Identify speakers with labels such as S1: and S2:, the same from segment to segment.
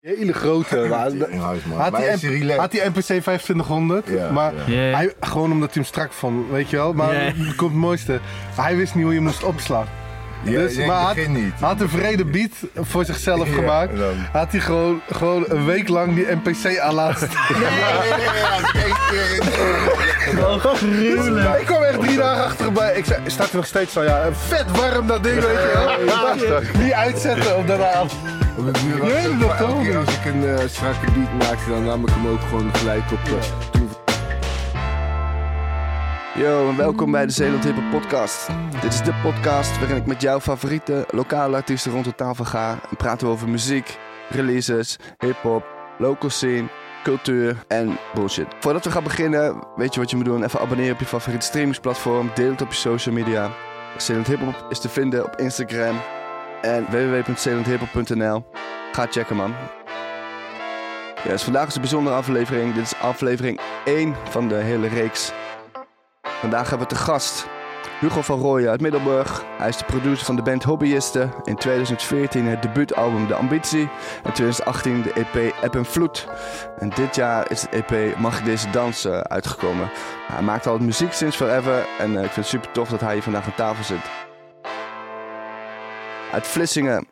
S1: Hele grote. Eh, maar-
S2: In huis, man.
S1: Had
S2: Maar hij
S1: hij,
S2: is
S1: M-
S2: relaxed.
S1: had hij NPC 2500,
S2: Ja,
S1: maar
S2: ja.
S3: Ja.
S1: hij, gewoon omdat hij hem strak vond, weet je wel. Maar
S3: Ja.
S1: het komt het mooiste. Hij wist niet hoe je moest opslaan.
S2: Ja,
S1: dus,
S2: ja, in
S1: maar
S2: het
S1: had,
S2: begin niet.
S1: had een vrede beat voor zichzelf
S2: Ja,
S1: gemaakt.
S2: dan.
S1: Had hij gewoon, gewoon een week lang die NPC aan laten staan. Ik kwam echt drie dagen achterbij. Ik zei, staat er nog steeds zo? Ja, vet warm dat ding, weet je wel. Niet uitzetten op daarna af.
S2: Op de duur was
S1: Jij
S2: het
S1: doet dat
S2: elke
S1: toch?
S2: keer Als ik een eh, strakke beat maakte, dan nam ik hem ook gewoon gelijk op. eh, toen-
S4: Yo en welkom bij de Zeeland Hip Hop Podcast. Dit is de podcast waarin ik met jouw favoriete lokale artiesten rond de tafel ga en praten we over muziek, releases, hip-hop, local scene, cultuur en bullshit. Voordat we gaan beginnen, weet je wat je moet doen? Even abonneren op je favoriete streamingsplatform, deel het op je social media. Zeeland Hip Hop is te vinden op Instagram en www.zeelandhiphop.nl. Ga checken man. Ja, dus vandaag is een bijzondere aflevering. Dit is aflevering 1 van de hele reeks. Vandaag hebben we te gast Hugo van Rooyen uit Middelburg. Hij is de producer van de band Hobbyisten. In 2014 het debuutalbum De Ambitie. En 2018 de EP App en Vloed. En dit jaar is de EP Mag ik deze dansen uitgekomen. Hij maakt al muziek sinds forever. En eh, ik vind het super tof dat hij hier vandaag aan tafel zit. Uit Vlissingen,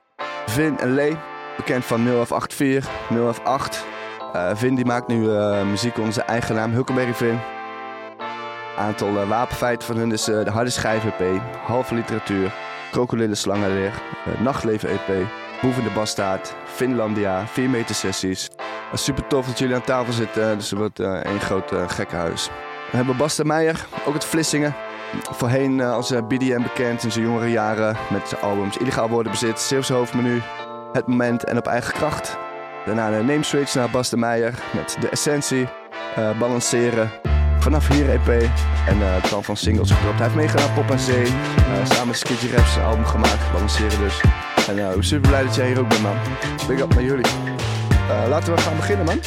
S4: Vin en Lee. Bekend van 0184, 058. Eh, Vin die maakt nu eh, muziek onder zijn eigen naam, Huckleberry Vin aantal eh, wapenfeiten van hun is eh, de harde schijf EP, halve literatuur, krokodillen slangenleer, eh, nachtleven EP, boevende bastaard, Finlandia, 4 meter sessies. Eh, super tof dat jullie aan tafel zitten, dus het wordt eh, één groot eh, gekkenhuis. We hebben Basta Meijer, ook uit Vlissingen. Voorheen eh, als eh, BDM bekend in zijn jongere jaren met zijn albums Illegaal Woordenbezit, Zeeuwse Hoofdmenu, Het Moment en Op Eigen Kracht. Daarna de name switch naar Basta Meijer met De Essentie, eh, Balanceren, Vanaf hier EP en eh, tal van singles gedropt. Hij heeft meegedaan aan Pop aan Zee. eh, samen met Skitty Raps een album gemaakt. Balanceren dus. En eh, ik ben super blij dat jij hier ook bent, man. Big up naar jullie. Eh, laten we gaan beginnen, man.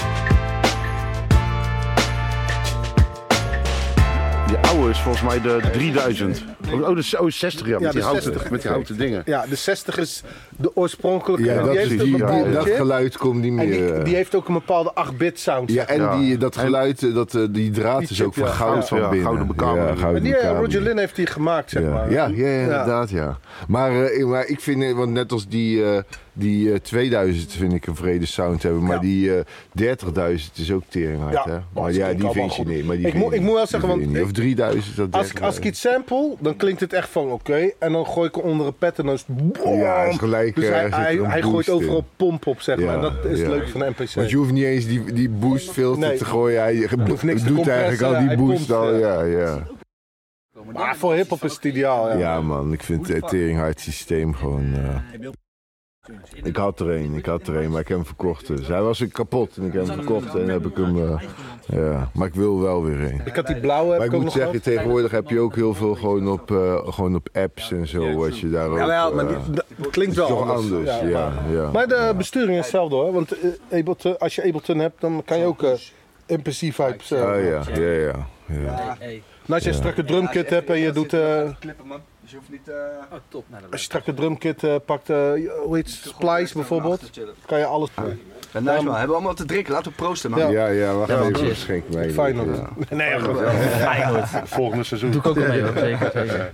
S5: Die oude is volgens mij de 3000. Oh, dat is oh, 60 ja, met,
S1: de
S5: die houten,
S1: 60.
S5: met die houten dingen.
S1: Ja, de 60 is de oorspronkelijke.
S2: Ja, dat,
S1: die heeft
S5: precies.
S1: een
S5: Ja,
S1: bepaald
S5: ja.
S2: dat
S1: chip.
S2: geluid komt niet
S1: En
S2: meer.
S1: die,
S2: eh.
S1: die heeft ook een bepaalde 8-bit sound.
S2: ja, en
S5: Ja.
S2: die, dat
S5: En-
S2: geluid, eh, dat, eh, die draad
S1: Die
S2: is
S1: chip,
S2: ook van
S1: ja.
S2: goud
S5: Ja,
S2: van
S5: ja,
S2: binnen.
S5: gouden bekamer.
S2: Ja, gouden
S1: Maar die, eh,
S2: bekamer.
S1: Roger Lynn heeft die gemaakt, zeg
S2: Ja.
S1: maar.
S2: Ja, ja, ja, inderdaad, ja. Maar, eh, maar ik vind, eh, want net als die, eh, die eh, 2000 vind ik een vrede sound hebben, maar
S1: Ja.
S2: die eh 30.000 is ook teringhard,
S1: Ja, Oh,
S2: hè?
S1: dat
S2: Maar
S1: klinkt
S2: ja, die
S1: allemaal
S2: vind je
S1: goed.
S2: niet. Maar die
S1: Ik
S2: vind
S1: moet-
S2: je
S1: ik moet wel
S2: niet.
S1: zeggen,
S2: Die
S1: want
S2: vind
S1: ik-
S2: je niet. Of 3000, dat
S1: Als ik, als ik
S2: 30.000.
S1: iets sample, dan klinkt het echt van oké. En dan gooi ik er onder een pet en dan is het boom.
S2: Ja, is gelijk,
S1: dus
S2: eh,
S1: hij,
S2: zit er
S1: hij,
S2: een
S1: hij
S2: boost
S1: gooit
S2: in.
S1: overal pomp op, zeg
S2: Ja,
S1: maar. En dat is
S2: ja.
S1: leuk van de NPC.
S2: Want je hoeft niet eens die, die boost filter
S1: Nee.
S2: te gooien. Hij
S1: hoeft niks te
S2: doet eigenlijk
S1: compressen,
S2: al die
S1: hij
S2: boost
S1: pompt,
S2: al.
S1: eh.
S2: Ja, ja.
S1: Maar voor hip-hop is het ideaal, ja.
S2: Ja, man, ik vind het teringhard systeem gewoon. eh, Ik had er een, ik had er een, maar ik heb hem verkocht. Dus hij was ik kapot en ik heb hem verkocht en heb ik hem. eh, ja. Maar ik wil wel weer een.
S1: Ik had die blauwe, heb
S2: Maar
S1: ik
S2: ik
S1: ook
S2: moet
S1: nog
S2: zeggen,
S1: gehad.
S2: tegenwoordig heb je ook heel veel gewoon op, eh, gewoon op apps en zo. Wat je daar ook.
S1: Jawel, maar
S2: eh,
S1: die- dat klinkt
S2: is
S1: wel
S2: toch
S1: anders.
S2: anders. Ja,
S1: maar-
S2: ja,
S1: Maar de besturing is hetzelfde hoor. Want eh, Ableton, als je Ableton hebt, dan kan je ook eh MPC vibes. eh.
S2: Ah, ja, ja, ja. ja.
S1: En als je een strakke drumkit hebt en je doet. eh,
S4: Klippen, man. Dus je hoeft niet...
S1: als je strakke drumkit eh, pakt, eh, hoe heet het? Splice bijvoorbeeld. Kan je alles.
S4: nice, man. Hebben we allemaal te drinken? Laten we proosten, man.
S1: Ja.
S2: Ja, ja, wacht
S3: Ja,
S2: even.
S3: precies.
S2: Schenk mij. even.
S1: Fijn
S2: Ja.
S1: Nee, goed.
S5: Volgende seizoen.
S3: Doe ik ook wel mee hoor, zeker. zeker.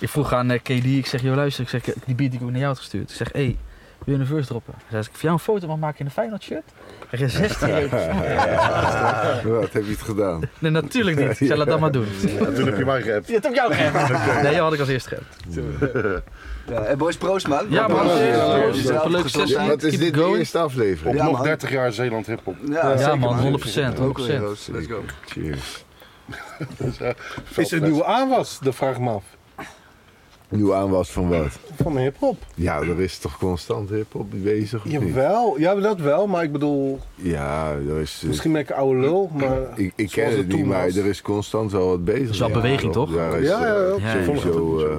S3: Ik vroeg aan eh, KD, ik zeg, joh luister, ik zeg, eh, die beat die ik ook naar jou had gestuurd. Ik zeg, hé, hey, wil je een verse droppen? Hij zei, als ik voor jou een foto mag maken in een Feyenoord shirt? Hij zei, 16
S2: Wat heb je het gedaan?
S3: Nee, natuurlijk niet. Ik zei, laat dat maar doen.
S5: Toen heb je eh, mij geappt.
S3: Je hebt ook jou geappt. Nee, jou had ik als eerste geappt.
S4: Ja, en boys, proost, man.
S3: Ja, man.
S4: Proost.
S3: Proost.
S4: Proost.
S3: Proost.
S4: Jezelf
S3: Voor leuke
S4: gezond
S3: sessie.
S4: zijn.
S2: Wat is
S3: Keep
S2: dit
S3: going.
S2: de eerste aflevering?
S5: Op
S4: Ja,
S5: nog
S4: man.
S5: 30 jaar Zeeland hiphop.
S4: Ja,
S3: Ja
S4: Ah, zeker,
S3: man, 100%. 100%.
S4: Let's go.
S2: Cheers.
S1: Is er een nieuwe aanwas? Dat vraag ik me af.
S2: Nieuw aanwas van wat?
S1: Van hip-hop.
S2: Ja, er is toch constant hip-hop bezig? Of niet?
S1: Jawel, ja, dat wel, maar ik bedoel,
S2: Ja, er is. eh,
S1: misschien ben ik een oude lul, maar.
S2: Ik, ik
S1: zoals
S2: ken het
S1: toen
S2: niet, maar
S1: was.
S2: er is constant wel wat bezig.
S3: is wel
S2: Ja,
S3: beweging, toch?
S2: Daar is,
S1: Ja, ja, ja.
S2: eh,
S3: Ja, ja.
S2: Sowieso. eh,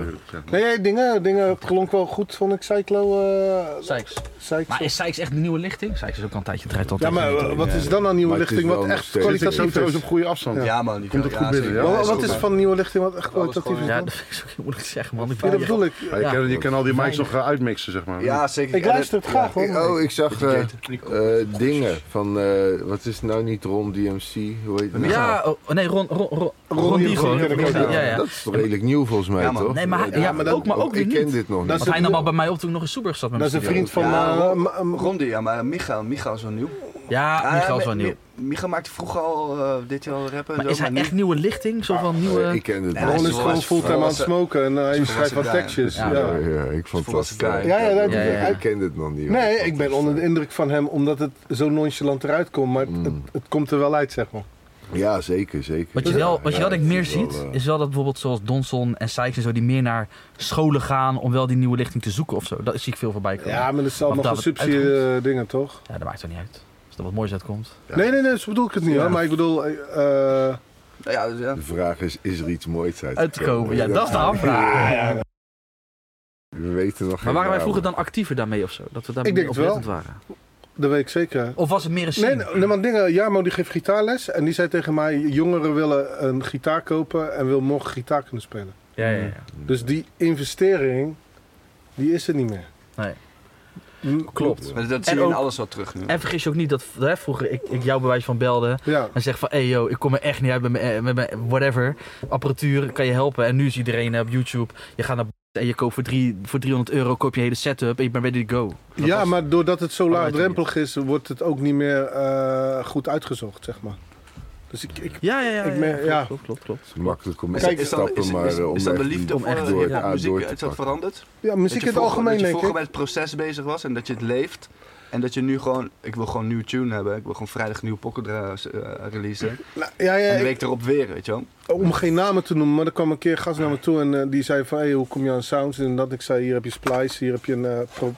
S1: Nee, dingen, dingen klonk wel goed, vond ik Cyclo. eh
S3: Sykes.
S1: Sykes.
S3: Maar is Sykes echt de nieuwe lichting? Sykes is ook al een tijdje draait
S1: Ja,
S3: altijd.
S1: maar eh, wat is dan aan nieuwe
S2: Maar het is
S1: lichting
S2: wel
S1: wat
S2: nog
S1: echt
S2: steeds-
S5: Zit
S1: kwalitatief
S5: zo
S1: is?
S5: trouwens op goede afstand.
S4: Ja, man. die
S5: Komt het
S4: ja,
S5: goed binnen,
S4: zeker.
S5: ja?
S1: Wa-
S4: is
S1: wat
S4: goed,
S1: is
S4: man.
S1: van nieuwe lichting wat echt kwalitatief is?
S3: Ja,
S1: dan?
S3: dat vind ik zo heel moeilijk te zeggen, man. Ik
S1: Ja, dat bedoel ik.
S5: Maar je,
S3: Ja.
S5: kan, je kan al die mics nog eh, uitmixen, zeg maar.
S6: Ja, zeker.
S1: Ik luister het graag hoor.
S2: oh, ik zag eh, eh, dingen van, eh, wat is het nou niet Ron DMC? Hoe heet het nou?
S3: Ja, oh, nee, Ron, Ron, Ron, Ron,
S1: Ron
S3: Diego.
S1: Diego, die ken ik ook,
S3: Ja,
S1: ja.
S3: ja, ja.
S2: Dat is toch redelijk nieuw volgens mij,
S6: Ja, man.
S2: toch?
S3: Nee, maar, hij- ja,
S1: maar
S3: maar
S1: dat-
S3: ook, maar ook weer
S2: ik ken
S3: niet.
S2: dit nog
S1: Dat
S2: niet.
S1: is
S3: Want hij
S1: een-
S3: nam al bij mij op toen ik nog in Soeberg zat met
S1: Dat is een
S3: mijn
S1: vriend van...
S6: Ja,
S1: eh,
S6: Ron-
S1: ma- ma-
S6: Rondi, ja, maar Micha, Micha is wel nieuw.
S3: studio. Ja, Michael is wel
S6: Ah, Mi-
S3: nieuw.
S6: Mi- Micha maakte vroeger al eh, dit jaar al rappen. en
S3: Maar
S6: zo,
S3: is hij
S6: nu-
S3: echt nieuwe lichting? Zo van
S2: Eh,
S3: nieuwe...
S2: Ik ken dit
S6: Ja,
S2: nog
S1: Ron
S6: hij
S2: niet.
S1: is gewoon
S6: was-
S1: fulltime
S6: was-
S1: aan het smoken en eh, hij
S6: was-
S1: schrijft wat
S6: was-
S1: tekstjes.
S3: ja.
S1: ja.
S2: Ja, ja, ik vond het
S6: Volwassen
S2: wel
S6: guy.
S2: sterk.
S1: Ja, ja, dat-
S3: Ja, ja, ja.
S2: Ik ken dit nog niet. hoor. eh,
S1: Nee, ik ben onder de indruk van hem omdat het zo nonchalant eruit komt, maar het, het, het komt er wel uit, zeg maar.
S2: Ja, zeker, zeker.
S3: Wat je wel, wat je
S2: Ja,
S3: wel denk ik meer
S2: het is wel,
S3: ziet,
S2: eh,
S3: is wel dat bijvoorbeeld zoals Donson en Sykes en zo, die meer naar scholen gaan om wel die nieuwe lichting te zoeken of zo. Dat zie ik veel voorbij komen.
S1: Ja,
S3: Ja,
S1: maar dat zijn allemaal
S3: Want dat het
S1: gesubsidieerde dingen, toch?
S3: dat maakt toch niet uit. Als er wat moois uitkomt.
S1: Nee, nee, nee, zo bedoel ik het niet, hoor. Maar ik bedoel, eh, eh,
S6: Ja, dus ja.
S2: De vraag is, is er iets moois uit,
S3: Uit te komen, ja, dat is de afvraag.
S2: We weten nog
S3: Maar
S2: geen
S3: waren wij
S2: namen.
S3: vroeger dan actiever daarmee of zo? Dat we daar
S1: Ik
S3: meer
S1: denk het wel.
S3: oplettend waren?
S1: dat weet ik zeker.
S3: Of was het meer een scene?
S1: Nee, nee, want dingen, Jarmo die geeft gitaarles en die zei tegen mij, jongeren willen een gitaar kopen en wil morgen gitaar kunnen spelen.
S3: Ja, ja, ja.
S1: Dus die investering, die is er niet meer.
S3: Nee.
S1: Mm,
S3: Klopt.
S6: Maar dat zie
S3: En
S6: je in
S3: ook-
S6: alles wel terug nu.
S3: En vergis je ook niet dat hè, vroeger ik, ik jou bij wijze van belde
S1: Ja.
S3: en zeg van, hey yo, ik kom er echt niet uit met mijn, eh, met mijn whatever, apparatuur, kan je helpen. En nu is iedereen eh, op YouTube, je gaat naar en je koopt voor, drie, voor 300 euro koop je een hele setup en je bent ready to go. Dat
S1: ja,
S3: was-
S1: maar doordat het zo
S3: Allebei
S1: laagdrempelig is, wordt het ook niet meer eh, goed uitgezocht, zeg maar. Dus ik, ik
S3: Ja, ja, ja.
S1: Ik
S3: ja,
S1: merk- ja.
S3: Klopt, klopt, klopt.
S2: Het is makkelijk om
S6: Is-
S2: mee te
S6: is, dat,
S2: stappen,
S6: is,
S2: maar
S6: is,
S2: eh, om
S6: is dat de
S2: echt
S6: liefde
S2: niet-
S3: om
S6: voor
S3: echt
S6: eh,
S2: door het-
S6: ja,
S2: aan
S6: muziek?
S2: door te
S6: Is dat
S2: pakken.
S6: veranderd?
S1: Ja,
S6: Dat
S1: muziek
S6: je
S1: in het
S6: vroeger-
S1: algemeen,
S6: Dat je
S1: denk
S6: vroeger
S1: ik.
S6: met het proces bezig was en dat je het leeft. En dat je nu gewoon, ik wil gewoon een nieuwe tune hebben. Ik wil gewoon vrijdag een nieuwe pocket eh, s- eh, releasen.
S1: Nou, ja, ja,
S6: En de
S1: ik-
S6: week erop weer, weet je wel.
S1: om geen namen te noemen, maar er kwam een keer een gast naar me toe en eh, die zei van, hey, hoe kom je aan sounds? En dat ik zei, hier heb je splice, hier heb je een eh, pro-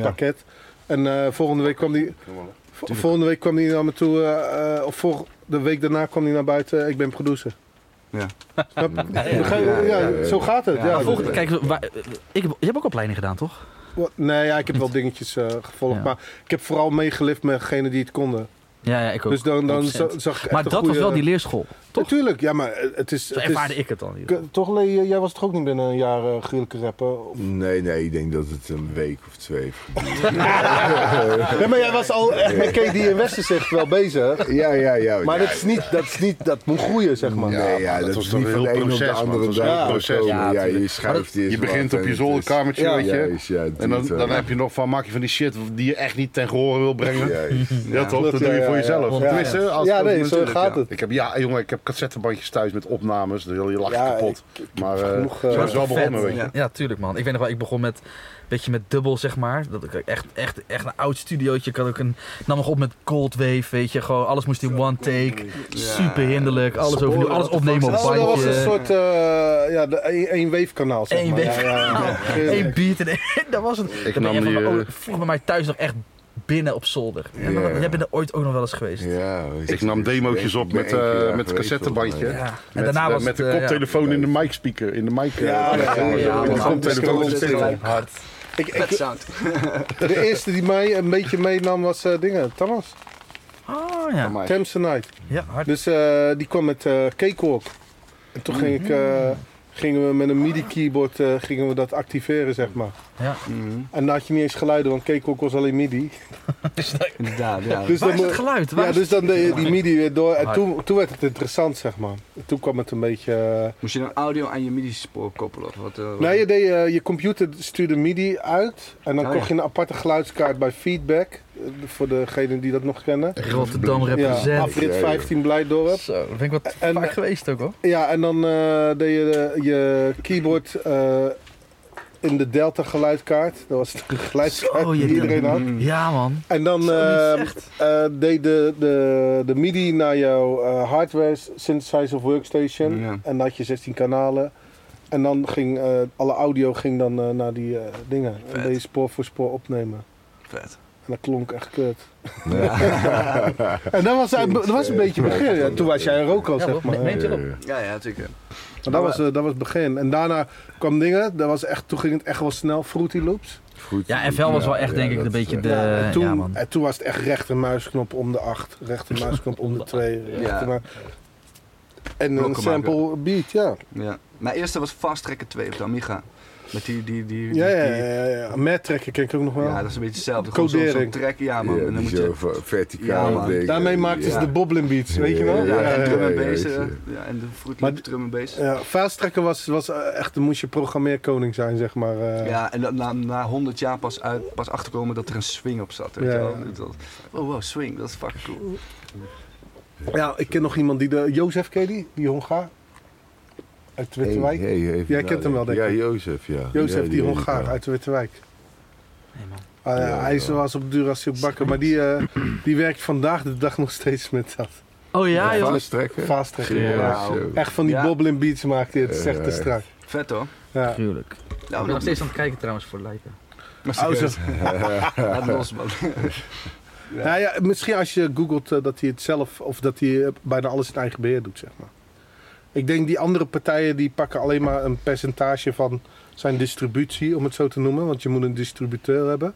S1: pakket. En eh, volgende week kwam die... vo- Volgende week kwam die naar me toe, eh, eh, of voor de week daarna kwam die naar buiten, ik ben producer.
S6: Ja.
S1: Snap-
S2: ja, ja,
S1: ja,
S2: ja, ja.
S1: zo gaat het.
S6: Ja,
S1: Ja,
S6: maar
S3: Volgende, kijk, waar- ik heb, je hebt ook opleiding gedaan, toch?
S1: Wa- Nee, ja, ik heb wel dingetjes eh, gevolgd,
S3: Ja.
S1: maar ik heb vooral meegelift met degenen die het konden.
S3: Ja, ja, ik ook.
S1: Dus dan, dan
S3: 100%.
S1: za- zag ik echt
S3: maar
S1: een
S3: dat was
S1: goeie-
S3: wel die leerschool. toch?
S1: Natuurlijk, ja, maar eh, het is...
S3: Zo
S1: het is-
S3: ervaarde ik het dan. in ieder geval.
S1: K- Toch, Lee, jij was toch ook niet binnen een jaar eh gruwelijke rapper? Of-
S2: Nee, nee, ik denk dat het een week of twee heeft geduurd.
S1: Nee, maar jij was al echt met KD en Westen zich wel bezig.
S2: Ja, ja, ja.
S1: Maar
S2: ja,
S1: dat is niet, dat is niet, dat moet groeien, zeg maar.
S2: Nee, ja,
S5: maar
S2: dat,
S5: dat was
S2: is
S5: toch
S2: niet
S5: een
S2: van de
S5: heel
S2: een op de
S5: proces, man.
S2: andere
S5: Het was
S2: dag.
S5: een heel proces.
S2: gekomen.
S3: Ja,
S2: Ja, je
S3: tuurlijk. Maar
S2: schuift
S3: dat-
S2: eerst
S5: Je
S2: wat
S5: begint op
S2: en
S5: je
S2: het is-
S5: zolderkamertje,
S1: Ja.
S5: weet
S2: Ja,
S5: je.
S2: is- ja, dit,
S5: En dan, dan
S2: eh,
S5: heb je nog van, maak je van die shit die je echt niet ten gehoor wil brengen. Ja,
S2: ja, is-
S5: toch?
S1: klopt,
S5: Dat doe
S1: ja,
S5: je voor
S1: ja,
S5: jezelf.
S1: ja.
S5: Tenminste,
S1: Ja.
S5: als
S1: Ja,
S5: als
S1: nee,
S5: mens
S1: zo
S5: natuurlijk,
S1: gaat
S5: ja.
S1: het.
S5: Ik heb, ja, jongen, ik heb cassettebandjes thuis met opnames. De hele je lacht
S1: Ja,
S5: kapot. Maar eh
S1: genoeg, eh,
S5: zo is het wel
S3: Vet.
S5: begonnen, weet je.
S6: Ja.
S3: Ja, tuurlijk man. Ik weet nog wel, ik begon met, weet je, met dubbel zeg maar. Dat ik echt, echt, echt een oud studiootje. Ik had ook een, nam nog op met Cold Wave, weet je. Gewoon alles moest in one take. Super hinderlijk. Alles
S6: Sporen,
S3: overnieuw,
S6: what
S3: alles
S6: the
S3: opnemen op
S6: fuck?
S1: Oh, dat was een
S3: bandje.
S1: soort, eh ja, de één- één weefkanaal, zeg
S3: Eén
S1: maar. Ja, ja, ja.
S3: Eén beat en dat was het. Ik
S5: nam die, eh,
S3: oh, vroeg bij mij thuis nog echt binnen op zolder. En dan-
S2: Ja.
S3: Jij bent er ooit ook nog wel eens geweest.
S2: ja, weet je,
S5: Ik nam
S2: ik ben
S5: demootjes op
S2: één
S5: met,
S2: keer
S5: eh,
S2: daar
S5: met
S2: geweest,
S5: cassettebandje.
S2: volgens
S3: Ja. En
S5: Met,
S3: daarna
S5: eh,
S3: was
S5: met
S3: het,
S5: de
S3: eh,
S5: koptelefoon in de mic speaker. In de mic. eh,
S1: Ja, ja, ja,
S5: eh,
S1: ja,
S5: met
S1: ja,
S5: de
S1: ja.
S5: koptelefoon.
S1: Ja.
S5: stillen.
S3: ja. hard.
S1: Ik, ik-
S6: Vet sound.
S1: de eerste die mij een beetje meenam was eh, dingen, Thomas.
S3: Oh ja.
S5: Maar-
S1: Thamsonite.
S3: Ja, hard.
S1: Dus eh, die kwam met eh Cakewalk. En toen ging ik, eh, gingen we met een MIDI-keyboard eh, gingen we dat activeren, zeg maar.
S3: Ja.
S6: Mhm.
S1: En dan had je niet eens geluiden, want Cakewalk was alleen MIDI.
S6: Inderdaad, ja.
S1: Dus
S3: Waar is
S1: dan
S3: het
S1: mo-
S3: geluid? Waar
S1: Ja,
S3: is
S1: dus dan deed je die MIDI weer door. En
S3: Hard.
S1: toen, toen werd het interessant, zeg maar. En toen kwam het een beetje... eh,
S6: Moest je dan audio aan je MIDI-spoor koppelen? Of wat, eh, wat-
S1: Nee, je, deed, eh, je computer stuurde MIDI uit. En dan
S6: Oh,
S1: kocht
S6: ja.
S1: je een aparte geluidskaart bij Feedback. eh, voor degenen die dat nog kennen.
S3: Rotterdam
S1: Ja,
S3: represent.
S1: afrit 15 Blijdorp.
S3: Zo, daar ben ik wat
S1: En-
S3: vaak geweest ook hoor.
S1: Ja, en dan eh, deed je eh, je keyboard eh, in de Delta geluidkaart. Dat was de geluidskaart
S3: Zo,
S1: die
S3: je
S1: iedereen had.
S4: Mm-hmm.
S3: Ja man.
S1: En dan
S3: Zo,
S1: eh,
S3: niet echt.
S1: eh, deed de, de, de MIDI naar jouw eh, hardware synthesizer of workstation.
S6: Ja.
S1: En dan had je 16 kanalen. En dan ging eh, alle audio ging dan eh, naar die eh, dingen. En
S6: Vet.
S1: deed je spoor voor spoor opnemen.
S6: Vet.
S1: En dat klonk echt kut. en dat was, uit- dat was een beetje begin. Ja, toen was jij er ook al,
S3: Ja,
S1: zeg
S3: hoor,
S1: maar.
S3: me- meent je
S2: Ja,
S3: dat?
S2: ja.
S6: Ja, ja, zeker.
S1: Maar dat was, eh, dat was het begin. En daarna kwam dingen, dat was echt, toen ging het echt wel snel, Fruity Loops.
S2: Goed.
S3: Ja, en vel was wel
S2: Ja,
S3: echt
S2: ja,
S3: denk ik
S2: dat
S3: een
S2: is,
S3: beetje
S2: eh,
S3: de...
S1: Ja, en, toen,
S3: ja, man.
S1: en toen was het echt rechtermuisknop om de 8, rechtermuisknop om de 2. En een
S6: Blokken maken.
S1: sample beat, ja.
S6: Ja. Mijn eerste was Fast Tracker 2 op de Amiga.
S4: Met die... die, die,
S1: Ja,
S4: die-
S1: ja,
S4: die-
S1: ja. ja. Met trekken ken ik ook nog wel.
S4: Ja, dat is een beetje hetzelfde. Gewoon zo'n-
S1: Codering.
S4: Zo'n trek, ja man.
S2: Ja,
S4: en dan
S2: die
S4: moet
S2: zo
S4: je...
S2: ver-
S4: Ja,
S2: verticaal
S4: man.
S2: denken.
S1: Daarmee maakten ze
S4: Ja.
S1: de boblin beats, weet je wel?
S2: Ja,
S4: Ja, en drum en
S2: ja,
S4: bass.
S2: ja,
S4: eh,
S2: ja.
S4: Ja, en de
S1: Maar-
S4: vroedliep drum en bass.
S1: Ja, fast tracken was, was eh, echt, dan moest je programmeerkoning zijn, zeg maar. eh.
S4: Ja, en dan na, na 100 jaar pas, uit, pas achterkomen dat er een swing op zat. Weet
S1: Ja,
S4: je wel.
S1: ja.
S4: Dat, oh wow, swing, dat is fucking cool.
S1: Ja, ik ken nog iemand die de. Jozef ken je die? Die Hongaar? Uit
S2: Hey,
S1: Wittewijk.
S2: hey, even
S1: Jij kent hem wel, denk ik.
S2: Ja, Jozef, ja.
S1: Jozef,
S2: Ja,
S1: die
S2: weet ik
S1: Hongaar
S2: wel.
S1: uit Wittewijk.
S3: Nee, man.
S1: Ah, ja,
S2: Ja,
S1: hij is-
S2: ja.
S1: was op Duracell bakken, maar die, eh, die werkt vandaag de dag nog steeds met dat.
S3: Oh ja,
S2: Ja,
S3: joh.
S2: Vast trekken.
S1: Fast tracken.
S2: Ja,
S1: inderdaad.
S2: zo.
S1: Echt van die
S4: Ja.
S1: bobbling beats maakt hij, het is echt te
S2: Ja.
S1: strak.
S4: Vet hoor.
S1: Ja.
S3: Gruwelijk. Ik
S4: Nou,
S3: ben nog steeds aan het kijken trouwens voor Lijpen.
S4: Maar
S1: Oh, zo.
S4: serieus, laat los man.
S1: Nou ja, misschien als je googelt eh, dat hij het zelf, of dat hij eh, bijna alles in eigen beheer doet, zeg maar. Ik denk die andere partijen die pakken alleen maar een percentage van zijn distributie, om het zo te noemen. Want je moet een distributeur hebben.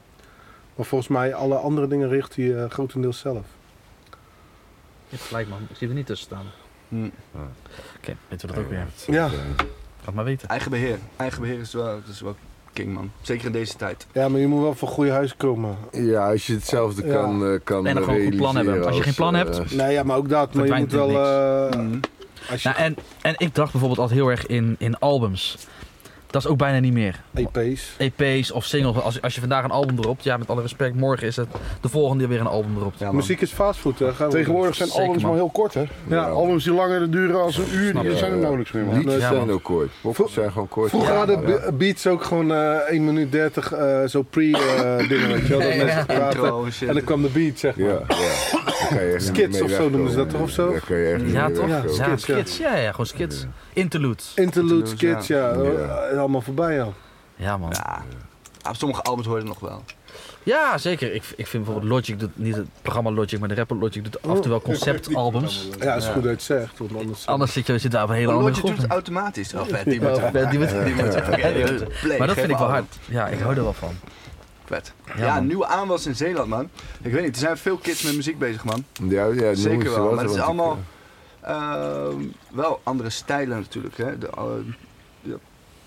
S1: Maar volgens mij alle andere dingen richt hij eh, grotendeels zelf.
S3: Je hebt gelijk, man. Ik zie er niet tussen staan. Oh.
S4: Hm.
S3: Oké, weten we dat ook weer.
S1: Ja.
S3: Laat maar weten.
S4: Eigen beheer. Eigen beheer is wel, is wel king man. Zeker in deze tijd.
S1: ja, maar je moet wel voor goede huis komen.
S2: Ja, als je hetzelfde
S1: Ja.
S2: kan, eh, kan
S3: En dan gewoon een goed plan hebben.
S2: realiseren
S3: Als je geen plan
S2: eh,
S3: hebt,
S2: als-
S1: Nou ja, maar ook dat. Maar je moet
S3: Verdwijnt
S1: wel... eh,
S4: Mhm.
S1: als je
S3: Nou, en, en ik dacht bijvoorbeeld altijd heel erg in, in albums. Dat is ook bijna niet meer.
S1: EP's...
S3: EP's of singles. Als, als je vandaag een album dropt, ja, met alle respect, morgen is het de volgende die weer een album dropt.
S4: Ja, man.
S1: Muziek is fastfood, hè? Gaan we-
S5: Tegenwoordig zijn
S3: Zeker,
S5: albums
S3: man.
S5: maar heel kort, hè?
S1: Ja.
S5: Albums die langer duren als een uur,
S3: Snap
S5: die
S3: ik.
S5: zijn er nauwelijks meer, man.
S2: Liedjes
S1: Ja,
S2: zijn
S3: man.
S2: ook kort. Poppen zijn gewoon kort.
S1: Vroeger
S2: Ja,
S1: hadden
S2: ja.
S1: be- beats ook gewoon eh 1 minuut 30 eh, zo pre-dingen, weet je wel. Dat
S3: Ja,
S1: mensen praten.
S4: Intro en shit.
S1: En dan kwam de beat, zeg maar.
S2: Ja, ja. Daar kan je echt
S1: Skits
S2: niet mee
S1: of zo
S2: wegkomen.
S1: noemen ze dat toch, of zo?
S2: Daar kan je echt niet
S3: Ja,
S2: mee
S3: toch?
S1: Ja,
S2: wegkomen.
S3: Ja,
S1: skits,
S3: skits.
S1: ja.
S3: Ja, ja, gewoon skits. Interludes.
S1: Interludes,
S4: Interludes,
S1: kids, ja.
S2: ja.
S1: eh, Allemaal voorbij al.
S3: Ja, man.
S4: Ja. Ah, sommige albums hoor je nog wel.
S3: Ja, zeker. Ik, ik vind bijvoorbeeld Logic, doet, niet het programma Logic, maar de rapper Logic doet af en toe wel conceptalbums.
S1: Ja, is goed dat je het zegt. Want anders...
S3: Anders zit je zit daar op een hele andere
S4: Lotje
S3: groep.
S4: doet het automatisch. Oh, vet. Die moet
S3: Ja, die moet- die
S4: die moet- ja, die moet- play,
S3: Maar dat
S4: geef
S3: vind ik wel
S4: album.
S3: hard. Ja, ik hou er wel van.
S4: Vet.
S3: Ja,
S4: Ja,
S3: man.
S4: nieuwe aanwas in Zeeland, man. Ik weet niet, er zijn veel kids met muziek bezig, man.
S2: Ja, ja, noemen ze
S4: Zeker wel,
S2: wat,
S4: maar het is
S2: want ik-
S4: allemaal ehm, wel andere stijlen natuurlijk. Hè. De, eh, ja,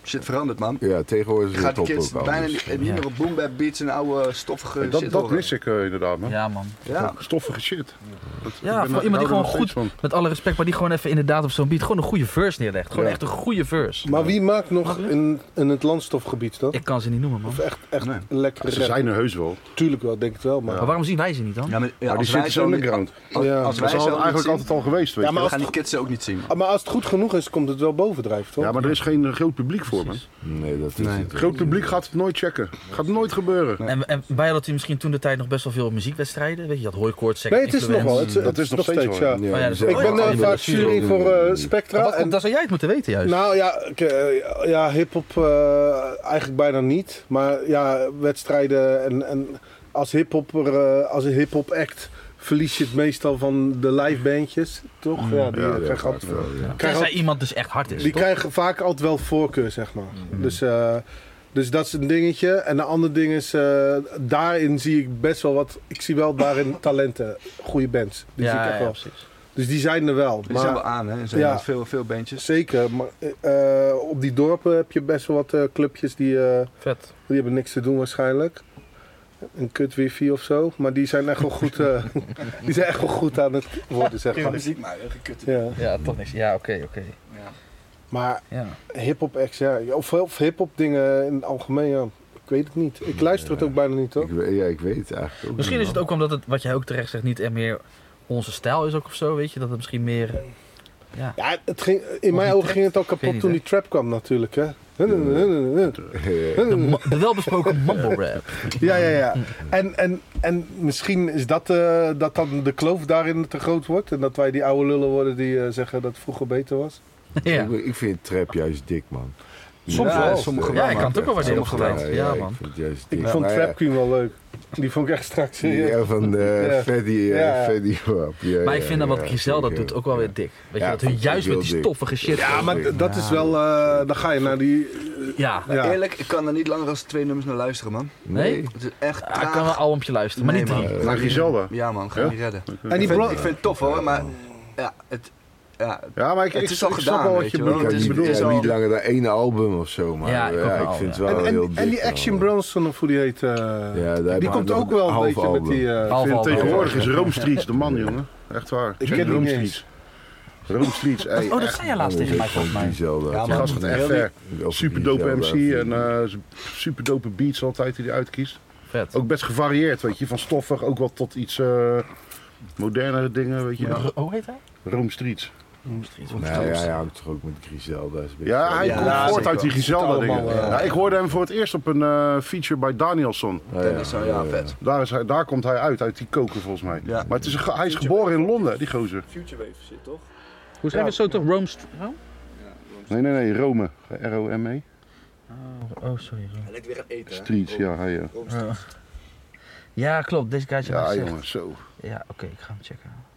S4: shit verandert, man.
S2: Ja, tegenwoordig is
S4: Gaat
S2: het
S4: de
S2: op
S4: kids
S2: ook wel. dus,
S4: bijna niet, hebben niet
S3: Ja.
S4: meer op boom bap beats en oude stoffige
S5: Dat,
S4: shit
S5: dat
S4: horen.
S5: mis ik eh, inderdaad, man.
S3: Ja, man.
S4: Ja,
S5: Stoffige shit. Dat- ik ben-
S3: Ja,
S5: ik
S3: voor
S5: hou
S3: iemand
S5: er
S3: die gewoon
S5: nog
S3: goed,
S5: steeds van.
S3: met alle respect, maar die gewoon even inderdaad op zo'n beat gewoon een goede verse neerlegt. Gewoon
S1: Ja.
S3: echt een goede verse.
S1: Maar wie maakt nog in, in het landstofgebied dan?
S3: Ik kan ze niet noemen, man.
S1: Of echt, echt
S4: Nee.
S1: lekker
S5: Ze zijn er heus wel.
S1: Tuurlijk wel, denk ik wel. Maar,
S3: Maar waarom zien wij ze niet dan?
S4: ja, maar, ja,
S5: maar die
S4: als wij
S5: zitten
S4: zo
S5: zo
S4: niet-
S5: underground.
S4: als,
S1: Ja.
S4: als
S5: Dat
S4: wij
S5: is al-
S4: zo
S5: eigenlijk
S4: niet zien,
S5: altijd al geweest, weet
S1: Ja, maar
S5: je.
S4: dan
S1: als-
S4: gaan die kids ze ook niet zien. man.
S1: Ah, maar als het goed genoeg is, komt het wel bovendrijven, toch?
S5: Ja, maar er is geen eh, groot publiek voor, man.
S2: Nee, dat is
S4: Nee.
S2: het.
S5: Groot publiek gaat het nooit checken. Gaat nooit gebeuren.
S3: En, en wij hadden misschien toen de tijd nog best wel veel muziekwedstrijden. Weet je, dat hooikoord, sec,
S1: Nee, het is nog
S3: influence.
S1: wel. Het, het
S5: Dat is nog steeds zo,
S1: ja.
S2: Ja,
S3: ja,
S2: die
S3: dat is-
S2: zijn
S1: Ik ben eh,
S2: allemaal
S3: Ja,
S2: andere
S1: vaak
S3: dat
S1: jury voor eh, Spectra.
S3: Maar dat,
S1: en-
S3: dat zou jij het moeten weten juist.
S1: Nou ja, ik, eh, ja hip-hop eh, eigenlijk bijna niet. Maar ja, wedstrijden en, en als hip-hop als een hip-hop act verlies je het meestal van de live bandjes,
S3: Mm,
S1: toch? Ja, die
S2: Ja, ja,
S1: krijgen,
S2: vaak
S1: altijd,
S2: wel, ja.
S1: krijgen,
S3: Tenzij
S1: al-
S3: iemand dus echt hard is.
S1: die
S3: toch?
S1: krijgen vaak altijd wel voorkeur, zeg maar.
S3: Mm.
S1: Dus, eh, dus dat is een dingetje. En een ander ding is, eh, daarin zie ik best wel wat. Ik zie wel daarin talenten, goede bands. Die zie
S3: ja,
S1: ik echt
S3: ja,
S1: wel.
S3: precies.
S1: Dus die zijn er wel.
S4: Die
S1: maar-
S4: zijn wel aan, hè. Er zijn
S1: Ja.
S4: veel, veel bandjes.
S1: Zeker, maar eh, eh, op die dorpen heb je best wel wat eh, clubjes die, eh,
S3: Vet.
S1: die hebben niks te doen waarschijnlijk. Een kut wifi of zo, maar die zijn echt wel goed, eh, die zijn echt wel goed aan het worden, zeg maar.
S4: muziek maar, gekut.
S1: Ja.
S3: Ja, toch niks. Ja, oké, oké.
S1: Maar
S3: Ja.
S1: hip-hop acts, ja. Of, of hip-hop dingen in het algemeen, ja. Ik weet het niet. Ik luister het ook bijna niet, toch?
S2: Ik weet- Ja, ik weet het eigenlijk ook
S3: Misschien
S2: niet,
S3: is het ook omdat het, wat jij ook terecht zegt, niet echt meer onze stijl is ook of zo, weet je. Dat het misschien meer... Ja.
S1: Ja, het ging, in mijn
S3: die
S1: ogen
S3: trap?
S1: ging het al
S3: weet
S1: kapot
S3: niet,
S1: toen
S3: hè?
S1: die trap kwam natuurlijk, hè.
S2: man. Ja, ja.
S3: De, ma- de welbesproken mumble rap.
S1: Ja, ja, ja. En, en, en misschien is dat, eh, dat dan de kloof daarin te groot wordt. En dat wij die oude lullen worden die eh, zeggen dat het vroeger beter was.
S3: ja.
S2: Ik- Ik vind trap juist dik, man.
S1: Soms
S4: wel.
S2: sommige
S3: Ja, ik kan het ook wel waarderen op de tijd. Ja,
S2: Ik
S3: man.
S2: vind het juist
S1: Ik
S2: dik.
S1: vond
S2: Maar ja,
S1: Trap Queen wel leuk. Die vond ik echt strak serieus.
S2: Ja, van
S1: Ja.
S2: de Freddy
S1: Ja.
S2: Wap. Ja,
S3: Maar ik vind
S2: ja,
S3: dan wat
S2: ja,
S3: Griselda
S2: zeker.
S3: doet ook wel weer dik. Weet je,
S2: Ja,
S3: dat hun
S2: vind ik
S3: juist
S2: heel
S3: met die
S2: dik.
S3: stoffige shit.
S1: Ja,
S3: komen.
S1: maar d- dat is wel... eh, dan ga je naar die...
S3: Ja.
S1: Ja.
S4: Eerlijk, ik kan er niet langer als twee nummers naar luisteren, man.
S3: Nee?
S4: Het is echt
S3: Ah, ik
S4: traag.
S3: kan wel een albumpje luisteren, maar
S4: Nee,
S3: niet drie.
S4: man.
S5: Naar Griselda.
S4: Ja man, ga
S5: Ja?
S4: niet redden.
S1: En die
S4: ik, vind,
S1: blo-
S4: ik vind het tof hoor, maar ja, het,
S6: ja,
S1: Ja, maar ik,
S6: Het
S1: ik,
S6: is al
S1: ik
S6: gedaan,
S1: snap wel
S6: weet
S1: wat je
S6: je wel.
S1: bedoelt.
S6: Het is-
S2: Kijk, niet,
S1: ik bedoel,
S6: het is
S2: eh,
S6: al-
S2: niet langer dan één album of zo, maar ja,
S3: Ja, ik
S2: ik,
S3: ook wel,
S2: vind
S3: ja.
S2: het wel
S1: en,
S2: heel
S1: en,
S2: dik.
S1: en die Action
S2: allemaal.
S1: Bronson, of hoe die heet, eh,
S2: Ja, daar heb
S1: die
S2: ik
S1: komt
S2: nog
S1: ook wel een
S2: half
S1: beetje met
S2: album.
S1: die... eh,
S3: Half
S1: vind-
S3: album.
S1: tegenwoordig
S5: Tegenwoordig
S1: is
S5: is Rome Streets de man, jongen. Echt waar.
S1: Ik
S5: Check
S1: ken die
S5: Rome
S1: niet
S5: Streets. Rome Streets, ey,
S3: Oh, dat
S5: echt.
S3: zei jij laatst tegen mij volgens mij.
S2: Diezelfde.
S6: Ja,
S5: Die gast gaat echt ver.
S2: Wel
S5: Super
S2: diezelfde
S5: dope MC en
S2: uitvinding.
S5: eh super dope beats altijd die hij uitkiest.
S3: Vet.
S5: Ook best gevarieerd, weet je. Van stoffig ook wel tot iets eh modernere dingen, weet je.
S3: R- Hoe heet hij?
S5: Rome Streets.
S2: Nee, ja, hij hangt toch ook met Griselda. is een beetje-
S5: Ja, hij
S6: Ja,
S5: komt voort
S6: zeker.
S5: uit die Griselda
S1: Het is
S5: dingen.
S1: allemaal, eh,
S5: Ja, ik hoorde hem voor het eerst op een eh, feature bij Danielson.
S2: Ja,
S6: dat is zo, ja, vet.
S5: Daar, is hij, daar komt hij uit, uit die koker volgens mij.
S6: Ja.
S5: Maar het is, een ge- hij is geboren in Londen, die gozer.
S4: Future Wave zit toch?
S3: Hoe schrijf je het zo toch? Rome St- Rome?
S5: Nee, nee, nee, Rome. R-O-M-E.
S3: Oh, sorry. Rome.
S4: Hij lijkt weer aan eten. hè?
S5: Streets, ja, hij. eh.
S3: Ja. Ja, klopt. Deze guy had je
S5: Ja,
S3: net gezegd.
S5: jongen, zo.
S3: Ja, oké. ik ga hem checken.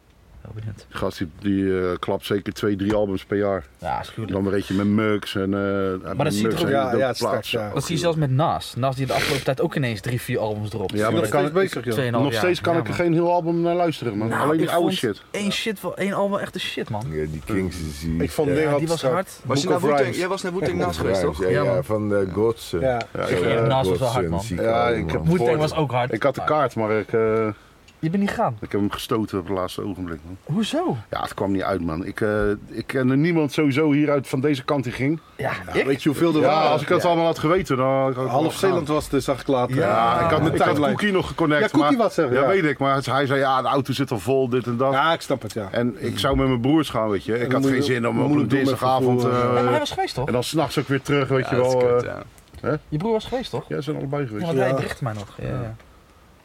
S3: Wel benieuwd.
S5: Die gast die, die eh, klapt zeker twee, drie albums per jaar.
S3: Ja, is goed.
S5: Dan weer eentje met Mux en. eh,
S3: dat ziet er
S5: Muggs
S3: ook-
S5: en
S1: Ja,
S5: de
S1: ja, het is
S5: plaats.
S1: straks, ja.
S3: Dat zie je zelfs met Nas. Nas die de afgelopen tijd ook ineens drie, vier albums dropt.
S5: Ja, maar
S1: Nog
S5: dan kan
S1: steeds
S5: ik,
S1: bezig, joh.
S3: Tweeënhalf
S5: nog
S3: jaar.
S5: steeds kan
S3: Ja,
S5: ik er
S3: man.
S5: geen heel album naar luisteren, man.
S3: Nou,
S5: Alleen die
S3: ik
S5: oude
S3: vond
S5: shit.
S3: Eén shit, wel, één album echt de shit, man.
S2: Ja, die Kings is die.
S1: Ik vond
S2: ja,
S1: Ding
S3: Ja,
S1: had
S3: die was
S1: straks-
S3: hard.
S6: Was je
S1: Book
S6: naar
S1: of
S4: nou
S6: Wu-Tang?
S1: Rhymes.
S6: Jij was naar Wu-Tang Nas geweest,
S2: Grimes,
S6: toch?
S2: Ja,
S3: Ja,
S2: ja,
S3: man.
S2: van de Godsen.
S1: Ja.
S3: Ik vind
S5: eh,
S3: Nas was wel hard, man.
S5: Ja, ik heb
S3: wu
S5: Hoorde.
S3: was ook hard.
S5: Ik had de
S3: Maar
S5: kaart, maar ik, eh,
S3: Je bent niet gaan.
S5: ik heb hem gestoten op het laatste ogenblik. Man.
S3: Hoezo?
S5: Ja, het kwam niet uit, man. Ik, eh ik kende niemand sowieso hieruit van deze kant die ging.
S3: Ja,
S1: Ja, Weet je hoeveel er
S5: Ja,
S1: waren?
S5: als ik dat allemaal had geweten, dan had ik
S1: Half Zeeland was dus, zag ik later.
S5: Ja, ik had
S1: de
S5: mijn tijd Cookie nog geconnect.
S1: Ja, Cookie
S5: maar-
S1: was er,
S5: Ja,
S1: ja.
S5: weet ik. Maar hij zei, ja, de auto zit al vol, dit en dat.
S1: Ja, ik snap het, ja.
S5: En ik zou met mijn broers gaan, weet je. Ik
S1: dan
S5: had
S1: moet
S5: geen
S1: je-
S5: zin om
S1: dan
S5: op
S1: moet
S5: een
S1: je doen met
S5: dinsdagavond...
S1: vervoer,
S5: eh,
S3: Nee, maar hij was geweest, toch?
S5: en dan s'nachts ook weer terug, weet je
S6: Ja, dat
S5: wel.
S6: is kut,
S5: eh,
S6: ja.
S3: Je broer was geweest, toch?
S5: ja, ze zijn allebei geweest.
S3: Ja,
S5: Ja,
S3: want hij
S1: Ja.
S3: berichtte mij nog. Ja, ja.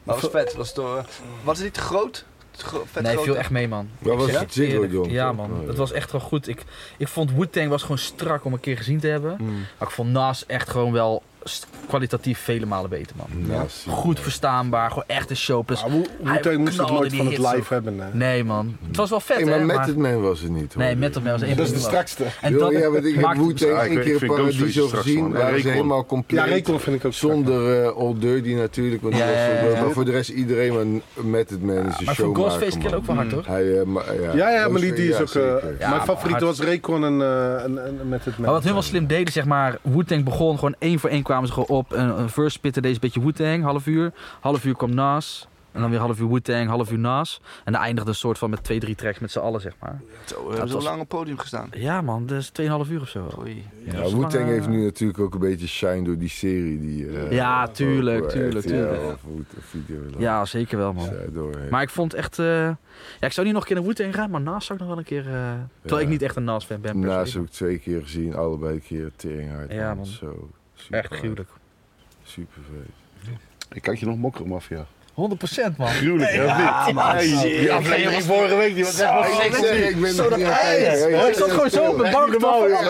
S6: Dat was vet. Dat was, toch, eh, was het niet te groot? Te gro- vet
S3: Nee,
S6: groot,
S3: viel
S6: hè?
S3: echt mee, man.
S2: Dat
S3: Ik
S2: was
S3: zeg
S2: het Ziggo
S3: eerlijk.
S2: Dome,
S3: Ja,
S2: toch?
S3: man.
S2: Oh, ja.
S3: Het was echt wel goed. Ik, ik vond Wu-Tang was gewoon strak om een keer gezien te hebben.
S2: Mm.
S3: Maar ik vond Nas echt gewoon wel st- kwalitatief vele malen beter, man.
S2: Nas, ja.
S3: Goed verstaanbaar, gewoon echt een show. Plus,
S1: Maar hoe
S3: Hij
S1: moet hij moest het
S3: knalde
S1: nooit
S3: die
S1: van het
S3: hits
S1: live
S3: ook.
S1: hebben? hè?
S3: nee, man. Het was wel vet,
S2: Hey,
S3: hè?
S2: maar
S3: maar-
S2: Met het Man was het niet. hoor.
S3: Nee, Metal Man was één
S1: Dat is
S3: van
S1: de
S3: de
S1: strakste.
S3: En
S2: Yo,
S3: dat
S2: ja, want ik heb
S3: maakt het
S2: Wu-Tang
S5: Ja, ik
S2: één
S5: weet-
S2: keer
S5: ik vind Ghostface
S2: Paradiso
S5: straks,
S2: gezien.
S5: man.
S2: Daar is
S5: Rekon.
S2: helemaal
S1: Ja,
S2: compleet.
S1: Rekel vind ik ook strak.
S2: Zonder eh Old Dirty natuurlijk, want die
S3: Ja,
S2: was
S3: ja,
S2: voor-
S3: ja.
S2: maar voor de rest iedereen maar met het man is een
S3: Maar voor
S2: showmaker,
S3: Ghostface kill
S2: man.
S3: ook wel hard, hoor.
S2: Hij, eh, ma- ja,
S1: Ja, ja, maar die,
S2: Ghostface,
S1: die is
S2: ja,
S1: ook... eh,
S2: zeker.
S3: Ja,
S1: mijn
S3: maar
S1: favoriet
S3: hard.
S1: was Recon en, eh, en, en met het...
S3: Maar wat hun wel slim deden, zeg maar, Wu-Tang begon gewoon één voor één kwamen ze gewoon op. Een, een verse spitten deze beetje Wu-Tang, half uur. Half uur kwam Nas. En dan weer half uur Wu-Tang, half uur Nas. En dan eindigde een soort van met twee, drie tracks met z'n allen, zeg maar.
S6: Zo, Oh, we hebben zo
S3: was-
S6: lang op het podium gestaan.
S3: Ja man, dat is 2,5 uur of zo.
S6: Oei.
S3: dat
S2: Ja,
S3: is
S2: Wu-Tang
S3: lang, eh,
S2: heeft nu natuurlijk ook een beetje shine door die serie die... eh,
S3: Ja, tuurlijk,
S2: over
S3: tuurlijk,
S2: RTL
S3: tuurlijk.
S2: Of Wu- video.
S3: Ja, zeker wel man. Maar ik vond echt... eh, Ja, ik zou niet nog een keer naar Wu-Tang gaan, maar Nas zou ik nog wel een keer... eh, Terwijl
S2: Ja.
S3: ik niet echt een Nas-fan ben per
S2: Naast
S3: se.
S2: Nou, heb ik twee keer gezien, allebei een keer tering uit.
S3: Ja, man.
S2: Zo, super
S3: Echt gruwelijk.
S2: Super vet.
S5: Ik kijk je nog Mokromafia.
S3: 100% man.
S5: Gruwelijk, hè? Ja, Die aflevering vorige week, die was echt...
S4: Oh,
S2: Ik zeg, ik ben nog niet aan het kijken. Hey,
S3: Ik zat gewoon zo op mijn bank.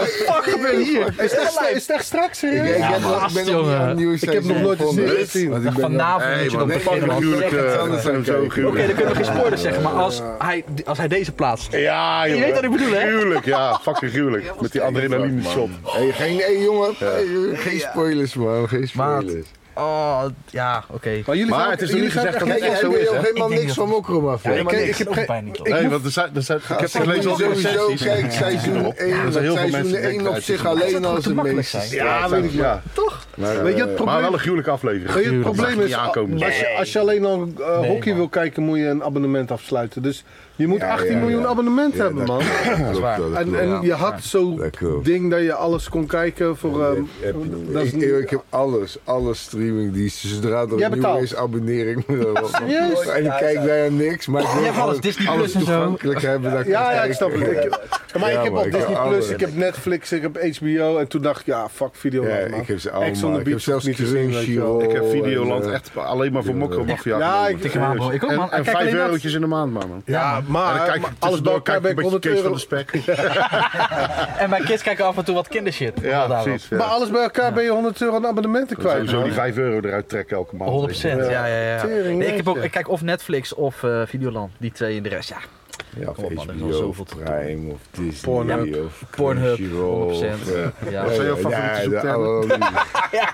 S3: Fuck, ik ben hier.
S1: Is het echt- is het echt straks,
S2: Ik,
S1: serieus?
S2: ik
S3: Ja,
S2: heb
S3: man.
S2: nog- ik ben nog niet aan het nieuwe
S1: Ik heb nog
S2: seizoen
S1: nooit een
S2: begonnen.
S1: serie gezien.
S2: Want ik ben nog-
S3: Vanavond moet je nog
S5: Nee,
S3: beginnen,
S5: fucking
S3: man.
S5: gruwelijk.
S3: Zeg het
S5: eh,
S3: anders.
S2: anders aan
S5: zijn
S2: kijken.
S5: zo
S3: Oké, dan
S5: gruwelijk.
S3: kunnen we geen spoilers zeggen, maar als hij, als hij deze plaatst.
S5: Ja, joh.
S3: Je weet wat ik bedoel, hè?
S5: Gruwelijk, ja. Fucking gruwelijk. Met die adrenaline shot.
S2: Hey, geen, hey, jongen, hey, geen spoilers man, geen
S3: Maat.
S2: spoilers.
S3: Oh, ja, oké.
S1: Maar jullie
S5: Maar
S1: gaan-
S5: het is nog
S1: jullie
S5: niet
S1: gaan
S5: gezegd
S1: echt-
S5: dat het
S2: Kijk,
S5: echt
S2: jij
S5: zo
S2: weet
S5: is,
S2: ook
S5: hè?
S2: helemaal
S3: Ik denk
S2: niks
S3: dat-
S2: van Mokrom af.
S3: ik,
S2: hoor.
S3: ik,
S5: ik heb
S3: heb
S5: geen-
S3: bijna niet.
S5: Nee, want er zijn, er zijn, ik heb gelezen over
S2: sowieso
S5: sessies.
S2: kijk seizoen 1,
S5: zijn heel veel
S2: seizoen
S5: mensen
S2: 1
S5: denken
S2: op
S5: uit
S2: zich
S5: seizoen.
S2: alleen
S3: Dat zou
S2: als
S3: te
S2: het
S3: makkelijk
S2: meest...
S3: zijn.
S5: Ja, weet ik, ja.
S2: Maar,
S1: Weet je,
S2: eh,
S1: het probleem
S5: Maar wel een gruwelijke
S1: Weet
S5: aflevering.
S1: je, het probleem is, ah,
S5: aankomen.
S1: als je, als je alleen al eh, hockey
S3: man.
S1: wil kijken, moet je een abonnement afsluiten. Dus je moet
S2: Ja,
S1: 18
S2: ja,
S1: miljoen
S2: ja.
S1: abonnementen
S2: Ja,
S1: hebben,
S2: dat
S1: man.
S2: klopt, dat
S3: waar.
S2: klopt.
S1: En, en je had zo'n
S2: Dat klopt.
S1: ding dat je alles kon kijken voor... ehm,
S2: Heb je niet.
S1: dat is
S2: ik,
S1: niet-
S2: ik heb alles, alle streaming die zodra er
S1: Jij
S2: een nieuw
S1: betaalt.
S2: is, abonneer ik me daarop.
S1: Serieus?
S2: En ik kijk bijna niks, maar ik wil
S3: hebt alles,
S2: gewoon
S3: Disney
S2: alles
S3: Plus en zo.
S2: toegankelijk hebben. dat
S1: ja,
S2: kan
S1: ja, ik snap het.
S2: kijken.
S1: Ik, maar
S2: Ja,
S1: ik heb
S2: man,
S1: al
S2: ik heb
S1: Disney+, Plus,
S2: alles.
S1: ik heb Netflix, ik heb HBO. En toen dacht ik, ja, fuck video.
S2: Ja,
S1: man.
S2: ik heb
S1: Ex on
S2: ze
S1: the
S2: allemaal. Ik heb
S1: Beach
S2: zelfs
S1: niet gezien, weet je wel.
S2: Crunchyroll.
S5: Ik heb Videoland
S2: en, eh,
S5: echt alleen maar voor Mokromafia.
S1: Oh, Ja,
S5: genomen.
S1: ik-
S3: Tik hem aan, bro. Ik ook, man.
S5: En,
S3: Kijk
S5: en vijf
S3: alleen dat.
S5: eurotjes in de maand, maar, man.
S1: Ja, maar,
S5: en dan kijk
S1: maar
S5: ik
S1: alles bij elkaar ben ik 100
S5: Kees van
S1: euro.
S5: de Spek.
S3: En mijn kids kijken af en toe wat kindershit.
S5: Ja,
S3: Daarom.
S5: precies.
S1: Maar
S5: Ja.
S1: alles bij elkaar ben je 100 euro aan abonnementen kwijt.
S5: Sowieso
S1: man.
S5: die 5 euro eruit trekken elke maand.
S3: 100 ja, ja, ja.
S1: Tering,
S3: Nee, ik, heb ook,
S1: jeetje.
S3: ik kijk of Netflix of eh, Videoland, die twee en de rest. Ja,
S2: Ja, of
S3: Oh, man, er is al
S2: HBO,
S3: zoveel
S2: of
S3: te
S2: Prime, of Disney,
S1: Pornhub.
S2: of
S3: Pornhub,
S2: Crunchyroll, of, eh,
S3: 100%. Ja.
S5: Dat zijn jouw favoriete
S2: ja, de
S5: zoektermen.
S2: allerlei-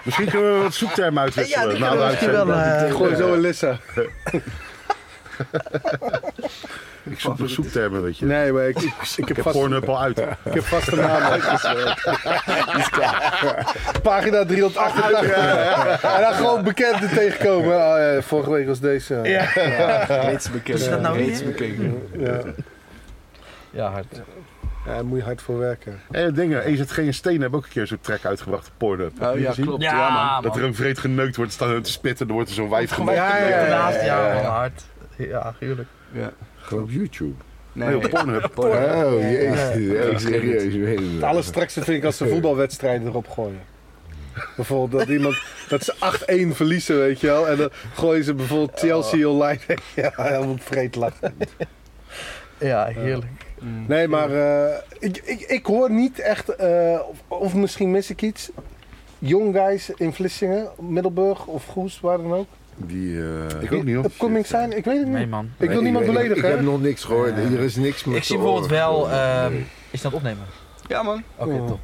S5: Misschien kunnen we wat zoektermen uitwisselen.
S3: Ja, die
S5: na de
S3: eh, kunnen we misschien
S5: uitzending.
S3: wel, eh,
S1: Ik gooi zo Elissa.
S5: Ik zoek nog zoektermen, weet je.
S1: Nee, maar ik, ik, ik,
S5: Ik
S1: heb,
S5: heb
S1: vast,
S5: Pornhub al uit.
S1: ik heb vast een naam uitgeschreven. Pagina 388. En dan gewoon bekende tegenkomen. Ah, ja, vorige week was deze. Ja.
S4: Reeds bekeken.
S1: Is dat nou
S4: Reeds bekeken.
S1: Ja.
S3: Ja, hard.
S1: daar moet je hard voor werken.
S5: En dingen, EZG en Steen hebben ook een keer zo'n track uitgebracht op Pornhub. Heb
S4: Oh
S5: je
S4: ja,
S5: gezien?
S4: klopt. Ja, man.
S5: Dat er een vreed geneukt wordt, staan te spitten, dan wordt er zo'n wijf geneukt.
S1: Ja, ja, ja.
S3: Daarnaast, ja, man, hard. Ja, gruwelijk.
S4: Ja.
S2: Gewoon op YouTube.
S4: Nee,
S5: Nee, op Pornhub.
S2: Oh, jezus. Ja, serieus. ik weet het
S1: Het
S2: wel.
S1: allerstrekste vind ik als ze voetbalwedstrijden erop gooien. Bijvoorbeeld dat iemand dat ze 8-1 verliezen, weet je wel. En dan gooien ze bijvoorbeeld Chelsea online. ja, helemaal vreed lachen.
S3: Ja, heerlijk.
S1: Nee, maar eh, ik, ik, ik hoor niet echt, eh, of, of misschien mis ik iets. Young guys in Vlissingen, Middelburg of Goes, waar dan ook.
S2: Die, eh,
S5: Ik ook niet, hoor.
S1: Upcoming zijn, ik weet het niet.
S3: Nee, man.
S1: Ik wil
S2: weet-
S1: niemand
S2: weet-
S1: beledigen.
S2: Ik
S1: hè?
S2: heb nog niks gehoord. Er is niks meer
S3: Ik zie
S2: te
S3: bijvoorbeeld
S2: horen.
S3: wel... ehm, is het aan het opnemen?
S4: ja, man.
S3: Oké,
S1: Ja.
S3: top.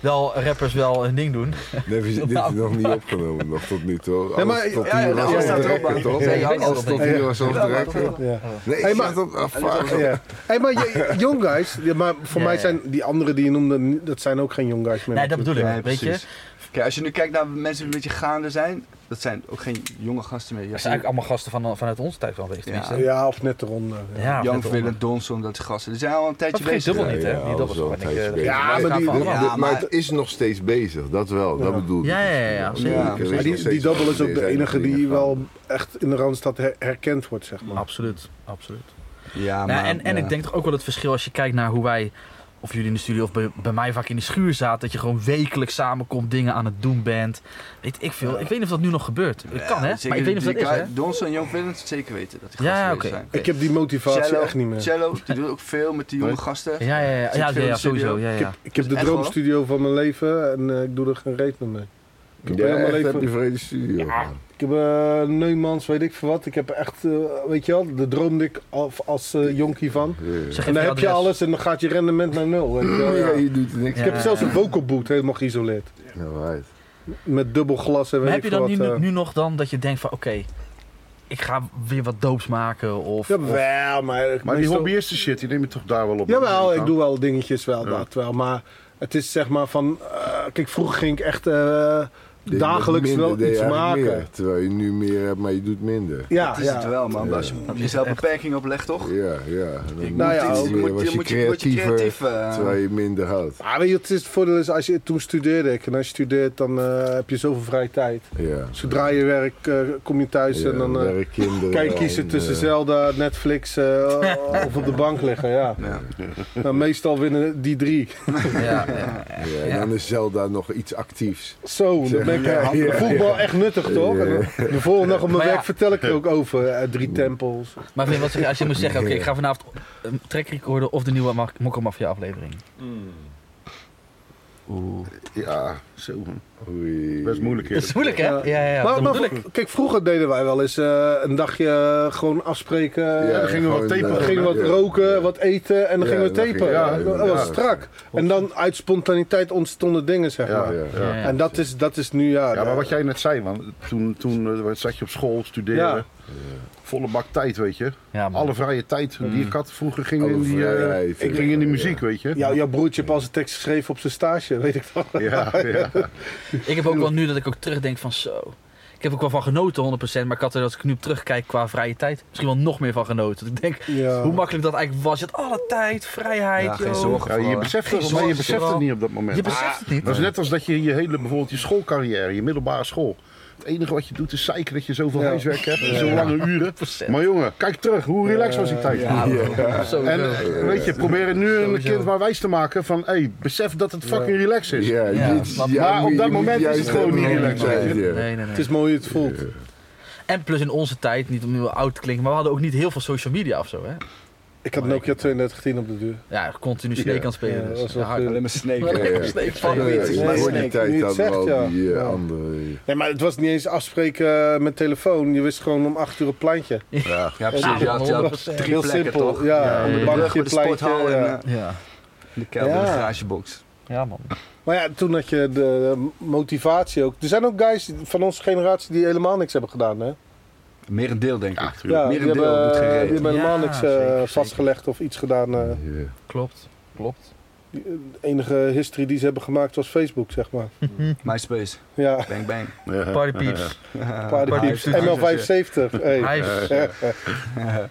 S3: Wel rappers wel hun ding doen.
S2: Nee, we- dit is nog niet opgenomen nog tot nu toe. Alles
S1: Nee, maar-
S2: tot
S4: Ja, ja,
S2: hier
S4: dat
S2: was
S4: jij staat
S2: off the
S4: erop,
S2: record,
S4: man.
S2: toch?
S3: Nee, je weet
S2: Alles
S3: niet wat
S2: tot
S3: het
S2: hier
S1: is.
S2: was off the
S4: Ja, maar-
S2: record.
S1: Ja.
S2: Nee,
S1: Hey,
S2: ik
S1: maar-
S2: zat op- ah, fuck.
S1: Ja. Hey, maar je- young guys, ja, maar voor
S3: Ja,
S1: mij
S3: ja.
S1: zijn die anderen die je noemde, niet- dat zijn ook geen young guys meer.
S3: Nee, dat bedoel ik.
S4: Nee,
S3: weet je?
S4: precies. Kijk, als je nu kijkt naar mensen die een beetje gaande zijn, dat zijn ook geen jonge gasten meer. Ja,
S3: Dat zijn eigenlijk allemaal gasten van, vanuit onze tijd wel geweest. tenminste.
S4: Ja.
S1: Ja, of net eronder. Ja.
S3: Ja,
S4: Jan
S3: met de-
S4: Willem Donson, dat soort gasten. Die zijn al een tijdje
S3: Dat vergeet
S4: bezig.
S3: dubbel
S2: Ja,
S3: niet, hè?
S2: ja,
S3: Die
S2: alles
S3: dubbel
S2: wel een
S3: gewoon. Ik,
S2: tijdje
S3: eh,
S2: bezig.
S1: Ja,
S3: wij
S1: maar
S3: gaan
S1: die-
S3: van
S1: die-
S3: allemaal.
S4: Ja,
S2: Maar, maar
S4: maar-
S2: het is nog steeds bezig, dat wel. Dat
S1: Ja.
S2: bedoel ik.
S3: Ja, ja, ja, ja, zeker.
S2: Ja, er is
S4: Maar
S2: nog
S1: Maar die,
S2: steeds
S1: die Double is
S2: wat
S1: ook de
S2: meer zijn
S1: enige
S2: dingen
S1: die
S2: van.
S1: wel echt in de Randstad her- herkend wordt, zeg maar.
S3: Absoluut, absoluut.
S4: Ja,
S3: Nou,
S4: maar,
S3: en en
S4: ja.
S3: ik denk toch ook wel het verschil als je kijkt naar hoe wij, of jullie in de studio of bij, bij mij vaak in de schuur zaten, dat je gewoon wekelijks samenkomt, dingen aan het doen bent. Weet ik veel. Ik weet niet of dat nu nog gebeurt. Het kan, hè?
S4: Zeker
S3: Maar ik weet niet of
S4: die
S3: dat is, hè?
S4: guy- Donson en Jan Willem, zeker weten dat die
S3: Ja,
S4: gasten
S3: ja,
S4: bezig
S3: oké.
S4: zijn.
S1: Ik heb die motivatie
S4: Cello,
S1: echt niet meer.
S4: Cello, die doet ook veel met die jonge gasten.
S3: Ja, ja, ja, ja,
S4: Zit
S3: ja,
S4: veel in
S3: ja,
S4: de studio.
S3: sowieso. Ja, ja.
S1: Ik heb, ik heb de
S4: Echt wel?
S1: droomstudio van mijn leven en eh, ik doe er geen reet meer mee. Ik heb,
S2: Ja,
S1: helemaal
S2: echt,
S1: leven,
S2: heb je vrede studio.
S1: ik heb eh, Neumans, weet ik veel wat. Ik heb echt, eh, weet je wel, de droomde ik al- als eh, jonkie van.
S3: Zeg
S1: En
S3: even
S1: dan heb je
S3: adres.
S1: alles en dan gaat je rendement naar nul. Weet je, wel.
S2: Oh, Ja, je doet er niks.
S1: Ik
S2: Ja.
S1: heb zelfs een vocal boot helemaal geïsoleerd.
S2: right.
S1: Met dubbel glas en weet
S3: Maar heb
S1: ik
S3: je
S1: veel
S3: dan
S1: wat.
S3: nu,
S1: eh.
S3: nu nog dan dat je denkt van oké, ik ga weer wat doops maken of... of-
S1: Jawel, eh. maar... ik-
S5: Maar die
S1: meestal-
S5: hobbyisten shit, die neem je toch daar wel op?
S1: Jawel, ik doe wel dingetjes wel,
S5: Ja.
S1: dat wel. Maar het is zeg maar van... eh, kijk, vroeger ging ik echt eh,
S2: Dit-
S1: dagelijks
S2: minder
S1: wel
S2: deed je
S1: iets
S2: eigenlijk
S1: maken.
S2: meer, terwijl je nu meer hebt, maar je doet minder.
S1: Ja,
S4: Dat is
S1: ja.
S4: het wel, man. Maar Als je jezelf een beperking oplegt, toch?
S2: Ja, ja. Dan moet
S1: Nou ja,
S2: iets
S1: ook.
S2: meer,
S4: Moet-
S2: was
S4: je-
S2: je
S4: moet je- word je
S2: creatiever,
S4: creatief, eh.
S2: terwijl je minder houdt.
S1: Maar weet je, het, is, het voordeel is, als je, toen studeerde ik. En als je studeert, dan eh, heb je zoveel vrije tijd.
S2: Ja.
S1: Zodra je werkt, eh, kom je thuis
S2: Ja,
S1: en dan eh,
S2: werk, kinderen
S1: kan je
S2: en,
S1: kiezen tussen
S2: eh,
S1: Zelda, Netflix eh, of op de bank liggen. Ja.
S4: Ja.
S1: Nou, meestal winnen die drie.
S3: ja, ja.
S2: Ja, en dan is Zelda nog iets actiefs.
S1: Zo, dan ben ik
S2: Ja, ja,
S1: voetbal echt nuttig, toch? En dan de volgende dag op mijn
S3: Maar ja.
S1: werk vertel ik er ook over. eh, drie tempels.
S3: Maar vind je wat zeg je, als je moet zeggen, oké, ik ga vanavond een track recorden of de nieuwe Mak- Mokka Mafia aflevering.
S5: Ja, zo.
S2: Oei.
S5: Best moeilijk, hè?
S3: Dat is moeilijk, hè? Ja, ja, ja.
S1: maar,
S3: dat
S1: maar
S3: bedoel ik.
S1: kijk, vroeger deden wij wel eens eh, een dagje gewoon afspreken.
S2: Ja,
S1: dan
S5: gingen we wat
S2: gewoon,
S1: gingen
S5: tapen.
S1: we
S2: eh,
S1: gingen wat
S2: ja.
S1: roken, wat eten en dan
S2: Ja,
S1: gingen we
S2: dan ging-
S1: tapen.
S2: ja,
S1: dat dat was
S2: ja.
S1: strak. En dan uit spontaniteit ontstonden dingen, zeg
S5: Ja,
S1: maar.
S5: ja.
S3: Ja, ja.
S1: En dat is, dat is nu, ja. eh,
S5: Ja, maar wat jij net zei, man. Toen, toen eh, zat je op school, studeren.
S1: Ja.
S5: Volle bak tijd, weet je.
S3: Ja, man.
S5: Alle vrije tijd die ik had. Vroeger ging
S2: Alle
S5: in die, eh,
S2: vrijheid,
S5: ik
S2: ja,
S5: ging in die
S2: ja.
S5: muziek, weet je.
S1: Jou- jouw broertje heeft al zijn tekst geschreven op zijn stage, weet ik wel.
S5: ja, ja.
S3: Ik heb ook wel nu dat ik ook terugdenk van zo. Ik heb ook wel van genoten 100%, maar ik had er als ik nu op terugkijk qua vrije tijd misschien wel nog meer van genoten. Dat ik denk
S1: Ja.
S3: hoe makkelijk dat eigenlijk was. Je had alle tijd, vrijheid.
S4: Ja, geen
S3: joh.
S4: zorgen.
S5: Ja, je beseft het, maar je beseft het niet op dat moment.
S3: Je beseft het niet.
S5: Dat is net als dat je je hele, bijvoorbeeld je schoolcarrière, je middelbare school. Het enige wat je doet is zeiken dat je zoveel
S1: Ja.
S5: huiswerk hebt en zo lange uren.
S3: 100%.
S5: Maar jongen, kijk terug, hoe relaxed was die tijd?
S3: Ja, maar- sowieso.
S5: En eh, weet je, probeer nu een
S3: Sowieso.
S5: kind maar wijs te maken van, hé, besef dat het fucking relaxed is.
S2: Ja,
S3: Ja,
S2: dit-
S3: maar-
S2: ja,
S5: maar
S2: moet-
S5: op dat
S2: je moet
S5: moment is
S2: juist
S5: het gewoon
S2: hebben
S5: niet
S2: om
S5: relaxed,
S2: die
S5: weet
S2: tijd,
S5: je.
S2: ja.
S3: nee, nee, nee.
S1: Het is mooi hoe je het voelt.
S3: En plus in onze tijd, niet om nu wel oud te klinken, maar we hadden ook niet heel veel social media of zo. Hè?
S1: Ik had Nokia 3210 op de duur.
S3: Ja, continu Snake aan het spelen.
S1: Ja,
S3: dus.
S1: dat was wel
S3: Ja, hard.
S1: goed.
S4: Alleen maar
S3: Ja,
S4: snake.
S3: ja.
S2: Ja.
S3: Snake,
S4: Ja, ja,
S3: fuck it.
S2: Ja,
S1: Nee,
S2: voor
S1: nee,
S2: die
S1: nu
S2: tijd
S1: je het
S2: hadden we
S1: zegt,
S2: al
S1: ja.
S2: die eh,
S1: Ja.
S2: andere...
S1: Nee, maar het was niet eens afspreken eh, met telefoon. Je wist gewoon om 8 uur op het pleintje.
S4: Ja, ja,
S3: Ja,
S4: precies. Je had, je had
S3: 100%.
S4: drie
S1: Heel
S4: plekken,
S1: simpel.
S4: toch?
S1: Ja, op
S4: Op
S1: een
S4: de brug,
S1: bankje,
S4: bij de
S1: pleintje.
S4: sporthal en
S1: ja.
S4: eh,
S3: Ja.
S4: de kelder,
S1: Ja.
S4: de garagebox.
S3: ja, man.
S1: Maar ja, toen had je de motivatie ook. Er zijn ook guys van onze generatie die helemaal niks hebben gedaan, hè?
S4: Merendeel, denk ik.
S5: Ja,
S1: Ja, die
S4: Merendeel
S1: hebben,
S4: doet geen
S1: eh,
S4: reet.
S1: die hebben helemaal
S3: Ja,
S1: niks eh,
S3: zeker, zeker.
S1: vastgelegd of iets gedaan. eh.
S2: Ja.
S3: Klopt, klopt.
S1: Die- de enige history die ze hebben gemaakt was Facebook, zeg maar.
S4: MySpace.
S1: Ja,
S4: Bang, bang.
S3: Party peeps.
S1: Party
S3: Party
S1: Peeps.
S3: Peeps.
S1: ML75. Hey.
S3: Hij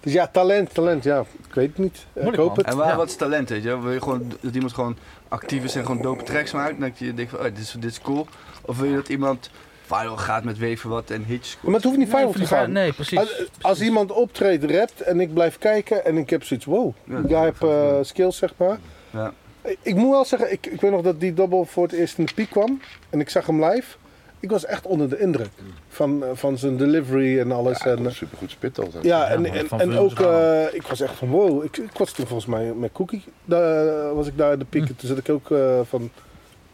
S1: Dus ja, talent, talent. Ja, ik weet het niet. Eh, ik
S3: Moeilijk,
S1: hoop
S3: man.
S1: het.
S4: En waar,
S3: Ja.
S4: wat is talent, weet je? wel? Wil je gewoon dat iemand gewoon actief is en gewoon dope tracks maakt? Dat je denkt van, oh, dit is, dit is cool. Of wil je dat iemand viral gaat met weven wat en hitjes?
S1: Maar het hoeft niet viral te gaan.
S3: Nee, precies.
S1: Als, als iemand optreedt, rapt en ik blijf kijken en ik heb zoiets, wow,
S4: Ja,
S1: die guy heeft eh, skills, zeg maar.
S4: Ja.
S1: Ik, ik moet wel zeggen, ik, ik weet nog dat die dobbel voor het eerst in de piek kwam en ik zag hem live. Ik was echt onder de indruk van, eh, van zijn delivery en alles. en, eh,
S5: Supergoed spit altijd.
S1: ja,
S3: Ja,
S1: en,
S3: man,
S1: en,
S3: van
S1: en
S3: Willem
S1: ook,
S3: Zaal.
S1: eh, ik was echt van wow. Ik, ik was toen volgens mij met Cookie, daar, eh, was ik daar in de piek.
S3: Hm.
S1: Toen zat ik ook eh, van,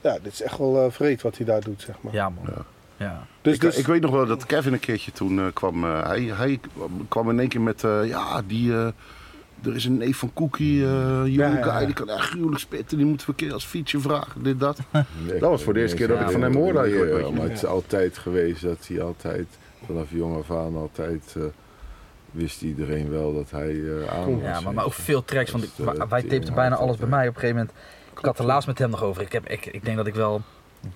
S1: ja, dit is echt wel eh, vreed wat hij daar doet, zeg maar.
S3: Ja, man. Ja.
S1: Dus,
S5: Ik,
S1: dus
S5: ik weet nog wel dat Kevin een keertje toen eh, kwam. eh, hij, hij kwam in één keer met. eh, ja, die. eh, er is een neef van Cookie, eh jonge
S1: Ja, ja, ja.
S5: guy, die kan echt gruwelijk spitten. Die moeten we een keer als feature vragen, dit, dat. Dat was voor de eerste keer dat ik van hem hoorde eigenlijk,
S2: Ja,
S5: weet je.
S2: eh, maar het is altijd geweest dat hij altijd, vanaf jong af aan altijd, eh, wist iedereen wel dat hij eh aan was.
S3: Ja, maar, maar ook
S2: weet je.
S3: veel tracks. Want ik-
S2: Dat is, eh,
S3: wij tapten
S2: tering
S3: bijna
S2: hard
S3: alles bij
S2: altijd.
S3: mij op een gegeven moment. Ik had er laatst met hem nog over. Ik, heb, ik, ik denk dat ik wel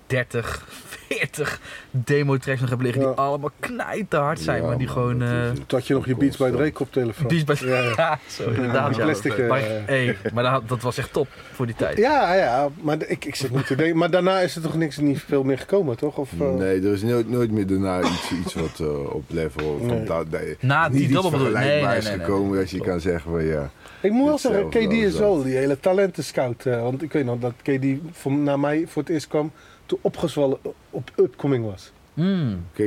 S3: 30, 40 demo-tracks nog heb liggen die
S1: Ja.
S3: allemaal knijterhard zijn.
S2: Ja,
S3: maar die
S2: man,
S3: gewoon...
S2: dat is
S3: eh
S2: het.
S1: toen had je nog je beats bij
S2: Constant.
S1: Drake op telefoon.
S3: die is bij...
S1: Ja, ja.
S3: Ja, zo inderdaad.
S1: Die
S3: ja.
S1: plastic, eh,
S3: Maar, hey, maar dat, dat was echt top voor die tijd.
S1: Ja, ja, maar ik, ik zit niet te denken. Maar daarna is er toch niks, niet veel meer gekomen, toch? Of, eh,
S2: Nee, er is nooit, nooit meer daarna iets, iets wat eh, op level van
S1: Nee.
S2: dat. Nee,
S3: Na
S2: niet
S3: die
S2: iets
S3: double bedoel ik. Nee, nee, nee,
S2: vergelijkbaars
S3: nee, nee.
S2: gekomen dat je kan zeggen van ja.
S1: Ik moet wel zeggen,
S2: Hetzelfde
S1: KD
S2: wel
S1: is
S2: zo.
S1: wel die hele talentenscout. eh want ik weet nog dat KD voor, naar mij voor het eerst kwam toen opgezwollen op upcoming was.
S3: Mm.
S2: KD,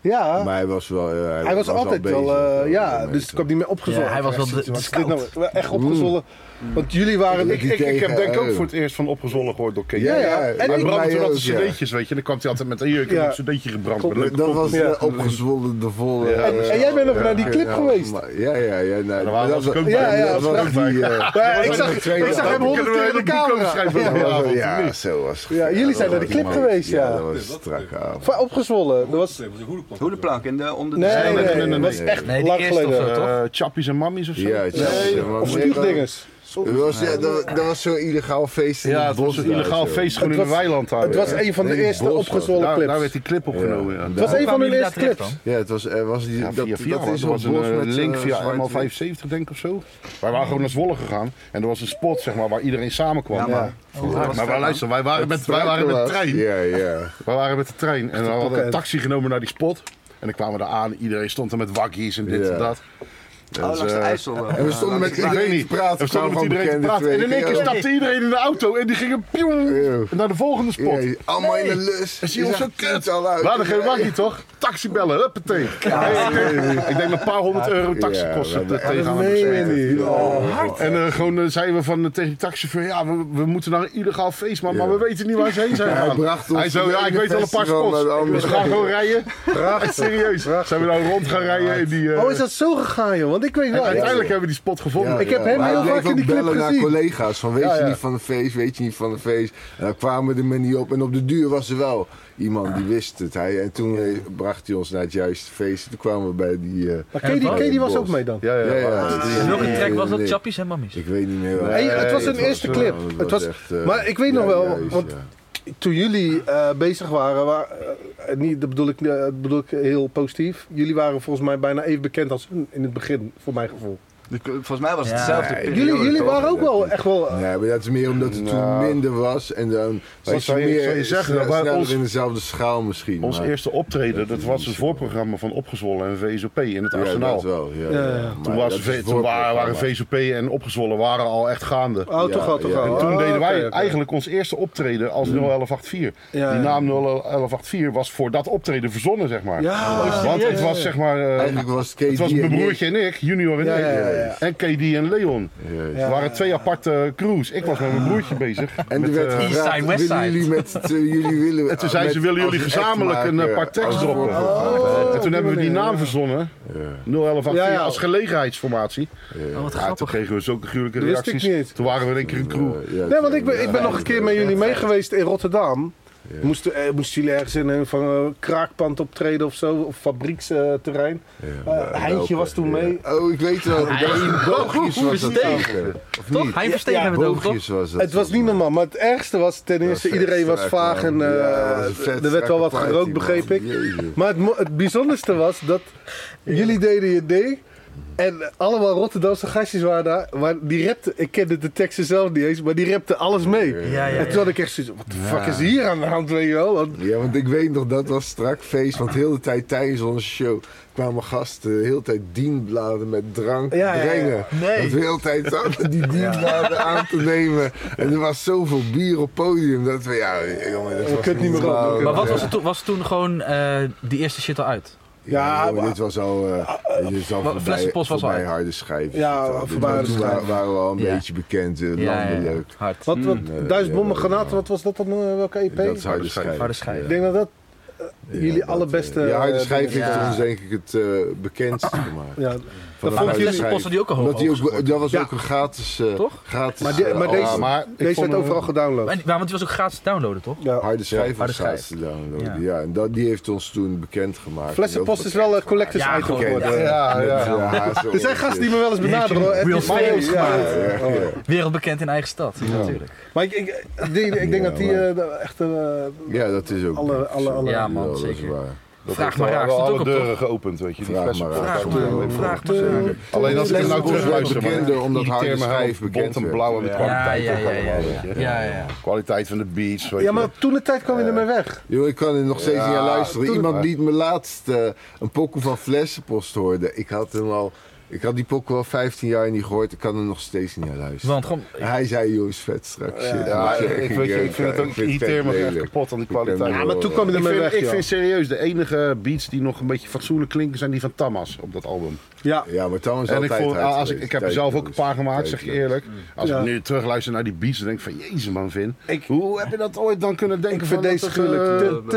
S1: Ja,
S2: maar hij was wel. eh, hij,
S1: hij was, altijd
S2: al
S1: wel...
S2: bezig,
S1: eh,
S2: wel
S1: ja,
S2: mee,
S1: dus ik
S2: zo.
S1: kwam niet meer opgezwollen.
S3: Ja, hij was wel de- de
S1: Wat is dit nou?
S3: scout.
S1: Echt opgezwollen. Want jullie waren...
S5: Ik, ik, ik heb denk ik ook
S2: Eh.
S5: voor het eerst van opgezwollen gehoord door Ken.
S2: Ja, ja.
S1: En
S5: Maar
S1: ik-
S5: Bram had
S2: mij
S5: altijd
S2: ook, ja.
S5: cd'tjes, weet je. En dan kwam hij altijd met een jurk en
S1: Ja.
S5: een cd'tje gebrand. met
S2: Dat-
S5: leuke
S2: Dat
S5: poppen.
S2: was
S1: Ja.
S2: eh, opgezwollen de volle.
S5: Ja.
S2: eh,
S1: En jij bent nog naar die clip
S2: ja,
S1: geweest.
S2: maar- Ja, ja, ja. nee,
S5: daar waren
S2: dat
S5: we ook
S2: was-
S1: bij. Ja, ja,
S2: dat was
S1: dat
S2: ook
S5: was
S2: die. eh,
S1: Ja, ik
S2: dat
S1: zag,
S2: was de tweede
S1: ik zag hem
S2: avond.
S1: honderd
S5: Kunnen we
S1: keer in
S5: een
S1: de
S5: boek over
S1: camera.
S5: schrijven
S2: Ja,
S5: vanavond, of
S2: ja,
S5: niet?
S2: zo was
S1: Ja, jullie
S2: dat
S1: zijn naar
S2: was
S1: de clip
S2: mooi.
S1: geweest, ja.
S2: dat was een strakke avond.
S1: Van Opgezwollen. Dat was...
S4: Hoedenplank in de onder de
S1: Nee, nee,
S4: zeilen.
S1: nee,
S5: nee,
S1: dat
S5: nee,
S1: was
S2: nee.
S1: echt
S3: Nee, die
S1: lang
S3: eerste of
S1: geleden.
S3: zo, toch?
S5: Eh, Chappies en Mammies of zo?
S2: Ja, het is-
S1: Nee,
S2: dat was-
S1: Of snoepdingers.
S2: Dat was, ja, dat, dat was zo'n illegaal feest in
S5: Ja,
S2: het
S5: het
S2: bos.
S5: was een
S2: daar,
S5: illegaal
S2: zo.
S5: feest gewoon in
S1: Het
S5: een
S1: was-
S5: weiland daar.
S1: Het was
S5: Ja.
S1: een van de
S2: Nee,
S1: eerste
S2: bos was-
S1: opgezwollen
S5: daar, daar
S1: clips.
S5: werd die clip opgenomen. Ja.
S2: Het
S1: Het was een van
S3: Kwamen
S1: de
S3: jullie
S1: eerste
S3: daar terecht
S1: clips.
S2: Ja, het was, er was die,
S5: Ja,
S2: dat,
S5: via, via,
S2: dat
S5: want
S2: is
S5: er
S2: een
S5: was
S2: bos
S5: een eh,
S2: met
S5: link
S2: eh,
S5: via
S2: zwart-
S5: ML 75 denk ik of zo. Wij waren gewoon naar Zwolle gegaan en er was een spot zeg maar, waar iedereen samenkwam.
S4: Ja, maar-
S2: Oh,
S5: maar wij, luister, wij waren met, wij waren met de trein.
S2: Ja, ja.
S5: Wij waren met de trein en we hadden
S1: pakket.
S5: een taxi genomen naar die spot. En dan kwamen we daar aan, iedereen stond er met wakkies en dit
S2: Ja.
S5: en dat.
S4: Oh,
S5: Dus,
S4: langs de
S5: eh,
S4: IJssel. eh,
S2: En we stonden
S4: langs
S2: met
S5: ik
S2: iedereen
S5: weet
S2: te
S5: niet.
S2: praten.
S5: We stonden met
S2: kwamen
S5: iedereen te
S2: bekende
S5: praten. En in één
S2: twee
S5: keer
S2: keer.
S5: stapte iedereen in de auto en die gingen pioen
S2: Ja.
S5: naar de volgende spot.
S2: Ja, Allemaal in de lus.
S5: Dat zie je ons zo
S2: zag
S5: kut.
S2: het al uit.
S5: We hadden geen
S2: Ja, ja.
S5: wakkie, toch? Taxi bellen, huppatee. Hey, ik denk- Ik denk een paar honderd euro taxikosten
S2: Ja, we-
S5: te- tegen
S1: Dat
S5: aan
S1: meen
S5: hebben
S1: je
S5: gezeten.
S1: niet. Oh.
S5: En eh, gewoon eh, zeiden we van, eh, tegen die taxichauffeur, ja, we, we moeten naar een illegaal feest, man, maar
S2: Ja.
S5: we weten niet waar ze heen zijn
S2: hij
S5: gegaan.
S2: bracht ons
S5: Hij zo,
S2: van de
S5: ja, ik
S2: ene
S5: weet wel een paar
S2: festival
S5: spots.
S2: naar de andere.
S5: Dus we gaan gewoon rijden. Echt serieus. Zijn we nou rond gaan rijden in die... eh,
S1: Oh, is dat zo gegaan, joh? Want ik weet wel...
S5: Uiteindelijk hebben we die spot gevonden.
S1: Ik heb hem
S2: maar
S1: heel
S2: hij
S1: vaak
S2: bleef
S1: in die
S2: ook
S1: clip
S2: bellen naar
S1: gezien.
S2: collega's van weet
S5: Ja,
S2: je
S5: ja.
S2: niet van de feest, weet je niet van de feest. En dan kwamen de men niet op. En op de duur was er wel iemand die wist het. Hij, en toen eh, bracht hij ons naar het juiste feest. Toen kwamen we bij die... eh,
S1: Maar
S3: Ja,
S1: Katie,
S3: dat-
S1: Katie was
S2: Bos.
S1: ook mee dan.
S5: Ja, ja, ja.
S2: dat is-
S3: Ah, En welke track was dat?
S2: nee.
S3: Chappies en Mammies?
S2: Ik weet niet meer. wel.
S1: Hey, het was
S2: Nee,
S1: een eerste clip.
S2: wel-
S1: Het was-
S2: echt, eh,
S1: maar ik weet nog
S2: ja,
S1: wel,
S2: juist,
S1: want-
S2: ja.
S1: Toen jullie eh, bezig waren, wa- eh, niet, dat bedoel ik, eh, dat bedoel ik heel positief. Jullie waren volgens mij bijna even bekend als hun in het begin, voor mijn gevoel.
S4: de- Volgens mij was het
S3: Ja.
S4: dezelfde
S2: Ja,
S4: periode.
S1: Jullie, jullie
S4: toch?
S1: waren ook wel echt wel. eh,
S2: Nee, maar dat is meer omdat het toen
S5: Nou.
S2: minder was. En dan
S5: Wat
S2: was
S5: zou je-
S2: meer
S5: zou je zeggen?
S1: nou,
S2: sne-
S5: Bij
S2: sneller
S5: ons-
S2: in dezelfde schaal misschien.
S5: Ons
S2: maar-
S5: eerste optreden, dat was het voorprogramma van Opgezwollen en VSOP in het
S2: Ja,
S5: Arsenaal.
S2: dat wel. Ja,
S1: Ja, ja.
S2: ja. Maar
S5: Toen,
S2: dat
S5: was,
S2: is
S5: toen waren, waren
S2: voorprogramma.
S5: VSOP en Opgezwollen waren al echt gaande.
S1: Oh,
S2: Ja,
S1: toch al, toch
S2: ja.
S1: al.
S2: En
S5: Toen
S1: Ah,
S5: deden wij
S1: oké, oké.
S5: eigenlijk ons eerste optreden als
S2: Mm.
S5: 01184.
S1: Ja,
S5: Die
S1: ja.
S5: naam 01184 was voor dat optreden verzonnen, zeg maar.
S1: Ja, oh,
S5: Want het
S1: serieus?
S5: was zeg maar... eh,
S2: Eigenlijk was het
S5: het was
S2: KD en
S5: mijn
S2: ik.
S5: broertje en ik, Junior en
S1: Ja,
S5: ik.
S1: ja, ja, ja.
S5: En KD en Leon.
S2: Juist.
S5: Het waren twee aparte crews. Ik was met mijn broertje bezig.
S2: En er werd
S5: eh,
S2: gevraagd,
S3: Eastside, Westside.
S2: willen jullie met z'n- jullie willen...
S5: En toen zei ze,
S2: met-
S5: willen
S2: als
S5: jullie
S2: een act
S5: gezamenlijk een eh,
S2: maken,
S5: paar tekst
S2: als
S5: droppen?
S2: voorprogramma?
S1: Oh.
S5: en toen hebben we die naam verzonnen, 01184,
S1: Ja, ja.
S5: als gelegenheidsformatie.
S2: eh,
S3: Oh, wat
S5: Ja, toen
S3: grappig.
S5: kregen we zulke gruwelijke
S1: Dat wist ik
S5: reacties.
S1: niet.
S5: Toen waren we in één keer een crew.
S2: Ja,
S1: Nee, want ik ben, ik ben nog een keer met jullie mee geweest in Rotterdam. Moesten, eh, moesten jullie ergens in een van eh, kraakpand optreden of zo? Of fabrieksterrein? Eh, Heintje was toen mee.
S2: Oh, ik weet wel. Belgisch was dat
S3: Verstegen.
S2: ook, eh. Of
S3: Toch?
S2: niet?
S3: Hij verstegen
S1: Ja,
S3: hebben we het over, toch?
S2: Boogjes was dat. eh,
S1: Het was niet normaal, maar het ergste was ten eerste, iedereen was vaag en eh, er werd wel wat gerookt, begreep ik. Maar het, mo- het bijzonderste was dat jullie deden je ding. En allemaal Rotterdamse gastjes waren daar. Maar die repte, ik kende de teksten zelf niet eens, maar die repte alles mee.
S3: Ja, ja,
S1: en toen
S3: ja.
S1: had ik echt zoiets wat de fuck is hier aan de hand, weet je wel? Want
S2: Ja, want ik weet nog, dat was strak feest. Want heel de tijd tijdens onze show kwamen gasten heel de tijd dienbladen met drank
S1: Ja, ja, ja.
S2: brengen.
S3: Nee.
S2: Dat we heel de tijd zaten die dienbladen aan te nemen. En er was zoveel bier op podium dat we, ja, jongen, dat
S1: We
S2: was
S1: kunnen niet meer op.
S2: normaal.
S1: We
S3: Maar wat
S2: Ja.
S3: was, het toen, was toen gewoon eh, die eerste shit al uit?
S1: Ja,
S2: Ja, joh,
S1: maar- Ah,
S2: dit was al, eh, dit is al
S3: maar
S2: voorbij,
S3: Flessenpost was al
S2: voorbij
S3: uit.
S2: harde schijf.
S1: Ja,
S2: Dit was-
S1: voorbij harde
S2: toen
S1: schijf.
S2: wa- waren we al een
S3: Ja.
S2: beetje bekend, eh, landelijk.
S3: Hard.
S1: wat, wat,
S2: nee,
S1: duizend bommen,
S2: ja,
S1: granaten,
S2: ja.
S1: wat was dat dan? eh, Welke EP?
S2: Dat is harde schijf.
S3: Harde schijf.
S1: Ik denk dat dat
S2: Ja,
S1: jullie
S2: dat,
S1: allerbeste,
S2: eh, Ja, harde
S1: eh,
S2: schijf
S1: dingen.
S2: heeft
S3: Ja.
S2: ons denk ik het eh, bekendst gemaakt.
S1: Ja.
S2: Van
S1: vond
S2: Harde
S1: jullie-
S2: Schijf.
S3: Posten die ook al hoog
S2: Omdat die ook,
S3: opgeschoten.
S2: Dat was
S1: Ja.
S2: ook een gratis. eh,
S3: Toch?
S2: Gratis.
S1: Maar, die-
S2: eh,
S1: maar deze,
S2: alarm.
S7: maar ik
S1: deze
S7: vond
S1: werd
S7: hem-
S1: overal gedownload.
S3: En, maar, want die was ook gratis te downloaden, toch?
S1: Ja.
S2: Harde schijf
S3: Harde
S2: was
S3: schijf.
S2: gratis te downloaden.
S3: Ja.
S2: Ja, en dat, die heeft ons toen bekendgemaakt.
S1: Flessenpost is wel een collectors
S3: Ja,
S1: item
S3: gewoon,
S1: geworden.
S2: Ja, ja.
S1: Er zijn gasten die me wel eens benaderen hoor.
S3: Real
S1: Edwin Meijers,
S3: famous gemaakt.
S1: ja.
S3: Wereldbekend in eigen stad, natuurlijk.
S1: Maar ik, ik, ik denk, ik denk
S2: Ja,
S1: dat die
S2: maar-
S1: eh, echt... eh,
S2: Ja, dat is ook.
S1: Alle- alle- alle-
S3: Ja, man,
S2: dat is
S3: zeker.
S2: waar.
S5: Dat
S3: Vraag
S5: heeft
S3: maar
S5: al-
S3: raar,
S5: al
S3: staat ook
S5: alle
S3: op, toch?
S5: deuren geopend, weet je. Die
S2: Vraag
S5: flessen-
S2: maar raar.
S5: flessen-
S3: Vraag maar,
S5: flessen-
S3: vraag maar.
S5: Alleen als ik er nou
S2: Flessenpost
S5: terug luister,
S2: werd bekender omdat harde schijf bekend
S5: en
S2: werd.
S5: blauw en de
S2: Ja,
S5: kwaliteit
S3: ja,
S5: ook
S3: ja, ja,
S5: allemaal,
S3: ja.
S5: weet je.
S3: Ja, ja, ja.
S5: Kwaliteit van de beats, weet je.
S1: ja, maar toen de tijd kwam je ermee weg.
S2: Yo, ik kan er nog steeds
S5: Ja,
S2: niet aan luisteren.
S5: toen-
S2: Iemand liet me laatst eh, een pokoe van Flessenpost hoorde. Ik had hem al. Ik had die pokoe al 15 jaar niet gehoord. Ik kan er nog steeds niet aan luisteren.
S3: Want gewoon...
S2: Hij zei, joh, is vet straks. shit.
S5: Ja,
S2: Dat je
S5: ik,
S2: echt
S5: ik,
S2: geen
S5: weet je, ik
S2: game
S5: vind het
S2: krijgt.
S5: ook
S2: Ik vind het
S5: irriteer
S2: vet
S5: me echt
S2: lelijk.
S5: kapot aan die
S2: Ik vind
S5: kwaliteit.
S2: hem
S1: Ja, maar toen kwam je
S5: Ik
S1: ermee
S5: vind,
S1: weg,
S5: ik
S1: joh.
S5: vind serieus, de enige beats die nog een beetje fatsoenlijk klinken zijn die van Tamas op dat album.
S1: Ja.
S2: Ja, maar Thomas
S5: En ik,
S2: altijd
S5: vond,
S2: hard
S5: als ik,
S2: geweest.
S5: ik heb er
S2: Tijd
S5: zelf ook een
S2: geweest.
S5: paar gemaakt,
S2: Tijd
S5: zeg je
S2: geweest.
S5: eerlijk. Als
S1: Ja.
S5: ik nu terugluister naar die beats, dan denk ik van, jezus man, Vin. hoe heb je dat ooit dan kunnen denken
S1: Ik
S5: van
S1: vind deze
S5: dat het, eh,
S1: gruwelijk. Tut,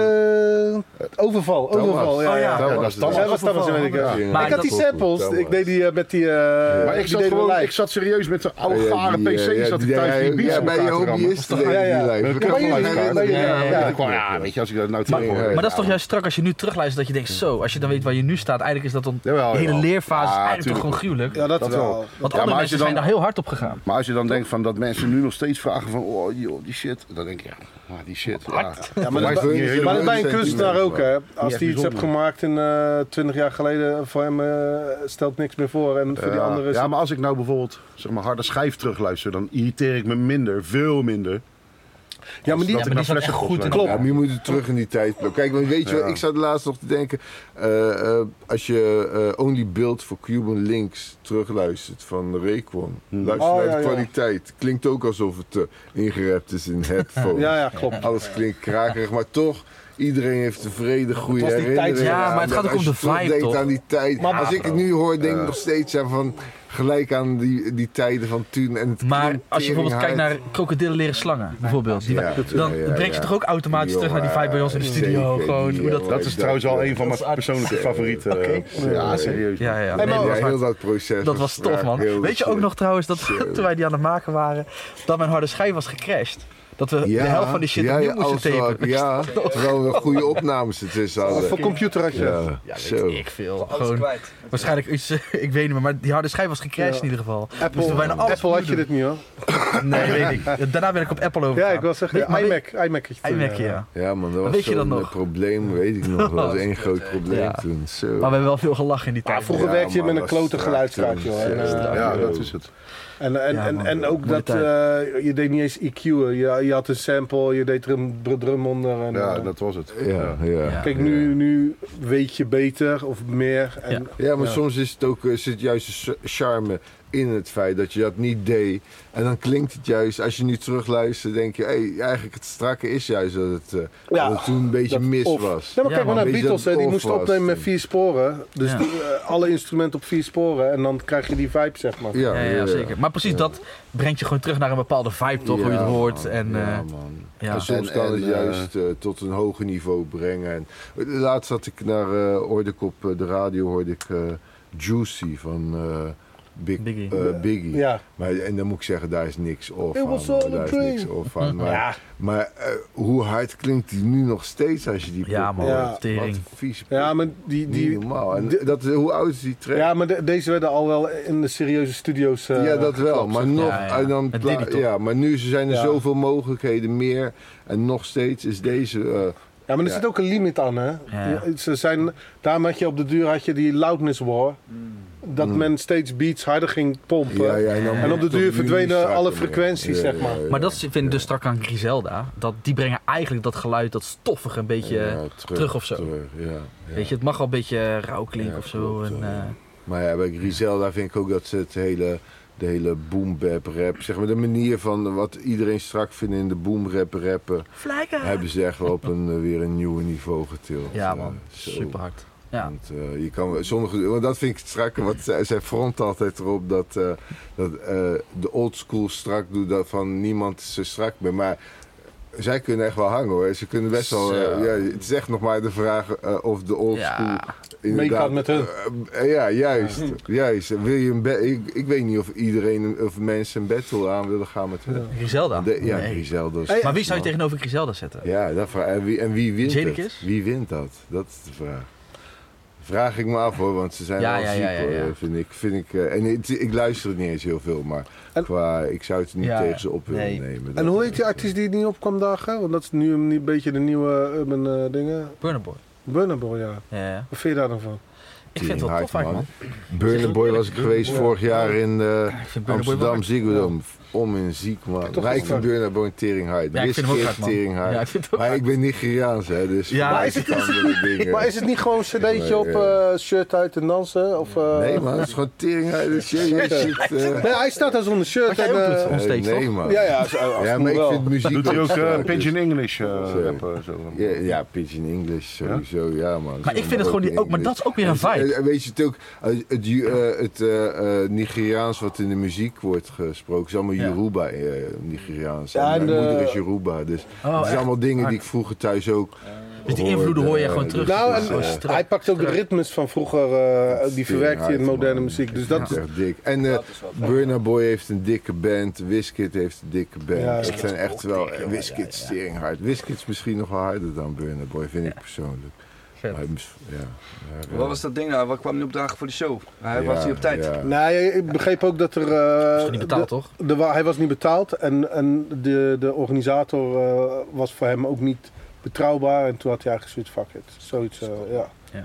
S1: tut. Overval, overval. Ja,
S3: Oh
S1: ja.
S3: ja.
S5: Ja, dat is
S1: Ja,
S5: Tamas.
S1: dat was Thomas in
S2: Ja.
S1: Amerika.
S3: Maar
S1: Ik had
S3: dat-
S1: die samples,
S2: Thomas.
S1: ik deed die eh, met die... eh,
S5: Maar ik
S1: die
S5: zat,
S1: deden we
S5: gewoon,
S1: live.
S5: ik zat serieus met de oude
S2: Ja,
S5: garen
S2: die, eh,
S5: PC's
S2: ja,
S5: dat ik
S2: die-
S5: thuis die
S2: ja,
S5: beats
S2: ja,
S5: op
S2: bij
S5: elkaar
S2: je eh,
S5: te rammen.
S2: hobbyist
S1: Ja, ja.
S5: Ja,
S2: Ik
S5: ik heb
S1: Maar
S5: wel
S1: jullie-
S5: een
S1: maar jullie-
S5: Ja,
S1: ja.
S5: ik kwam, ja, weet je, als ik dat nou
S3: Maar,
S5: terug hoor.
S3: maar dat is toch juist strak als je nu terugluistert dat je denkt zo, als je dan weet waar je nu staat, eigenlijk is dat dan
S5: Jawel,
S3: de hele
S5: jawel.
S3: leerfase is
S5: Ah,
S3: eigenlijk toch
S5: tuurlijk.
S3: gewoon gruwelijk.
S1: Ja, dat,
S5: Dat
S1: wel.
S5: wel.
S3: Want
S5: Ja, maar als
S3: andere
S5: je
S3: mensen
S5: dan-
S3: zijn daar heel hard op gegaan.
S5: Maar als je dan denkt van dat mensen nu nog steeds vragen van, oh joh, die shit. Dan denk ik, ja, maar die shit. Ja,
S1: Ja, maar, dat,
S2: Voor mij
S1: is
S2: is het
S1: bij- maar dat is bij een
S2: sentiment,
S1: kunstenaar ook, hè.
S5: Niet
S1: Als
S5: echt
S1: hij iets hebt
S5: bijzonder.
S1: gemaakt in eh, twintig jaar geleden, voor hem eh, stelt niks meer voor. En voor die
S5: Ja,
S1: anderen is
S5: ja, maar als ik nou bijvoorbeeld zeg maar, harde schijf terugluister, dan irriteer ik me minder, veel minder.
S1: Ja, maar die,
S5: Dat
S3: maar
S5: ik
S3: die
S5: naar
S3: zat echt
S5: Flessenpost
S3: goed in
S5: luister.
S1: Klopt.
S2: Ja, maar je moet het terug in die tijd. doen. Kijk, want weet je wel, ik zat laatst nog te denken. eh, eh, als je eh, Only Build for Cuban Links terugluistert van Raycon.
S3: Hm.
S2: Luister
S1: Oh,
S2: naar
S1: ja,
S2: de
S1: ja.
S2: kwaliteit. Klinkt ook alsof het eh, ingerept is in headphones.
S1: ja, ja, klopt.
S2: Alles klinkt krakerig, maar toch. Iedereen heeft een vrede, goede
S1: was die tijd-
S2: herinneringen.
S1: Ja,
S2: aan
S3: maar het
S2: dat.
S3: gaat ook
S2: Als
S3: om
S2: je
S3: de vibe,
S2: terugdenkt
S3: toch?
S2: aan die tijd.
S1: Maar-
S2: als ik het nu hoor, denk ik nog steeds aan van... Gelijk aan die, die tijden van toen. En het
S3: Maar
S2: klinkt
S3: als je bijvoorbeeld kijkt
S2: teringhard.
S3: naar krokodillen leren slangen, bijvoorbeeld. Die,
S2: Ja,
S3: dan
S2: ja, ja,
S3: breng je
S2: ja.
S3: toch ook automatisch terug naar die vibe bij ons in de
S2: Zeker,
S3: studio.
S2: die,
S3: Gewoon, hoe
S2: eh,
S3: dat...
S2: hoor.
S5: Dat is
S2: dat-
S5: trouwens al
S2: ja.
S5: een van
S3: Dat
S5: mijn
S3: is aardig.
S5: persoonlijke eh, favorieten. Ja, serieus.
S3: Ja, ja, ja.
S1: maar-
S3: Nee, dat was
S2: ja, heel dat proces.
S3: Dat was tof, man.
S2: Heel
S3: Weet je ook
S2: shit.
S3: nog trouwens dat toen wij die aan het maken waren, dat mijn harde schijf was gecrashed? Dat we
S2: Ja,
S3: de helft van die shit
S2: ja,
S3: opnieuw
S2: ja,
S3: moesten
S2: alles wel-
S3: tapen.
S2: Ja, terwijl we goede opnames ertussen
S1: Voor
S2: hadden.
S1: computer had je dat.
S2: Ja, zo.
S3: Ik veel. Gewoon, waarschijnlijk iets, eh, ik weet niet meer, maar die harde schijf was gecrashed
S1: Ja.
S3: in ieder geval.
S1: Apple,
S2: Dus
S3: Moesten we bijna alles
S1: Apple had je
S3: opnieuw
S1: dit niet hoor.
S3: doen. Nee, weet ik. Daarna ben ik op Apple over.
S1: Ja, ik wil zeggen,
S3: Maar-
S1: iMac. iMac had je toen,
S3: iMac,
S1: ja.
S3: ja.
S2: Ja, man, dat
S3: Weet
S2: was
S3: je dat
S2: zo'n
S3: nog?
S2: eh, probleem, weet ik nog. Dat was één groot probleem
S3: eh, Ja.
S2: toen. Zo.
S3: Maar we hebben wel veel gelachen in die tijd.
S1: vroeger
S2: Ja,
S1: werkte je
S2: man,
S1: met een
S2: dat
S1: klote
S2: is
S1: geluidskaart,
S2: echt,
S1: joh. En,
S2: eh,
S1: eh,
S5: Ja, dat is het.
S1: en, en,
S3: Ja,
S1: en,
S3: man,
S1: en ook
S3: mooie
S1: dat
S3: tijd.
S1: eh, je deed niet eens EQ'en. Je, je had een sample, je deed er een drum, drum onder. En,
S5: Ja,
S1: eh,
S5: dat was het.
S2: Ja, ja.
S1: Kijk, nu, nu weet je beter of meer. En,
S2: Ja, maar soms is het ook, eh, zit juist de s- charme in het feit dat je dat niet deed. En dan klinkt het juist, als je nu terugluistert, denk je... Hey, eigenlijk het strakke is juist dat het, eh,
S1: Ja,
S2: dat het toen een beetje
S1: dat
S2: mis
S1: of.
S2: was.
S1: Nee, maar kijk
S3: Ja,
S1: maar
S3: man.
S1: naar
S2: Weet je
S1: Beatles,
S2: dat
S1: hè, die
S2: of
S1: moesten
S2: was
S1: opnemen met
S2: toen?
S1: vier sporen. Dus
S3: Ja.
S1: die, eh, alle instrumenten op vier sporen. En dan krijg je die vibe, zeg maar.
S3: Ja, ja, zeker. Maar precies dat brengt je gewoon terug naar een bepaalde vibe, toch? hoe je het
S2: Ja,
S3: hoort.
S2: man.
S3: En,
S2: ja,
S3: eh,
S2: man.
S3: ja.
S2: En soms
S5: En-
S2: kan
S5: en,
S2: het
S5: eh,
S2: juist eh, tot een hoger niveau brengen. En, laatst had ik naar, eh hoorde ik op eh, de radio hoorde ik eh, Juicy van eh, Big,
S3: Biggie.
S2: eh, Biggie.
S1: Ja.
S2: Maar, en dan moet ik zeggen, daar is niks of
S1: It was
S2: van.
S1: all a
S2: Daar is
S1: dream.
S2: niks of van. Maar,
S1: Ja.
S2: maar eh, hoe hard klinkt die nu nog steeds als je die
S3: Ja,
S2: pop
S3: man.
S2: hoort?
S1: Ja.
S3: Tering.
S2: Wat vies.
S1: Ja, maar die...
S2: Niet
S1: die
S2: normaal. En
S1: de-
S2: dat, hoe oud is die track?
S1: ja, maar de- deze werden al wel in de serieuze studio's eh,
S2: Ja, dat wel.
S1: geklapt,
S2: Maar
S1: zeg.
S2: nog.
S3: Ja, ja.
S2: En dan
S3: Met
S2: pla-
S3: Diddy toch?
S2: ja, maar nu zijn er
S1: Ja.
S2: zoveel mogelijkheden meer. En nog steeds is deze. eh,
S1: Ja, maar er
S2: Ja.
S1: zit ook een limit aan, hè?
S3: Ja.
S1: Ja, Ze zijn, daarom had je op de duur had je die loudness war. Dat men steeds beats harder ging pompen.
S2: Mm. ja, ja, en, dan
S1: En op de
S2: tot
S1: duur verdwenen
S2: unisac
S1: alle
S2: weer.
S1: frequenties, zeg maar.
S3: Maar dat vind
S2: Eh,
S3: ik dus strak aan Griselda. Dat, die brengen eigenlijk dat geluid, dat stoffige, een beetje
S2: ja,
S3: eh, terug of zo.
S2: terug, ja, ja.
S3: Weet je, het mag wel een beetje rauw klinken
S2: Ja,
S3: of zo.
S2: klopt,
S3: en,
S2: ja.
S3: eh,
S2: Maar ja, bij Griselda vind ik ook dat ze het hele, de hele boom bap rap, zeg maar de manier van wat iedereen strak vindt in de boom rap rappen, hebben ze echt wel op een, eh, weer een nieuw niveau getild.
S3: ja,
S2: Eh,
S3: man.
S2: zo.
S3: Super hard. Ja.
S2: Want, eh, je kan, sommige, want dat vind ik het strakke, want zij, zij front altijd erop dat, eh, dat eh, de old school strak doet, dat van niemand is zo strak meer. Maar zij kunnen echt wel hangen hoor. Ze kunnen best wel. eh,
S3: Zo.
S2: ja, het is echt nog maar de vraag eh, of de old
S3: Ja.
S2: school.
S1: Meegaat met hun.
S2: Eh, eh, ja, juist. juist. Wil je een ba- ik, ik weet niet of iedereen een- of mensen een battle aan willen gaan met hun.
S3: Griselda?
S2: De- ja,
S3: Nee.
S2: Griselda is-
S3: Maar wie zou je tegenover Griselda zetten?
S2: ja, dat vraag, en, wie, en wie wint
S3: Jadakiss?
S2: het? Wie wint dat? Dat is de vraag. Vraag ik me af hoor, want ze zijn
S3: Ja,
S2: wel
S3: ja,
S2: ziek
S3: ja, ja,
S2: hoor,
S3: ja.
S2: vind ik. Vind ik eh, en het- ik luister het niet eens heel veel, maar
S1: En-
S2: qua, ik zou het niet
S3: Ja,
S2: tegen ze op willen
S3: nee.
S2: nemen.
S1: En
S2: Dat-
S1: hoe heet die artiest die het niet op kwam dagen? Want dat is nu een beetje de nieuwe urban eh, dingen.
S3: Burner Boy.
S1: Burna Boy, ja.
S3: Ja, ja.
S1: Wat vind je daar dan van?
S3: Ik vind het wel tof
S2: Hard,
S3: eigenlijk, man.
S2: Burner Boy was ik geweest vorig jaar in eh,
S3: Ik vind Burner Boy wel
S2: Amsterdam
S3: hard.
S2: Ziegeldom. Om in ziek, man.
S1: Toch
S2: Maar
S1: is
S2: ik vind
S1: het-
S2: Burner Boy een tering hard.
S3: Ja, ik vind hem ook hard, man.
S2: tering hard.
S3: Ja, ik vind het ook
S2: maar ik ben Nigeriaans, hè, dus...
S3: Ja, maar is
S2: het, dingen.
S1: Maar is het niet gewoon een cd'tje op
S2: Ja.
S1: eh, shirt uit en dansen? Of, eh,
S2: Nee, man, het is gewoon tering hard. Dus je, je zit, eh,
S1: Nee, hij staat daar zonder shirt.
S3: jij
S1: en,
S3: ook
S1: eh,
S3: doet, hè? Nog steeds,
S2: nee,
S3: toch?
S2: man.
S1: ja, ja, zo- af en
S2: Ja,
S1: toe
S2: maar ik
S1: wel.
S2: vind muziek...
S5: Doet hij ook eh,
S2: Ja,
S5: Pigeon English eh,
S2: Zo.
S5: rappen? Zo.
S2: Ja, ja, Pigeon English sowieso, ja, man.
S3: Maar ik vind het gewoon die ook, maar dat is ook weer een
S2: En-
S3: vibe.
S2: en Weet je, het, ook, eh, het, Ju- eh, het eh, eh, Nigeriaans wat in de muziek wordt gesproken, is allemaal
S3: Ja.
S2: Yoruba eh, Nigeriaans.
S1: Ja,
S2: en
S1: en
S2: mijn
S1: de-
S2: moeder is Yoruba, dus
S3: Oh,
S2: het
S3: echt?
S2: zijn allemaal dingen die ik vroeger thuis ook
S3: Dus die invloeden hoor je
S2: eh,
S3: gewoon terug.
S1: Nou,
S3: Het is
S1: en,
S3: gewoon
S1: eh,
S3: strak.
S1: hij pakt ook de ritmes van vroeger, eh, die verwerkt hij in
S2: Tering hard,
S1: moderne
S2: man.
S1: muziek. Dus
S2: Dat
S1: dat
S2: is
S1: is
S2: echt dik. En eh Burna Boy heeft een dikke band. Wizkid heeft een dikke band.
S1: Ja,
S2: het
S1: ja.
S2: zijn echt wel... eh, Wizkid is tering hard. Wizkid is misschien nog wel harder dan Burna Boy, vind ik persoonlijk.
S3: Vet.
S2: Maar, ja. Maar,
S4: Wat
S2: eh,
S4: was dat ding nou? Wat kwam niet op dagen voor de show? Hij was
S2: ja,
S4: hier op tijd.
S2: ja.
S1: Nee, ik begreep ook dat er. eh,
S3: Is toch niet betaald, toch?
S1: de- de wa- hij was niet betaald en, en de, de organisator eh, was voor hem ook niet betrouwbaar. En toen had hij eigenlijk zoiets: fuck it. Zoiets, eh, ja.
S3: Ja.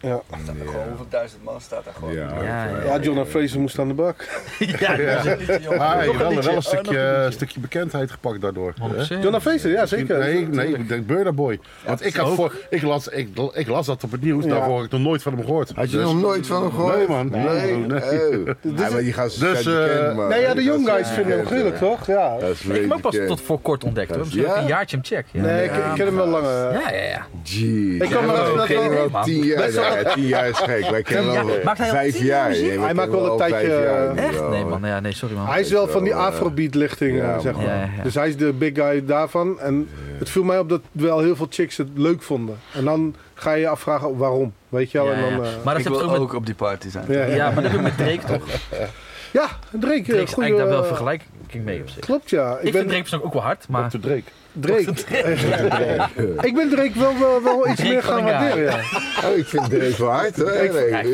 S1: Ja.
S4: Staan er gewoon hoeveel duizend man staat daar gewoon.
S2: Ja,
S3: Ja, ja.
S1: ja, John Fraser moest aan de bak.
S3: Ja, dat is niet, jongen.
S5: Maar
S3: Nog
S5: hij heeft
S3: een liedje.
S5: wel, wel een
S3: Oh, nog
S5: stukje, eh,
S3: een liedje.
S5: stukje bekendheid gepakt daardoor. hè?
S3: 100%.
S1: John Fraser, ja zeker.
S5: Nee, nee, de Burna Boy. Want ik, had voor, ik, las, ik, ik las dat op het nieuws,
S1: Ja.
S5: daarvoor had ik nog nooit van hem gehoord.
S2: Had je
S5: Dus-
S2: nog nooit van hem gehoord?
S5: Nee, man.
S2: Nee.
S5: Nee.
S2: Oh. Ja, maar die gasten
S5: Dus,
S2: zijn
S5: eh,
S2: bekend, man.
S1: Nee, ja, de
S2: Die
S1: young
S2: gasten
S1: guys
S2: zijn
S1: vinden hem
S2: bekend,
S1: gruwelijk,
S2: man.
S1: toch? Ja.
S2: Dat is
S3: Ik heb
S2: weet
S3: hem ook pas tot voor kort ontdekt hoor. Misschien
S2: Ja?
S3: een jaartje hem check. Ja.
S1: Nee, ik, ik ken hem wel langer.
S3: ja, ja, ja.
S2: Jeez.
S1: Ik kan me
S2: Ja,
S1: wel-
S2: we
S1: dat
S2: kennen
S1: wel-
S2: hem al
S3: man.
S2: tien jaar.
S1: Best wel-
S2: Ja, tien jaar is gek. Wij kennen
S3: Ja,
S2: hem al
S3: maakt hij al
S2: vijf
S3: tien jaar
S2: jaar.
S3: muziek?
S2: Nee, wij
S1: Hij maakt
S2: kennen
S1: wel
S2: hem
S1: een
S2: al vijf
S1: tijdje, eh,
S2: jaar nu
S3: Echt?
S2: al.
S3: Nee man, ja, nee, sorry man.
S1: Hij is wel
S2: is
S1: van die
S2: wel, eh,
S1: afrobeat-lichting,
S2: ja,
S1: eh, zeg
S2: man.
S1: maar.
S3: Ja, ja.
S1: Dus hij is de big guy daarvan. En het viel mij op dat wel heel veel chicks het leuk vonden. En dan ga je je afvragen waarom, weet je wel.
S3: Ja,
S1: en
S3: ja.
S1: dan, eh,
S3: Maar dat
S4: Ik
S3: heb je
S4: wil
S3: ook
S4: ook
S3: met...
S4: op die party zijn.
S1: ja, ja.
S3: Ja, maar dat heb ik met Drake toch. Drake
S1: Ja, Drake. eh,
S3: is eigenlijk daar wel
S1: eh,
S3: vergelijking mee op zich.
S1: Klopt, ja.
S3: Ik vind Drake persoonlijk ook wel hard, maar...
S5: Dr. Drake.
S1: Drake. ik ben Drake wel, wel, wel iets
S3: Drake
S1: meer
S3: van
S1: gaan
S3: de guy.
S1: waarderen, ja.
S2: Oh, ik vind Drake wel hard hoor. Ik,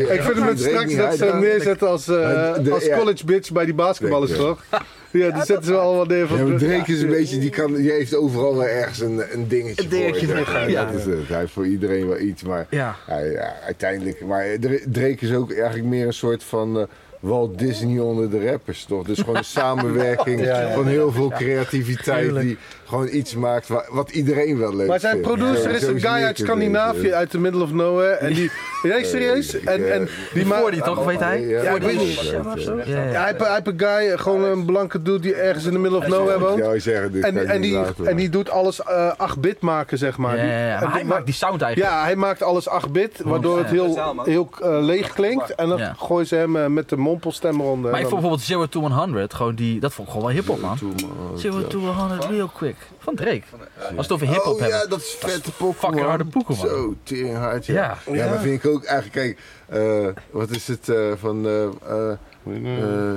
S1: Ik vind hem het straks dat ze hem neerzetten als, eh,
S2: Maar de-
S1: als
S2: ja.
S1: college bitch bij die basketballers,
S2: Drake,
S1: toch? Ja, die zetten ze wel allemaal neer van...
S2: Ja, maar Drake is een beetje, die, kan, die heeft overal wel ergens een, een dingetje,
S3: dingetje
S2: voor.
S3: voor,
S2: Ja,
S3: ja.
S2: Dat is het. Hij heeft voor iedereen wel iets, maar
S3: Ja.
S2: hij- ja, uiteindelijk. Maar Dra- Drake is ook eigenlijk meer een soort van eh, Walt Disney onder de rappers, toch? Dus gewoon een samenwerking
S1: Ja, ja,
S2: van heel veel creativiteit
S3: Tuurlijk.
S2: die gewoon iets maakt wa- wat iedereen wel leuk
S1: Maar zijn
S2: vindt.
S1: producer
S2: Ja,
S1: is
S2: zo
S1: een guy
S2: zie
S1: uit
S2: ik het
S1: Scandinavië,
S2: even.
S1: uit the middle of nowhere. En die... Nee, serieus? En, en die
S3: Maar,
S1: maakt...
S3: die toch, weet hij?
S2: Ja,
S1: ik weet niet.
S3: Ja, ja,
S1: Ja,
S3: ja.
S1: hij heeft- hij heeft een guy, gewoon een blanke dude die ergens in de middle of nowhere
S2: Ik
S1: woont.
S2: zou zeggen, dit kan
S1: En,
S2: ik
S1: en,
S2: niet
S1: die,
S2: laten.
S1: en die doet alles eh 8-bit maken, zeg maar.
S3: Ja,
S1: Die-
S3: ja, ja.
S1: en
S3: Maar hij
S1: die-
S3: maakt die sound eigenlijk.
S1: Ja, hij maakt alles 8-bit,
S3: Oh,
S1: waardoor het heel, heel eh, leeg klinkt. En dan
S3: Ja.
S1: gooien ze hem eh, met de mompelstem eronder.
S3: Maar ik
S1: En dan-
S3: vond bijvoorbeeld Zero to 100, gewoon die, dat vond ik gewoon wel hip-hop man. Zero to 100 real quick. Van Drake. Als het over hip-hop
S2: oh,
S3: hebben.
S2: ja, dat is vette pokken,
S3: fucking
S2: man.
S3: harde poeken, man.
S2: Zo, tering hard, ja.
S3: Ja.
S2: Ja, maar vind ik ook eigenlijk, kijk, eh, wat is het eh, van, eh, eh,
S3: Hmm.
S2: eh,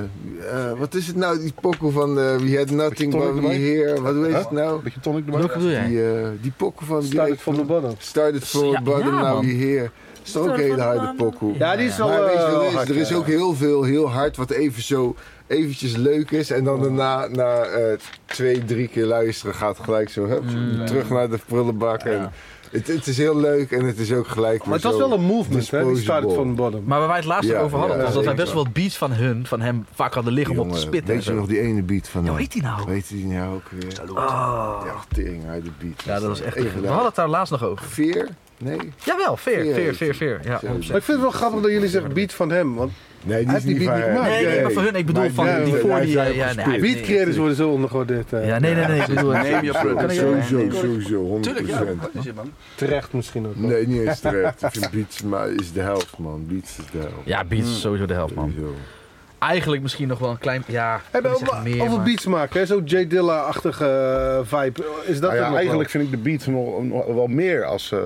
S2: eh, wat is het nou, die pokkel van eh, We Had Nothing
S5: tonic
S2: But We
S5: erbij?
S2: Here, wat weet het nou?
S5: Beetje tonic erbij.
S3: Welke bedoel jij?
S2: Die, eh, die pokkel van
S1: Started from the bottom.
S2: Started From
S3: Ja,
S2: the Bottom,
S3: ja,
S2: Now
S3: man.
S2: We Here. Dat is toch ook een hele harde pokkel.
S1: Ja, die is wel...
S2: Maar weet je
S1: eh,
S2: wat het
S1: wel
S2: is?
S1: hard,
S2: er is
S1: ja.
S2: ook heel veel heel hard wat even zo eventjes leuk is. En dan daarna, na eh, twee, drie keer luisteren, gaat het gelijk zo hup, terug naar de prullenbak. En het, het is heel leuk en het is ook gelijk
S1: Maar het
S2: weer
S1: was
S2: zo
S1: wel een movement, hè? Die started
S2: disposable.
S1: from the bottom.
S3: Maar waar wij het laatst
S2: Ja,
S3: over hadden,
S2: ja,
S3: was dat wij
S2: zeker.
S3: best wel beats van hun, van hem, vaak hadden liggen om op te
S2: Jongen,
S3: spitten. en
S2: Weet je
S3: zo.
S2: nog die ene beat van
S3: Ja,
S2: hem?
S3: hoe heet die nou?
S2: Weet je die nou ook weer?
S3: Ah.
S2: Ja, tering uit de beat. eh,
S3: Ja, dat was echt...
S2: Even
S3: We
S2: leuk.
S3: hadden het daar laatst nog over.
S2: Veer? Nee.
S3: Jawel, veer,
S2: Veer
S3: veer,
S2: heet
S3: veer, veer. Ja,
S2: Zo.
S3: 100%.
S1: Maar ik vind het wel grappig dat jullie zeggen beat van hem. Want
S2: Nee,
S1: Hij
S2: die is
S1: heeft die
S2: niet
S1: beat
S2: van
S1: niet
S2: hem.
S1: gemaakt.
S3: Nee, nee, maar voor hun, ik bedoel
S2: Maar
S3: van
S2: nee,
S3: die
S2: nee,
S3: voor
S2: hij
S3: die...
S2: zei
S3: eh, Ja,
S2: op
S3: nee,
S2: gespeeld.
S3: nee,
S1: beat creators worden zo ondergewaardeerd. eh.
S3: Ja, nee, nee, nee, ik bedoel...
S4: Neem je product.
S2: Sowieso, sowieso, 100%.
S4: Tuurlijk, ja. Dat is het, man.
S1: Terecht misschien ook. wel.
S2: Nee, niet eens terecht. Ik vind Beats maar is de helft, man. Beats is de helft.
S3: Ja, beats is sowieso de helft, man.
S2: Sowieso.
S3: eh, Mm. Eigenlijk misschien nog wel een klein... Ja, ik
S1: Hey,
S3: wil
S1: maar
S3: niet zeggen
S1: over,
S3: meer,
S1: over
S3: maar-
S1: beats maken, hè? zo J Dilla-achtige eh, vibe. Is dat
S5: Nou
S1: er
S5: ja,
S1: nog
S5: eigenlijk vind ik de beat nog, nog wel meer als, eh,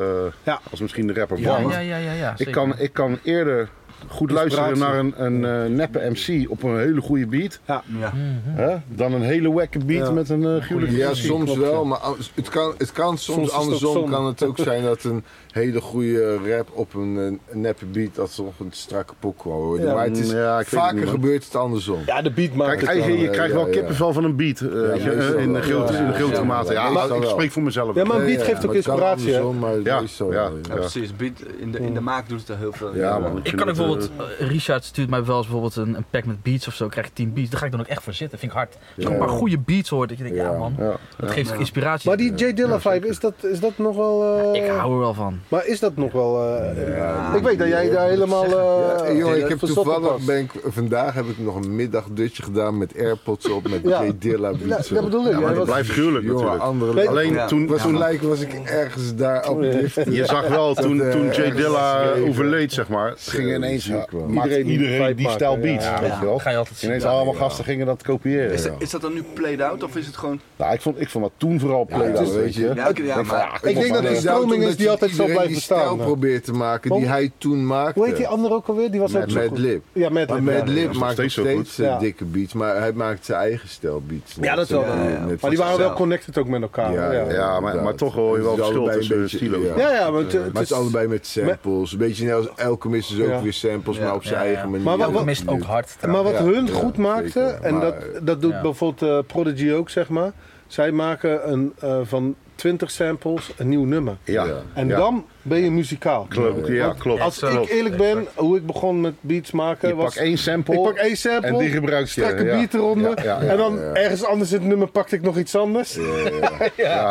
S1: Ja.
S5: als misschien de rapper
S3: Ja,
S5: van.
S3: ja, ja, ja, ja.
S5: ik,
S3: zeker.
S5: kan, ik kan eerder goed luisteren naar een, een eh, neppe MC op een hele goede beat.
S4: Ja.
S3: Mhm.
S5: Hè, dan een hele wekke beat
S1: Ja.
S5: met een eh gruwelijke
S2: Ja,
S5: beat.
S2: soms
S5: Klopt,
S2: wel, maar als- het kan, het kan soms,
S1: Soms is het
S2: andersom.
S1: ook zonde.
S2: kan het ook zijn dat een hele goede rap op een, eh, neppe beat, dat ze nog een strakke pok houden.
S1: Ja.
S2: maar het is,
S5: Ja, ik weet het
S2: vaker
S5: niet, man.
S2: gebeurt het andersom.
S1: Ja, de beat
S5: Kijk,
S1: maken.
S2: kan,
S5: eigen- je
S2: eh,
S5: krijgt
S2: ja,
S5: wel
S2: ja.
S5: kippenvel van een beat. eh, weet je,
S2: meestal
S5: eh, in de
S2: wel.
S5: grote, in de
S2: Ja,
S5: grote
S2: ja,
S5: mate.
S2: ja,
S5: Ja,
S2: meestal
S5: ik
S2: wel.
S5: spreek voor mezelf.
S1: Ja, maar een beat geeft ook
S2: maar het kan
S1: inspiratie, hè?
S2: andersom, maar
S5: Ja,
S2: meestal
S5: ja.
S2: wel,
S5: Ja.
S4: Ja, precies. Beat, in, de, in de maak doet het er heel veel.
S5: Ja, man,
S3: Ik kan
S5: vind
S3: ook
S5: het, eh,
S3: bijvoorbeeld, eh, Richard stuurt mij wel eens bijvoorbeeld een, een pack met beats of zo, krijg ik 10 beats. Daar ga ik dan ook echt voor zitten. Vind ik hard. Als je
S2: Ja.
S3: een paar goede beats hoort, dat je denkt, ja,
S2: Ja.
S3: man,
S5: Ja.
S3: dat geeft
S4: Ja.
S3: inspiratie.
S1: Maar die J Dilla vibe, is dat, is dat nog wel... eh,
S3: Ik hou er wel van.
S1: Maar is dat nog wel... eh,
S2: Ja.
S1: ik weet dat jij daar helemaal...
S2: Ja,
S1: eh,
S2: jongen, ik
S1: eh,
S2: heb
S1: verzot op
S2: toevallig,
S1: was.
S2: ben ik, vandaag heb ik nog een middagdutje gedaan met airpods op, met
S1: Ja.
S2: J Dilla
S1: Ja,
S2: beats
S1: dat
S2: op.
S1: bedoel ik.
S5: Ja, maar
S1: hè,
S5: dat
S1: want-
S5: blijft gruwelijk
S2: Jongen,
S5: natuurlijk.
S2: andere
S1: Nee,
S5: Alleen
S4: Ja.
S5: toen,
S2: was
S5: toen
S2: gelijk was ik ergens
S1: Oh,
S2: daar op driften.
S5: je zag wel, toen,
S2: eh,
S5: toen Jay
S2: ergens
S5: Dilla
S2: geschreven.
S5: overleed, zeg maar, ging ineens
S2: ziek,
S5: maakt
S2: man.
S5: iedereen,
S1: Iedereen die
S5: die
S1: vibe
S5: stijl
S1: maken,
S5: beat.
S1: ja.
S5: Weet je wel?
S3: Ga je altijd zien.
S5: Ineens
S3: Ja.
S5: allemaal gasten gingen dat kopiëren.
S4: Is, dat- is dat dan nu played out of is het gewoon...
S5: Nou, ik, vond, ik vond dat toen vooral play
S2: het is-
S5: weet je.
S4: Ja, oké,
S1: Ik
S4: ja, maar-
S1: denk dat
S2: Maar
S1: die
S2: dat komt
S1: stroming is
S2: omdat
S1: die
S2: je
S1: altijd zo
S2: iedereen
S1: blijft
S2: die stijl
S1: bestaan.
S2: probeert te maken die
S1: Hoe-
S2: hij toen maakte.
S1: Hoe heet die andere ook alweer? Die was ook
S2: Mad
S1: zo
S2: Mad
S1: goed.
S2: Lib.
S1: Ja, Mad
S2: Maar
S1: Lib. ja.
S2: Mad Lib
S5: dat is nog
S2: maakt nog
S5: steeds zo
S2: steeds
S1: goed.
S2: eh,
S1: Ja.
S2: dikke beats, maar hij maakt zijn eigen stijl beats.
S1: Ja, dat
S2: Net
S1: wel.
S2: zo-
S1: Ja,
S4: ja.
S2: net
S1: Maar die waren
S2: vanzelf.
S1: wel connected ook met elkaar. Ja, ja. ja.
S5: Ja, maar- maar toch hoor je wel
S2: Dus Het is
S5: verschil
S2: allebei
S5: tussen
S2: een beetje-
S5: stilo's.
S2: Ja.
S1: maar eh, het,
S2: Maar het is allebei met samples. Een beetje net als elke mis is ook
S1: Ja.
S2: weer samples, maar op zijn
S3: Ja, ja.
S2: eigen manier.
S1: Maar wat-
S3: Elke
S1: wat-
S3: mist ook hard.
S1: Maar wat
S2: Ja,
S1: hun
S2: ja,
S1: goed maakte,
S2: zeker.
S1: en
S2: Maar-
S1: dat, dat doet
S3: Ja.
S1: bijvoorbeeld eh, Prodigy ook, zeg maar. Zij maken een, eh, van 20 samples een nieuw nummer.
S5: Ja,
S1: En
S5: Ja.
S1: dan ben je muzikaal.
S5: klopt. Ja,
S1: Want
S5: klopt.
S1: Als
S5: Klopt.
S1: ik eerlijk ben, hoe ik begon met beats maken
S5: je
S1: was...
S5: pak één sample,
S1: ik pak één sample,
S5: en die gebruik je.
S1: trek een beat eronder.
S5: Ja, ja, ja.
S1: en dan
S2: ja.
S1: ergens anders in het nummer pakte ik nog iets anders.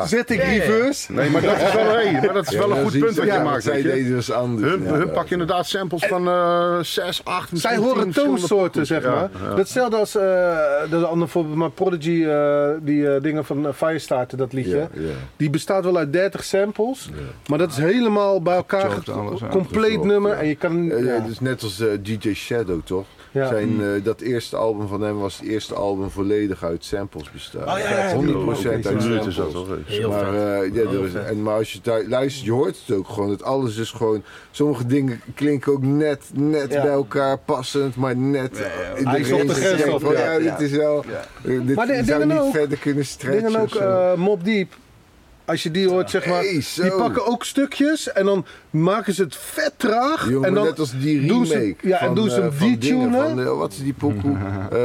S1: Zet ik
S3: Ja, ja.
S1: reverse.
S5: Nee, maar dat is wel, hey, maar dat is
S2: Ja,
S5: wel
S2: dan
S5: een goed
S2: zie je
S5: punt wat
S2: dat-
S5: je
S2: ja,
S5: maakt.
S2: Zij
S5: weet je.
S2: deden dus anders.
S5: Hun,
S2: Ja,
S5: hun
S2: ja.
S5: pakken inderdaad samples van eh 6, 8, misschien
S1: Zij horen
S5: 10 verschillende
S1: toonsoorten, zeg
S5: pokoes.
S1: maar.
S5: Ja, ja.
S1: Datzelfde als, eh, dat is een ander voorbeeld, maar Prodigy, eh, die eh, dingen van eh, Firestarter, dat liedje.
S2: Ja, ja.
S1: Die bestaat wel uit 30 samples, maar dat is helemaal bij elkaar
S4: Gechopt
S1: ge-
S4: alles, ja.
S1: compleet
S2: Gechopt,
S1: nummer.
S2: ja.
S1: En je kan,
S2: Eh,
S1: ja.
S2: ja, dus net als eh, DJ Shadow, toch?
S1: Ja. Mm.
S2: Zijn, eh, dat eerste album van hem was het eerste album volledig uit samples bestaan.
S1: Oh, ja, ja, ja.
S2: 100% uit
S5: Zo'n minuut is
S2: samples.
S5: dat hoor.
S3: Heel
S2: maar,
S3: vet.
S2: eh, ja, er is-
S1: Oh,
S2: en, maar als je daar luistert, je hoort het ook gewoon. Dat alles is gewoon. Sommige dingen klinken ook net, net
S1: Ja.
S2: bij elkaar passend, maar net. eh,
S1: Hij
S2: de
S1: zocht de
S2: rest
S1: grens
S2: denkt
S1: op,
S2: van,
S1: ja.
S2: ja, dit is wel.
S4: Ja.
S2: eh, dit
S1: Maar de-
S2: zou
S1: dingen
S2: niet
S1: ook-
S2: verder kunnen
S1: Dingen
S2: stretchen. of
S1: ook
S2: zo.
S1: eh Mob Deep. Als je die hoort, zeg maar,
S2: Hey, zo.
S1: die pakken ook stukjes en dan maken ze het vet traag.
S2: Jongen,
S1: en dan,
S2: net als die remake.
S1: doen ze- ja, en
S2: van,
S1: doen ze hem
S2: eh, van dingen,
S1: detunen.
S2: van, eh, Wat is die pokoe? eh,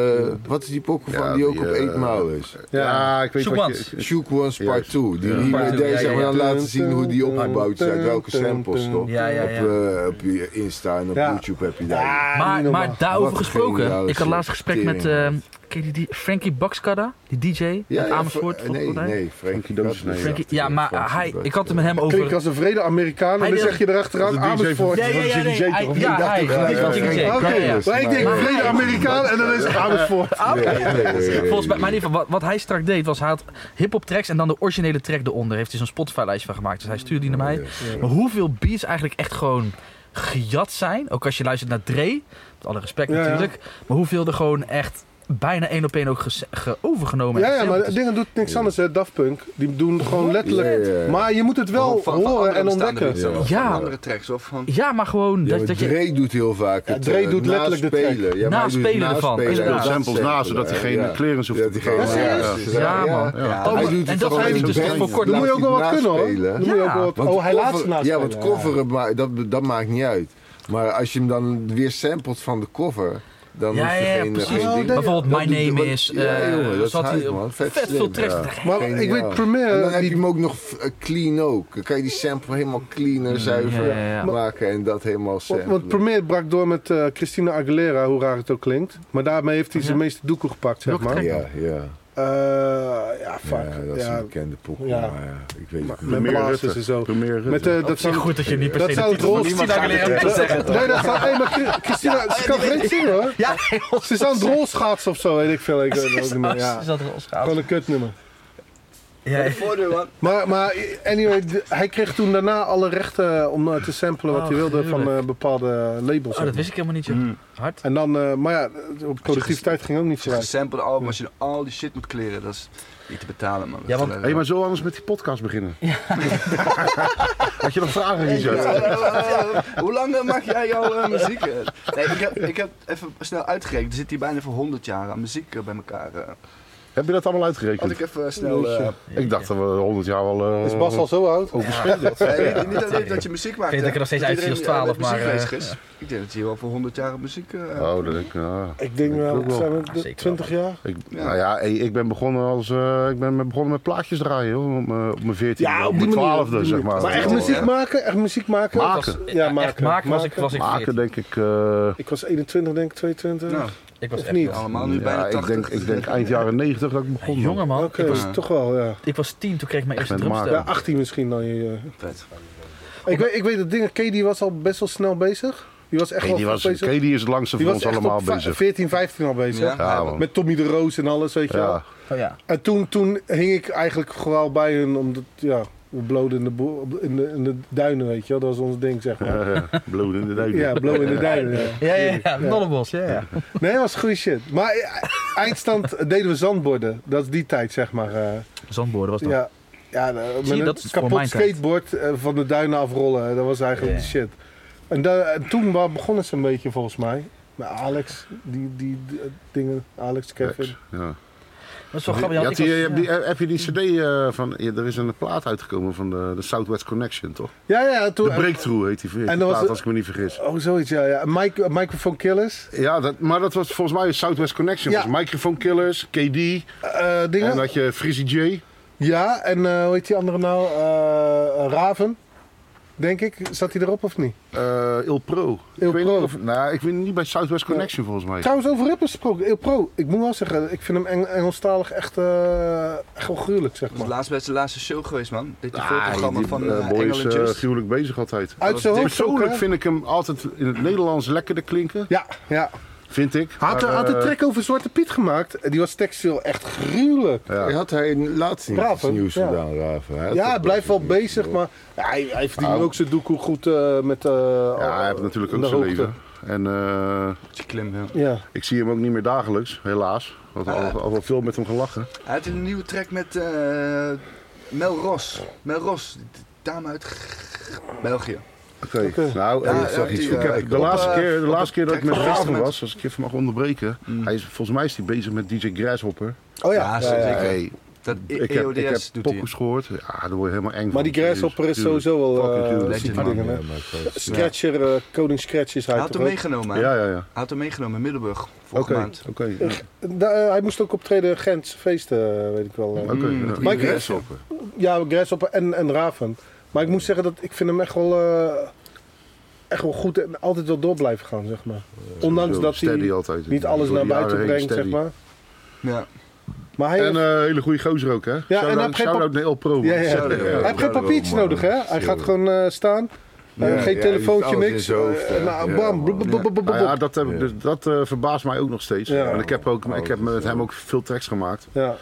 S2: wat is die pokoe van
S5: Ja,
S2: die ook
S5: die,
S2: op
S5: eh,
S2: 8 Mile is?
S5: Ja, ik weet
S3: Shoot
S5: wat
S3: once.
S5: je...
S2: Shook One's Part 2. Die remake,
S3: Part two,
S2: daar
S3: ja,
S2: zijn we
S3: ja,
S2: dan
S1: ja.
S2: laten zien hoe die opgebouwd is. Uit welke
S1: Tum, tum,
S2: samples
S1: tum.
S2: toch?
S3: Ja, ja, ja.
S2: Op, eh, op je Insta en op
S1: Ja.
S2: YouTube heb je daar.
S3: Maar,
S1: normaal.
S3: maar daarover
S2: Wat een geniale
S3: gesproken, ik had laatst een gesprek met eh,
S2: tering.
S3: ken je die, Frankie Baxkada, die DJ uit Amersfoort.
S2: eh,
S3: volgens
S2: Nee,
S3: mij.
S2: nee, Frankie
S5: Doos,
S2: Doos.
S5: nee, ja.
S3: Frankie, ja, maar eh, hij, ik had het met hem
S1: Klinkt
S3: over...
S1: als een vrede Amerikaan
S3: Hij
S1: en dan
S3: deed-
S1: zeg je erachteraan
S5: Dat is een DJ
S1: Amersfoort.
S3: Ja, ja, ja, nee, hij- ja, hij,
S2: gelijk
S3: die
S2: aan
S3: DJ.
S2: Frankie
S1: Oké,
S3: Ja, ja.
S2: Doos.
S1: maar ik denk
S3: Maar
S1: vrede
S3: hij-
S1: Amerikaan en dan is het Amersfoort.
S3: Volgens mij, maar in ieder geval, wat, wat hij strak deed was, hij had hip-hop tracks en dan de originele track eronder. Heeft hij zo'n Spotify-lijstje van gemaakt, dus hij stuurde die naar mij. Maar hoeveel beats eigenlijk echt gewoon gejat zijn, ook als je luistert naar Dre, met alle respect
S1: Ja, ja.
S3: natuurlijk, maar hoeveel er gewoon echt bijna één op één ook gese- ge- overgenomen. Dus
S1: Ja,
S3: en
S1: ja, maar
S3: gefilmd is.
S1: dingen doet niks anders, hè. Daft Punk. Die doen gewoon letterlijk...
S2: Ja, ja, ja.
S1: Maar je moet het
S3: Nou,
S1: wel
S4: van- van
S1: horen
S4: andere
S1: en
S4: bestaande
S1: ontdekken.
S4: mensen,
S2: Ja.
S4: of van
S3: Ja.
S4: andere tracks of van...
S3: Ja, maar gewoon
S2: Ja,
S3: dat,
S2: maar
S3: dat je...
S2: Dre doet heel vaak het
S1: Dre
S2: eh,
S1: doet letterlijk de track.
S2: naspelen. Ja, maar hij doet het
S3: Naspelen ervan.
S2: naspelen.
S3: Ja.
S2: Hij doet
S5: Samples
S2: dat
S5: na, zodat hij geen
S2: ja.
S5: clearance hoeft
S2: Dat
S5: te
S2: hij geen-
S5: betalen.
S1: Ja,
S2: Ja,
S1: serieus?
S3: Ja, man.
S5: Ja.
S2: Hij
S3: Oh,
S2: doet
S3: en
S2: het
S3: dat
S2: gewoon
S3: hij
S2: in
S3: dus
S2: zijn
S3: tot
S2: band.
S3: voor kort-
S1: Dan moet je ook wel wat
S2: Laat hij
S1: kunnen, hoor.
S2: naspelen.
S1: Dan moet je ook wel wat...
S2: Want
S1: Oh, hij laat
S2: cover-
S1: ze naspelen.
S2: Ja, want coveren, maar dat, dat maakt niet uit. Maar als je hem dan weer samplet van de cover, dan
S3: Ja,
S2: is er
S3: ja, ja,
S2: geen, eh,
S3: precies.
S2: geen
S1: Oh,
S2: ding.
S1: dat-
S3: Bijvoorbeeld
S2: Dat
S3: My
S2: doet-
S3: Name
S2: wat-
S3: Is.
S2: ja,
S3: eh,
S2: jongen, dat
S3: zat
S2: is
S3: hij
S2: hype, man.
S3: Vet,
S2: Vet
S3: veel
S2: slim,
S3: tracks.
S2: ja.
S3: Ja.
S1: Maar
S2: Geniaal.
S1: ik weet
S2: En dan
S1: Premiere...
S2: heb je
S1: die-
S2: hem ook nog eh, clean ook. Dan kan je die sample helemaal clean en zuiver
S3: ja, ja, ja.
S2: maken en dat helemaal
S1: Want,
S2: samplen.
S1: want Premier brak door met eh, Christina Aguilera, hoe raar het ook klinkt. Maar daarmee heeft hij
S3: Ja.
S1: zijn meeste doekoe gepakt, zeg
S3: Welke
S1: maar.
S3: track?
S2: ja, ja.
S1: Eh, ja, fuck.
S2: Ja, dat is
S1: Ja,
S2: een bekende pop.
S1: Ja.
S2: Maar ja, ik weet het niet.
S1: met
S5: Premier
S1: blazers
S5: Rutte.
S1: en zo.
S5: Premier Rutte.
S1: Met, eh, dat
S3: Dat is
S1: zijn-
S3: goed dat je niet per
S1: dat
S3: se
S1: zou
S3: de titel van
S1: het
S3: Christina Aguilera moet zeggen. toch?
S1: Nee, dat staat. Hey, maar Chri- Christina, ze kan vreemd zingen hoor.
S3: Ja,
S1: Ze is aan het rolschaatsen of zo, weet ik veel. Ik weet het ook niet meer. Ja.
S3: Is dat roze goud?
S1: Gewoon een kutnummer.
S3: Ja, ja.
S4: Voordeur, man.
S1: Maar, maar anyway, d- hij kreeg toen daarna alle rechten om eh, te samplen wat
S3: Oh,
S1: hij wilde van
S3: gruwelijk.
S1: eh, bepaalde labels.
S3: Oh, dat wist ik helemaal niet, joh. Hard.
S1: En dan, eh, maar ja, de productiviteit ging ook niet
S4: Als je
S1: vooruit.
S4: gesampled album, als je al die shit moet kleren, dat is niet te betalen, man.
S3: Ja, want-
S5: Hé, maar zo anders met die podcast beginnen. Had je nog vragen,
S4: Ja,
S5: Richard?
S4: eh, eh, eh, Hoe lang eh, maak jij jouw eh, muziek? eh? Nee, ik heb, ik heb even snel uitgerekend. Er zit hier bijna voor 100 jaar aan muziek eh, bij elkaar. eh.
S5: Heb je dat allemaal
S4: Had
S5: uitgerekend?
S4: ik even snel... eh,
S5: Ik dacht dat we 100 jaar wel... eh,
S1: Is Bas al zo oud?
S3: Oh,
S4: eh, niet- Niet alleen dat je muziek maakt.
S3: Ik weet dat ik er nog steeds uitzie als 12, maar, eh,
S4: maar... Ik denk dat je hier wel voor 100 jaar muziek... eh,
S5: Oh, dat denk ik. ja.
S1: Ik denk
S5: ook
S1: wel,
S5: wel.
S1: zijn
S3: Ah,
S1: we de
S3: zeker
S1: 20 jaar?
S5: Ik, Nou ja, hey, ik ben begonnen als eh, ik ben begonnen met plaatjes draaien hoor, op mijn- op mijn 14
S1: Ja, op
S5: op mijn
S1: die manier,
S5: 12e zeg maar.
S1: Maar echt
S5: Ja.
S1: muziek
S4: ja.
S1: maken? Echt muziek maken?
S5: Maken.
S1: Ik was-
S3: Ja,
S1: Ja,
S3: echt
S1: maken.
S3: maken was ik- was ik-
S5: Maken denk ik eh,
S1: Ik was 21, denk ik, 22.
S4: Nou,
S3: Ik was
S1: Of
S3: echt
S1: niet?
S3: jong.
S4: allemaal nu bijna
S5: ja, ik
S4: 80.
S5: denk ik denk eind jaren 90 dat ik begon. man.
S3: Jonger man,
S1: Oké,
S3: ik, was,
S1: dus toch wel, ja.
S3: ik was tien toen kreeg ik mijn eerste
S5: Met maken.
S3: drumstel.
S1: Ja, 18 misschien dan. Je, eh.
S4: Vet.
S1: Ik, weet, ik weet dat dingen, Kay die was al best wel snel bezig. Die was echt
S5: Hey, die
S1: wel
S5: was
S1: goed bezig.
S5: Kay, die is het langste
S1: die
S5: van
S1: was
S5: ons
S1: echt
S5: allemaal
S1: op va-
S5: bezig.
S1: 14, 15 al bezig.
S4: Ja?
S5: Ja, man.
S1: Met Tommy de Roos en alles, weet je wel.
S5: Ja,
S3: Oh, ja.
S1: En toen, toen hing ik eigenlijk gewoon bij hun, omdat, ja, we bloden in de, bo- in, de, in de duinen, weet je wel. Dat was ons ding, zeg maar.
S5: Eh, bloed in de duik.
S1: Ja, blow in de duinen. ja.
S3: Ja, ja, ja, Nollebos, ja, ja.
S1: Nee, dat was goede shit. Maar eh, eindstand deden we zandborden. Dat is die tijd, zeg maar. eh.
S3: Zandboorden was dat.
S1: Ja, ja de-
S3: Zie
S1: met
S3: je,
S1: een
S3: dat is voor
S1: kapot
S3: mijn tijd.
S1: skateboard eh, van de duinen afrollen. hè, Dat was eigenlijk
S3: Ja.
S1: de shit. En, da- en toen wa- begonnen ze een beetje volgens mij. Met Alex, die, die, die, eh, dingen. Alex, Kevin.
S5: Ja.
S3: Dat is wel grappig.
S5: Je
S3: want
S5: had
S3: ik
S5: die- je
S3: was-
S5: hebt die- heb je die cd eh, van... ja, Er is een plaat uitgekomen van de, de Southwest Connection, toch?
S1: Ja, ja,
S5: De
S1: toen.
S5: Breakthrough heet die, heet die
S1: En dan was
S5: plaat,
S1: het-
S5: als ik me niet vergis.
S1: Oh, zoiets, ja. ja. Mic- microphone Killers.
S5: Ja, dat, maar dat was volgens mij Southwest Connection.
S1: Ja.
S5: was Microphone Killers, KD,
S1: eh, dingen.
S5: en dat je Frizzy J.
S1: Ja, en eh, hoe heet die andere nou? Eh, Raven, denk ik. Zat hij erop of niet?
S5: eh Il Pro.
S1: Il
S5: ik weet
S1: Pro.
S5: Niet of, nou, ik weet niet bij Southwest Connection volgens mij.
S1: Trouwens, over rappers gesproken. heel Pro, ik moet wel zeggen, ik vind hem Eng- Engelstalig echt, eh echt wel gruwelijk, zeg
S4: Dat was
S1: maar.
S4: laatst bij zijn laatste show geweest, man. Dit
S5: Ah,
S4: voorprogramma
S5: die,
S4: van
S5: eh,
S4: eh,
S5: boy
S4: Engel
S5: is
S4: en
S5: eh,
S4: Just.
S5: gruwelijk bezig altijd.
S1: Uit zijn hoofd. ook,
S5: Persoonlijk
S1: hè?
S5: vind ik hem altijd in het Nederlands lekkerder klinken,
S1: Ja, ja.
S5: vind ik.
S1: Hij had,
S5: Maar,
S1: had
S5: eh,
S1: een track over Zwarte Piet gemaakt. Eh, Die was textueel echt gruwelijk.
S5: Ja.
S2: Had hij laatst niet
S1: Raven,
S2: iets nieuws
S1: ja.
S2: gedaan, Raven? Hij had
S1: Ja,
S2: toch
S1: hij blijft
S5: eh,
S1: wel
S2: best iets
S1: bezig,
S2: nieuws
S1: maar ja, hij, hij verdient
S5: Ah.
S1: ook zijn doekoe goed eh, met... eh,
S5: Ja, hij heeft natuurlijk ook
S1: de
S5: zijn
S1: hoogte.
S5: leven. En eh,
S4: Die Klim, ja.
S1: Ja.
S5: ik zie hem ook niet meer dagelijks, helaas. Want al, al wel veel met hem gelachen.
S4: Hij had een nieuwe track met eh, Mel Ros. Mel Ros, die dame uit G- België.
S5: Oké,
S1: Oké.
S5: nou,
S4: Ja,
S5: eh,
S4: ja,
S5: ik zag
S4: die,
S5: iets van
S4: eh,
S5: kijken. de,
S4: op,
S5: laatste
S4: eh,
S5: keer, de
S4: op
S5: laatste keer dat ik
S4: het
S5: met
S4: trek van
S5: Raven
S4: Raven.
S5: was, als ik even mag onderbreken, hij is, volgens mij is hij bezig met DJ Grasshopper.
S1: Oh ja.
S4: Ja, zeker.
S5: Hey,
S4: Dat E-
S5: ik
S4: EODS
S5: heb, ik heb
S4: doet hij.
S5: pokkers gehoord. Ja, daar word je helemaal eng van.
S1: Maar die Grasshopper is
S5: Serieus,
S1: sowieso wel
S5: Fucking
S1: eh
S5: gruwelijk.
S1: zieke
S4: Legend,
S1: dingen,
S2: gedaan.
S1: hè.
S2: Ja, maar het was-
S1: Scratcher, eh, Koning Scratch is hij
S4: Hij had
S1: toch
S4: hem
S1: ook?
S4: meegenomen, hè?
S5: Ja, ja, ja.
S4: Hij had hem meegenomen in Middelburg, vorige
S5: Oké,
S4: maand.
S5: oké. ja.
S1: Da- eh, hij moest ook optreden in Gents feesten, eh, weet ik wel. eh.
S5: Oké,
S4: Mm,
S5: ja.
S4: die
S1: Maar ik-
S5: Grasshopper.
S1: Ja, Grasshopper en, en Raven. Maar ik moet zeggen dat ik vind hem echt wel, eh, echt wel goed en altijd wel door blijven gaan, zeg maar. Ondanks
S5: Zo
S1: dat
S5: steady
S1: hij
S5: altijd.
S1: niet
S5: Door
S1: alles
S5: die
S1: naar buiten
S5: jaren heen
S1: brengt,
S5: steady.
S1: zeg maar.
S4: Ja.
S1: Maar hij,
S5: En eh,
S1: heeft,
S5: een hele goede gozer ook, hè? Ja,
S1: en hij heeft geen
S5: Shout-out naar El Pro. man.
S1: Ja, ja, ja.
S5: Shout-out.
S2: Hij
S1: hij heeft geen
S2: daarom,
S1: papiertjes
S2: man.
S1: nodig, hè? Hij
S2: Zo.
S1: gaat gewoon eh, staan. Eh,
S2: Ja,
S1: geen
S2: ja,
S1: telefoontje,
S2: alles in
S1: niks.
S2: zijn hoofd,
S1: Eh,
S2: ja.
S1: nou,
S2: Ja,
S1: bam.
S2: man.
S1: blub, blub, blub, blub,
S5: Nou
S1: blub.
S5: ja, dat, heb,
S2: Ja.
S5: dus dat eh, verbaast mij ook nog steeds.
S1: Ja.
S5: en ik heb, ook,
S2: Oh,
S5: ik heb
S2: dat is
S5: met hem
S2: zo.
S5: ook veel tracks gemaakt.
S1: Ja.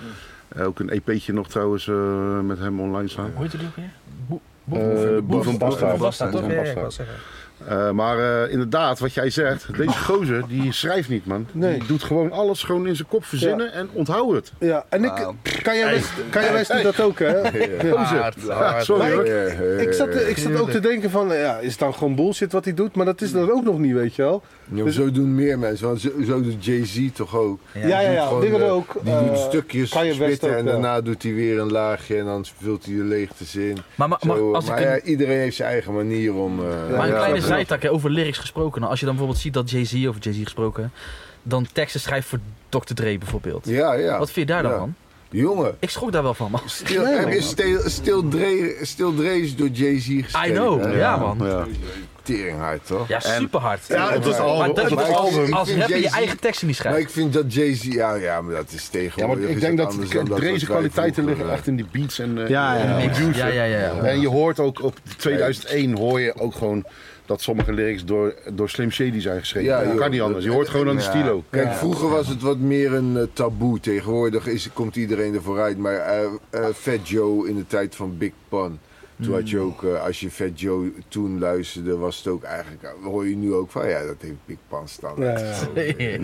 S5: Eh, ook een EP'tje nog trouwens eh, met hem online staan.
S3: Hoe heet die ook weer?
S5: Eh, Boef en Bastard.
S3: Basta, toch?
S5: Boef en
S3: Ja, ja, ik
S5: Bastard.
S3: wou zeggen.
S5: Eh, maar eh, inderdaad, wat jij zegt, deze gozer die schrijft niet, man.
S1: Nee.
S5: Die doet gewoon alles gewoon in zijn kop verzinnen en onthoudt het.
S1: Ja, en ik,
S4: Wauw.
S1: kan jij best, kan jij best dat ook, hè?
S5: Ah,
S2: Ja,
S5: sorry, hoor.
S1: Ik zat,
S2: Eh,
S1: ik zat ook te denken van, ja, is het dan gewoon bullshit wat hij doet? Maar dat is dat ook nog niet, weet je wel?
S2: Ja, maar zo doen meer mensen, want zo, zo doet Jay-Z toch ook.
S1: Ja, ja, ja,
S2: Die doet gewoon,
S1: dingen
S2: eh,
S1: ook.
S2: Die
S1: eh,
S2: doet stukjes
S1: Kanye West
S2: spitten
S1: ook,
S2: en
S1: ja.
S2: daarna doet hij weer een laagje en dan vult hij de leegtes in.
S3: Maar, maar,
S2: Zo,
S3: maar
S2: maar
S3: als ik een-
S2: ja, iedereen heeft zijn eigen manier om... eh,
S3: Maar een
S2: ja,
S3: kleine
S2: ja.
S3: zijtak, hè, over lyrics gesproken. Nou, als je dan bijvoorbeeld ziet dat Jay-Z, over Jay-Z gesproken, dan teksten schrijft voor Dr. Dre bijvoorbeeld.
S2: Ja, ja.
S3: Wat vind je daar dan
S2: Ja.
S3: van?
S2: Jongen,
S3: Ik schrok daar wel van, man.
S2: stil, heb je stil, stil, Dre, stil Dre is door Jay-Z geschreven.
S3: I know, ja,
S2: hè?
S3: man.
S5: Ja.
S2: Teringhard, toch?
S3: Ja, super hard.
S5: Ja, op het
S3: maar
S5: album.
S3: dat,
S5: op het
S2: maar-
S3: als,
S5: album.
S2: ik
S3: als
S2: vind
S3: rapper je
S2: Jay-Z
S3: eigen teksten niet
S2: Maar
S3: schrijft.
S2: ik vind dat Jay-Z, ja, ja, maar dat is
S5: Ja, maar
S2: tegenwoordig.
S5: ik
S2: is
S5: denk dat
S2: anders dan
S5: Dre's
S2: wat wij
S5: kwaliteiten
S2: vroeger,
S5: liggen
S2: eh,
S5: echt in die beats en eh,
S1: Ja, ja,
S5: en
S1: ja.
S5: die producer.
S3: Ja, ja, ja, ja.
S5: En je hoort ook op 2001 hoor je ook gewoon dat sommige lyrics door, door Slim Shady zijn geschreven.
S2: Ja,
S5: dat
S2: joh.
S5: kan niet anders. Je hoort gewoon aan de
S2: Ja.
S5: stilo.
S2: Kijk, vroeger was het wat meer een eh, taboe. Tegenwoordig is, komt iedereen er vooruit. Maar eh eh, Fat Joe in de tijd van Big Pun. Toen had
S5: Hmm.
S2: je ook, eh, als je Fat Joe toen luisterde, was het ook eigenlijk, eh, hoor je nu ook van, ja, dat heeft Big Pun staan.
S1: Ja, ja.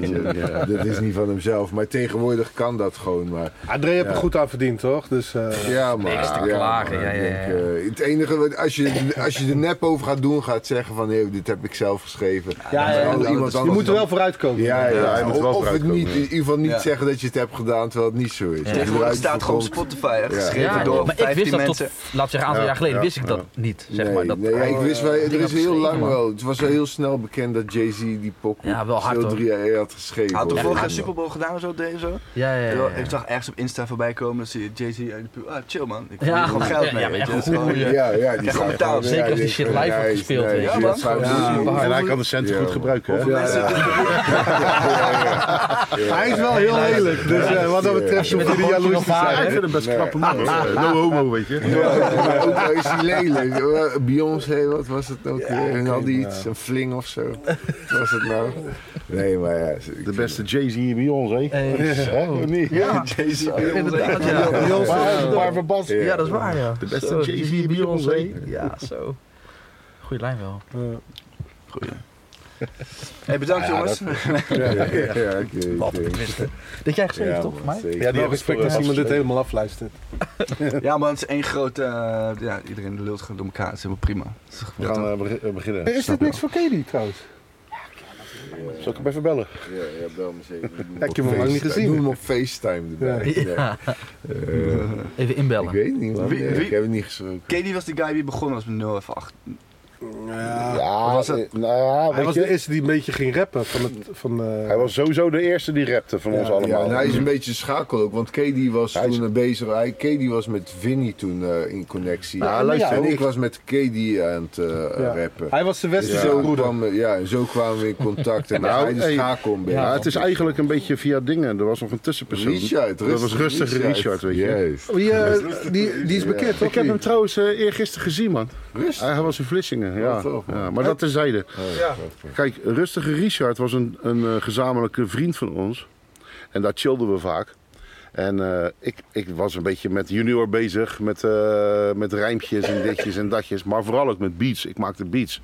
S2: Dat is niet van hemzelf, maar tegenwoordig kan dat gewoon. Maar
S1: Adré heeft er goed aan verdiend, toch? Dus, eh,
S2: ja, maar.
S3: Niks te
S2: ja,
S3: klagen,
S2: maar,
S3: ja,
S2: ik
S3: ja,
S2: denk, eh, het enige, wat- als je, als je er nep over gaat doen, gaat zeggen van, hé, dit heb ik zelf geschreven.
S1: ja, ja.
S2: Iemand anders
S1: je moet er
S2: dan-
S1: wel vooruitkomen.
S2: Ja, ja,
S5: Ja, hij moet
S2: of,
S5: wel
S2: of het
S5: vooruitkomen,
S2: niet, in
S5: ja.
S2: ieder geval niet
S4: Ja.
S2: zeggen dat je het hebt gedaan terwijl het niet zo is.
S4: Tegenwoordig staat gewoon Spotify, echt
S2: Ja.
S4: geschreven
S3: Ja,
S4: door
S3: maar
S4: 15
S3: ik wist dat tot,
S4: mensen.
S3: laat ik zeggen, een aantal
S5: Ja,
S3: jaar geleden
S5: ja,
S3: wist ik dat
S5: ja.
S3: niet, zeg
S2: nee,
S3: maar. Dat,
S2: nee, ja, ik wist wel, er
S3: dingen
S2: is heel
S3: geschreven,
S2: lang
S3: man.
S2: wel. Het was al heel snel bekend dat Jay-Z die pop
S3: Ja, wel hard,
S2: heel
S3: hoor.
S2: drie jaar had geschreven.
S4: Had toch
S2: hoor.
S4: vorig
S2: Ja,
S4: jaar Super Bowl gedaan of zo? deed zo?
S3: ja, ja, ja, ja.
S4: Terwijl Ik zag ergens op Insta voorbij komen, dan zie je Jay-Z uit de pu- Ah, chill man. Ik
S3: Ja,
S4: verdien hier gewoon
S3: gewoon-
S4: geld
S3: ja,
S4: mee,
S3: ja,
S4: weet
S3: maar echt
S4: je. Dat is
S3: een
S4: gewoon- eh,
S3: goede-
S2: Ja, ja, die
S4: Ja, gewoon
S2: gaat
S4: betaald.
S2: ja,
S3: Zeker als die
S2: nee,
S3: shit live wordt
S2: nee,
S3: gespeeld,
S2: nee,
S3: weet
S4: je.
S2: die
S4: Ja,
S2: gaat
S4: man.
S2: vijf
S1: Ja.
S2: miljoen.
S5: En hij kan de centen
S2: Ja.
S5: goed gebruiken. hè?
S1: Ja,
S4: Mensen-
S1: ja. Hij is wel heel lelijk, dus eh, wat dat betreft
S3: Met
S1: hoef je
S3: een
S1: niet
S3: hoortje
S1: jaloers
S3: nog
S1: te zijn.
S3: varen.
S5: Ik vind hem best
S2: Nee.
S5: knappe man. hoor. No homo, weet je.
S2: Maar ook al Oh, nou is hij lelijk. Eh, Beyoncé, wat was het nou? weer? en al die iets, een fling of zo. Wat was het nou? Nee, maar ja.
S5: De beste Jay-Z en Beyoncé. Hè, of niet?
S4: Jay-Z,
S3: Inderdaad, Oh, ja.
S5: Maar een paar verband.
S3: Ja, dat is waar, ja. De
S5: beste Jay-Z en Beyoncé.
S3: Ja, zo. Goeie lijn wel.
S4: Hey, bedankt jongens.
S2: Ja, ja, ja, ik weet
S3: Wat
S2: het.
S3: Dat jij geschreven,
S2: Ja,
S3: toch,
S2: man,
S3: voor mij?
S2: zeker.
S5: Ja, die
S1: Wel
S5: heb ik
S1: respect
S5: voor
S1: als
S5: eh,
S1: iemand dit helemaal afluistert.
S4: Ja man, het is één grote... eh, ja, iedereen lult gewoon door elkaar. Het is helemaal prima. Het is
S5: We
S4: gewoon-
S5: gaan eh, beg- eh, beginnen.
S1: Is dit niks voor Katie trouwens?
S5: Zal ik hem even bellen?
S2: Ja, ja, bel me zeker. Ik doe
S1: heb hem
S2: op
S1: lang niet
S2: FaceTime.
S1: gezien.
S2: Doe hem op FaceTime erbij. Ja.
S3: Ja.
S2: Eh,
S3: Even
S2: ik
S3: inbellen.
S2: weet niet, man.
S4: Wie-
S2: Ja,
S4: wie-
S2: Ik heb het niet geschrokken.
S4: Katie was die guy die begonnen was met 058.
S5: Ja,
S4: was
S5: eh, nou ja,
S1: Hij
S5: weet
S1: was
S5: je,
S1: de eerste die een beetje ging rappen van het... Van, eh,
S5: Hij was sowieso de eerste die rapte van ons
S2: Ja,
S5: allemaal.
S2: en hij is een beetje schakel ook, want KD was
S5: Hij is-
S2: toen bezig. Hij, KD was met Vinny toen eh, in connectie.
S5: Nou, en luister,
S2: en
S5: jou
S2: ik was met KD aan het eh,
S1: ja.
S2: rappen.
S1: Hij was de
S2: Dus
S1: westerse
S2: zo
S1: broeder.
S2: kwamen, ja, en zo kwamen we in contact. En
S5: Nou,
S2: hij de
S5: hey,
S2: schakel een beetje.
S5: Ja, het is eigenlijk een beetje via dingen. Er was nog een tussenpersoon.
S2: Richard,
S5: dat was rustige Richard, weet je.
S2: Juist.
S1: Wie, eh, die, die is bekend, toch?
S5: Ik heb hem trouwens eh eergisteren gezien, man.
S2: Rustig.
S5: Hij hij was in Vlissingen, ja.
S2: Wat toch, man.
S5: ja maar dat terzijde. Kijk, Rustige Richard was een, een eh, gezamenlijke vriend van ons. En daar chillden we vaak. En eh, ik, ik was een beetje met junior bezig, met, eh, met rijmpjes en ditjes en datjes. Maar vooral ook met beats. Ik maakte beats.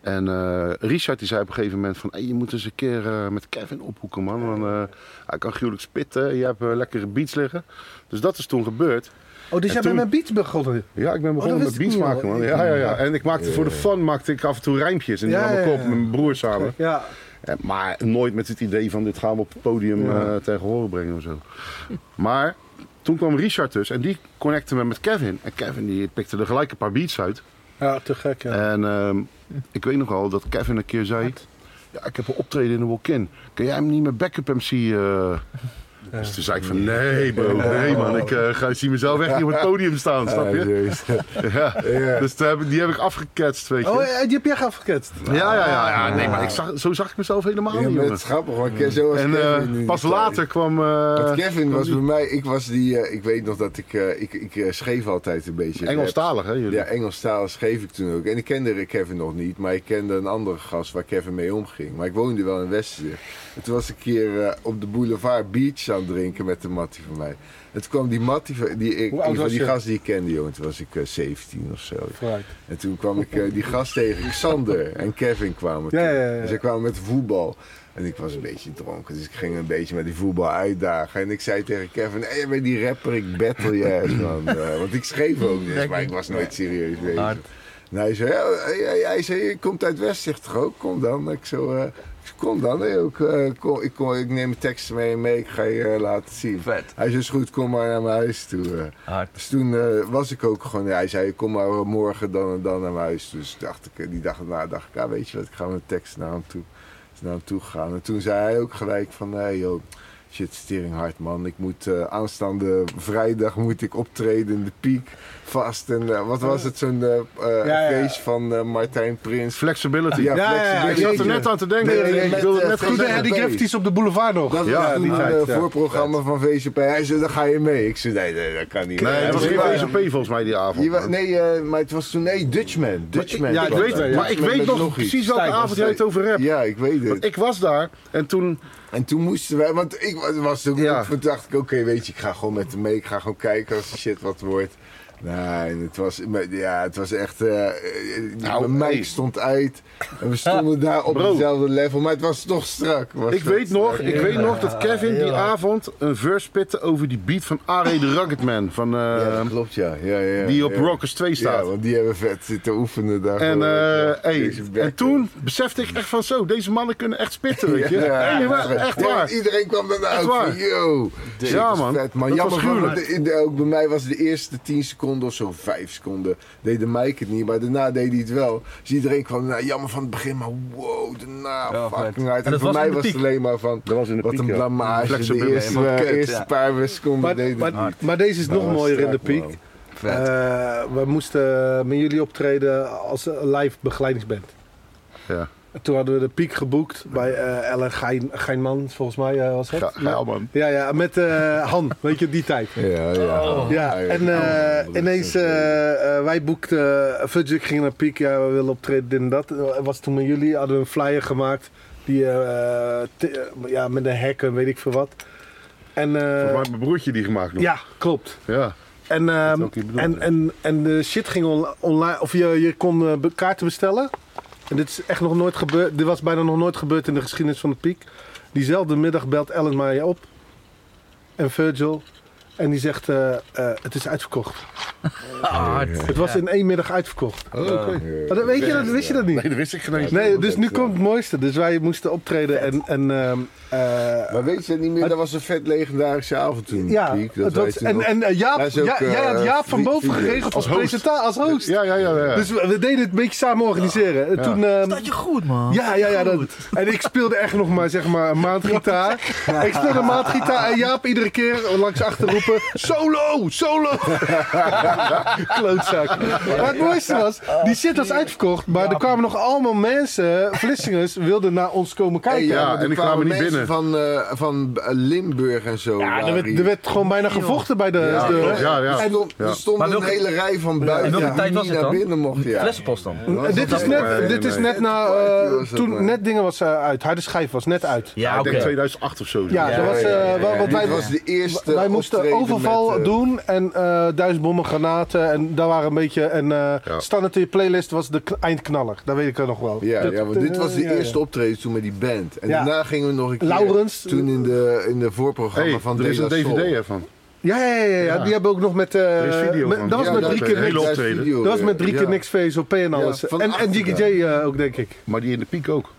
S5: En eh, Richard die zei op een gegeven moment van... Hey, je moet eens een keer eh, met Kevin ophoeken, man. Want, eh, hij kan gruwelijk spitten, je hebt eh, lekkere beats liggen. Dus dat is toen gebeurd.
S1: Oh, dus
S5: En
S1: jij
S5: toen-
S1: bent met beats begonnen?
S5: Ja, ik ben begonnen
S1: Oh, dat wist
S5: met beats
S1: ik niet,
S5: maken,
S1: hoor.
S5: man. Ja, ja, ja. En ik maakte voor de fun maakte ik af en toe rijmpjes. En die
S1: Ja,
S5: nam ik
S1: ja,
S5: op
S1: ja.
S5: met mijn broer samen.
S1: Ja.
S5: En- Maar nooit met het idee van dit gaan we op het podium eh, tegen horen brengen of zo. Maar toen kwam Richard dus en die connecte me met Kevin. En Kevin die pikte er gelijk een paar beats uit.
S1: Ja, te gek, ja.
S5: En ehm, ik weet nog wel dat Kevin een keer zei... Ja, ik heb een optreden in de walk-in. Kan jij hem niet met backup MC... eh Dus toen zei ik van, nee bro, nee man. Ik eh, ga zie mezelf echt niet op het podium staan, snap je? Ja. Dus toen heb ik- die heb ik afgeketst, weet je.
S1: Oh, eh, die heb jij afgeketst.
S5: ja, ja, ja, ja. Nee, maar ik zag, zo zag ik mezelf helemaal
S2: Ah. Ja,
S5: niet,
S2: maar
S5: jongen.
S2: het is grappig, want ik- zo was
S5: En eh,
S2: Kevin nu
S5: pas
S2: niet, eh,
S5: later kwam...
S2: Want
S5: eh
S2: Kevin was bij mij, ik was die, eh, ik weet nog dat ik, eh, ik, ik eh, schreef altijd een beetje. rap.
S5: Engelstalig, hè, jullie?
S2: Ja, Engelstalig schreef ik toen ook. En ik kende Kevin nog niet, maar ik kende een andere gast waar Kevin mee omging. Maar ik woonde wel in Westen. En toen was ik een keer eh, op de boulevard Beach, aan het drinken met de mattie van mij. En toen kwam die mattie van die, ik,
S1: Hoe oud
S2: die, van
S1: was
S2: die
S1: je?
S2: gast die ik kende, jongen. Toen was ik eh, 17 of zo.
S1: Vooruit.
S2: En toen kwam ik eh, die gast tegen, Xander en Kevin kwamen.
S1: Ja,
S2: toen.
S1: ja, ja, ja.
S2: En ze kwamen met voetbal. En ik was een beetje dronken, dus ik ging een beetje met die voetbal uitdagen. En ik zei tegen Kevin, hey, jij bent die rapper, ik battle je ass, man. Eh, want ik schreef ook dus, maar ik was nooit serieus bezig.
S3: Hard.
S2: En hij zei, "Oh, eh, ja, hij, hij- hij zei, je komt uit West, zegt toch ook? Kom dan. Ik zo, eh, ik zei, kom dan. Hey, ook, eh, kom, ik, kom, ik neem mijn teksten mee, mee, ik ga je eh, laten zien.
S4: Vet.
S2: Hij zei, is goed, kom maar naar mijn huis toe. eh.
S3: Hard.
S2: Dus toen eh, was ik ook gewoon, ja, hij zei, kom maar morgen dan en dan naar mijn huis. Dus dacht ik, eh, die dag daarna dacht ik, ja, weet je wat, ik ga met tekst naar hem toe. Is naar hem toe gegaan. En toen zei hij ook gelijk van, hey, joh, shit, stering hard man. Ik moet eh, aanstaande vrijdag moet ik optreden in de piek, vast. En eh, wat was het, zo'n eh, eh,
S1: Ja, ja.
S2: feest van eh, Martijn Prins?
S5: Flexibility.
S2: Ja,
S1: Ja, ja,
S2: flexibility.
S5: ik zat er net aan te denken.
S2: Nee, nee,
S5: ik
S2: met,
S5: wilde het
S2: eh,
S5: net
S1: Toen
S5: gaan
S1: de
S2: Flexibility.
S5: zeggen.
S1: Handy Gravities op de boulevard nog.
S2: Dat
S5: Ja,
S2: was
S5: die
S2: toen
S1: tijd,
S2: het
S1: ja.
S2: voorprogramma van VCP. Hij zei, dan ga je mee. Ik zei, nee, nee dat kan niet.
S5: Nee, dat was geen
S2: Ja.
S5: VCP volgens mij die avond.
S2: Je wa- nee, eh, maar het was toen... Nee, Dutchman. Dutchman.
S5: ja, ik
S2: kwam
S5: weet,
S2: daar.
S5: maar ik
S2: Dutchman
S5: weet
S2: met
S5: nog,
S2: iets.
S5: precies welke
S1: Stijn,
S5: avond jij het over hebt.
S2: Ja, ik weet het.
S5: Want ik was daar en toen...
S2: En toen moesten wij... Want ik wa- was toen...
S5: Ja.
S2: Toen dacht ik, oké, weet je, ik ga gewoon met hem mee. Ik ga gewoon kijken als die shit wat wordt. Nee, en het was, maar ja, het was echt... eh, eh,
S5: Nou,
S2: mijn mic
S5: hey.
S2: stond uit. En we stonden daar op
S5: Bro.
S2: hetzelfde level. Maar het was toch strak. was
S5: Ik
S2: dat
S5: weet nog,
S2: strak.
S5: ik weet nog dat Kevin die avond een verse pitte over die beat van Are the Rocketman. Van, eh,
S2: Ja, dat klopt, ja. ja, ja
S5: die op
S2: ja.
S5: Rockers 2
S2: Ja,
S5: staat.
S2: want die hebben vet zitten oefenen daar.
S5: En,
S2: gewoon,
S5: eh,
S2: Oh, ja,
S5: hey,
S2: deze back-
S5: en toen besefte ik echt van zo, deze mannen kunnen echt spitten, weet je.
S2: Ja,
S5: Nee, maar
S2: ja,
S5: echt waar.
S2: Iedereen kwam daarna
S5: Echt
S2: uit
S5: waar.
S2: van, yo.
S5: Ja,
S2: shit, dat is
S5: man.
S2: Vet, man.
S5: Dat
S2: Jammer
S5: was
S2: genoeg,
S5: gruwelijk.
S2: want de- de- ook bij mij was de eerste 10 seconden of zo, 5 seconden, deed de mic het niet. Maar daarna deed hij het wel. Dus iedereen kwam daarna, jammer van het begin, maar wow, daarna,
S4: Ja,
S2: fucking
S4: vet.
S2: hard. En,
S3: dat
S2: voor
S3: was in
S2: mij
S3: de
S2: was het
S3: piek.
S2: alleen maar van,
S7: Dat was in de
S2: wat
S7: piek,
S2: een
S7: ja.
S2: blamage. De
S5: Flexibel,
S2: eerste,
S4: helemaal
S2: eh,
S4: kut,
S2: eerste
S4: ja.
S2: paar seconden
S1: Maar,
S2: deden
S1: maar,
S2: het niet.
S1: maar deze is nog
S2: Dat was
S1: mooier in de
S2: strak,
S1: piek.
S2: man.
S4: Vet.
S1: Eh, we moesten met jullie optreden als een live begeleidingsband.
S5: Ja.
S1: En toen hadden we de piek geboekt bij eh Ellen Gein, Geinman, volgens mij eh, was het.
S5: Ga- Geil, man.
S1: Ja, ja, met eh, Han, weet je, die tijd.
S2: Ja, ja.
S5: Oh,
S1: Ja,
S2: ja.
S1: en eh, ineens, eh, eh, wij boekten, eh, Fudgic ging naar Piek, ja, we willen optreden, dit en dat. Eh, was toen met jullie, hadden we een flyer gemaakt, die, eh, t- eh, ja, met een hek en weet ik veel wat. En, eh,
S5: Volgens mij heeft mijn broertje die gemaakt nog.
S1: ja, klopt.
S5: Ja.
S1: En, ehm,
S5: ook niet bedoeld,
S1: en,
S5: hè?
S1: en, en de shit ging on- online, of je, je kon eh, be- kaarten bestellen. En dit is echt nog nooit gebeurd, dit was bijna nog nooit gebeurd in de geschiedenis van de piek. Diezelfde middag belt Ellen mij op en Virgil. En die zegt, eh, eh, het is uitverkocht.
S3: Hard.
S1: Het was in één middag uitverkocht. Maar dat, weet, je, dat, wist je dat niet?
S5: Oh, Nee, dat wist ik geen eens.
S1: Nee, dus nu komt
S2: eh,
S1: het mooiste. Dus wij moesten optreden en... en ehm, eh,
S2: Maar weet je dat niet meer? Dat was een vet legendarische avond toen.
S1: ja,
S2: Piek,
S1: dat
S2: wij
S1: was-
S2: toen
S1: en,
S2: nog-
S1: en eh, Jaap,
S2: Hij is ook,
S1: ja, jij had
S2: eh,
S1: Jaap van
S2: vlie-
S1: boven
S2: vliegen.
S1: geregeld als,
S5: Als host.
S1: presentator, als host.
S5: Ja, ja, ja. ja.
S1: Dus we, we deden het een beetje samen organiseren. En Toen, ehm,
S3: Dat je goed, man.
S1: ja, ja, ja. Dat, en ik speelde echt nog maar, zeg maar, een maand gitaar. Ik speelde een maand gitaar en Jaap iedere keer langs achter roepen... Solo! Solo! Klootzak. Maar het mooiste was, die shit was uitverkocht... maar er kwamen nog allemaal mensen, Vlissingers, wilden naar ons komen kijken.
S5: Ja,
S2: maar
S5: en
S2: er
S5: die kwamen niet
S2: mensen
S5: binnen.
S2: Van, eh, van eh, Limburg en zo.
S1: Ja, er
S2: waren
S1: werd,
S2: hier.
S1: er werd gewoon bijna gevochten bij de... de-
S5: Ja, ja.
S2: Er stond, er stond
S3: Maar
S2: een
S3: welke-
S2: hele rij van buiten.
S3: welke
S2: die
S3: tijd
S2: niet
S3: was het
S2: naar
S3: dan?
S2: binnen mocht, ja.
S3: Flessenpost dan.
S1: En dit is net, dit is net na... eh, toen net dingen was eh, uit, harde schijf was net uit.
S3: Ja,
S5: Ik
S3: oké.
S5: denk 2008 of zo.
S1: Ja, dat was eh, wa- wat
S2: Dit
S1: wij...
S2: was de eerste
S1: Wij moesten
S2: optreden
S1: overval
S2: met, eh,
S1: doen en eh duizend bommen, granaten en daar waren een beetje... En eh
S5: Ja.
S1: standaard in je playlist was de k- eindknaller, dat weet ik er nog wel.
S2: Ja,
S1: Dat-
S2: ja, want dit
S1: eh,
S2: was de
S1: ja, ja.
S2: eerste optreden toen met die band. En
S1: Ja.
S2: daarna gingen we nog een keer...
S1: Laurens.
S2: Toen in de, in de voorprogramma
S5: Hey,
S2: van
S5: er is
S2: De
S5: een
S2: La Soul.
S5: DVD ervan.
S1: Ja, ja, ja, ja, ja,
S5: Ja.
S1: die hebben we ook nog met... eh,
S5: Er is video
S1: met-
S5: van.
S1: dat was
S5: Ja,
S1: met
S5: dat
S1: drie
S5: is
S1: keer
S5: een hele
S1: niks.
S5: op- optreden.
S1: Dat was met drie keer niks VSOP en alles.
S2: van
S1: en en
S2: achter
S1: GKJ eh, ook, denk ik.
S5: Maar die in de piek ook.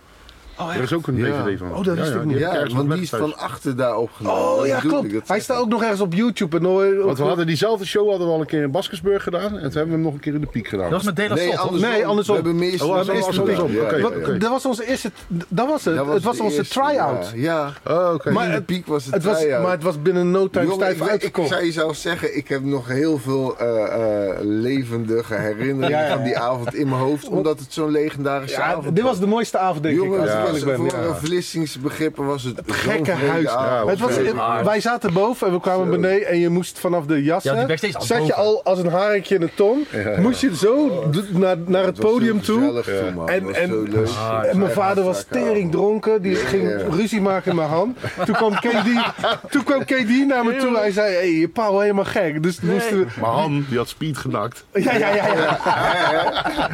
S3: Oh,
S5: er is ook een
S2: Ja.
S5: DVD van.
S1: Oh, dat wist ik niet.
S5: die
S2: Ja,
S5: heb ergens nog
S2: want die
S5: liggen
S2: is
S5: thuis.
S2: van achter daar opgenomen.
S1: Oh
S2: Dat
S1: ja,
S2: bedoel ik,
S1: klopt.
S2: dat
S1: Hij
S2: zeg
S1: staat
S2: ik.
S1: ook nog ergens op YouTube. En hoor-
S5: Want we hadden diezelfde show hadden we al een keer in Baskersburg gedaan. En toen hebben we hem nog een keer in de piek gedaan.
S3: Dat was met De La Soul,
S2: Nee,
S3: toch?
S2: andersom.
S1: Oh, Nee, andersom.
S2: We hebben meer
S5: Oh, we hebben eerst
S2: andersom.
S5: andersom.
S2: Ja,
S5: Oké,
S2: ja,
S1: Wat-
S2: ja.
S5: oké.
S1: Dat was onze eerste... Dat was het.
S2: Dat
S1: het was
S2: de
S1: onze
S2: eerste,
S1: try-out.
S2: Ja, ja.
S5: Oh, oké.
S1: Maar
S2: in de
S1: het-
S2: piek was de
S1: Het was,
S2: try-out.
S1: maar het was binnen no time
S2: Jongen,
S1: tijd
S2: ik, weet- ik
S1: uitgekocht.
S2: zou je zelf zeggen, ik heb nog heel veel eh, eh, levendige herinneringen
S1: Ja, ja, ja.
S2: van die avond in mijn hoofd, omdat het zo'n legendarische
S1: Ja,
S2: avond
S1: dit was de mooiste avond, denk
S2: Jongen,
S1: ik.
S2: als
S1: Als
S2: ik
S1: ik ben.
S2: Voor
S1: ja.
S2: een verlissingsbegrippen was het. Het
S1: gekke huis.
S5: Ja,
S1: Het was,
S5: oké.
S1: het- wij zaten boven en we kwamen beneden en je moest vanaf de
S3: Ja, die
S1: jassen,
S3: backstage al
S1: zat je
S3: boven.
S1: al als een harentje in de tong, moest je
S2: Oh.
S1: zo d- naar, naar het podium toe. En-
S2: En,
S1: en- En
S2: Ah,
S1: mijn vader was tering dronken, die ging ruzie maken in mijn hand. Toen kwam KD, toen kwam KD naar me toe, hij zei, hey, je pa wel helemaal gek. Dus toen moesten we...
S5: Maar Han, die had speed genakt.
S1: Ja, ja, ja, ja.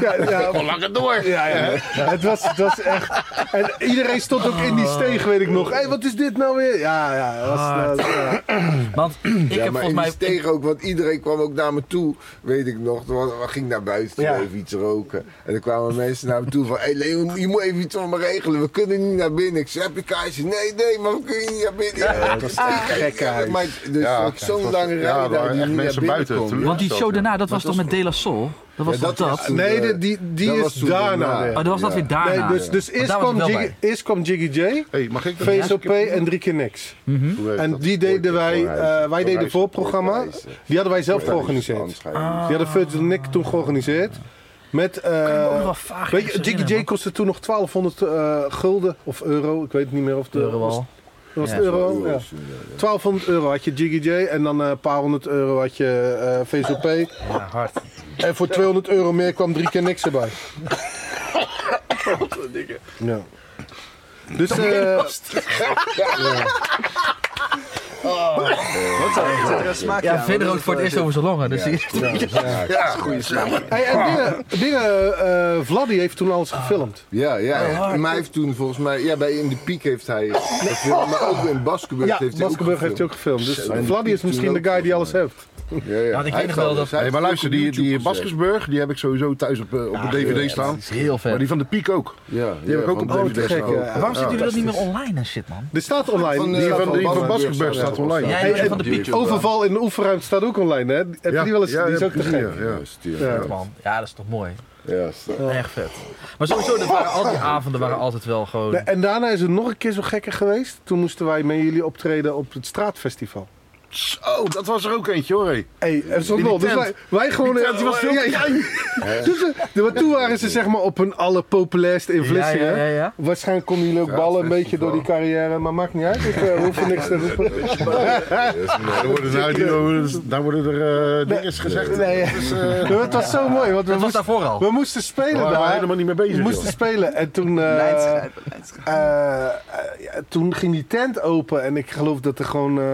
S1: ja, ja.
S5: Kon langer door.
S1: Ja, ja. Het, was, het was echt. En iedereen stond ook in die
S2: Ah.
S1: steeg, weet ik nog. Hé, wat is dit nou weer? Ja, ja. het Was, dat- ja.
S3: Want
S2: Ja,
S3: ik heb
S2: maar in
S3: volgens
S2: die
S3: mij...
S2: steeg ook, want iedereen kwam ook naar me toe, weet ik nog. Er was- We ging naar buiten,
S1: Ja.
S2: even iets roken. En er kwamen mensen naar me toe van, hé hey Leon, je moet even iets voor me regelen. We kunnen niet naar binnen. Ik zei, heb je kaartje? Nee, nee, maar we kunnen niet naar binnen. Ja, dat was
S1: gekke huis.
S2: Dus
S5: Ja,
S2: vond ik zo'n lange rij
S5: ja,
S2: daar
S5: er waren
S2: die
S5: echt
S2: niet naar
S5: mensen
S2: binnen
S5: buiten
S2: kon.
S5: toen.
S2: Ja,
S3: Want die show daarna, dat was
S2: dat
S3: toch met De La Soul? Dat was toch
S2: dat was
S3: dat?
S2: toen,
S3: Oh,
S1: Nee,
S2: eh,
S1: de- die, die
S2: dat was
S1: is
S2: toen
S1: daarna
S2: daarna.
S1: weer.
S3: dat was dat
S2: ja.
S3: weer daarna.
S1: Nee, dus, dus
S3: Want
S1: eerst,
S3: daar was
S1: kwam
S3: ik wel
S1: Jiggy, eerst kwam Jiggy J,
S5: Hey, mag ik dat
S1: VSOP en drie keer niks. En die deden wij, eh, wij deden voorprogramma. Die hadden wij zelf georganiseerd. Die hadden Virgil Nick toen georganiseerd. Met,
S3: bij.
S1: eh,
S3: Ook wel vaag
S1: weet je,
S3: ergens
S1: Jiggy J
S3: herinneren,
S1: kostte toen nog 1200 eh, gulden of euro. Ik weet niet meer of de
S3: man. Euro al.
S1: Was het
S3: Ja.
S1: euro? Ja. 1200 euro had je Jiggy J en dan eh, een paar honderd euro had je eh VSOP.
S3: Ja, hard.
S1: En voor 200 euro meer kwam drie keer niks erbij. Ja. Dus eh
S4: Zit er een smaakje
S3: Ja,
S4: aan,
S3: verder
S4: want
S3: ook voor het eerst
S4: dat
S3: over zijn longen. Dus
S2: Ja, goede zaak.
S1: hey,
S3: Ah.
S1: en dingen, dingen eh Vladdy heeft toen alles gefilmd.
S2: Ja, ja. maar hij heeft toen volgens mij, ja, bij In de Piek heeft hij, gefilmd, maar ook in Baskenburg
S1: Ja,
S2: heeft hij ook
S1: Baskenburg Ah, heeft hij ook gefilmd. Dus
S2: Zo, en
S1: Vladdy is
S2: toen
S1: misschien de
S2: ook
S1: guy die alles heeft.
S2: Ja, ja.
S3: Want ik
S2: Hij
S3: weet nog
S2: heeft
S3: wel
S2: alles.
S3: dat-
S2: Hij
S5: Hey,
S2: heeft
S5: maar
S2: het
S5: luister,
S2: ook op
S5: die,
S2: YouTube
S5: die
S2: gezet.
S5: Baskersburg, die heb ik sowieso thuis op, eh, op een DVD staan.
S3: is heel vet.
S5: Maar die van de Piek ook.
S2: Ja,
S5: Die heb ik ook op
S1: Oh, te
S5: DVD
S1: gek.
S5: staan.
S1: ja.
S3: Waarom zitten jullie dat niet meer online en shit, man?
S1: Er staat online.
S2: Van, eh,
S1: die
S5: Die
S1: staat
S5: van, die
S1: online.
S5: van Baskersburg staat online.
S3: Ja,
S1: Hey,
S3: die
S1: en
S3: van de
S2: die-
S3: Piek.
S1: Overval in de oefenruimte staat ook online, hè? Heb je die wel eens? die is ook te
S5: precies,
S1: gek.
S5: ja, ja.
S2: Ja,
S3: Man, ja, dat is toch mooi.
S2: ja. sterk.
S3: Echt vet. Maar sowieso, dat waren al die avonden waren altijd wel gewoon...
S1: Nee, En daarna is het nog een keer zo gekker geweest. Toen moesten wij met jullie optreden op het straatfestival.
S5: Oh, dat was er ook eentje hoor. hé.
S1: Hé, hey, zo'n lol. Dus
S5: tent.
S1: wij, wij gewoon...
S5: Die tent, die was
S1: eh,
S5: heel
S1: ja, ja. Dus, eh, maar toen waren ze zeg maar op hun allerpopulairste in
S3: Ja,
S1: Vlissingen.
S3: ja, ja, ja.
S1: Waarschijnlijk konden jullie ook ballen een beetje door die carrière. Maar maakt niet uit. Ik eh, hoef er niks te roepen.
S5: Daar worden, nou, die- daar worden- daar worden er eh, dingen gezegd.
S1: Nee, Maar het was zo mooi. Want we,
S3: Dat was
S1: moesten,
S3: daarvoor al.
S1: we moesten spelen
S5: Daar waren eh, we
S1: daar.
S5: helemaal niet mee
S1: We
S5: bezig.
S1: moesten
S5: joh.
S1: spelen. En toen... eh,
S4: Leidsgrijpen, leidsgrijpen.
S1: eh, eh, ja, toen ging die tent open. En ik geloof dat er gewoon... eh,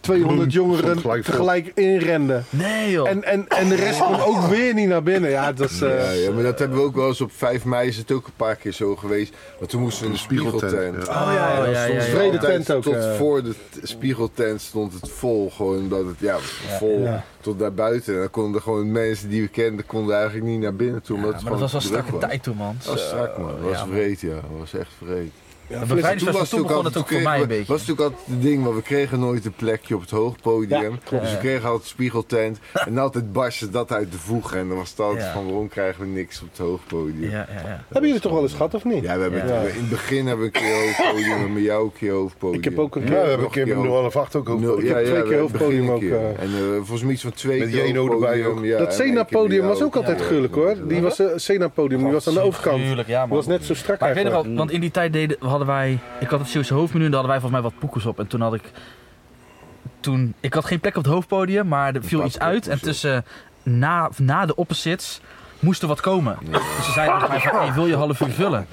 S1: 200 jongeren
S5: stond gelijk Oh. vol.
S1: tegelijk inrenden.
S3: Nee, joh.
S1: En, en, en de rest kon ook weer niet naar binnen. Ja, dat is... eh,
S2: Ja, ja, maar dat hebben we ook wel eens op 5 mei is het ook een paar keer zo geweest. Want toen moesten we in de
S5: Spiegeltent,
S2: spiegeltent. Ah, dus
S5: ja.
S3: Oh, ja, ja, ja, ja, ja.
S1: Vrede tent ook,
S2: Tot
S1: eh.
S2: voor de t- spiegeltent stond het vol. Gewoon dat het, ja, vol tot daar buiten. En dan konden gewoon mensen die we kenden, konden eigenlijk niet naar binnen toe.
S3: Ja, maar dat was wel strakke tijd toen, man.
S2: Dat was strak man, dat was vreed ja, dat was echt vreed.
S3: En bij Vrijdensfest was toen begon het ook voor mij een beetje.
S2: was natuurlijk altijd het ding, want we kregen nooit een plekje op het hoogpodium. dus we kregen altijd spiegeltent. En altijd barsten dat uit de voeg. En dan was het altijd
S3: Ja.
S2: van waarom krijgen we niks op het hoogpodium. Ja,
S3: Ja, ja, ja.
S1: Hebben jullie toch wel eens gehad of niet?
S2: we hebben
S3: Ja.
S2: het- in het begin hebben we een keer hoogpodium en met jou een keer hoogpodium.
S1: Ik heb ook een
S5: Ja,
S1: keer.
S5: we hebben een keer met
S2: Nul-
S5: 0,8 ook.
S2: Nul-
S5: ook.
S1: heb twee
S2: we
S1: keer
S2: hebben het begin
S1: hoogpodium
S2: een
S1: ook,
S2: keer.
S1: eh.
S2: En eh, volgens mij iets van twee
S5: Met
S2: keer
S5: Jeno erbij
S2: hoogpodium,
S5: ook.
S1: dat
S2: ja, en één keer met
S1: Sena-podium
S2: jou.
S1: was ook altijd gruwelijk hoor. Die was, eh, Sena-podium die was aan de overkant. Die
S3: Tuurlijk, ja, man.
S1: was net zo strak
S3: Maar ik weet nog
S1: eigenlijk.
S3: wel, want in die tijd deden, hadden wij... Ik had het Zeeuwse hoofdmenu en daar hadden wij volgens mij wat poekers op. En toen had ik... Toen, ik had geen plek op het hoofdpodium, maar er viel
S2: paar
S3: iets uit. En
S2: poekers op.
S3: tussen, na, na de opposites, moest er wat komen. Dus ze zeiden tegen mij van, hey, wil je half uur vullen?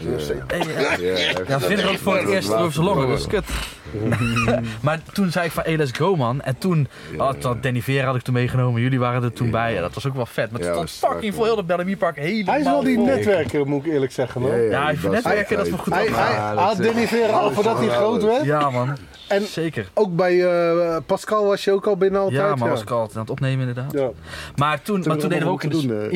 S3: Hey, eh,
S2: Ja,
S3: Ja, vind ik ook voor het eerst over zijn longen, dat is kut. maar toen zei ik van, hey, let's go man. En toen, had dat Danny Vera had ik toen meegenomen, jullie waren er toen bij. Ja, dat was ook wel vet. Maar toen
S2: Ja,
S3: stond
S2: dat was
S3: fucking
S2: strak,
S3: voor heel de Bellamy Park helemaal
S1: Hij is wel die
S3: vol.
S1: netwerker, moet ik eerlijk zeggen hoor.
S3: Ja, ik vind netwerken, dat is wel goed.
S1: Hij, hij
S2: Ja, dat
S1: had
S2: is-
S1: Danny Vera al voordat hij groot werd.
S3: Ja man,
S1: En
S3: zeker.
S1: ook bij eh, Pascal was je ook al binnen altijd.
S3: Ja man, was ik altijd aan het opnemen inderdaad.
S1: Ja.
S3: Maar toen, maar toen deden we ook in de,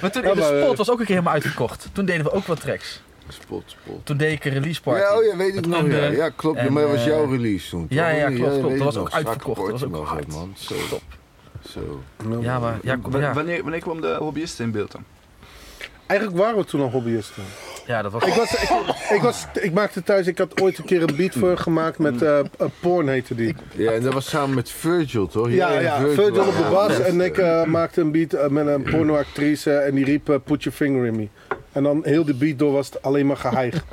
S3: maar toen in de
S1: Ja, maar, eh,
S3: spot was ook een keer helemaal uitverkocht. Toen deden we ook wat tracks.
S2: Spot, spot.
S3: Toen deed ik een release party.
S2: Ja, oh ja, weet ik
S3: Met
S2: nog. Ja,
S3: Under
S2: ja klopt.
S3: en,
S2: maar dat was
S3: eh,
S2: jouw release toen. toch?
S3: ja, ja, klopt, klopt.
S2: weet
S3: Dat
S2: ik
S3: was
S2: nog.
S3: ook
S2: Strakke
S3: uitverkocht, dat was
S2: korting
S3: ook hard.
S2: man. Zo.
S3: Top.
S2: Zo.
S3: Ja, maar ja, kom,
S4: Wa-
S3: ja.
S4: Wanneer, wanneer kwam de hobbyist in beeld dan?
S1: Eigenlijk waren we toen al hobbyisten.
S3: ja, dat was...
S1: Ik, was, ik, ik was, ik maakte thuis, ik had ooit een keer een beat voor gemaakt met eh, eh, Porn heette die.
S2: Ja, en dat was samen met Virgil, toch?
S1: Ja,
S2: Jij en
S1: ja, Virgil op de
S2: waren
S1: bas
S2: best,
S1: en ik
S2: eh.
S1: eh, maakte een beat eh, met een pornoactrice en die riep eh, Put Your Finger In Me. En dan heel de beat door was het alleen maar geheig.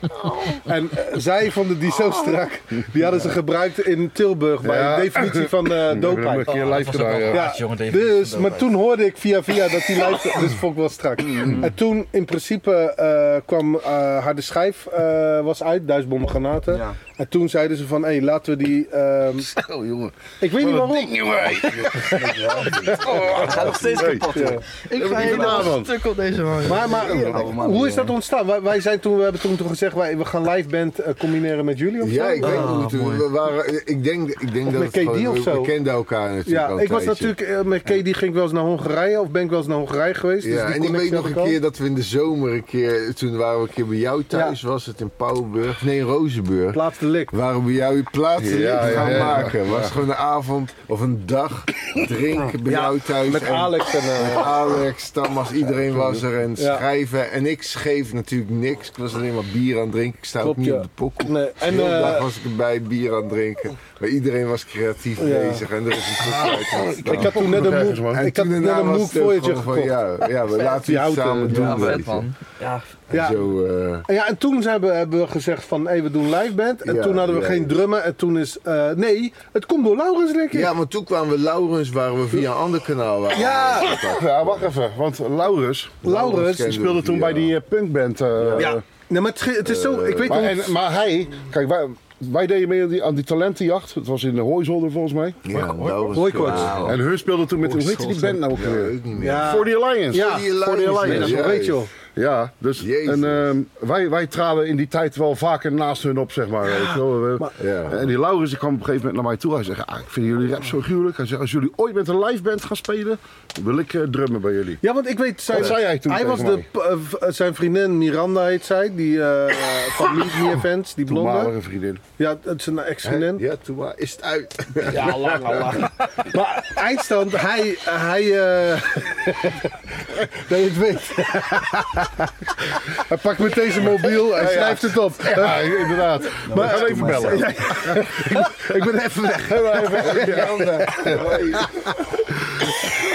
S1: En eh, zij vonden die zo strak. Die hadden ze gebruikt in Tilburg bij
S5: Ja.
S1: de definitie van eh doopheid.
S5: keer live gedaan, ja.
S1: Ja,
S7: jongen, David
S1: dus, maar toen hoorde ik via via dat die lijst, dus vond ik wel strak. En toen in principe eh, kwam eh Harde Schijf eh, was uit, Duisbom Granaten.
S4: Ja.
S1: En toen zeiden ze van, hé, laten we die... ehm,
S5: Oh, jongen.
S1: ik weet niet waarom.
S4: Het gaat nog steeds kapot.
S1: Ja.
S4: hoor.
S5: Ik ga helemaal man.
S1: Maar, maar hoe is dat ontstaan? Wij, wij zijn toen, we hebben toen, toen gezegd, wij, we gaan live band eh, combineren met jullie of zo?
S2: Ja, ik weet
S3: Oh,
S2: niet. hoe het- We waren, ik denk, ik denk
S1: Of
S2: dat
S1: met
S2: het gewoon-
S1: KD of
S2: we-
S1: zo.
S2: we kenden elkaar natuurlijk
S1: Ja,
S2: al een
S1: ik was
S2: tijdje.
S1: natuurlijk eh, met KD ging ik wel eens naar Hongarije of ben ik wel eens naar Hongarije geweest. dus die
S2: Ja, en ik weet
S1: connectie had
S2: nog een
S1: al.
S2: keer dat we in de zomer een keer, toen waren we een keer bij jou thuis, was het in Pauwburg, nee in Rozenburg.
S1: Plaats de lik.
S2: Waren we jou je plaatsen
S5: Ja, ja,
S2: gaan
S5: ja, ja.
S2: maken. Was gewoon een avond of een dag drinken bij jou thuis.
S1: Met
S2: en-
S1: Alex en... eh,
S2: Met Alex, Tamas, iedereen was er en
S1: Ja.
S2: schrijven. En ik schreef natuurlijk niks. Ik was alleen maar bier aan het drinken. Ik sta ook
S1: Klopt,
S2: niet
S1: ja.
S2: op de pokkel.
S1: Nee, en,
S2: En, de hele
S1: eh,
S2: dag was ik erbij, bier aan het drinken. Maar iedereen was creatief
S1: Ja.
S2: bezig en er is een podcast.
S1: ik had toen net
S5: Nog
S1: een
S5: ergens,
S1: moe-
S5: man.
S2: en
S1: ik had
S2: toen
S1: net
S2: daarna
S1: een
S2: was
S1: Moog
S2: het ook
S1: Voyager
S2: gewoon
S1: gekocht.
S2: van, ja, ja, we laten
S1: Die
S2: het
S1: houten,
S2: samen
S1: ja,
S2: doen.
S3: Ja, vet
S2: weet je.
S3: man. Ja,
S2: En
S1: Ja.
S2: zo, eh,
S1: En Ja, en toen zijn we, hebben we gezegd van, hé, we doen live band. En
S2: Ja,
S1: toen hadden we
S2: ja,
S1: geen
S2: ja.
S1: drummen. En toen is, eh, nee, het komt door Laurens, denk ik.
S2: ja, maar toen kwamen we Laurens, waren we via een ander kanaal. waren we
S1: Ja.
S2: in contact.
S5: Ja, wacht even. Want Laurens
S1: Laurens
S2: kenden we
S5: speelde toen
S2: via-
S5: bij die eh, punkband. eh,
S1: Ja. Nee, maar het, ge- het is zo, ik weet
S5: Maar,
S1: niet.
S5: en, maar hij, kijk, wij, wij deden mee aan die, aan die talentenjacht. Het was in de Hooizolder volgens mij.
S2: Ja, Laurens.
S1: Hooikoorts.
S2: Ja,
S5: En hun speelde toen met, hoe heette die band nou ook weer?
S2: ook niet meer.
S1: Ja.
S5: For the Alliance.
S1: Ja,
S5: For the
S2: Alliance,
S1: Nee, dat
S5: Alliance.
S1: is wel
S2: Juist.
S1: weet je wel.
S5: Ja, dus
S2: Jezus.
S5: en, ehm, wij, wij traden in die tijd wel vaker naast hun op, zeg maar. weet je wel. We-
S2: Ja.
S5: En die Laurens die kwam op een gegeven moment naar mij toe. Hij zegt, ah, ik vind jullie rap zo gruwelijk. Hij zegt, als jullie ooit met een live band gaan spelen, wil ik eh, drummen bij jullie.
S1: Ja, want ik weet, zijn,
S5: Wat zei hij toen tegen
S1: was de, eh, v- eh, zijn vriendin Miranda heet zij, die eh, van Meet Me Events, die blonde.
S5: Toenmalige vriendin.
S1: Ja, het is een ex-vriendin.
S2: Ja, toen wa- is het uit.
S1: Ja, lang, lang. Maar eindstand, hij, hij, eh, dat je het weet. hij pakt meteen zijn mobiel en schrijft het op.
S5: Ja, inderdaad.
S1: Nou,
S5: maar gaan even bellen.
S1: Ik ben even weg.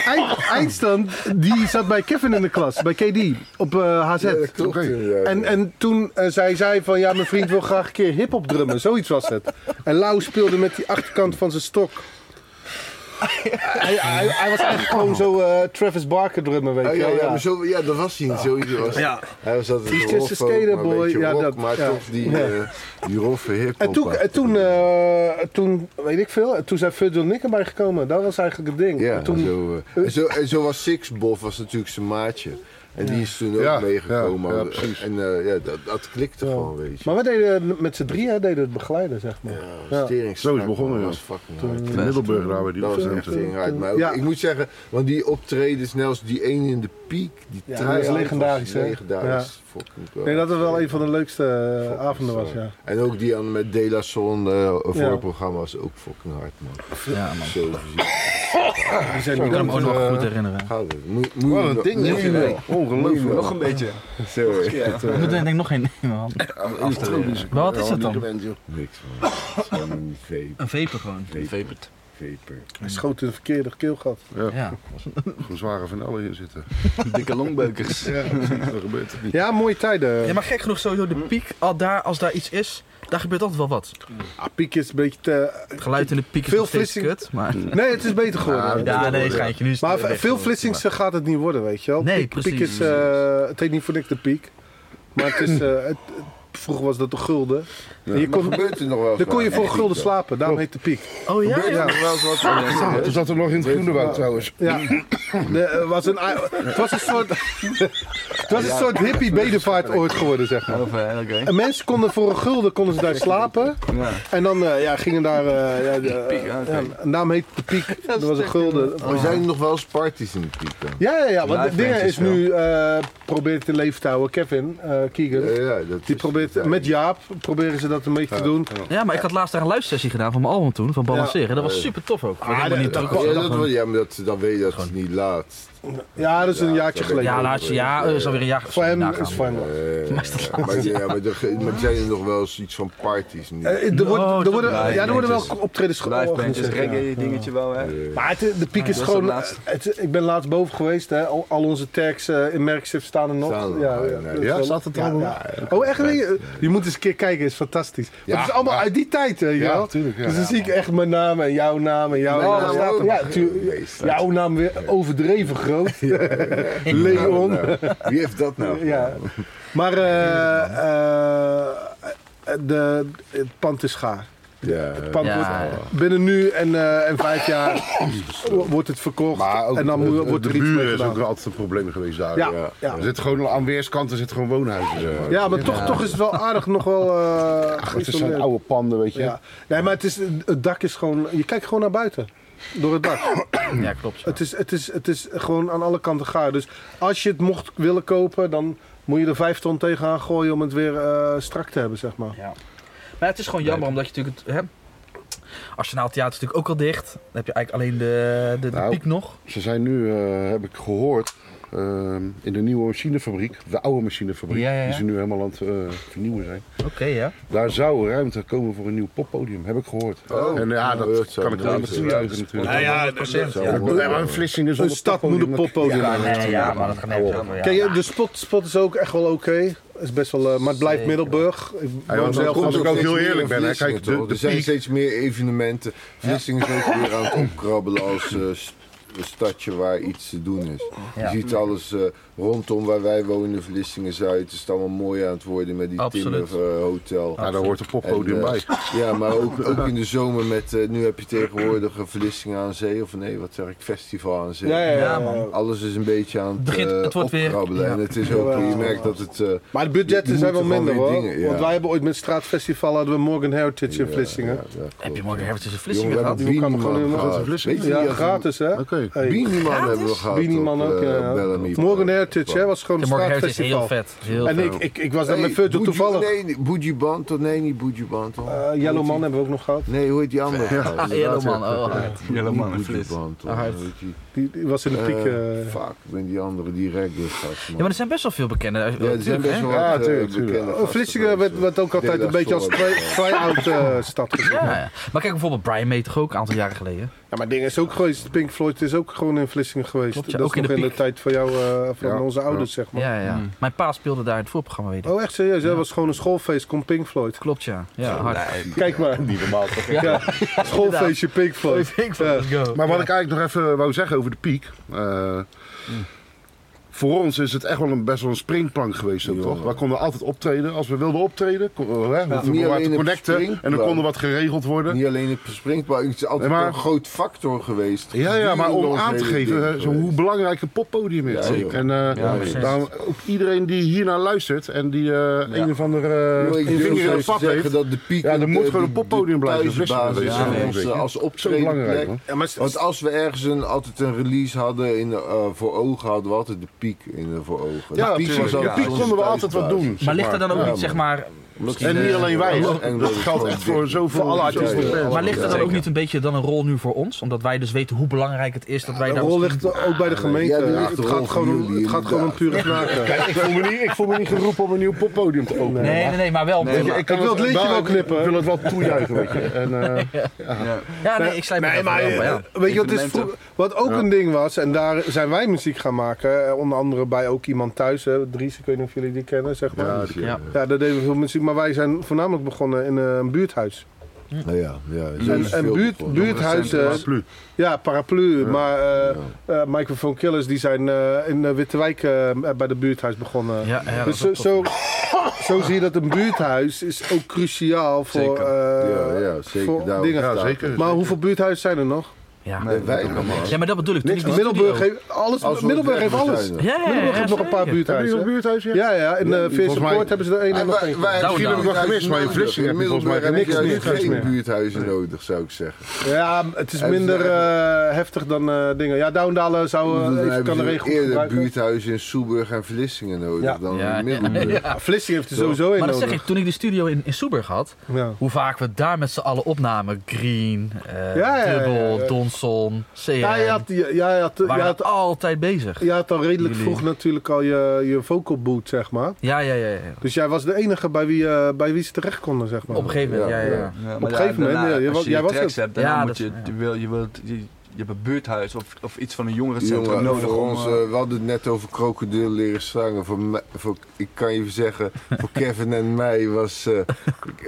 S1: Eind- eindstand, die zat bij Kevin in de klas, bij KD, op eh, HZ.
S2: klopt, inderdaad.
S1: en, en toen eh, zij zei van, ja, mijn vriend wil graag een keer hip-hop drummen. Zoiets was het. En Lau speelde met die achterkant van zijn stok. hij, hij, hij was eigenlijk gewoon zo eh, Travis Barker drummen, weet
S2: Oh,
S1: je
S2: ja,
S1: wel.
S2: ja, maar zo, ja, dat was hij niet. Sowieso was
S1: Ah. Ja.
S2: Hij was altijd
S1: He's
S2: een
S1: just a
S2: rock ook, maar een
S1: skater boy.
S2: beetje
S1: Ja,
S2: rock,
S1: dat-
S2: maar
S1: ja.
S2: toch die,
S1: Ja.
S2: eh, die roffe hip
S1: En toen, en toen, eh, toen, weet ik veel, en toen zijn Virgil Nick erbij gekomen. Dat was eigenlijk het ding.
S2: ja,
S1: En toen,
S2: zo, eh, en zo, en zo was Six Bof, was natuurlijk zijn maatje. En die is toen ook
S5: Ja,
S2: meegekomen.
S5: ja, ja, precies.
S2: en eh, ja, dat, dat klikte gewoon, weet je.
S1: Maar we deden met z'n drieën deden het begeleiden, zeg maar.
S2: Ja, stering
S5: Zo is het begonnen,
S2: Dat
S5: ja.
S2: was fucking hard.
S5: In Middelburg daar bij die
S2: Dat was echt
S5: studenten.
S2: stering hard. Maar ook-
S1: Ja.
S2: ik moet zeggen, want die optreden, snel als die ene in de piek, die
S1: Ja,
S2: try-out
S1: dat is legendarisch,
S2: was
S1: hè?
S2: Legendarisch. Fucking wel.
S1: Nee, dat het wel een van de leukste eh,
S2: Fucking
S1: avonden was,
S2: zo.
S1: ja.
S2: En ook die aan met De La Son eh, voor het programma was ook fucking hard, man.
S3: ja man.
S2: Zo fysiek.
S1: Die zijn
S3: Ik
S1: niet
S3: kan hem ook
S1: anders,
S3: nog
S1: eh,
S3: goed herinneren.
S2: Gaat het. Moe- moe-
S5: Wat een ding,
S2: moe-
S5: hè?
S2: moe-
S5: Ongelooflijk.
S4: Nog een beetje.
S2: Zo, hè.
S3: We moeten denk ik nog geen nemen man. Wat is het dan?
S2: Niks, man. Het is gewoon een vape.
S3: Een veper gewoon.
S4: eh,
S2: Vapert. Vaper.
S1: Hij schoot in het verkeerde keelgat.
S3: Ja.
S5: Een zware van alle hier zitten.
S4: Dikke longbeukers.
S5: Ja, dat gebeurt het niet.
S1: Ja, mooie tijden.
S3: Ja, maar gek genoeg sowieso de piek, al daar, als daar iets is, daar gebeurt altijd wel wat.
S1: Ah, piek is een beetje te...
S3: Het geluid in de piek is
S1: Veel
S3: nog steeds
S1: flitsing.
S3: kut, maar...
S1: Nee, het is beter geworden.
S3: Ja, nee, schijntje. Nu is het
S1: Maar
S3: echt
S1: veel
S3: wel-
S1: flitsings gaat het niet worden, weet je wel.
S3: Nee,
S1: piek, Piek
S3: precies.
S1: is... eh, het heet niet voor niks de piek. Maar het is... eh, het- het- vroeger was dat de gulden. En je
S2: Hier
S1: kon,
S2: gebeurt er nog wel.
S1: dan kon je
S2: eens
S1: voor een
S2: wat.
S1: gulden slapen. Daarom heet de piek.
S3: Oh ja?
S2: Gebeurt er nog wel eens wat. Ja,
S5: Toen zat er nog in het groene woud trouwens.
S1: Ja, De, eh, was een, het was een soort, het was een soort hippie bedevaart ooit geworden, zeg maar.
S4: Of, eh, oké.
S1: En mensen konden voor een gulden konden ze daar slapen.
S4: Ja.
S1: En dan eh, ja, gingen daar... eh ja, de,
S4: Piek, oké.
S1: ja, een naam heet De Piek. Dat was een gulden.
S2: Maar zijn er nog wel eens parties in de piek dan?
S1: Ja, ja, ja. Want
S4: Live
S1: het ding
S4: bandjes
S1: is nu... eh probeert te leven te houden. Kevin, eh Keegan.
S2: Ja, ja, dat
S1: Die
S2: is-
S1: probeert, met Jaap proberen ze dat een beetje te doen.
S3: Ja, maar ik had laatst daar een luistersessie gedaan van mijn album toen, van Balanceren. Dat was super tof ook. Ik word helemaal niet
S2: Ja,
S3: terug.
S2: dat, ja, maar dat, dan weet je dat het niet laat.
S1: Ja, dat is een jaartje geleden.
S3: Ja, laatste jaar. eh, is alweer een jaar.
S1: Voor hem
S3: Nagaan.
S1: is voor hem.
S2: Eh, maar ja, maar er ge- maar zijn er nog wel eens iets van parties nu?
S1: Eh, Er, wordt, er,
S3: dat-
S1: worden, ja, er worden wel
S6: bandjes.
S1: optredens
S6: Live
S1: georganiseerd. ja.
S6: reggae dingetje wel, hè?
S1: Maar het, de piek is
S6: dat
S1: gewoon.
S6: was het
S1: het- ik ben laatst boven geweest. Hè. Al, al onze tags eh, in Merkstift staan er nog.
S2: Staan er
S1: ja,
S2: nog,
S1: ja,
S2: nee.
S1: dat is
S5: Ja,
S1: wel-
S5: staat het
S1: ja,
S5: allemaal
S1: ja. Oh, echt? Nee, eh, Je moet eens een keer kijken, is fantastisch. Maar
S2: Ja,
S1: het is allemaal
S2: ja.
S1: uit die tijd, weet je
S5: Ja,
S1: wel?
S5: tuurlijk, ja.
S1: dus dan zie ik echt mijn naam en jouw naam en jouw
S2: Mijn
S1: naam.
S2: naam ook.
S1: Ja, tuurlijk.
S2: Nee, staat-
S1: Jouw naam weer overdreven groot. Leon.
S2: Nou, Wie heeft dat nou?
S1: Ja. Maar eh, eh, de, het pand is gaar.
S2: Ja,
S1: Het
S2: eh,
S1: pand
S3: Ja.
S1: wordt, binnen nu en, eh, en vijf jaar wordt het verkocht.
S5: Maar Ah, ook
S1: en dan moet-
S5: de,
S1: wordt
S5: de
S1: er iets mee
S5: buren is
S1: gedaan.
S5: ook altijd een probleem geweest daar.
S1: Ja,
S2: ja.
S1: ja.
S5: Er zit gewoon aan weerskanten zit gewoon woonhuizen. zeg maar.
S1: Ja, maar toch, toch is het wel aardig nog wel eh
S5: Het
S1: geïsoleerd.
S5: zijn oude panden, weet je.
S1: ja. Nee, maar het, is, het dak is gewoon... Je kijkt gewoon naar buiten. Door het dak.
S3: Ja, klopt. ja.
S1: Het is, het is, het is gewoon aan alle kanten gaar. Dus als je het mocht willen kopen, dan moet je er vijf ton tegenaan gooien om het weer eh, strak te hebben, zeg maar.
S3: Maar het is gewoon jammer, omdat je natuurlijk... Het, hè, Arsenaal Theater is natuurlijk ook al dicht. Dan heb je eigenlijk alleen de, de, de
S5: Nou.
S3: piek nog.
S5: Ze zijn nu, eh, heb ik gehoord, eh, in de nieuwe machinefabriek, de oude machinefabriek,
S3: Ja, ja, ja.
S5: die ze nu helemaal aan het eh, vernieuwen zijn.
S3: Oké, ja.
S5: Daar zou ruimte komen voor een nieuw poppodium, heb ik gehoord. en Oh. ja, dat
S2: dat zou
S5: kan ik alleen maar
S2: inderdaad
S5: toejuichen
S2: zijn.
S5: natuurlijk.
S3: ja, 100%. Ja,
S5: We hebben een Vlissingen
S1: Een
S5: zonder
S1: stad moet een
S5: poppodium.
S1: poppodium hebben.
S3: Nee, ja, maar dat gaat nergens over. Ja.
S1: Kijk, eh, de spot, spot is ook echt wel oké. Is best wel, eh, maar het blijft Middelburg. Ik
S5: Ja,
S1: woon
S5: want
S1: zelf
S5: dan
S1: ook-
S5: Als ik ook heel eerlijk ben, hè,
S2: Vlissingen,
S5: kijk, de-
S2: toch?
S5: de
S2: er zijn
S5: piek-
S2: steeds meer evenementen. Vlissingen is ook weer aan het opkrabbelen als eh, st- een stadje waar iets te doen is.
S3: Ja.
S2: Je ziet alles eh, rondom waar wij wonen, Vlissingen Zuid, is het allemaal mooi aan het worden met die
S3: Absoluut.
S2: timmerhotel. hotel.
S5: Ja, daar hoort een
S2: En,
S5: poppodium
S2: eh,
S5: bij.
S2: Ja, maar ook, ook in de zomer met, eh, nu heb je tegenwoordig een Vlissingen aan zee, of nee, wat zeg ik, Festival aan zee.
S1: Ja, ja, ja,
S3: Ja,
S1: ja,
S3: man.
S2: Alles is een beetje aan het,
S3: Begint-
S2: eh,
S3: het wordt weer-
S2: opkrabbelen.
S3: ja.
S2: En het is ook, je merkt dat het... eh,
S1: Maar de
S2: Je-
S1: budgetten
S2: je
S1: zijn
S2: moet
S1: wel
S2: er
S1: minder
S2: gewoon
S1: hoor.
S2: weer dingen, ja.
S1: Want wij hebben ooit met Straatfestival hadden we Morgan Heritage in Vlissingen.
S2: ja, ja,
S3: Heb je morgen Herbertjes
S2: Jongen,
S3: en Vlissingen
S2: we
S3: gehad?
S2: hebben
S1: Die kan
S2: Bienieman
S1: gewoon helemaal
S2: gehad.
S1: uit
S2: Weet je,
S1: Ja,
S2: die had een-
S1: gratis hè.
S5: Oké.
S1: Hey.
S2: Bienieman hebben we gehad.
S1: Bienieman
S2: op,
S1: ook,
S2: eh,
S1: ja.
S2: Bellamy.
S1: Morgan Heritage hè, was gewoon een
S3: De Morgen Herbertjes is heel
S1: straatfestival.
S3: vet. Heel
S1: En
S3: vet.
S1: ik, ik, ik was daar
S2: Nee,
S1: met Virgil
S2: Boegie-
S1: toevallig.
S2: Nee, niet- Boegie Banton. Nee, niet Boegie Banton.
S1: Eh, Yellow Man hebben we ook nog gehad.
S2: Nee, hoe heet die andere? gast?
S3: Yellow Man, oh, hard.
S2: Niet
S4: Yellow Man en
S2: Boegie
S4: Flis.
S2: Banton,
S3: Ah, hard.
S2: hoe heet die?
S1: Die, die was in de piek.
S2: Eh,
S1: eh,
S2: Fuck, ik ben die andere direct dus gast.
S3: Ja, maar er zijn best wel veel bekende. eh,
S2: Ja, er zijn best wel
S1: Ja,
S2: wat, eh,
S1: tuurlijk,
S2: bekende
S1: eh,
S2: gasten
S1: Vlissingen werd,
S2: geweest,
S1: werd ook altijd
S2: Dela
S1: een beetje als
S2: Soul.
S1: try- try-out eh, stad gezien.
S3: Ja, ja. Maar kijk bijvoorbeeld Brian May toch ook een aantal jaren geleden.
S1: Ja, maar dingen is ook geweest. Pink Floyd is ook gewoon in Vlissingen geweest.
S3: Klopt, ja,
S1: dat
S3: ook
S1: is
S3: in
S1: nog
S3: de
S1: in de
S3: piek.
S1: tijd van jou, eh, van
S5: Ja,
S1: onze
S5: ja.
S1: ouders, zeg maar.
S3: Ja, ja. Mijn pa speelde daar het voorprogramma, weet ik.
S1: Oh, echt serieus? Dat was gewoon een schoolfeest, kom Pink Floyd.
S3: Klopt, ja. Ja, hard.
S1: Kijk maar.
S7: Niet normaal toch?
S1: Ja. Schoolfeestje Pink Floyd. Ja.
S5: Maar wat ik eigenlijk nog even wou zeggen over de piek. eh, Voor ons is het echt wel een, best wel een springplank geweest, ook, toch? We konden altijd optreden. Als we wilden optreden, kon, eh, hè, hoefden
S2: Niet
S5: we maar
S2: alleen
S5: te
S2: op
S5: connecten. En
S2: springplank.
S5: dan konden wat geregeld worden.
S2: Niet alleen het springbaar, het is altijd
S5: Nee, maar-
S2: wel een groot factor geweest.
S5: Ja, ja, maar om
S2: Gedurende
S5: aan
S2: ons
S5: te
S2: hele
S5: geven
S2: ding
S5: hè, zo hoe
S2: geweest.
S5: belangrijk een poppodium is.
S2: Ja, zeker.
S5: en eh,
S2: Ja,
S3: precies.
S5: daarom ook iedereen die hiernaar luistert en die eh, een of andere
S2: Yo,
S5: eh,
S2: ik durf
S5: vinger in
S2: zo
S5: het
S2: te
S5: pap
S2: zeggen
S5: heeft.
S2: Dat de piek
S5: Ja, er
S2: de-
S5: moet
S2: de-
S5: gewoon een
S2: de-
S5: poppodium
S2: de
S5: blijven.
S2: thuisbasis
S5: Ja,
S2: van
S5: ja,
S2: ons,
S5: zeker.
S2: eh, als
S5: Zo belangrijk,
S2: optredenplek.
S5: man.
S1: Ja, maar s-
S2: Want als we ergens een, altijd een release hadden in, eh, voor ogen, hadden we altijd de piek in, eh, voor ogen.
S5: Ja,
S2: de piek,
S5: precies.
S2: was
S5: De
S2: altijd
S5: piek
S2: onze
S5: konden we altijd wat
S2: thuisbasis.
S5: doen. zeg
S3: Maar ligt er dan ook
S2: Ja,
S3: niet, zeg maar...
S2: Omdat-
S5: En niet alleen wij.
S2: Ja,
S5: hè.
S2: en
S5: Dat
S2: het
S5: geldt
S2: gewoon
S5: echt voor
S2: dik-
S5: zoveel
S1: Voor alle artiesten.
S5: Ja, ja.
S2: Ja,
S3: Maar ligt er dan ook
S2: zeker.
S3: niet een beetje dan een rol nu voor ons? Omdat wij dus weten hoe belangrijk het is dat wij
S1: De
S3: daar...
S1: rol ligt ook bij de gemeente.
S2: Ja, die ligt
S1: het,
S2: er
S1: gaat
S2: ook
S1: gewoon,
S2: voor
S1: om-
S2: jullie,
S1: het gaat gewoon om pure knaken.
S5: Ik voel, me niet, ik voel me niet geroepen om een nieuw poppodium te openen.
S3: Nee, nee, nee, maar wel...
S5: Ik,
S1: Ik wil het liedje wel knippen.
S5: Nou, Ik wil het wel toejuichen, weet je. En, eh,
S3: Ja, nee, ik sluit me
S1: Nee,
S3: even
S1: maar
S3: wel bij,
S1: eh,
S3: ja.
S1: weet je wat, is
S4: Evenementen.
S1: vroeg- wat ook een ding was, en daar zijn wij muziek gaan maken, eh, onder andere bij ook iemand thuis, hè, Dries, ik weet niet of jullie die kennen, zeg maar. Ja,
S3: Ja.
S1: daar deden we veel muziek, maar wij zijn voornamelijk begonnen in eh, een buurthuis.
S2: Nou ja, ja, zo
S1: En,
S2: is
S1: en
S2: veel
S1: buurt,
S2: begonnen.
S1: buurthuizen,
S5: Paraplu.
S1: ja, paraplu, maar eh eh, Microphone Killers, die zijn eh, in eh, Wittewijk eh, bij de buurthuis begonnen.
S3: Ja, ja, dat
S1: dus
S3: is
S1: zo,
S3: ook
S1: zo, zo zie je dat een buurthuis is ook cruciaal voor,
S4: Zeker.
S1: eh,
S2: Ja, ja, zeker. Nou, dus-
S1: voor
S2: Daarom
S1: dingen.
S5: Ja, zeker.
S1: Maar hoeveel buurthuizen zijn er nog?
S3: Ja.
S2: Nee, wij allemaal.
S3: ja, maar dat bedoel ik. Toen
S1: Niks.
S3: ik die
S1: Middelburg
S3: studio-
S1: heeft alles.
S2: Als we
S1: Middelburg heeft
S2: het hebben,
S1: alles.
S2: zijn er.
S3: Ja, ja, ja,
S1: Middelburg heeft nog een paar
S3: zeker.
S5: Hebben jullie een
S1: buurthuizen.
S5: buurthuis? Ja.
S1: Ja, ja. In eh Veerse
S5: volgens mij-
S1: Poort hebben ze er één en nog
S2: Wij-
S1: één.
S2: wij-
S5: Misschien heb ik wel
S2: Buurthuizen
S5: gemist, maar in
S2: nodig.
S5: Vlissingen heb je volgens mij
S2: Middelburg heb
S1: niks
S2: je
S1: meer, niks
S2: juist geen
S1: meer.
S2: buurthuizen nodig, zou ik zeggen.
S1: Ja, het is
S2: Hebben ze
S1: minder
S2: echt-
S1: eh, heftig dan eh, dingen. Ja, Douwendalen zou eh,
S2: Dan
S1: even
S2: hebben
S1: kan
S2: ze
S1: er één goed
S2: eerder
S1: gebruiken.
S2: buurthuizen in Soeburg en Vlissingen nodig
S1: Ja.
S2: dan
S3: Ja,
S2: in Middelburg.
S1: Ja, Vlissingen heeft er sowieso één
S3: Maar dat
S1: nodig.
S3: zeg ik, toen ik de studio in, in Soeburg had,
S1: Ja.
S3: hoe vaak we daar met z'n allen opnamen. Green, eh
S1: Ja, ja, ja,
S3: Dubbel,
S1: ja.
S3: Don Samson, CRM.
S1: Ja, je had, je, ja, je had, je
S3: waren
S1: had,
S3: altijd bezig.
S1: je had al redelijk
S3: Jullie.
S1: vroeg natuurlijk al je, je vocal boot, zeg maar.
S3: Ja, ja, ja. ja.
S1: Dus jij was de enige bij wie, eh, bij wie ze terecht konden, zeg maar.
S3: Op een gegeven moment, ja, ja. ja.
S4: Ja, maar
S1: Op een
S4: ja,
S1: gegeven moment,
S4: daarna,
S1: ja, je
S4: als
S1: wa-
S4: je
S1: jij was
S4: tracks
S1: het.
S4: hebt, daarna
S3: Ja,
S4: moet
S3: dat
S4: je,
S3: is-
S4: je, wil, je, wilt, je, je hebt een buurthuis of, of iets van een jongerencentrum
S2: Jongen,
S4: nodig
S2: voor
S4: om...
S2: ons,
S4: eh,
S2: eh, we hadden het net over krokodil leren zangen. Voor mij- voor, ik kan je zeggen, voor Kevin en mij was, eh,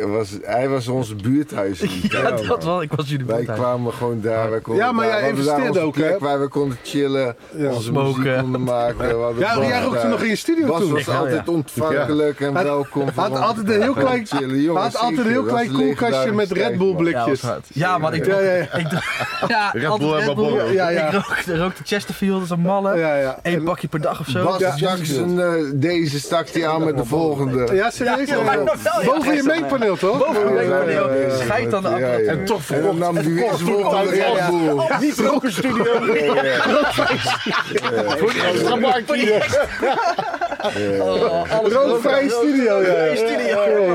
S2: was hij was ons buurthuis. in die tijd,
S3: dat
S2: man.
S3: was, ik was jullie
S2: Wij
S3: buurthuis.
S2: kwamen gewoon daar. Wij konden
S1: Ja, maar jij
S2: daar- we hadden daar
S1: investeerde
S2: onze
S1: ook, hè?
S2: plek waar we konden chillen,
S1: Ja.
S2: onze muziek
S3: Smoken.
S2: konden maken. we hadden
S1: Ja,
S2: Bas
S1: jij rookte
S2: daar.
S1: nog in je studio
S2: Bas
S1: toen.
S2: was
S3: Ik wel,
S2: altijd
S3: ja.
S2: ontvankelijk en
S1: Had-
S2: welkom. voor
S1: had
S2: ons.
S1: altijd een heel
S2: Gewoon
S1: klein-
S2: chillen, jongens,
S1: had altijd een
S2: zeker.
S1: heel
S2: Dat
S1: klein
S2: was een
S1: koelkastje met
S2: legendarische
S1: Red Bull
S2: tijd, man.
S3: ja, was
S1: blikjes.
S3: hard. ja, man, ik
S1: Ja,
S3: dronk...
S1: ja, ja.
S3: Ik dro- ja,
S5: Bull
S3: altijd
S5: en
S3: Red Bull.
S5: Marlboro.
S1: Ja, ja.
S3: Ik rookte, rookte Chesterfield als een malle.
S1: Ja, ja.
S3: Eén pakje per dag of zo.
S2: Bas
S1: Ja.
S2: Jackson, eh, deze stak hij aan met de volgende.
S1: Ja, serieus?
S3: Ja, maar
S1: eh,
S3: nog wel, ja.
S1: Boven je mengpaneel, toch?
S3: Boven
S1: Ja,
S3: je
S1: ja, ja, ja, ja.
S3: Scheid aan de
S2: Ja, ja.
S3: appel.
S2: En toch verkocht. En dan nam hij weer
S1: kost
S2: zwoel aan de
S1: goedkoop.
S2: Red Bull.
S1: Niet roken studio.
S5: Extra markje.
S1: Rookvrij studio, ja. ja.
S2: Ja,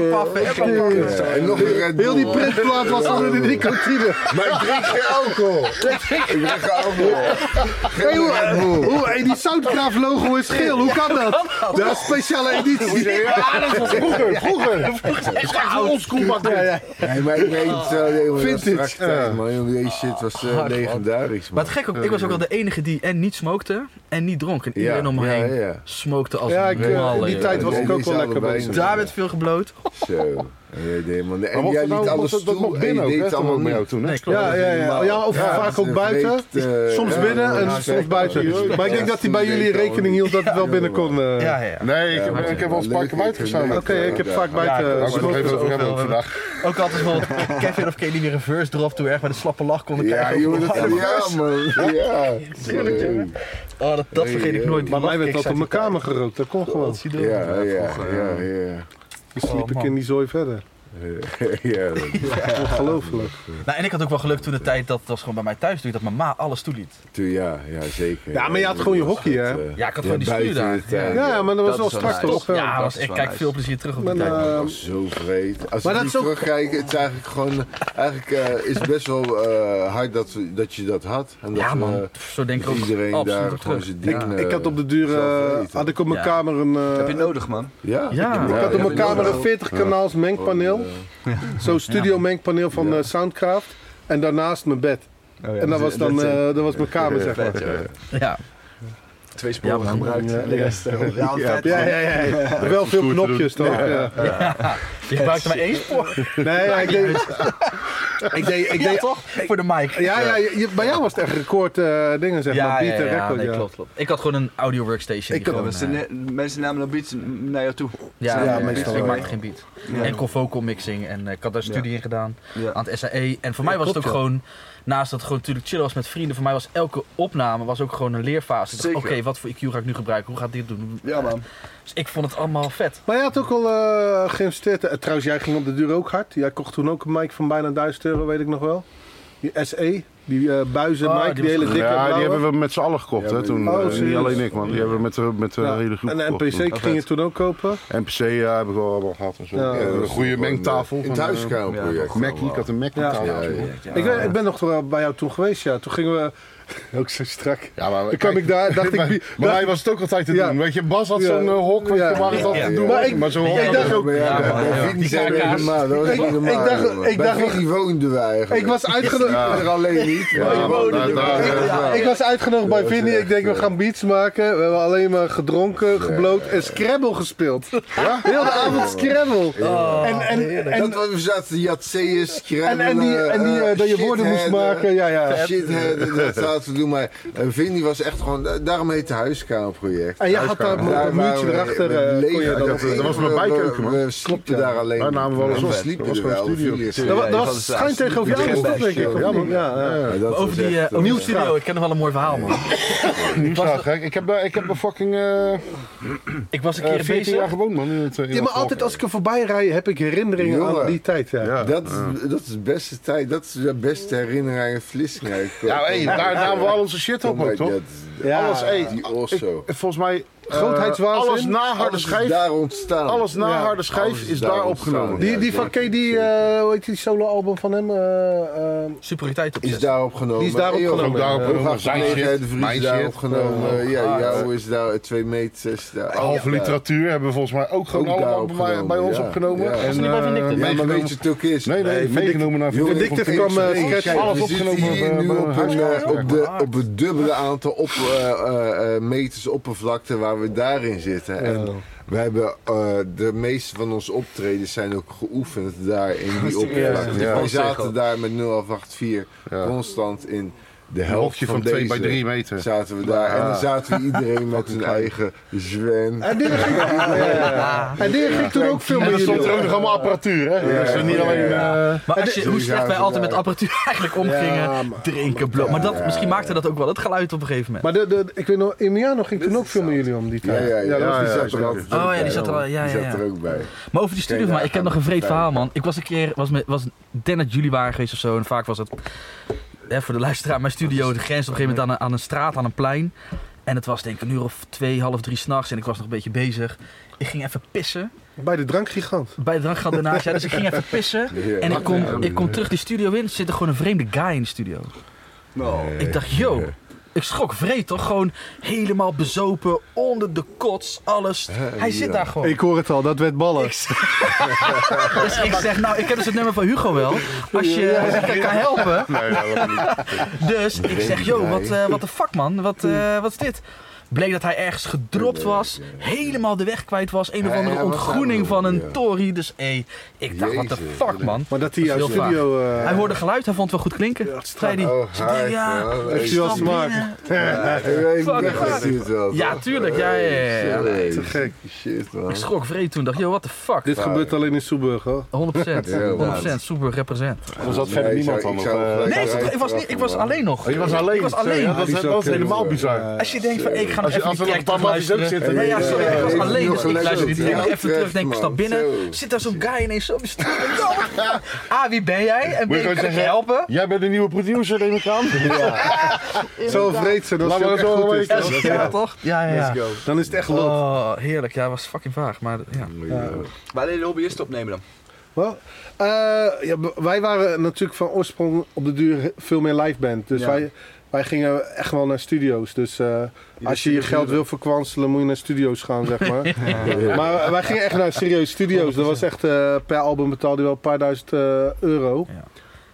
S2: En nog een Red Bull.
S1: Heel die printplaat was onder de nicotine.
S2: Maar ik drink geen alcohol. Ik drink geen alcohol.
S1: Hey,
S2: Geen Red
S1: hoe,
S2: Bull.
S1: hoe, hey, die Soundgraaf logo is geel, hoe kan dat? Dat is speciale editie. Ja, dat was vroeger, vroeger. Ja, ja.
S2: Nee, maar ik weet het wel, jongen, dat was
S1: Vintage.
S2: straks tijd, man. Jongen, die shit was eh, legendarisch, man.
S3: Maar het gek ook, ik was ook wel de enige die en niet smokte en niet dronk. En iedereen om me
S2: ja,
S3: heen
S2: ja.
S3: smokte als
S1: Ja, ik,
S3: een
S1: eh,
S3: malle.
S1: in die
S3: joh.
S1: tijd was
S2: Nee,
S1: ik ook
S2: deze
S1: wel lekker
S2: allebei
S1: bezig.
S2: niet.
S3: Daar werd veel gebloot.
S2: Zo. En jij deed, man. En
S5: mocht
S2: jij
S5: het nou-
S2: liet
S5: mocht
S2: alles
S5: het- dat
S2: toe
S5: mocht
S2: en je
S5: binnen ook,
S2: deed
S5: hè,
S2: het
S5: toen
S2: allemaal
S5: met
S2: mee.
S5: jou toen, hè?
S3: Nee, klopt.
S1: Ja, ja, ja. ja of
S2: Ja,
S1: vaak
S2: dat is
S1: ook
S2: een
S1: buiten.
S2: vreemd, eh,
S1: Soms
S2: ja,
S1: binnen
S2: ja,
S1: en soms
S2: zeker.
S1: buiten. Maar ik denk dat hij bij jullie rekening hield dat het wel binnen kon. eh.
S3: Ja, ja, ja.
S5: Nee, ik, heb- ik heb wel eens
S2: Ja,
S5: een
S2: leuk,
S5: buiten gestaan.
S2: leuk.
S5: Daar
S1: Oké, ik heb vaak
S3: Ja,
S1: buiten
S5: gaan we het nog
S1: gesmokt.
S5: even over hebben ook
S3: Zoveel.
S5: vandaag.
S3: Ook altijd bijvoorbeeld Kevin of Kelly weer reverse drop toen we echt met een slappe lach konden
S2: Ja,
S3: kijken.
S2: jongen, dat ja, man. Ja.
S3: Oh, dat, dat vergeet ik nooit. Die
S1: Maar mij werd
S3: lachkicks
S1: dat op mijn
S3: uit
S1: kamer
S3: die tijd.
S1: gerookt, dat kon gewoon.
S3: Dat zie je
S2: Ja,
S3: door.
S2: ja, ja, ja.
S1: Dus
S3: Oh,
S1: sliep ik
S3: man.
S1: in die zooi verder.
S2: Ja,
S1: Ongelooflijk.
S3: Nou, en ik had ook wel geluk toen de tijd, dat was gewoon bij mij thuis, toen dat mijn ma alles toeliet.
S2: toen ja, ja, zeker.
S1: Ja, maar je had gewoon je hockey, hè?
S2: eh,
S3: Ja, ik had gewoon die
S2: buiten eh,
S3: stuur daar.
S2: de tuin,
S1: Ja, maar dat was
S4: is
S1: wel
S4: wel
S1: strak
S4: nice.
S1: toch?
S3: Ja,
S4: dat
S3: was,
S4: is
S3: ik
S4: wel
S3: kijk
S4: nice.
S3: veel plezier terug op die
S1: Maar,
S3: tijd.
S1: eh,
S2: Dat was Oh, zo vreed. Als
S1: maar
S2: we
S1: dat
S2: nu
S1: is ook-
S2: terugkijken, het is eigenlijk gewoon... Eigenlijk eh, is het best wel eh, hard dat, we- dat je dat had. En dat
S3: ja
S2: we-
S3: man, zo denk ik
S2: dat
S3: ook
S2: iedereen daar
S3: absoluut op
S2: gewoon
S3: terug.
S2: zijn ding... eh,
S1: Ik had op de duur,
S2: zelf
S1: eh,
S2: eten.
S1: had ik op mijn
S3: Ja.
S1: kamer een... eh,
S4: heb je nodig, man.
S2: Ja?
S3: Ja.
S1: ik had op
S2: ja,
S1: mijn
S2: ja.
S1: kamer een 40 kanaals mengpaneel.
S2: eh,
S1: Zo'n studio mengpaneel van eh, Soundcraft. En daarnaast mijn bed. En dat was dan eh, dat was mijn kamer, zeg maar.
S3: Ja.
S4: Twee sporen
S3: Ja, man.
S4: gebruikt.
S1: Ja,
S4: De rest, eh, ja, vet.
S1: Ja, ja, ja. ja. Wel veel knopjes toch? Ja.
S3: Je gebruikte maar één spoor.
S1: Nee, ja, ik deed... Ik deed, ik
S3: Ja,
S1: deed
S3: toch? Voor de mic.
S1: ja, ja, je- bij jou was het echt record eh, dingen, zeg maar. Beat en record,
S3: nee,
S1: ja.
S3: klopt, klopt. Ik had gewoon een audio workstation.
S1: Ik
S3: die
S1: had-
S3: gewoon,
S4: Mensen
S3: eh,
S4: ne- Mensen namen dan beats naar jou toe.
S3: ja,
S1: ja,
S3: nee,
S1: meestal
S3: ik
S1: wel,
S3: maakte
S1: ja.
S3: geen beat.
S4: Ja.
S3: En kon vocal mixing en eh, ik had daar studie in gedaan
S4: Ja.
S3: aan het SAE. En voor mij
S1: Ja,
S3: was het ook
S1: klopt, ja.
S3: gewoon, naast dat het gewoon natuurlijk chillen was met vrienden, voor mij was elke opname was ook gewoon een leerfase. Ik dacht, Oké,
S4: Zeker.
S3: wat voor IQ ga ik nu gebruiken? Hoe ga ik dit doen?
S4: Ja, man.
S3: Dus ik vond het allemaal vet.
S1: Maar jij had ook al eh, geïnvesteerd. Eh, trouwens, jij ging op de duur ook hard. Jij kocht toen ook een mic van bijna 1000 euro, weet ik nog wel. Die SE, die eh, buizen mic,
S3: Oh, die
S1: die,
S3: was
S1: hele
S3: goed.
S1: dikke
S5: Ja, die
S1: blauwe.
S5: hebben we met z'n allen gekocht,
S2: Ja,
S5: hè, toen.
S1: maar- Oh,
S5: Eh,
S1: serieus?
S5: niet alleen ik, man. Die hebben we met, de- met de
S1: Ja.
S5: hele groep
S1: En de
S5: gekocht,
S1: NPC
S5: man.
S1: ging je toen ook kopen.
S5: NPC, ja, heb ik wel allemaal gehad en zo.
S1: Ja.
S5: Ja, een goede mengtafel.
S2: In
S5: van,
S2: het
S5: eh,
S2: huiskamerproject.
S5: Mac, ik had een Mac
S1: Ja.
S5: tafel.
S2: Ja,
S5: Ja,
S2: ja.
S1: Ik, weet- ik ben nog wel bij jou toen geweest, ja. Toen gingen we... ook zo strak.
S5: maar
S1: Toen kwam ik daar, dacht ik...
S5: maar,
S1: wie-
S5: maar
S1: dacht
S5: hij was het ook altijd te
S1: Ja.
S5: doen. Weet je, Bas had
S1: Ja.
S5: zo'n eh, hok, weet je,
S1: Ja.
S5: waar het altijd te
S3: Ja.
S5: doen
S1: Maar
S5: was.
S1: ik-
S5: maar zo'n
S3: maar
S5: hok-
S1: ik dacht ook-
S2: Ja, ja,
S3: Ja, man, ja.
S2: bij Vini
S3: Die
S2: zijn we
S3: KK's.
S2: helemaal- dat was
S1: Ik-
S2: niet
S1: ik
S2: normaal,
S1: dacht-
S2: jongen.
S1: ik
S2: Bij
S1: dacht-
S2: Vini woonden we eigenlijk.
S1: Ik was uitgenodigd...
S2: Ja. er alleen niet. maar
S5: Ja,
S2: ik
S5: man,
S2: woonde
S5: daar-
S2: er wel.
S5: daar-
S2: Echt
S5: ja.
S2: waar.
S1: Ik was uitgenodigd bij
S2: Ja, dat is
S1: Vinny. Ik denk, we
S2: echt,
S1: gaan beats maken. We hebben alleen maar gedronken, gebloot en Scrabble gespeeld. Heel de avond Scrabble. En, en, en,
S2: dat was, we zaten Jatseeën,
S1: en, en die, en die eh, dat je woorden moest maken. Ja, ja.
S2: Eh, Shit, dat zaten we doen. Maar eh, Vinnie was echt gewoon... eh, Daarom heet het huiskamerproject.
S1: En jij had daar
S2: Daar
S1: een muurtje
S2: waren we
S1: erachter.
S2: met
S1: eh,
S2: leven.
S1: kon je dan
S2: Ik
S1: op-
S2: had-
S5: Dat was
S2: we-
S5: mijn
S2: we-
S5: bijkeuken, man.
S2: We sliepen daar alleen.
S5: Daar namen we alles
S2: we
S5: op.
S2: sliepen
S5: Dat was
S2: er wel.
S5: gewoon een studio.
S2: Vinnie is-
S1: Dat, wa-
S4: Ja,
S1: dat
S4: je had
S1: was
S4: het
S1: schijn
S4: laatst
S1: tegenover jou,
S2: niet
S1: was dat, denk
S2: gedaan.
S1: ik? Ja, man. Ja, ja.
S2: Ja, dat was
S3: Over die
S2: echt,
S3: eh, over die
S1: Nieuwstraat.
S3: studio, ik ken nog wel een mooi verhaal man.
S5: Niet zo gek. Ik heb daar ik heb daar fucking eh, eh,
S3: Ik was een
S1: Eh,
S3: keer
S5: 14 jaar
S3: bezig.
S5: gewoond, man. in het, eh, in
S1: Ja, maar
S5: dat
S1: altijd
S5: hok.
S1: als ik er voorbij rij, heb ik herinneringen
S2: Jongen.
S1: aan die tijd. Ja.
S5: Ja.
S2: Dat is, dat is de beste tijd, dat is de beste herinnering aan Vlissingen.
S5: Nou,
S2: Oh
S5: Ja, hey, daar namen we al onze shit op, ook, toch?
S2: Dat,
S1: Ja,
S5: alles eet.
S2: Die Orso.
S5: Volgens mij, eh,
S1: Grootheidswaanzin.
S5: alles na harde
S2: Alles is
S5: schijf,
S2: daar ontstaan.
S5: alles na
S1: Ja.
S5: harde schijf
S2: Alles
S5: is,
S2: is
S5: daar,
S2: daar
S5: opgenomen.
S2: ontstaan,
S1: Die,
S2: Ja,
S1: die
S2: zeker,
S1: van Kay, die, eh, hoe heet die solo-album van hem? Eh, eh,
S3: Superioriteit op
S2: Is daar opgenomen.
S1: Die is daar
S2: Eeuw,
S1: opgenomen. Ook daar
S2: eh,
S5: opgenomen.
S2: Hooghartige
S5: Zijn shit,
S2: Nederheid, de Vries
S5: mijn
S2: is daar
S5: shit.
S2: opgenomen. ja, jou is daar 2 meter 6 daar.
S5: Halve
S2: Ja.
S5: literatuur hebben we volgens mij ook gewoon
S2: Ook daar
S5: allemaal bij,
S2: opgenomen,
S5: bij ons
S2: ja.
S5: opgenomen.
S2: Ja.
S5: En,
S2: Is
S1: niet bij Van
S5: eh,
S1: Dikter?
S5: meegenomen.
S2: Ja, maar weet je wat het ook is?
S5: Nee, nee,
S2: Van Dik-
S5: meegenomen naar
S2: Joh,
S5: Van
S1: Dikter
S2: Dikter
S1: kwam, eh,
S2: Nee,
S1: sketch
S2: kijk,
S1: alles
S2: we zitten
S1: opgenomen op,
S2: hier
S1: eh,
S2: nu
S1: bij
S2: op,
S1: een
S2: een, eh,
S1: huiskamer.
S2: op, de, op het dubbele aantal op, eh, eh, eh, meters oppervlakte waar we daarin zitten. En we hebben, eh, de meeste van onze optredens zijn ook geoefend daar in die oppervlakte.
S5: Ja.
S2: Wij zaten daar met 0884 constant in de
S5: Een
S2: helft
S5: hoofdje van 2 bij
S2: deze
S5: 3 meter.
S2: zaten we daar. En dan zaten we iedereen met hun eigen zwen.
S1: en dingen ging, ja, ja, ja. En dingen ging toen ook veel
S5: En
S1: meer
S5: er stond er ook nog allemaal apparatuur, hè? dus
S2: ja,
S5: niet
S2: ja,
S5: alleen...
S2: ja.
S5: eh,
S3: Maar als je,
S2: dit-
S3: hoe
S2: die
S3: slecht wij
S2: zagen
S3: altijd met
S2: daar.
S3: apparatuur eigenlijk omgingen.
S1: maar-
S3: drinken, blok. Maar dat, misschien maakte dat ook wel het geluid op een gegeven moment.
S1: Maar de, de, ik weet nog, Emiliano ging toen ook veel met jullie om die
S2: Ja,
S1: tijd.
S2: ja, ja,
S1: dat was
S2: die
S1: die-
S2: zat er
S5: zeker.
S2: altijd
S3: Oh,
S2: ook
S3: ja, die
S2: bij,
S3: zat er wel-
S2: hoor.
S3: ja,
S2: Die
S3: ja,
S2: zat
S3: ja.
S2: er ook bij.
S3: Maar over
S2: Kijk,
S3: die studio
S2: daar
S3: maar ik heb
S2: gaan
S3: nog een
S2: we
S3: vreed
S2: verder.
S3: verhaal, man. Ik was een keer, was, met, was ik denk dat jullie waren geweest of zo. En vaak was het, hè, voor de luisteraar, mijn studio, de grens op een gegeven moment aan een, aan een straat, aan een plein. En het was denk ik een uur of twee, half drie s'nachts. En ik was nog een beetje bezig. Ik ging even pissen.
S1: Bij de drankgigant.
S3: Bij de drank gaat ernaast. Ja, dus ik ging even pissen.
S2: Ja.
S3: En ik kom, ik kom terug die studio in. Er zit er gewoon een vreemde guy in de studio.
S4: Nou,
S3: Ik dacht, yo. Ik schrok vreed toch? Gewoon helemaal bezopen, onder de kots, alles. Hij zit daar gewoon.
S1: Ik hoor het al, dat werd ballen.
S3: Dus ik zeg, nou, ik ken dus het nummer van Hugo wel. Als je, als ik je kan helpen.
S5: Nee, dat wil ik niet.
S3: Dus ik zeg, yo, wat de what the fuck man, wat, eh, wat is dit? Bleek dat hij ergens gedropt was, helemaal de weg kwijt was. Een of
S2: Hij-
S3: andere
S2: hij was
S3: ontgroening van
S2: daar,
S3: een
S2: ja.
S3: tory. Dus hé, ik dacht, what the
S2: Jezus,
S3: fuck man.
S1: maar dat hij
S3: Dat
S1: jouw
S3: is heel
S1: studio... eh,
S3: Hij hoorde geluid, hij vond het wel goed klinken. zei hij,
S2: Oh,
S3: Zei hij,
S2: hi,
S3: ja,
S2: man.
S3: ik
S2: Echt
S1: zoals
S3: stap
S1: Mark.
S3: binnen.
S2: Ik
S3: Fuck,
S2: dacht
S3: fuck.
S2: dat hij het wel.
S3: Ja,
S2: toch?
S3: tuurlijk, ja, ja, ja,
S2: Hey,
S3: ja. Nee,
S2: Shit, Shit, man.
S3: Ik schrok vreed toen, dacht, yo, what the fuck.
S1: dit gebeurt alleen in Soeburg, hoor.
S3: 100%,
S2: Ja,
S3: 100%, super represent.
S5: Er zat verder
S2: Nee,
S5: niemand
S2: ik zou-
S5: van.
S2: ik
S5: of,
S2: zou
S5: eh,
S2: gelijk-
S3: Nee, ik, zat- ik was, niet, ik was alleen nog.
S5: Oh, je was alleen.
S3: Ik was
S5: Zo, ja,
S3: alleen.
S5: dat, is, dat is helemaal bizar.
S3: Als je denkt van, hey, ik ga nog
S5: Als, je-
S3: even
S5: als er nog
S3: die
S5: een
S3: track
S5: paar mapjes ook
S3: terugluisteren.
S5: zitten.
S3: Nee, ja, sorry, ik was
S2: Ja,
S3: alleen,
S2: nog
S3: dus ik
S2: gelukkig.
S3: luister niet. Ik
S2: Ja,
S3: ga even terug, denk ik,
S2: man.
S3: stap binnen.
S2: Zo.
S3: Zit daar zo'n guy ineens zo op de stoel. A, Ah, wie ben jij? En B,
S5: Moet je
S3: kan
S5: gewoon
S3: ik je
S5: zeggen,
S3: helpen?
S5: Jij bent de nieuwe producer, neem ik aan.
S1: Zo vreed zijn als
S5: Laat
S1: je
S5: maar
S1: ook echt
S5: zo
S1: goed is.
S5: weten.
S1: dan-
S5: Ja.
S3: Ja, toch? Ja, ja, ja.
S1: Dan is het echt lot.
S3: Oh, heerlijk. Ja, was fucking vaag, maar ja.
S4: Waar de hobbyisten opnemen dan?
S1: Wel, eh, ja, b- wij waren natuurlijk van oorsprong op de duur veel meer live band. Dus
S4: Ja.
S1: wij, wij gingen echt wel naar studio's. Dus eh, als je je geld wil verkwanselen, moet je naar studio's gaan, zeg maar. Maar wij gingen echt naar serieus studio's. Dat was echt, eh, per album betaalde je wel een paar duizend eh, euro.
S3: Ja.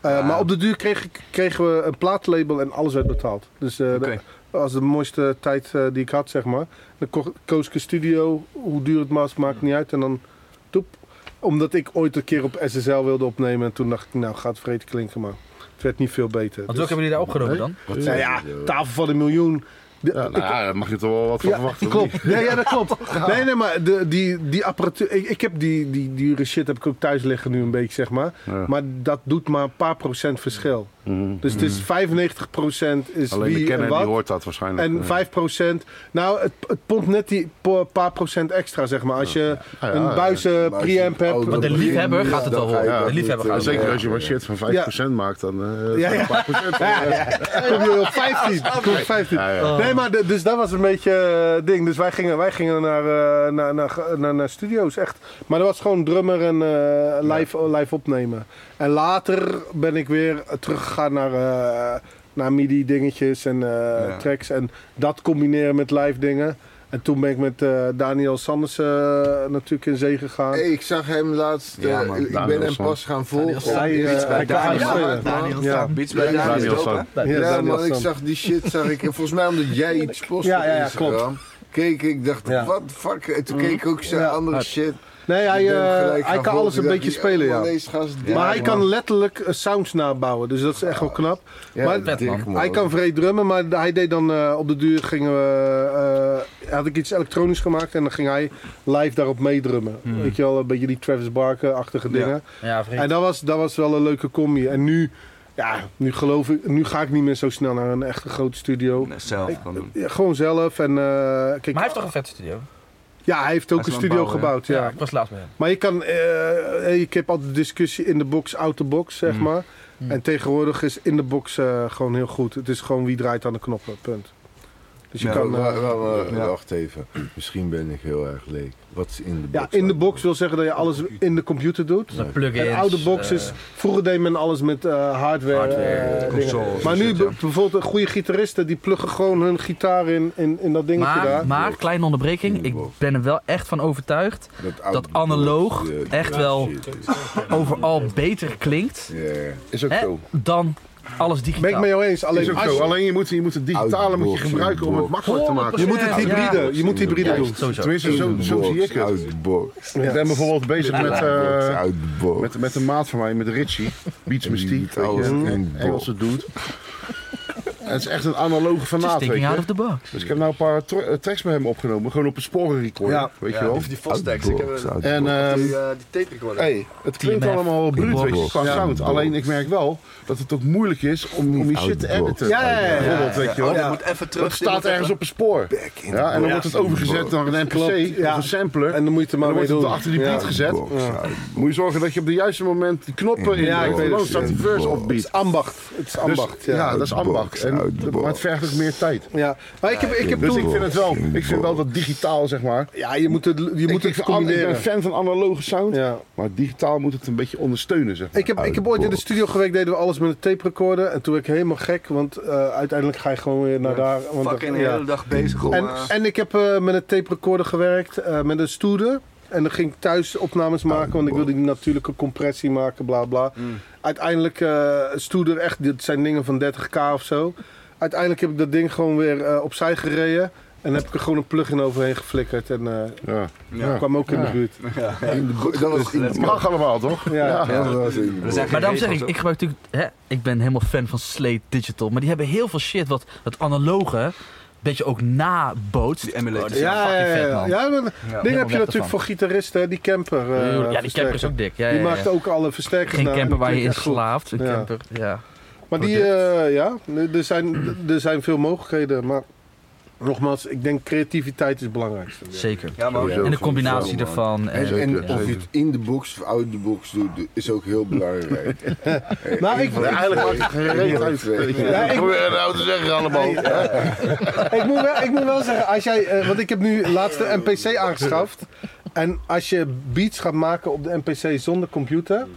S1: Eh, Maar op de duur kregen, kregen we een plaatlabel en alles werd betaald. Dus eh,
S4: Oké.
S1: dat was de mooiste tijd eh, die ik had, zeg maar. Dan ko- koos ik een studio, hoe duur het was,
S5: Mm.
S1: maakt niet uit. En dan toep. Omdat ik ooit een keer op SSL wilde opnemen. En toen dacht ik, nou gaat vreed klinken, maar het werd niet veel beter. Dus-
S3: Want welke hebben jullie daar opgenomen dan?
S1: nou ja, tafel van een miljoen. De-
S5: Ja, nou, ja, daar mag je toch wel wat van verwachten. of niet?
S1: klopt. Nee, ja, dat klopt. Nee, nee, maar de, die, die apparatuur. Ik, ik heb die, die dure shit heb ik ook thuis liggen nu een beetje, zeg maar.
S5: Ja.
S1: Maar dat doet maar een paar procent verschil.
S5: Mhm.
S1: Dus het is 95 procent is
S5: Alleen de
S1: wie en
S5: kenner die
S1: wat.
S5: hoort dat waarschijnlijk.
S1: en
S5: eh.
S1: 5 Nou, het, het pompt net die po- paar procent extra, zeg maar. Als je
S5: Ja, ja,
S1: een
S5: ja.
S1: buizen
S2: Maar als je
S1: preamp
S2: een Oh,
S1: hebt.
S2: oude
S3: Maar de
S2: begin
S3: liefhebber
S2: is,
S3: gaat het
S2: dan
S3: wel
S2: ga je
S3: horen.
S2: dat
S3: De liefhebber
S2: niet,
S3: gaat
S2: eh,
S3: het
S5: Zeker als je maar shit van 5% maakt, dan eh
S1: Ja, ja.
S5: een paar procent.
S1: kom je op 15. Kom je op 15.
S5: Ja, ja.
S1: Nee, maar de- dus dat was een beetje eh, ding. Dus wij gingen, wij gingen naar, eh, naar, naar, naar, naar studio's, echt. Maar dat was gewoon drummer en eh, live, live opnemen. En later ben ik weer teruggegaan naar, eh, naar MIDI-dingetjes en eh, tracks. En dat combineren met live dingen. En toen ben ik met eh, Daniel Sanders eh, natuurlijk in zee gegaan.
S2: Hey, ik zag hem laatst. eh,
S4: man,
S2: ik
S5: Daniel
S2: ben hem
S5: Sam.
S2: pas gaan
S1: Hij,
S2: volgen.
S1: eh,
S4: Iets bij
S1: hij kan
S4: Daniel.
S1: spelen.
S2: Daniel
S1: Ja.
S4: Beats bij Daniel is
S5: Daniel
S4: dope, hè?
S5: Sam.
S1: Ja,
S2: Ja,
S1: Daniel
S2: man, ik
S1: Sam.
S2: zag die shit, zag ik. En volgens mij omdat jij iets postte
S1: Ja, ja, ja,
S2: op Instagram, keek ik, dacht,
S1: Ja. Mm.
S2: wat fuck. En toen keek ik ook zijn
S1: Ja.
S2: andere shit.
S1: Nee, hij,
S2: Ik ben hem
S1: eh,
S2: gelijk
S1: hij kan
S2: gaan volgen.
S1: alles een
S2: Ik dacht,
S1: beetje
S2: die-
S1: spelen,
S2: man,
S1: ja.
S2: deze gast, die-
S1: maar hij
S2: man.
S1: kan letterlijk eh, sounds nabouwen, dus dat is echt wel knap.
S2: Ja,
S1: maar-
S2: dik,
S3: Vet, man.
S2: man.
S1: Hij kan vreed drummen, maar hij deed dan eh, op de duur gingen we, eh, had ik iets elektronisch gemaakt en dan ging hij live daarop meedrummen. Weet je wel, een beetje die Travis Barker-achtige dingen.
S3: Ja, vreemd.
S1: En dat was, dat was wel een leuke combi. En nu, ja, nu geloof ik, nu ga ik niet meer zo snel naar een echte grote studio.
S4: Nee, Zelf kan doen.
S1: Ja, gewoon zelf en eh, kijk,
S3: Maar hij heeft toch een vette studio?
S1: ja, hij heeft ook
S4: Hij is
S1: een
S4: aan
S1: studio
S4: het bouwen, hè?
S1: gebouwd. Ja.
S3: Ja, ik was laatst bij hem.
S1: Maar je kan, eh, ik heb altijd de discussie in de box, out the box, zeg maar. En tegenwoordig is in de box eh, gewoon heel goed. Het is gewoon wie draait aan de knoppen, punt. Dus je kan... eh,
S2: Wa- wa- wa-
S1: ja.
S2: Wacht even. Misschien ben ik heel erg leek. Wat is in de box?
S1: ja, in de box wil zeggen dat je alles in de computer doet.
S2: Nee.
S3: Plug-ins.
S1: En oude box
S3: Eh,
S1: is, vroeger deed men alles met eh, hardware.
S3: Hardware,
S1: eh, dingen.
S4: consoles
S1: maar
S4: en
S1: nu
S4: shit,
S1: be-
S4: ja.
S1: bijvoorbeeld goede gitaristen die pluggen gewoon hun gitaar in, in, in dat dingetje
S3: Maar,
S1: daar.
S3: maar, kleine onderbreking, ik ben er wel echt van overtuigd
S2: oude
S3: dat analoog
S2: box, eh,
S3: echt
S2: ja,
S3: wel-
S2: shit.
S3: overal beter klinkt
S2: Ja.
S5: Is ook
S3: hè,
S5: zo.
S3: dan alles
S1: Ben ik
S3: digitaal.
S1: mee eens.
S5: Is
S1: Alleen,
S5: ook
S1: als
S5: zo.
S1: je,
S5: Alleen je moet, je moet het digitale moet je
S2: Outbox,
S5: gebruiken om het
S2: inbox.
S5: makkelijk te maken.
S1: je moet het
S3: Ja,
S1: hybride,
S2: ja.
S1: je moet hybride
S2: Juist.
S1: doen.
S3: Sowieso.
S5: Tenminste, zo, zo zie ik het.
S2: Uit de box.
S1: Ja.
S5: Ik ben bijvoorbeeld bezig met, eh,
S2: uit de box.
S5: met, met een maat van mij, met Richie. Beats Mystique,
S2: doet
S5: weet je,
S2: alles in
S5: een
S2: de
S5: Engelse dude. En het is echt een analoge
S3: Just
S5: fanaat, weet
S3: thinking out
S5: je.
S3: of the box.
S5: Dus ik heb nou een paar tro- eh, tracks met hem opgenomen, gewoon op een sporenrecord,
S1: Ja.
S5: weet je wel.
S4: Die, die Fostex.
S1: Ah,
S4: Ik heb
S2: Outbox,
S4: eh,
S2: outbox.
S5: En ehm,
S4: die, eh, die tape recorder.
S5: hey, het klinkt
S3: TMF,
S5: allemaal wel bruut, weet je,
S2: inbox,
S5: qua
S2: ja.
S5: sound. Alleen ik merk wel dat het ook moeilijk is om, om je shit te
S2: Outbox.
S5: editen.
S1: Ja, ja, ja, ja.
S5: Bijvoorbeeld, weet je
S4: Oh,
S5: wel.
S4: dat moet even terug.
S5: Dat staat ergens op een spoor.
S2: in
S5: Ja, en dan
S2: box.
S5: wordt het overgezet naar een NPC
S1: Klopt, ja.
S5: of een sampler.
S1: En dan moet je er
S5: Maar
S1: maar
S5: dan
S1: mee
S5: wordt
S1: doen.
S5: het achter die
S1: Ja.
S5: beat gezet.
S2: Box, uit de
S5: Moet je zorgen dat je op het juiste moment die knoppen in
S1: Ja, ik
S5: drukt,
S1: weet
S5: dan
S1: het.
S5: staat die verse op
S1: Het
S5: beat.
S1: is ambacht. Het is
S5: Dus,
S1: ambacht.
S5: ja.
S1: ja.
S5: dat is ambacht. En,
S2: Outbox.
S5: maar het vergt ook meer tijd.
S1: ja. Maar ik heb, ik heb
S5: Dus
S1: toen...
S5: ik vind het wel,
S2: Outbox.
S5: ik vind wel dat digitaal, zeg maar.
S1: Ja, je moet het, je moet
S5: ik,
S1: het
S5: ik, ben- ik ben
S1: combineren.
S5: fan van analoge sound,
S1: Ja.
S5: maar digitaal moet het een beetje ondersteunen, zeg maar.
S1: Ik heb, ik heb ooit in de studio gewerkt, deden we alles met een tape recorder. En toen werd ik helemaal gek, want eh, uiteindelijk ga je gewoon weer naar daar. Want dan-
S4: Fucking de
S1: ja.
S4: hele dag bezig om...
S1: En,
S4: eh,
S1: en ik heb eh, met een tape recorder gewerkt, eh, met een stoede. En dan ging ik thuis opnames maken, want ik wilde die natuurlijke compressie maken, bla bla. Uiteindelijk, eh stoeder, echt, dit zijn dingen van 30k of zo. Uiteindelijk heb ik dat ding gewoon weer eh, opzij gereden. En heb ik er gewoon een plug-in overheen geflikkerd. En eh,
S5: Ja.
S4: ja.
S1: kwam ook in de
S5: Ja.
S1: buurt.
S2: box. Dat was in de
S5: Het
S2: box.
S5: mag allemaal, toch?
S1: Ja.
S2: Ja, dat was in de box.
S3: Maar daarom zeg ik, ik gebruik natuurlijk, hè, ik ben helemaal fan van Slate Digital, maar die hebben heel veel shit wat het analoge een beetje ook nabootst. Oh,
S4: Die emulator.
S3: is wel fucking vet, man.
S1: ja, maar dingen heb
S3: weg
S1: je natuurlijk
S3: ervan.
S1: voor gitaristen, hè, die camper. eh,
S3: ja, die camper
S1: versterker.
S3: is ook dik. Ja,
S1: Die
S3: ja, ja.
S1: maakt ook alle versterkers.
S3: Geen
S1: na en
S3: camper
S1: dat
S3: waar je
S1: klinkt
S3: in
S1: echt goed.
S3: slaapt. Een
S1: Ja.
S3: camper, ja.
S1: Maar die, eh, ja, er zijn, er zijn veel mogelijkheden. Maar nogmaals, ik denk creativiteit is het belangrijkste.
S3: Zeker.
S4: Ja, maar
S2: Sowieso.
S3: En de combinatie ervan. En,
S2: En, en
S5: Zeker,
S2: of je het in de box of uit de box doet, is ook heel belangrijk.
S1: Nou, ik,
S5: Eigenlijk maakt het geen reet uit. weet je.
S1: Ja, ik-
S5: Ik probeer het nou te zeggen allemaal.
S1: ik, moet wel, ik moet wel zeggen, als jij, eh, want ik heb nu laatst de NPC aangeschaft. En als je beats gaat maken op de NPC zonder computer,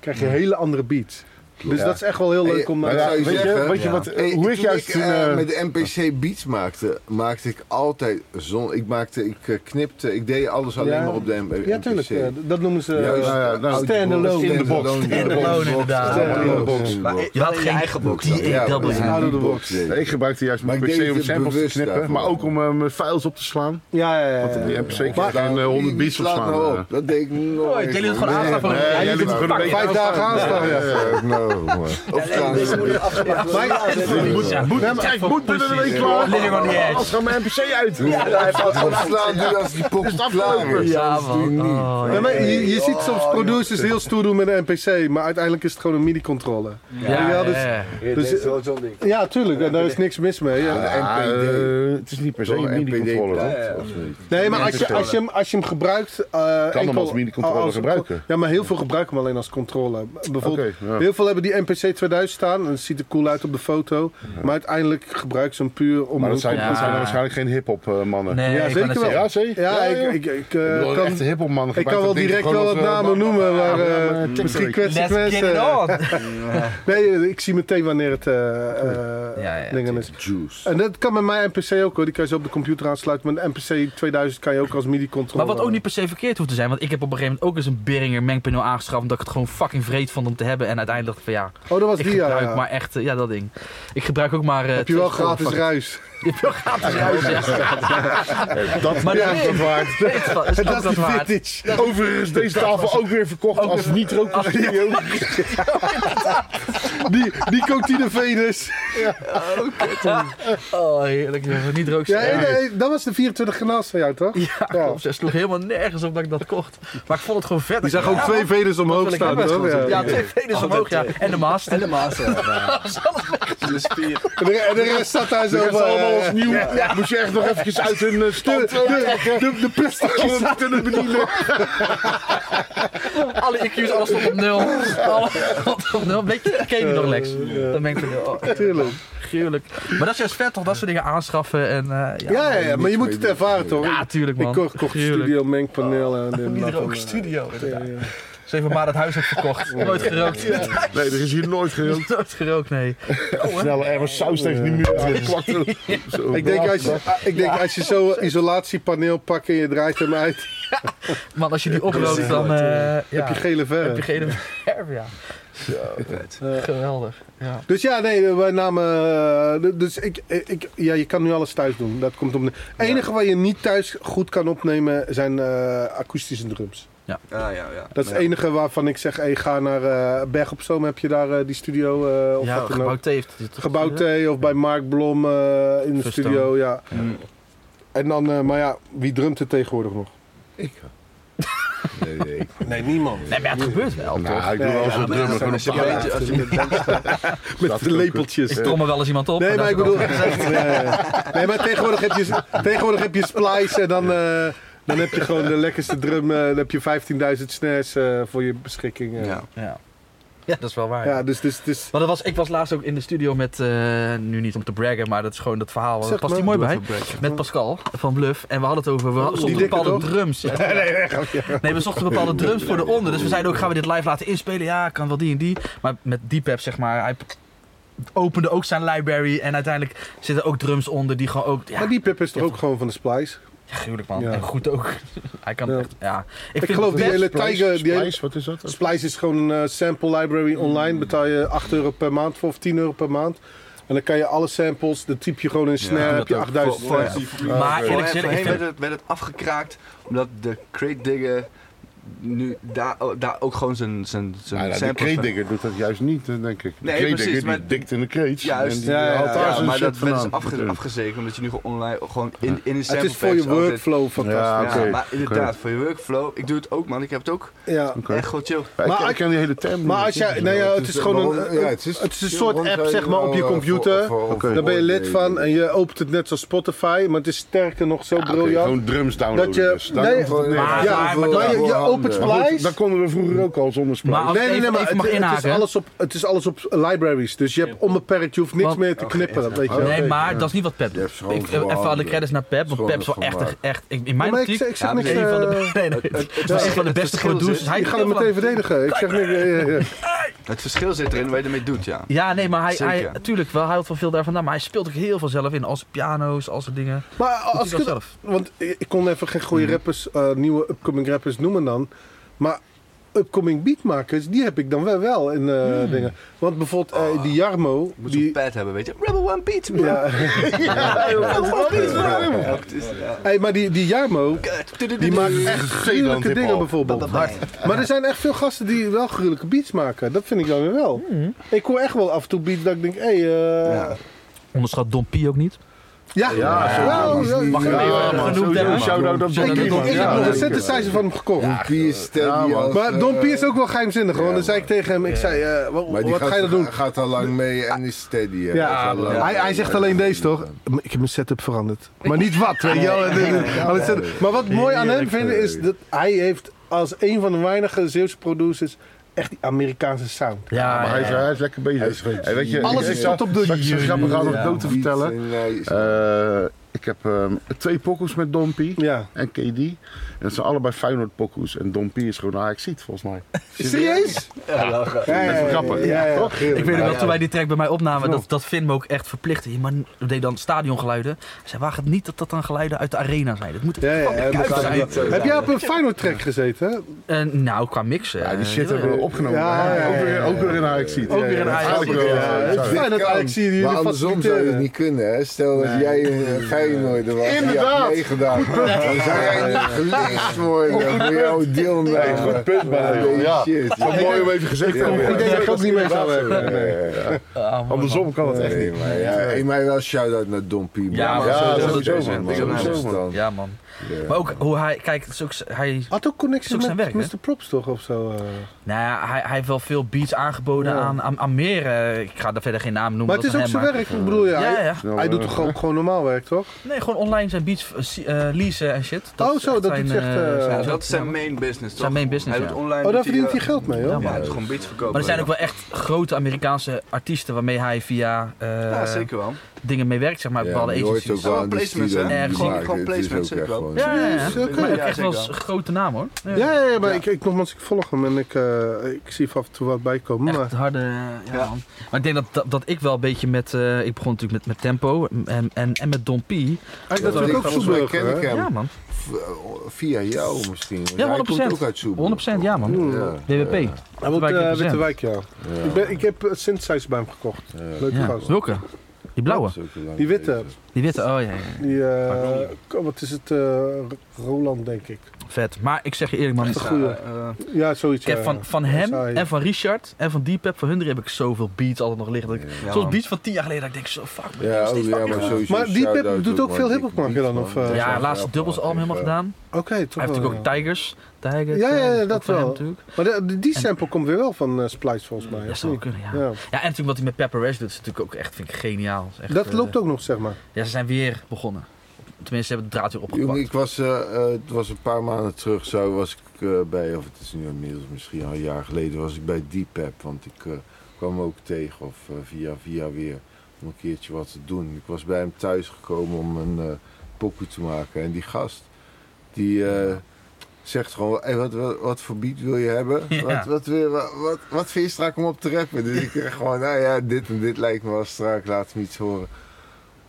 S1: krijg je hele andere beats. Dus
S2: Ja.
S1: dat is echt wel heel
S2: Hey,
S1: leuk om
S2: maar
S1: naar
S2: zou je
S1: Weet je-
S2: zeggen-
S1: weet je
S3: Ja.
S1: wat, eh,
S2: Hey,
S1: hoe ik
S2: toen
S1: juist toen,
S2: eh,
S1: eh,
S2: met de NPC Beats maakte, maakte ik altijd zon. Ik maakte, ik eh, knipte, ik deed alles alleen
S1: Ja.
S2: maar op de M- NPC.
S1: Ja, tuurlijk. eh, dat noemen ze eh,
S2: Juist.
S5: ja, nou,
S1: stand-alone.
S5: in de box.
S3: Standalone, inderdaad.
S1: Standalone
S2: box.
S4: Maar
S2: Ja,
S3: Je had
S4: je
S3: geen
S4: eigen box.
S3: die-
S2: ja,
S3: DAW.
S2: dat is
S1: Out of the
S2: box.
S1: box.
S5: Nee, ik gebruikte juist
S2: Maar
S5: mijn
S2: ik deed
S5: PC om
S2: het
S5: samples te
S2: bewust
S5: knippen,
S2: daarvoor.
S5: maar ook om eh, mijn files op te slaan.
S1: Ja, ja, ja. ja.
S5: Die heb zeker
S1: Maar-
S5: geen eh, 100
S2: Die
S5: beats op
S2: slaat
S5: slaan.
S2: nou
S5: eh.
S2: op. Dat deed ik nooit.
S3: Jij liet het gewoon
S2: man.
S3: aanstaan van een-
S2: nee,
S3: Jij
S2: jij
S5: liet het
S2: liet
S5: gewoon
S2: het
S5: een
S1: Vijf dagen aanstaan, ja.
S2: Ja, nou, man. Of trouwens,
S5: Moet, kijk, moet binnen een week klaar.
S3: Living on the edge.
S5: Anders gaat mijn NPC uit.
S2: ontslaan die als die pokken klaar is.
S3: Ja,
S2: Anders doe je
S3: man.
S2: niet.
S3: Oh, ja.
S1: Nee, maar je, je ziet soms producers heel stoer doen met een NPC, maar uiteindelijk is het gewoon een midi-controller.
S3: Ja,
S1: Ja, dus-
S3: ja.
S1: Dus, ja, tuurlijk, en daar is niks mis mee. Ja.
S5: Ja,
S2: NPD.
S5: eh, het is niet per se
S2: Zo'n
S5: een mini-controller. hoor.
S2: NPD-plaat, of niet?
S1: Nee, maar als je, als je, hem, als je hem gebruikt. eh, enkel-
S5: hem als mini-controller
S1: als-
S5: gebruiken.
S1: Ja, maar heel veel gebruiken hem alleen als controller. Bijvoorbeeld,
S5: Oké,
S1: heel
S5: ja.
S1: veel hebben die NPC 2000 staan en het ziet er cool uit op de foto, maar uiteindelijk gebruiken ze hem puur om.
S5: Maar dat zijn,
S1: ja,
S5: dat zijn dan waarschijnlijk geen hip-hop eh, mannen.
S3: Nee, ik wou
S1: zeker
S3: net
S1: wel.
S3: zeggen.
S5: Ja, zeker.
S1: ik, ik, ik, eh,
S5: Ik bedoel,
S1: kan,
S5: echte hip-hop mannen
S1: ik kan
S5: gebruiken
S1: wel
S5: dat ding
S1: direct wel
S5: gewoon
S1: wat
S5: als, eh,
S1: namen noemen, maar eh,
S5: maar, eh,
S1: misschien
S5: TikTok.
S1: kwets ik
S3: Let's kick it
S1: mensen.
S3: on.
S1: Nee, ik zie meteen wanneer het eh, eh,
S3: Ja, ja,
S1: dingen is.
S2: Juice.
S1: En dat kan met mijn NPC ook hoor. Die kan je zo op de computer aansluiten. Met een NPC 2000 kan je ook als
S3: Maar
S1: MIDI-controller.
S3: wat ook niet per se verkeerd hoeft te zijn, want ik heb op een gegeven moment ook eens een Beringer mengpaneel aangeschaft omdat ik het gewoon fucking vreed vond om te hebben en uiteindelijk dacht ik van ja,
S1: Oh, dat was
S3: ik
S1: die ja.
S3: gebruik
S1: ja.
S3: maar echt, eh, ja dat ding. Ik gebruik ook maar... eh,
S1: Heb je wel
S3: twee
S1: gratis
S3: sporen
S1: ruis?
S3: van- Je hebt wel gratis ruis,
S5: Dat
S3: Maar
S5: ja,
S3: nee.
S5: dat waard.
S3: ja. Weet je wat, is ook
S1: Dat is
S3: wat
S1: die
S3: waard.
S1: vintage.
S5: Overigens, deze tafel ook weer verkocht als niet-rookstudio.
S1: Die, die Cotine Venus.
S3: Oh heerlijk, jongen. niet rook.
S1: Ja, nee, nee, dat was de 24 kanaals van jou toch?
S3: Ja, klopt. Ze sloeg helemaal nergens op dat ik dat kocht. Maar ik vond het gewoon vet.
S1: Die zag ook twee Venus omhoog
S3: wil ik
S1: staan
S3: hebben.
S1: toch? Ja.
S3: Ja, twee venus omhoog, ja. En de master. En de
S4: De spier.
S1: En de- En de rest zat daar zo.
S5: Dat is
S1: eh,
S5: allemaal als nieuw. Moest je echt nog eventjes uit hun eh,
S1: De,
S5: stand
S1: de, de, de plasticjes zaten er beneden.
S3: Alle IQ's, alles stond op nul. Alles stond op nul. Weet je, ken je die nog, Lex? Dat ben ik van, oh,
S1: Tuurlijk.
S3: gruwelijk. Maar dat is juist vet toch, dat soort dingen aanschaffen en... eh, ja,
S1: Ja, ja, ja, maar je moet het ervaren toch?
S3: Ja, tuurlijk Oh. man.
S1: ik kocht, kocht
S3: Gruwelijk.
S1: studio, mengpaneel en dit en dat.
S3: Iedereen
S1: en,
S3: ook een
S1: eh,
S3: studio.
S1: ja, ja.
S3: Zeven maanden het huis had verkocht. Nooit gerookt.
S5: Nee, er is hier nooit geheel.
S3: Nooit gerookt, nee.
S5: Snel ergens saus tegen die muur. aan kwakte. Zo.
S1: Ik denk als je, ik denk als je zo'n isolatiepaneel pakt en je draait hem uit,
S3: Man, als je die oprookt, dan eh, ja,
S1: heb je gele
S3: heb je
S1: verf.
S3: geen verf, ja. Geweldig. Ja.
S1: Dus ja, nee, wij namen. eh, dus ik, ik, ja, je kan nu alles thuis doen. Dat komt om. Het enige wat je niet thuis goed kan opnemen zijn eh, akoestische drums.
S4: Ja, ja, ja.
S1: Dat is het enige waarvan ik zeg: hey, ga naar eh, Berg op Zoom. Heb je daar eh, die studio? eh, of
S3: ja,
S1: wat dan ook?
S3: gebouwd heeft. dit toch?
S1: Gebouw T of bij Mark Blom eh, in de
S3: Verstaan.
S1: studio. Ja.
S3: Ja.
S1: En dan, eh, maar ja, wie drumt er tegenwoordig nog?
S2: Nee, nee, ik-
S1: Nee, niemand.
S3: Nee, maar ja, het gebeurt wel, toch?
S5: Nou, ik doe wel eens
S1: Ja, maar
S5: een drummer
S1: dat
S5: van een
S1: is een
S5: paar.
S1: beetje- als je met Met de lepeltjes.
S3: Ik trommel wel eens iemand op.
S1: Nee, maar
S3: dat
S1: ik
S3: is
S1: bedoel. Ja, ja. Nee, maar tegenwoordig heb je, tegenwoordig heb je splice en dan, eh, dan heb je gewoon de lekkerste drum. eh, dan heb je 15.000 snares eh, voor je beschikking. eh.
S4: Ja.
S3: wel- Ja. ja, dat is wel waar.
S1: Ja, dus, dus, dus
S3: Maar dat was, ik was laatst ook in de studio met, eh, nu niet om te braggen, maar dat is gewoon dat verhaal.
S1: Zeg
S3: Dat past
S1: maar,
S3: hier mooi
S1: doe
S3: bij.
S1: even
S3: Met Pascal van Bluff. En we hadden het over, we hadden- zochten
S1: Oh, dikke
S3: bepaalde
S1: toch?
S3: drums. Ja. Nee, we zochten bepaalde drums voor de onder. Dus we zeiden ook, gaan we dit live laten inspelen? Ja, kan wel die en die. Maar met Deepab, zeg maar, hij opende ook zijn library. En uiteindelijk zitten ook drums onder die gewoon ook... Ja,
S1: Maar die pip is toch ook gewoon van de splice?
S3: ja, gruwelijk man.
S1: Ja.
S3: En goed ook. hij kan
S1: Ja.
S3: echt, ja.
S1: Ik geloof die
S3: best-
S1: hele Tiger. Die hele,
S5: Splice, wat is dat? Hmm.
S1: splice is gewoon een eh, sample library online. Betaal je 8 euro per maand voor of 10 euro per maand. En dan kan je alle samples, dan typ je gewoon in snare, heb je 8000 snares.
S3: Maar eerlijk
S4: Voorheen,
S3: gezegd, ik
S4: voorheen
S3: vind...
S4: werd, het, werd het afgekraakt omdat de crate digger nu daar, daar ook gewoon zijn, zijn, zijn
S3: Ah,
S5: Ja, nou, de
S4: samples van-
S5: crate digger doet dat juist niet, hè, denk ik. De
S4: Nee,
S5: crate
S4: precies,
S5: digger die
S4: maar-
S5: dikt in de crates.
S4: Juist.
S5: en die
S1: Ja, ja,
S5: haalt daar
S1: ja,
S5: zijn
S4: maar
S5: shit
S4: dat werd dus
S5: vandaan.
S4: afge, afgezekerd omdat je nu gewoon online gewoon in, in de
S1: Het
S4: sample
S1: is voor je
S4: packs altijd-
S1: workflow
S5: Ja,
S1: fantastisch.
S5: oké.
S4: Ja, maar inderdaad, voor je workflow. Ik doe het ook, man. Ik heb het ook
S1: Ja.
S5: Oké.
S4: echt gewoon chill.
S1: Maar
S5: Maar ik,
S1: als-
S5: ik ken die hele term.
S1: Maar
S5: niet.
S1: als jij, nou ja, het is gewoon
S2: waarom-
S1: een,
S2: ja,
S1: het is, een
S2: ja,
S1: soort
S2: waarom
S1: app
S2: zou je
S1: zeg maar op je
S2: nou, eh,
S1: computer.
S2: voor- voor- voor-
S1: Daar ben je lid
S2: vooroordelen?
S1: van en je opent het net zoals Spotify, maar het is sterker nog zo
S5: Ja, oké,
S1: briljant.
S5: gewoon drums downloaden.
S1: Dat je,
S5: dus. Daar
S1: nee,
S5: komt het neer.
S3: Maar-
S1: ja,
S3: maar-
S1: maar je, je opent
S5: Maar goed,
S1: Splice.
S5: dat konden we vroeger ook al zonder splice.
S3: Maar-
S1: Nee, nee, nee,
S3: Even-
S1: maar
S3: even
S1: het,
S3: mag
S1: het, is
S3: inhaken.
S1: alles op, het is alles op libraries. Dus je hebt onbeperkt, je hoeft niks
S3: Want-
S1: meer te knippen. Dat weet je wel.
S3: Nee, maar dat is niet wat Pep
S2: Oh, Je
S3: doet.
S2: hebt gewoon
S3: Ik,
S2: gewoon
S3: even alle
S2: andere-
S3: credits naar Pep, want
S2: gewoon
S3: Pep is wel
S2: een
S3: echt,
S2: formaat.
S3: echt, in mijn
S1: Ja, maar ik
S3: optiek,
S1: zeg- ik zeg
S3: ja, dus
S1: niks,
S3: een van de,
S1: eh,
S3: nee, nee, het was een van de beste
S4: verschil
S3: producers.
S4: zit-
S3: Hij
S1: Je gaat hem meteen verdedigen. Ik zeg niks. ja, ja, ja.
S4: Het verschil zit erin waar je ermee doet, ja.
S3: Ja, nee, maar hij, hij
S4: Zeker.
S3: natuurlijk wel, hij houdt wel veel daarvan aan, maar hij speelt ook heel veel zelf in, als piano's, als dingen.
S1: Maar
S3: Doet
S1: als
S3: hij
S1: ik,
S3: dat zelf? Hm.
S1: Want ik kon even geen goede rappers, eh, nieuwe upcoming rappers noemen dan. Maar upcoming beatmakers, die heb ik dan wel, wel in eh,
S3: Hmm.
S1: dingen. Want bijvoorbeeld
S2: Ah,
S1: eh, die Jarmo,
S4: Je moet zo'n
S1: die...
S4: pad hebben, weet je. Rebel One Beat, man.
S1: Ja.
S4: Ja, het is- ja.
S1: Hey, maar die, die Jarmo, die maakt echt
S5: Zeeland
S1: gruwelijke
S5: hip-hop.
S1: dingen bijvoorbeeld. Maar er zijn echt veel gasten die wel gruwelijke beats maken. Dat vind ik dan weer wel.
S4: Mhm.
S1: Ik hoor echt wel af en toe beats dat ik denk, hé... Hey, eh,
S4: Ja.
S3: Onderschat Don P ook niet.
S1: ja,
S5: zo-
S1: wel,
S5: Mag ik
S1: ja,
S5: even
S1: man.
S3: Eh, genoemd
S5: sowieso.
S3: hebben.
S5: Shout-out aan
S1: Ik
S5: Don
S1: heb
S5: P,
S1: nog
S5: man.
S1: ik heb
S5: Ja,
S1: nog een
S5: zeker.
S1: synthesizer van hem gekocht.
S2: Pier steady
S5: man.
S2: als,
S1: Maar Don
S2: eh,
S1: Pier is ook wel geheimzinnig. hoor. dan zei ik tegen hem, ik zei, eh, wa-
S2: Maar die
S1: wat
S2: gaat,
S1: ga je dat doen?
S2: gaat al lang mee en is steady. hè.
S1: Ja,
S2: Gaat al lang
S1: hij, hij
S2: mee.
S1: zegt alleen deze toch? Ik heb mijn setup veranderd. Maar niet wat, weet je wel. Alles zet- Maar wat mooi aan hem vinden is dat hij heeft als een van de weinige Zeeuwse producers echt die Amerikaanse sound.
S3: Ja,
S5: Maar hij is,
S3: ja.
S5: hij is lekker bezig.
S2: Hij is-
S5: En weet je,
S1: Alles
S5: ik-
S1: is
S5: ik-
S1: zat op de-
S5: zal ik je een grappige anekdote
S2: Beats
S5: vertellen.
S2: en hij is-
S5: Eh, ik heb ehm, twee pokkels met Dompie
S1: Ja.
S5: en KD. En dat zijn allebei Feyenoord pokkels. En Dompie is gewoon ajax ziet volgens mij.
S1: Serieus? Ja, ja, ja,
S5: grappig.
S1: ja, ja.
S5: Toch?
S3: Ik weet nog wel, toen wij die track bij mij opnamen, dat, dat Finn me ook echt verplichtte. Maar we deden dan stadiongeluiden. Hij zei, waag het niet dat dat dan geluiden uit de arena zijn. Dat moet
S1: Ja, ja, ja,
S3: Kuip
S1: dat-
S3: zijn.
S1: Heb jij op een Feyenoord track gezeten? hè?
S3: Eh, nou, qua mixen.
S5: Ja, die
S3: eh,
S5: shit hebben we opgenomen.
S1: Ja, ja, ja.
S5: Ook, weer, ook weer in ajax ziet.
S3: Ook weer in Ajax.
S1: Ja,
S5: eh,
S1: het is fijn dat
S2: kan,
S1: Ajax hier jullie
S2: Maar andersom zou je het
S1: faciliteren.
S2: niet kunnen, hè? Stel dat jij een eh, Feyenoorder was. Inderdaad! had meegedaan. Dan zou jij niet gelicht worden voor jouw deelname.
S5: Goed punt bij jou. Ja.
S2: Shit.
S5: Wat mooi om even gezegd te hebben.
S1: Ik denk dat ik ook niet mee zou hebben.
S2: Ja, ja, ja.
S3: ah, mooi, man.
S5: Andersom kan dat echt
S2: Nee,
S5: niet.
S2: maar ja, hey, maar wel shout-out naar Don Pie.
S3: Ja, maar
S5: ja,
S3: sowieso,
S5: sowieso,
S3: man.
S5: man.
S2: Sowieso, man.
S3: Ja, man. Maar ook hoe hij, kijk, het is ook, hij,
S1: Had ook connecties
S3: Zoek
S1: met
S3: zijn werk, hè?
S1: Mr. Props toch of zo? eh?
S3: nou ja, hij, hij heeft wel veel beats aangeboden
S1: Ja.
S3: aan, aan, aan meer. eh, ik ga daar verder geen naam noemen.
S1: maar het
S3: dat
S1: is ook
S3: aan
S1: zijn
S3: hem,
S1: werk. Ik bedoel, ja,
S3: maar- Ja,
S1: hij,
S3: ja.
S5: Nou,
S1: hij
S5: eh,
S1: doet toch ook gewoon normaal werk, toch?
S3: Nee, gewoon online zijn beats eh, si- eh, leasen en shit.
S1: Oh,
S3: is
S1: zo,
S3: echt
S1: dat doet hij echt, eh,
S3: zijn-
S1: Ja,
S4: dat is zijn main business, toch?
S3: Zijn main business,
S4: Hij
S3: ja.
S4: doet online...
S1: Oh, daar
S4: doet
S1: verdient hij
S4: eh,
S1: geld mee, hoor.
S4: Ja, maar hij doet gewoon beats verkopen.
S3: Maar er zijn ook wel echt grote Amerikaanse artiesten waarmee hij via eh,
S4: Ja, zeker wel.
S3: dingen mee werkt, zeg maar,
S2: Ja,
S3: bepaalde
S2: je hoort ook
S3: agencies.
S2: wel
S4: Ja,
S2: aan die
S4: placements,
S2: stilen
S4: hè?
S2: die
S3: Ja,
S2: die
S3: gewoon-
S2: maken.
S4: gewoon
S2: Het is
S4: placements,
S2: ook
S4: zeker
S2: echt
S4: wel.
S2: gewoon-
S3: Ja, ja, ja.
S1: Jezus, oké.
S3: Maar ook
S4: Ja,
S3: echt wel
S4: zeker.
S3: eens een grote naam hoor. Ja.
S1: Ja, ja, ja, maar
S4: Ja.
S1: Ik, ik, nogmaals, ik volg hem en ik, eh, ik zie af en toe wat bijkomen. Maar
S3: Echt harde. eh, Ja,
S4: Ja.
S3: man. Maar ik denk dat, dat, dat ik wel een beetje met. eh, ik begon natuurlijk met, met tempo en, en, en met Don P.
S1: hij is
S2: Ja,
S1: natuurlijk ook
S2: volgens mij
S1: Soeburger,
S2: ken
S1: hè?
S2: ik
S3: Ja,
S2: hem
S3: man.
S2: v- via jou misschien. want Hij
S3: Ja, 100%.
S2: komt ook uit Soeburg.
S3: 100% ja, man.
S2: Ja.
S3: DWP.
S1: Hij woont
S3: Wijk
S1: eh,
S3: 1%.
S1: Wittewijk, ja. Ik, ben, ik heb eh, synthesizer bij hem gekocht. Leuke
S3: Ja.
S1: gast.
S3: Welke? Die blauwe.
S1: Die witte,
S3: Die witte. Oh ja, ja, ja.
S1: die, eh, k- wat is het, eh, Roland denk ik.
S3: Vet. Maar ik zeg je eerlijk, man.
S1: Echt een goeie.
S4: Eh,
S1: Ja, zoiets.
S3: Ik heb
S1: ja.
S3: van, van hem
S1: saai.
S3: en van Richard en van Deepep, van hun drie heb ik zoveel beats altijd nog liggen. Dat ik,
S4: ja,
S3: zoals
S4: man.
S3: beats van tien jaar geleden, dat ik denk zo, fuck man.
S2: Ja, oh, ja, maar sowieso.
S1: Maar die
S2: shout-out
S1: Pep doet ook veel
S2: want
S1: hiphop,
S2: ik-
S1: mag je dan, of, eh,
S3: Ja,
S1: Ja,
S3: ja laatste dubbels album helemaal gedaan.
S1: Oké, toch
S3: Hij heeft
S1: wel,
S3: natuurlijk ook
S1: ja.
S3: Tigers. Tigers.
S1: Ja, ja,
S3: eh,
S1: ja,
S3: is ook
S1: dat
S3: van hem
S1: wel.
S3: natuurlijk.
S1: Maar de- de- die sample komt weer wel van eh, Splice volgens mij.
S3: Dat
S1: of
S3: zou
S1: niet?
S3: kunnen, ja.
S1: Ja.
S3: Ja, en natuurlijk wat hij met Pepper Rash doet, is natuurlijk ook echt, vind ik, geniaal. Is echt,
S1: Dat
S3: eh,
S1: loopt ook nog, zeg maar.
S3: Ja, ze zijn weer begonnen. Tenminste, ze hebben de draad weer
S2: Jongen,
S3: opgepakt.
S2: ik was, eh, eh, het was een paar maanden terug, zo was ik eh, bij, of het is nu inmiddels misschien al een jaar geleden, was ik bij Deepap. Want ik eh, kwam ook tegen, of eh, via via weer, om een keertje wat te doen. Ik was bij hem thuis gekomen om een eh pokoe te maken. En die gast, die eh, zegt gewoon, hey, wat, wat, wat voor beat wil je hebben?
S3: Ja.
S2: Wat, wat, wil je- wat, wat, wat vind je strak om op te rappen? Dus ik kreeg gewoon, nou ja, dit en dit lijkt me wel strak, laat me iets horen.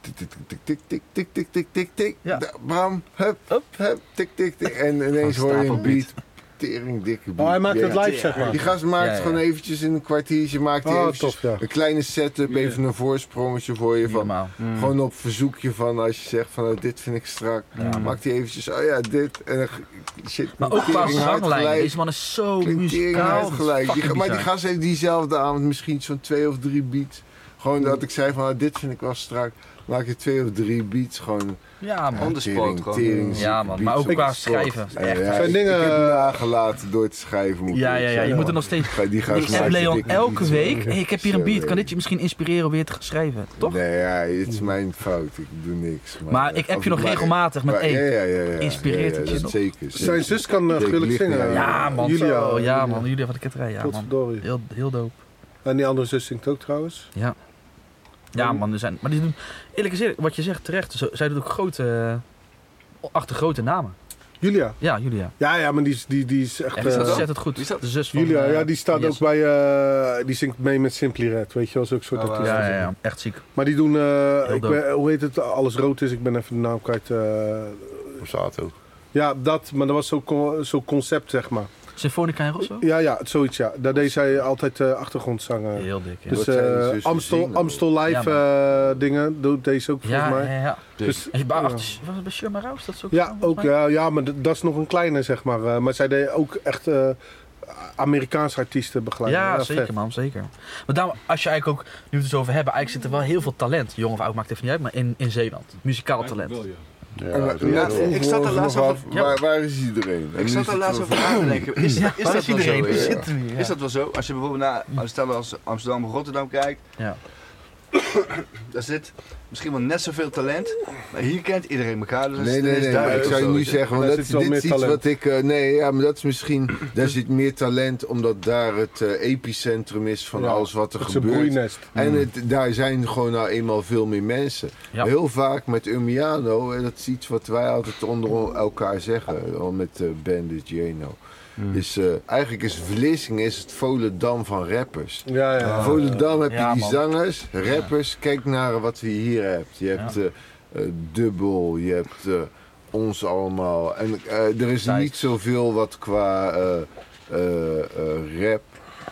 S2: Tik, tik, tik, tik, tik, tik, tik, tik, tik, tik.
S3: Ja.
S2: Da- Bam, hup, hup, hup, tik, tik, tik. En ineens
S3: Gewoon
S2: hoor je een
S3: stapelbeat.
S2: beat. Tering dikke beat.
S1: Oh, hij maakt het
S2: Ja.
S1: live, zeg maar.
S2: Die gast maakt
S3: Ja, ja.
S2: gewoon eventjes in een kwartiertje, maakt hij
S1: Oh,
S2: eventjes
S1: tof, ja.
S2: een kleine setup, even een voorsprongetje voor je.
S3: Niet
S2: Van,
S3: normaal.
S2: gewoon op verzoekje van als je zegt van oh, dit vind ik strak. Maakt hij eventjes, oh ja, dit. En dan g- shit,
S3: Maar ook qua
S2: tering hard
S3: zanglijn.
S2: gelijk.
S3: Deze man is zo
S2: Klinkt tering hard
S3: muzikaal.
S2: gelijk. Die,
S3: Fucking
S2: maar die
S3: bizar.
S2: gast heeft diezelfde avond misschien zo'n twee of drie beats. Gewoon dat ik zei van ah, dit vind ik wel strak. Maak je twee of drie beats gewoon.
S3: Ja, man.
S4: On the spot
S2: tering,
S4: gewoon.
S2: tering,
S3: Ja, man, maar
S2: beats
S3: ook
S2: op
S3: qua
S2: de spot.
S3: schrijven.
S2: Ja, ja,
S3: Echt.
S1: Zijn
S2: ik,
S1: dingen-
S2: ik heb nagelaten door te schrijven. Moet ik
S3: Ja, ja,
S2: eerlijk
S3: ja. Je
S2: zeggen.
S3: moet er nog steeds...
S2: Ga- Die gaat
S3: Ik heb Leon elke
S2: dus,
S3: week. Hey, ik heb hier een beat. Kan dit je misschien inspireren om weer te gaan schrijven? Toch?
S2: Nee, ja, het is mijn fout. Ik doe niks. Maar,
S3: Maar ik app je nog
S2: maar-
S3: regelmatig met,
S2: maar- eh,
S3: hey,
S2: ja, ja, ja, ja, ja,
S3: inspireert het
S2: ja,
S3: je
S2: dat
S3: nog?
S2: Zeker. zeker.
S1: Zijn zus kan eh,
S2: Ik
S1: gruwelijk
S2: licht,
S1: zingen.
S3: Ja, man.
S1: Julia.
S3: Zo, ja, man. Julia van de Ketterij. Ja, man.
S1: Potverdorie.
S3: Heel, heel dope.
S1: En die andere zus zingt ook trouwens.
S3: Ja, man. Er zijn, maar die doen... Eerlijk is eerlijk. Wat je zegt terecht. Zo, zij doet ook grote... eh, Achter grote namen.
S1: Julia.
S3: Ja, Julia.
S1: Ja, ja, maar die, is- die, die is echt...
S3: Echt
S1: eh,
S3: ontzettend goed.
S4: Wie is dat?
S3: De zus van...
S1: Julia,
S3: eh,
S1: ja, die staat
S3: van
S1: ook
S3: Jesse.
S1: bij... eh, die zingt mee met Simply Red, weet je wel, zo'n soort
S4: Oh,
S1: artiesten.
S3: Ja, ja, ja. Echt ziek.
S1: Maar die doen, eh,
S3: Heel
S1: ik
S3: dope.
S1: ben- hoe heet het, alles rood is, ik ben even de naam kwijt. eh,
S5: Borsato.
S1: ja, dat, maar dat was zo'n co- zo'n concept, zeg maar.
S3: Symfonica en Rosso?
S1: Ja, ja, zoiets, ja. Daar deed zij altijd eh achtergrondzangen.
S3: Heel dik. Ja,
S1: Dus
S2: Wat zijn die
S1: eh,
S2: zussen
S1: Amstel,
S2: zingen?
S1: Amstel
S3: Ja,
S1: Live eh, dingen doet deze ook, volgens
S3: ja,
S1: mij.
S3: ja, ja.
S1: Dus,
S3: En je bouwt
S1: ja.
S3: achter- was het bij Shirma Rouse? Dat is ook
S1: Ja,
S3: zo, volgens
S1: ook,
S3: mij?
S1: ja, ja maar d- dat is nog een kleine, zeg maar. Eh, maar zij deed ook echt eh, Amerikaanse artiesten begeleiden.
S3: Ja,
S1: vet.
S3: zeker man, zeker. Maar daarom, als je eigenlijk ook, nu we het dus over hebben, eigenlijk zit er wel heel veel talent, jong of oud, maakt even niet uit, maar in, in Zeeland. Muzikaal talent.
S2: En waar-
S5: Ja,
S4: Ja, ik zat er laatst
S2: nog
S4: over-
S2: af, Waar, waar is iedereen? En nu
S4: Ik
S2: is
S4: zat daar
S2: het
S4: laatst
S2: wel-
S4: over na te denken. Is, is dat wel zo? eh?
S3: We
S4: Is-
S3: zitten hier.
S4: Is dat wel zo? Als je bijvoorbeeld naar als stel als Amsterdam of Rotterdam kijkt,
S3: Ja.
S4: daar zit misschien wel net zoveel talent, maar hier kent iedereen elkaar. Dus
S2: Nee, nee, nee. maar Ik zou je nu zeggen, want
S1: Daar
S2: dat is,
S1: zit wel
S2: dit
S1: meer
S2: is iets
S1: talent.
S2: wat ik... eh, nee, ja, maar dat is misschien... Daar zit meer talent omdat daar het eh, epicentrum is van
S1: Ja,
S2: alles wat er
S1: Het is een
S2: gebeurt.
S1: broeinest.
S2: En het, daar zijn gewoon nou eenmaal veel meer mensen.
S3: Ja.
S2: Heel vaak met Umiano, en dat is iets wat wij altijd onder elkaar zeggen, al met eh Bandit Jeno. Is, eh, eigenlijk is Vlissingen is het Volendam van rappers.
S1: Ja, ja.
S2: In Volendam heb je
S3: Ja,
S2: die
S3: man.
S2: zangers, rappers. Kijk naar wat we hier hebben. Je hebt eh, eh, Dubbel, je hebt eh, Ons Allemaal. En eh, er is
S3: Tijd.
S2: niet zoveel wat qua eh, eh, eh, rap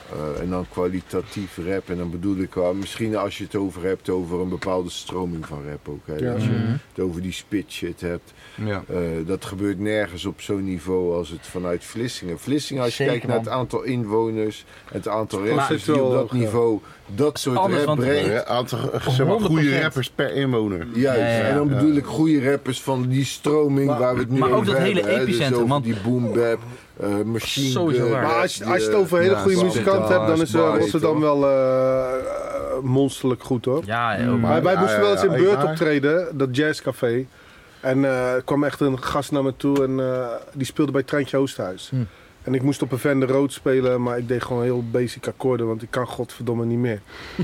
S2: eh, en en dan kwalitatief rap. En dan bedoel ik wel, misschien als je het over hebt over een bepaalde stroming van rap ook. Hè.
S1: Ja.
S2: Als je
S3: Mhm.
S2: het over die spit shit hebt.
S4: Ja.
S2: Eh, dat gebeurt nergens op zo'n niveau als het vanuit Vlissingen. Vlissingen, als je
S7: Zeker,
S2: kijkt naar het
S7: man.
S2: aantal inwoners, het aantal rappers die
S1: conceptueel
S2: op dat
S1: hoog, ja.
S2: niveau dat soort
S3: Alles
S2: rap
S3: wat-
S2: brengt.
S5: Een aantal eh, zeg maar, goede
S3: 100%.
S5: rappers per inwoner.
S2: Juist,
S3: Ja, ja, ja.
S2: en dan bedoel ik goede rappers van die stroming waar we het nu
S3: maar ook
S2: over
S3: dat hele
S2: hebben, hè. Dus
S3: epicentrum,
S2: over
S3: want-
S2: die boom bap, eh, machine
S3: Sowieso
S2: Gun,
S3: waar.
S1: Maar
S2: rap,
S1: als je,
S2: die,
S1: als je het
S2: eh,
S1: over hele
S4: ja,
S1: goede
S4: Bars,
S1: muzikanten hebt, dan is eh,
S2: Bars,
S1: Rotterdam
S2: toch?
S1: wel eh, eh, monsterlijk goed hoor.
S3: Ja, joh, maar-
S1: Wij, wij
S5: Ja,
S1: moesten
S5: ja,
S1: wel eens in
S5: ja,
S1: beurt
S5: maar-
S1: optreden, dat jazzcafé. En eh, er kwam echt een gast naar me toe en eh, die speelde bij Treintje Oosthuis.
S3: Hm.
S1: En ik moest op een Van de Rood spelen, maar ik deed gewoon heel basic akkoorden, want ik kan godverdomme niet meer.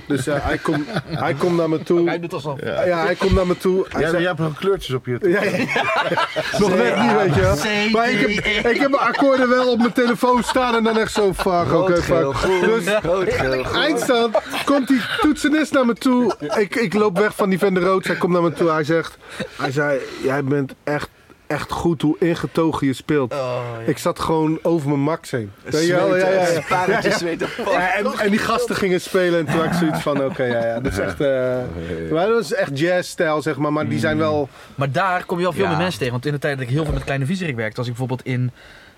S1: Dus eh, hij komt hij komt naar me toe.
S3: doet alsof.
S1: Ja. hij komt naar me toe. Hij
S5: Jij,
S1: zegt-
S5: jij hebt nog kleurtjes op je
S1: Ja, ja, ja. Nog net niet, weet je wel. Maar ik heb, ik heb mijn akkoorden wel op mijn telefoon staan en dan echt zo vaag. Oké,
S4: geel,
S1: fuck. Dus eindstand komt die toetsenist naar me toe. Ik, ik loop weg van die Van der Rood. Hij komt naar me toe. Hij zegt, hij zei, jij bent echt, echt goed hoe ingetogen je speelt.
S3: Oh,
S1: Ik zat gewoon over mijn max heen. Weet je wel? Ja, ja, ja.
S4: Parentjes weten.
S1: Ja, en, en die gasten gingen spelen en toen had ik zoiets van, oké, ja, ja, dat is echt, eh, maar dat is echt jazz-stijl, zeg maar, maar die zijn wel...
S3: Maar daar kom je wel veel
S7: Ja.
S3: meer mensen tegen. Want in de tijd dat ik heel veel met Kleine Viezerik werkte, als ik bijvoorbeeld in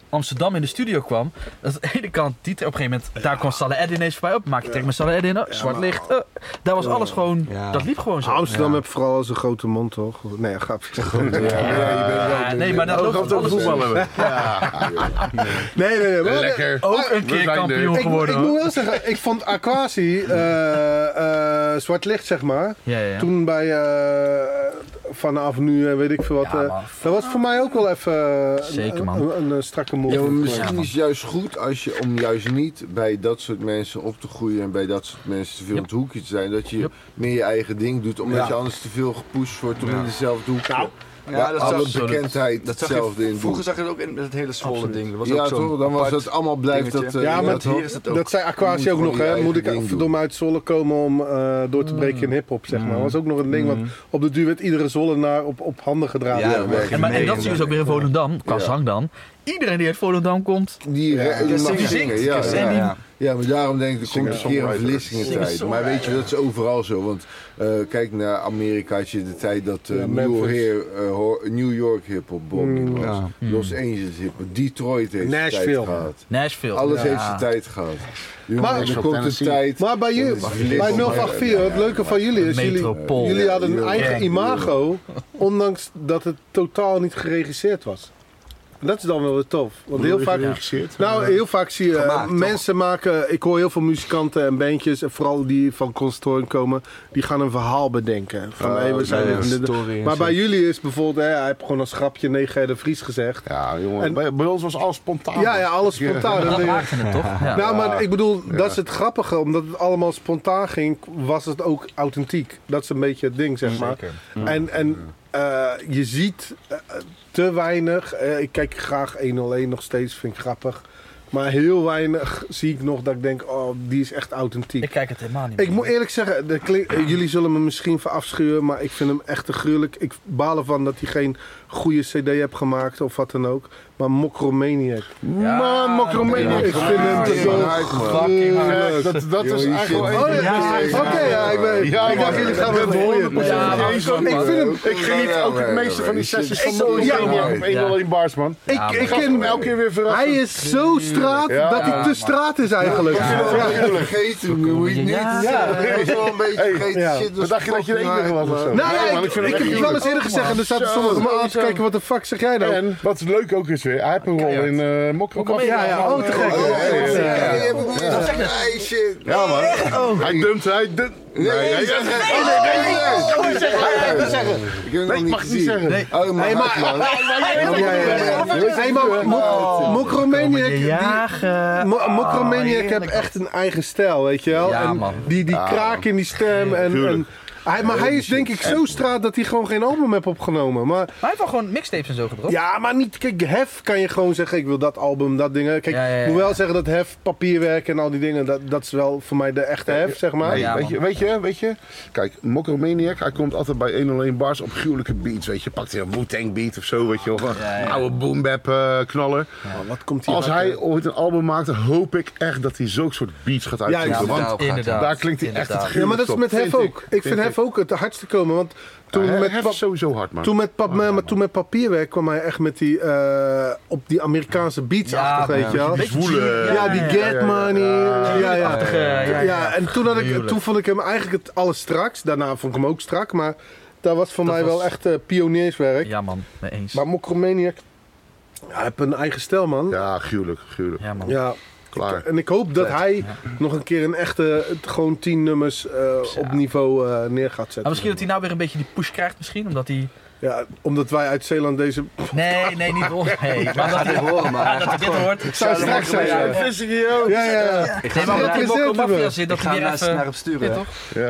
S3: Amsterdam in de studio kwam, dat aan de ene kant Dieter op een gegeven moment, daar kwam Salah Eddin ineens voorbij op, maak je trek met Salah Eddin, oh, zwart licht, oh. daar was alles gewoon,
S7: Ja.
S3: dat liep gewoon zo.
S1: Amsterdam heeft vooral als een grote mond, toch? Nee, grapje.
S3: Ja, nee, maar dat loopt alles
S5: voetballen.
S1: Nee, nee, nee. maar-
S5: Lekker.
S3: Ook een keer
S5: zijn er.
S3: kampioen
S1: Ik,
S3: geworden.
S1: ik moet
S3: hoor.
S1: wel zeggen, ik vond Aquasi, eh, eh, zwart licht zeg maar,
S3: Ja, ja, ja.
S1: toen bij eh, vanaf nu en weet ik veel wat.
S3: Ja,
S1: eh,
S3: man.
S1: dat was voor mij ook wel even eh,
S3: Zeker,
S1: een,
S3: man.
S1: een, een, eh, strakke mond.
S2: Ja, maar
S3: Ja,
S2: misschien
S3: man.
S2: is het juist goed als je, om juist niet bij dat soort mensen op te groeien en bij dat soort mensen te veel
S3: Yep.
S2: op het hoekje te zijn, dat je
S3: Yep.
S2: meer je eigen ding doet, omdat
S1: Ja.
S2: je anders te veel gepusht wordt om in dezelfde hoek. Ja,
S4: Nou, Ja, dat
S2: alle
S4: zag-
S2: bekendheid
S4: Dat zag
S2: hetzelfde
S4: je,
S2: in
S4: vroeger
S2: doet.
S4: zag je het ook in het hele Zwolle ding. Dat was
S2: Ja,
S4: ook zo'n
S2: toch? Dan was
S4: apart-
S2: dat allemaal blijft dat.
S4: dingetje.
S2: eh,
S1: Ja, maar
S2: dat
S4: hier is het ook.
S1: Dat zei Aquasi
S2: Je
S1: ook
S2: moet
S1: nog,
S2: gewoon
S1: hè?
S2: je
S1: Moet
S2: eigen
S1: ik
S2: ding Mm.
S1: verdomme uit Zwolle komen om eh, door te breken in hip-hop, zeg maar. Dat was ook nog een ding, want op de duur werd iedere Zwollenaar op, op handen gedragen.
S2: Ja, maar-
S3: En, maar, en dat zie je dus ook weer in Volendam, qua zang dan. Iedereen die uit Volendam komt,
S2: Die re-
S4: die
S2: mag
S4: zingt.
S2: zingen, ja,
S4: Die
S2: ja,
S4: zingt.
S2: ja. Ja, maar daarom denk ik, er komt een keer een verlissingen tijd. Maar weet je, dat is overal zo. Want eh, kijk, naar Amerika had je de tijd dat eh,
S1: Ja,
S2: New,
S1: Memphis.
S2: Year, eh, ho- New York hip-hop bombing was.
S4: ja.
S2: Los Angeles hip-hop. Detroit heeft zijn tijd
S1: Nashville.
S2: gehad.
S3: Nashville.
S2: Alles
S3: Ja.
S2: heeft zijn tijd gehad. Jongen,
S1: Maar-
S2: er komt een tijd...
S1: Maar bij,
S2: Dat
S1: jullie,
S2: is verlichting.
S1: bij 084, het leuke van jullie is, jullie,
S3: Metropool.
S1: jullie hadden een
S2: Ja,
S1: eigen
S2: ja.
S1: imago, ondanks dat het totaal niet geregisseerd was. En dat is dan wel weer tof. Want heel vaak, nou, heel vaak zie je eh,
S4: Gemaakt, toch?
S1: mensen maken, ik hoor heel veel muzikanten en bandjes, en vooral die van Constoorn komen, die gaan een verhaal bedenken. Van, hey, we zijn dit en dit. Maar bij jullie is bijvoorbeeld, hè, hij heeft gewoon als grapje 9 de Vries gezegd.
S5: Ja, jongen.
S1: En-
S5: bij, bij ons was alles spontaan.
S1: Ja, ja, alles spontaan. En dan
S3: Dat
S1: denk je-
S3: maakte het toch? Ja.
S1: nou, maar ik bedoel, dat is het grappige. Omdat het allemaal spontaan ging, was het ook authentiek. Dat is een beetje het ding, zeg maar.
S3: Mm.
S1: En, en eh, je ziet eh, te weinig. eh, ik kijk graag 101 nog steeds, vind ik grappig. Maar heel weinig zie ik nog dat ik denk, oh, die is echt authentiek.
S3: ik
S1: Ik,
S3: kijk het helemaal niet meer.
S1: moet eerlijk zeggen, dat klink- eh, jullie zullen me misschien voor afschuwen, maar ik vind hem echt te gruwelijk. Ik baal ervan dat hij geen goede cd heeft gemaakt of wat dan ook. Maar Mokromaniac.
S5: Man, Mokromania.
S1: Ik vind hem te
S5: Ja,
S1: zo
S2: hard, man.
S1: gruwelijk.
S5: Dat, dat is
S2: Jongen,
S5: eigenlijk
S2: shit.
S5: wel
S1: Oh,
S5: een-
S1: ja,
S2: Ja,
S1: oké, ja, ik ben.
S5: Ja,
S1: ik dacht,
S5: man.
S1: jullie gaan
S5: Ik
S1: me
S5: ben
S1: vermoeien.
S5: 100%
S1: Ja,
S3: maar-
S1: ik vind hem.
S5: Ik geniet ook het meeste van die sessies van
S1: zo- ja,
S5: Mokromania
S2: man.
S5: op 101 bars, man.
S1: Ik, ik ken hem
S5: Elke keer weer
S1: Hij
S5: verrast.
S1: is zo straat
S5: Ja,
S1: dat hij
S5: ja,
S1: te straat is eigenlijk. Ja.
S2: Vergeten hoe je het
S3: Ja.
S2: niet. Ja, dat is wel een beetje vergeten.
S1: Ja.
S2: Shit,
S5: Wat dacht je dat je de enige was of zo?
S1: Nou
S5: Nee,
S1: ja,
S5: man,
S1: ik,
S5: vind
S1: ik heb
S5: hem
S1: het wel
S5: echt
S1: eens
S5: gruwelijk.
S1: eerder gezegd en er zaten
S5: Zo.
S1: sommigen me aan te kijken, wat de fuck zeg jij nou?
S5: En wat leuk ook is weer, hij heeft een rol in uh, Mokromania.
S1: Ja, ja, oh te gek. Ja, ja, ja.
S2: Hey, shit.
S5: Ja, man. Hij dumpt, hij dumpt. Nee, nee, nee. nee,
S2: Ik heb
S5: ik mag het niet zeggen.
S2: Oh, maar,
S1: Ja, ja, ja. Hey, maar
S3: Oh,
S1: Mok- Mokromaniac, die-
S3: jagen.
S1: Mo- Mokromaniac heeft echt een eigen stijl, weet je wel?
S3: Oh, Ja,
S1: en
S3: man.
S1: Die, die kraak in die stem en, en Hij, maar hij is denk ik zo straat dat hij gewoon geen album heeft opgenomen. Maar
S3: Maar hij heeft wel gewoon mixtapes en zo gedropt.
S1: Ja, maar niet. Kijk, Hef kan je gewoon zeggen: ik wil dat album, dat dingen. Kijk, ik
S3: Ja, ja, ja.
S1: moet wel zeggen dat Hef, papierwerk en al die dingen, dat, dat is wel voor mij de echte Hef, zeg maar.
S5: Hey,
S3: Ja,
S5: weet,
S3: man.
S5: je, weet je, weet je? Kijk, Mokromaniac, hij komt altijd bij 101 bars op gruwelijke beats, weet je. Pakt hij een Wu-Tang beat of zo, weet je wel. Een Oude boom bap eh, knaller.
S1: Wat komt eh?
S5: Als hij ooit een album maakt, dan hoop ik echt dat hij zulke soort beats gaat
S1: Juist.
S5: uitvoeren.
S1: Ja,
S5: want
S3: inderdaad, inderdaad.
S5: daar klinkt hij echt het
S3: Inderdaad.
S5: gruwelijkst
S1: Ja, maar dat is
S5: op.
S1: met Hef
S5: Vind
S1: ook. Ik vind
S5: Vind
S1: Hef
S5: ik.
S1: ook het hardste komen. Want toen
S5: Ja,
S1: met
S5: Hef
S1: pap-
S5: is sowieso hard, man.
S1: Toen met, pap, maar toen met papierwerk kwam hij echt met die, eh, op die Amerikaanse beats achter, weet je wel.
S5: Die zwoele...
S1: Ja, die Get Money. Ja, ja, ja.
S3: Achtige, ja, ja, ja.
S1: en toen, had ik,
S3: Tuurlijk.
S1: toen vond ik hem eigenlijk het alles straks. Daarna vond ik hem ook strak, maar dat was voor
S3: Dat
S1: mij wel
S3: was-
S1: echt eh, pionierswerk.
S3: Ja, man, mee eens.
S1: Maar Mokromaniac, ja, hij heeft een eigen stijl, man. Ja.
S5: Ja, gruwelijk, gruwelijk.
S3: Ja, man.
S5: Klaar.
S1: En ik hoop dat hij nog een keer een echte, het gewoon tien nummers eh, op niveau eh, neer gaat zetten.
S3: Maar misschien dat hij nou weer een beetje die push krijgt, misschien. Omdat hij.
S1: Ja, omdat wij uit Zeeland deze...
S3: Nee, nee, niet ons. Nee, maar dat hij
S4: horen, man.
S3: Ja, dat hij dit hoort. Ik
S1: zou straks zijn, ja. Ja, ja, ja.
S4: Ik
S3: Nee,
S4: ga
S3: maar
S1: Ja,
S3: omdat
S4: naar-
S3: hij in Mokko
S1: presentie
S3: Mafia
S1: wel.
S3: zit,
S4: ik
S3: dat
S4: ga
S3: hij weer
S4: naar naar
S3: even...
S4: hem sturen. hè.
S3: toch?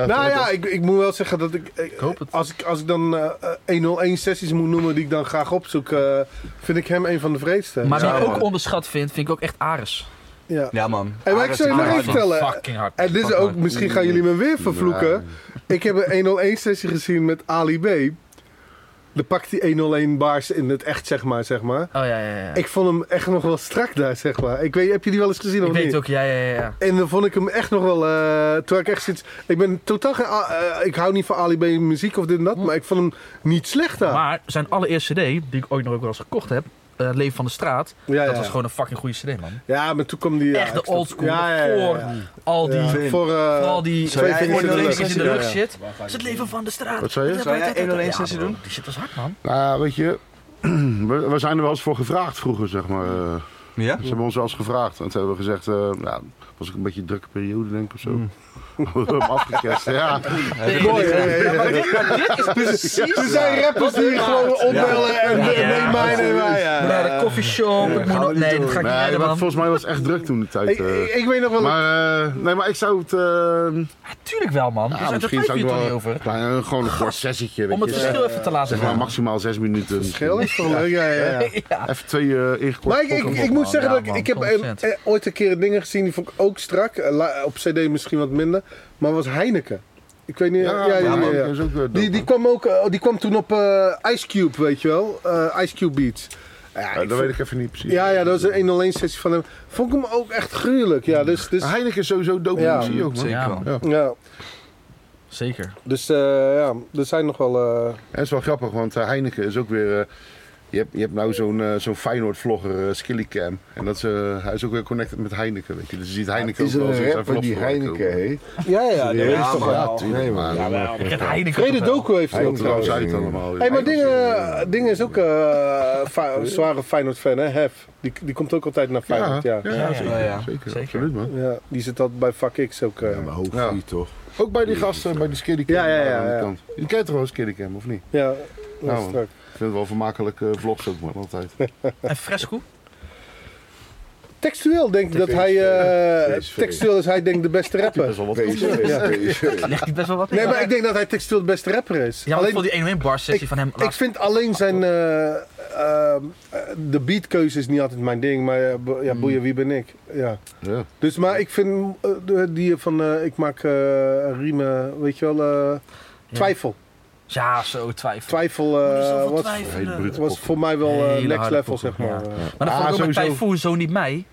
S1: Nou ja, ik, ik moet wel zeggen dat ik... Ik
S3: hoop het.
S1: Als ik, als ik dan eh, eh, 101 sessies moet noemen die ik dan graag opzoek, eh, vind ik hem een van de vreedste.
S3: Maar wie
S1: ja,
S3: ik ook
S1: man.
S3: onderschat vind, vind ik ook echt Ares.
S1: Ja.
S4: Ja, man.
S1: En maar ik
S4: Ares
S1: zou je
S4: is
S1: nog
S4: hard,
S1: even
S4: man.
S1: vertellen.
S3: Fucking hard.
S1: En dit is
S3: Fucking
S1: ook, misschien gaan jullie me weer vervloeken. Ik heb een 101 sessie gezien met Ali B. Dan pakt hij 101 baars in het echt, zeg maar. Zeg maar.
S3: hard. Oh ja, ja, ja. Ik,
S1: Ik vond hem echt nog wel strak daar, zeg maar. Ik weet, heb je die wel eens gezien of
S3: weet
S1: niet?
S3: het ook, ja, ja, ja, ja.
S1: En dan vond ik hem echt nog wel. eh, toen had ik echt zoiets. Ik ben totaal. geen A- eh, ik hou niet van Ali B muziek of dit en dat. Maar ik vond hem niet slecht daar.
S3: Hm. Maar zijn allereerste cd, die ik ooit nog ook wel eens gekocht heb, eh, Het Leven van de Straat,
S1: ja, ja.
S3: dat was gewoon een fucking goede cd, man.
S1: ja, maar toen kwam die. ja,
S3: echt de
S1: ik snap-
S3: old school,
S1: Ja, ja, ja, ja.
S3: voor al die...
S1: Ja,
S3: Voor
S1: voor, eh,
S3: al die
S1: Zou jij
S3: voor die
S1: in de
S3: linkjes
S1: rug-
S3: in de rug
S1: Ja, ja.
S3: shit. Dat is het leven van de straat.
S5: Wat zei je?
S4: Zou jij
S3: Ja,
S4: 101 sessie
S3: bro,
S4: doen?
S3: Die shit was hard, man.
S5: Nou, weet je, we, we zijn er wel eens voor gevraagd vroeger, zeg maar. eh.
S4: Ja?
S5: Ze hebben ons wel eens gevraagd. En toen hebben we gezegd, eh nou, was ik een beetje een drukke periode, denk ik, of zo.
S3: Mm.
S5: We hebben hem afgekest, ja.
S1: Mooi, hè? Ja, maar dit-
S3: Dit is precies...
S1: Er zijn rappers die je gewoon opbellen en
S3: Ja.
S1: eh, neem mij, neem mij. ja.
S3: Naar de coffeeshop, ik moet nog... Nee, dat ga ik niet
S5: Nee,
S3: redden,
S5: want
S3: man.
S5: volgens mij was het echt druk toen de tijd.
S1: Ik,
S5: eh.
S1: ik, ik weet nog wel.
S5: maar, eh, nee, maar ik zou het... eh
S3: Ja, Tuurlijk wel, man. Dus
S5: ja,
S3: daar
S5: misschien
S3: twijfel
S5: zou
S3: je
S5: ik
S3: toch
S5: wel
S3: niet over.
S5: Klein, eh, gewoon een kort sessietje, weet
S3: Om het
S5: je.
S3: verschil even te laten
S5: Zeg maar
S3: gaan.
S5: maximaal zes minuten.
S1: Geel is toch leuk? Ja, ja, ja.
S3: Ja.
S5: Even twee eh ingekorte
S1: Maar ik, ik,
S5: pokken.
S1: ik moet zeggen
S3: Ja,
S1: dat ik,
S3: man,
S1: ik heb
S3: 100%.
S1: eh, eh, ooit een keer dingen gezien die vond ik ook strak. Eh, la- Op CD misschien wat minder. Maar was Heineken. Ik weet niet. Ja, ja, ja,
S5: man,
S1: ja.
S5: dat is ook, eh, dope,
S1: Die, die,
S5: man.
S1: kwam ook, eh, die kwam toen op eh, Ice Cube, weet je wel. Eh, Ice Cube Beats. Ja,
S5: Ja,
S1: ik
S5: dat
S1: vond-
S5: weet ik even niet precies.
S1: ja, ja, dat was een 101 sessie van hem. Vond ik hem ook echt gruwelijk. Ja, dus, dus,
S5: Heineken is sowieso dope
S1: Ja,
S5: muziek ook, man.
S4: Zeker.
S3: Ja,
S4: wel.
S3: man.
S1: ja,
S3: Zeker.
S1: dus eh, ja, er zijn nog wel... eh,
S5: Dat is wel grappig, want eh, Heineken is ook weer... eh, je, hebt, je hebt nou zo'n eh, zo'n Feyenoord-vlogger, eh, Skillycam. En dat is, eh, hij is ook weer connected met Heineken, weet je. Dus je ziet Heineken
S2: Is
S5: ook
S2: er
S5: wel eens in
S2: een
S5: zijn
S2: rapper die
S5: vlog
S2: Heineken
S5: voorkomen.
S2: heet?
S1: ja, ja, ja.
S2: Serieus
S4: ja,
S2: toch
S4: man.
S2: wel? Nee, man.
S5: Ja,
S2: Ja,
S3: Ik heb
S2: man.
S3: Heineken
S1: Vrede
S3: toch wel.
S1: Doku heeft
S2: Hij
S1: hem ook
S2: heeft
S5: Trouw
S1: trouwens.
S2: trouwens-
S5: uit allemaal.
S1: Hé, maar
S5: Heineken is,
S1: Dingen, Dingen is ook eh, fa- een zware Feyenoord-fan, hè? Hef. Die, die komt ook altijd naar
S5: eh,
S1: Feyenoord, ja.
S5: ja,
S1: Ja,
S5: ja, zeker,
S3: Ja, ja.
S5: zeker,
S3: Zeker.
S5: absoluut man.
S1: die zit altijd bij Fuck X ook. eh.
S2: Ja, maar hoog
S5: Ja.
S2: vlieg toch?
S5: Ook bij die gasten, bij die Skillycam.
S1: Ja, ja, ja,
S5: daar aan die
S1: ja.
S5: kant. Je kent toch wel Skillycam, of niet?
S1: ja,
S5: Nou,
S1: dat is strak.
S5: Ik vind het wel vermakelijk eh, vlogs ook, man, altijd.
S3: En Fresco?
S1: Textueel denk ik dat hij... eh,
S2: PSV.
S1: textueel is hij denk ik de beste rapper.
S5: wel
S2: PSV.
S1: Ja.
S2: PSV.
S3: Ligt niet best wel wat in?
S1: Nee, maar ik denk dat hij textueel de beste rapper is.
S3: Ja, want ik
S1: Alleen-
S3: vond die Oh. 1-1 bar sessie
S1: ik-
S3: van hem
S1: Ik
S3: laatst.
S1: vind alleen zijn. eh, ehm, eh, de beatkeuze is niet altijd mijn ding, maar ja, bo-
S3: Hmm.
S1: ja, boeien, wie ben ik? Ja.
S5: Ja.
S1: Dus, maar ik vind eh, de- die van. eh, ik maak eh, riemen, weet je wel. eh, twijfel.
S3: Ja, zo twijfel.
S4: Oh,
S1: Twijfel eh,
S3: Er is zoveel
S1: was,
S5: Hele
S3: twijfelen.
S5: brute
S1: was
S5: poppen.
S1: voor mij wel eh,
S3: Hele
S1: next
S3: harde
S1: level, zeg
S3: poppen,
S1: maar.
S3: ja.
S1: Ja,
S3: Maar dat
S5: Ah,
S3: vond ik ook met
S5: sowieso.
S3: Typhoon, zo niet mij.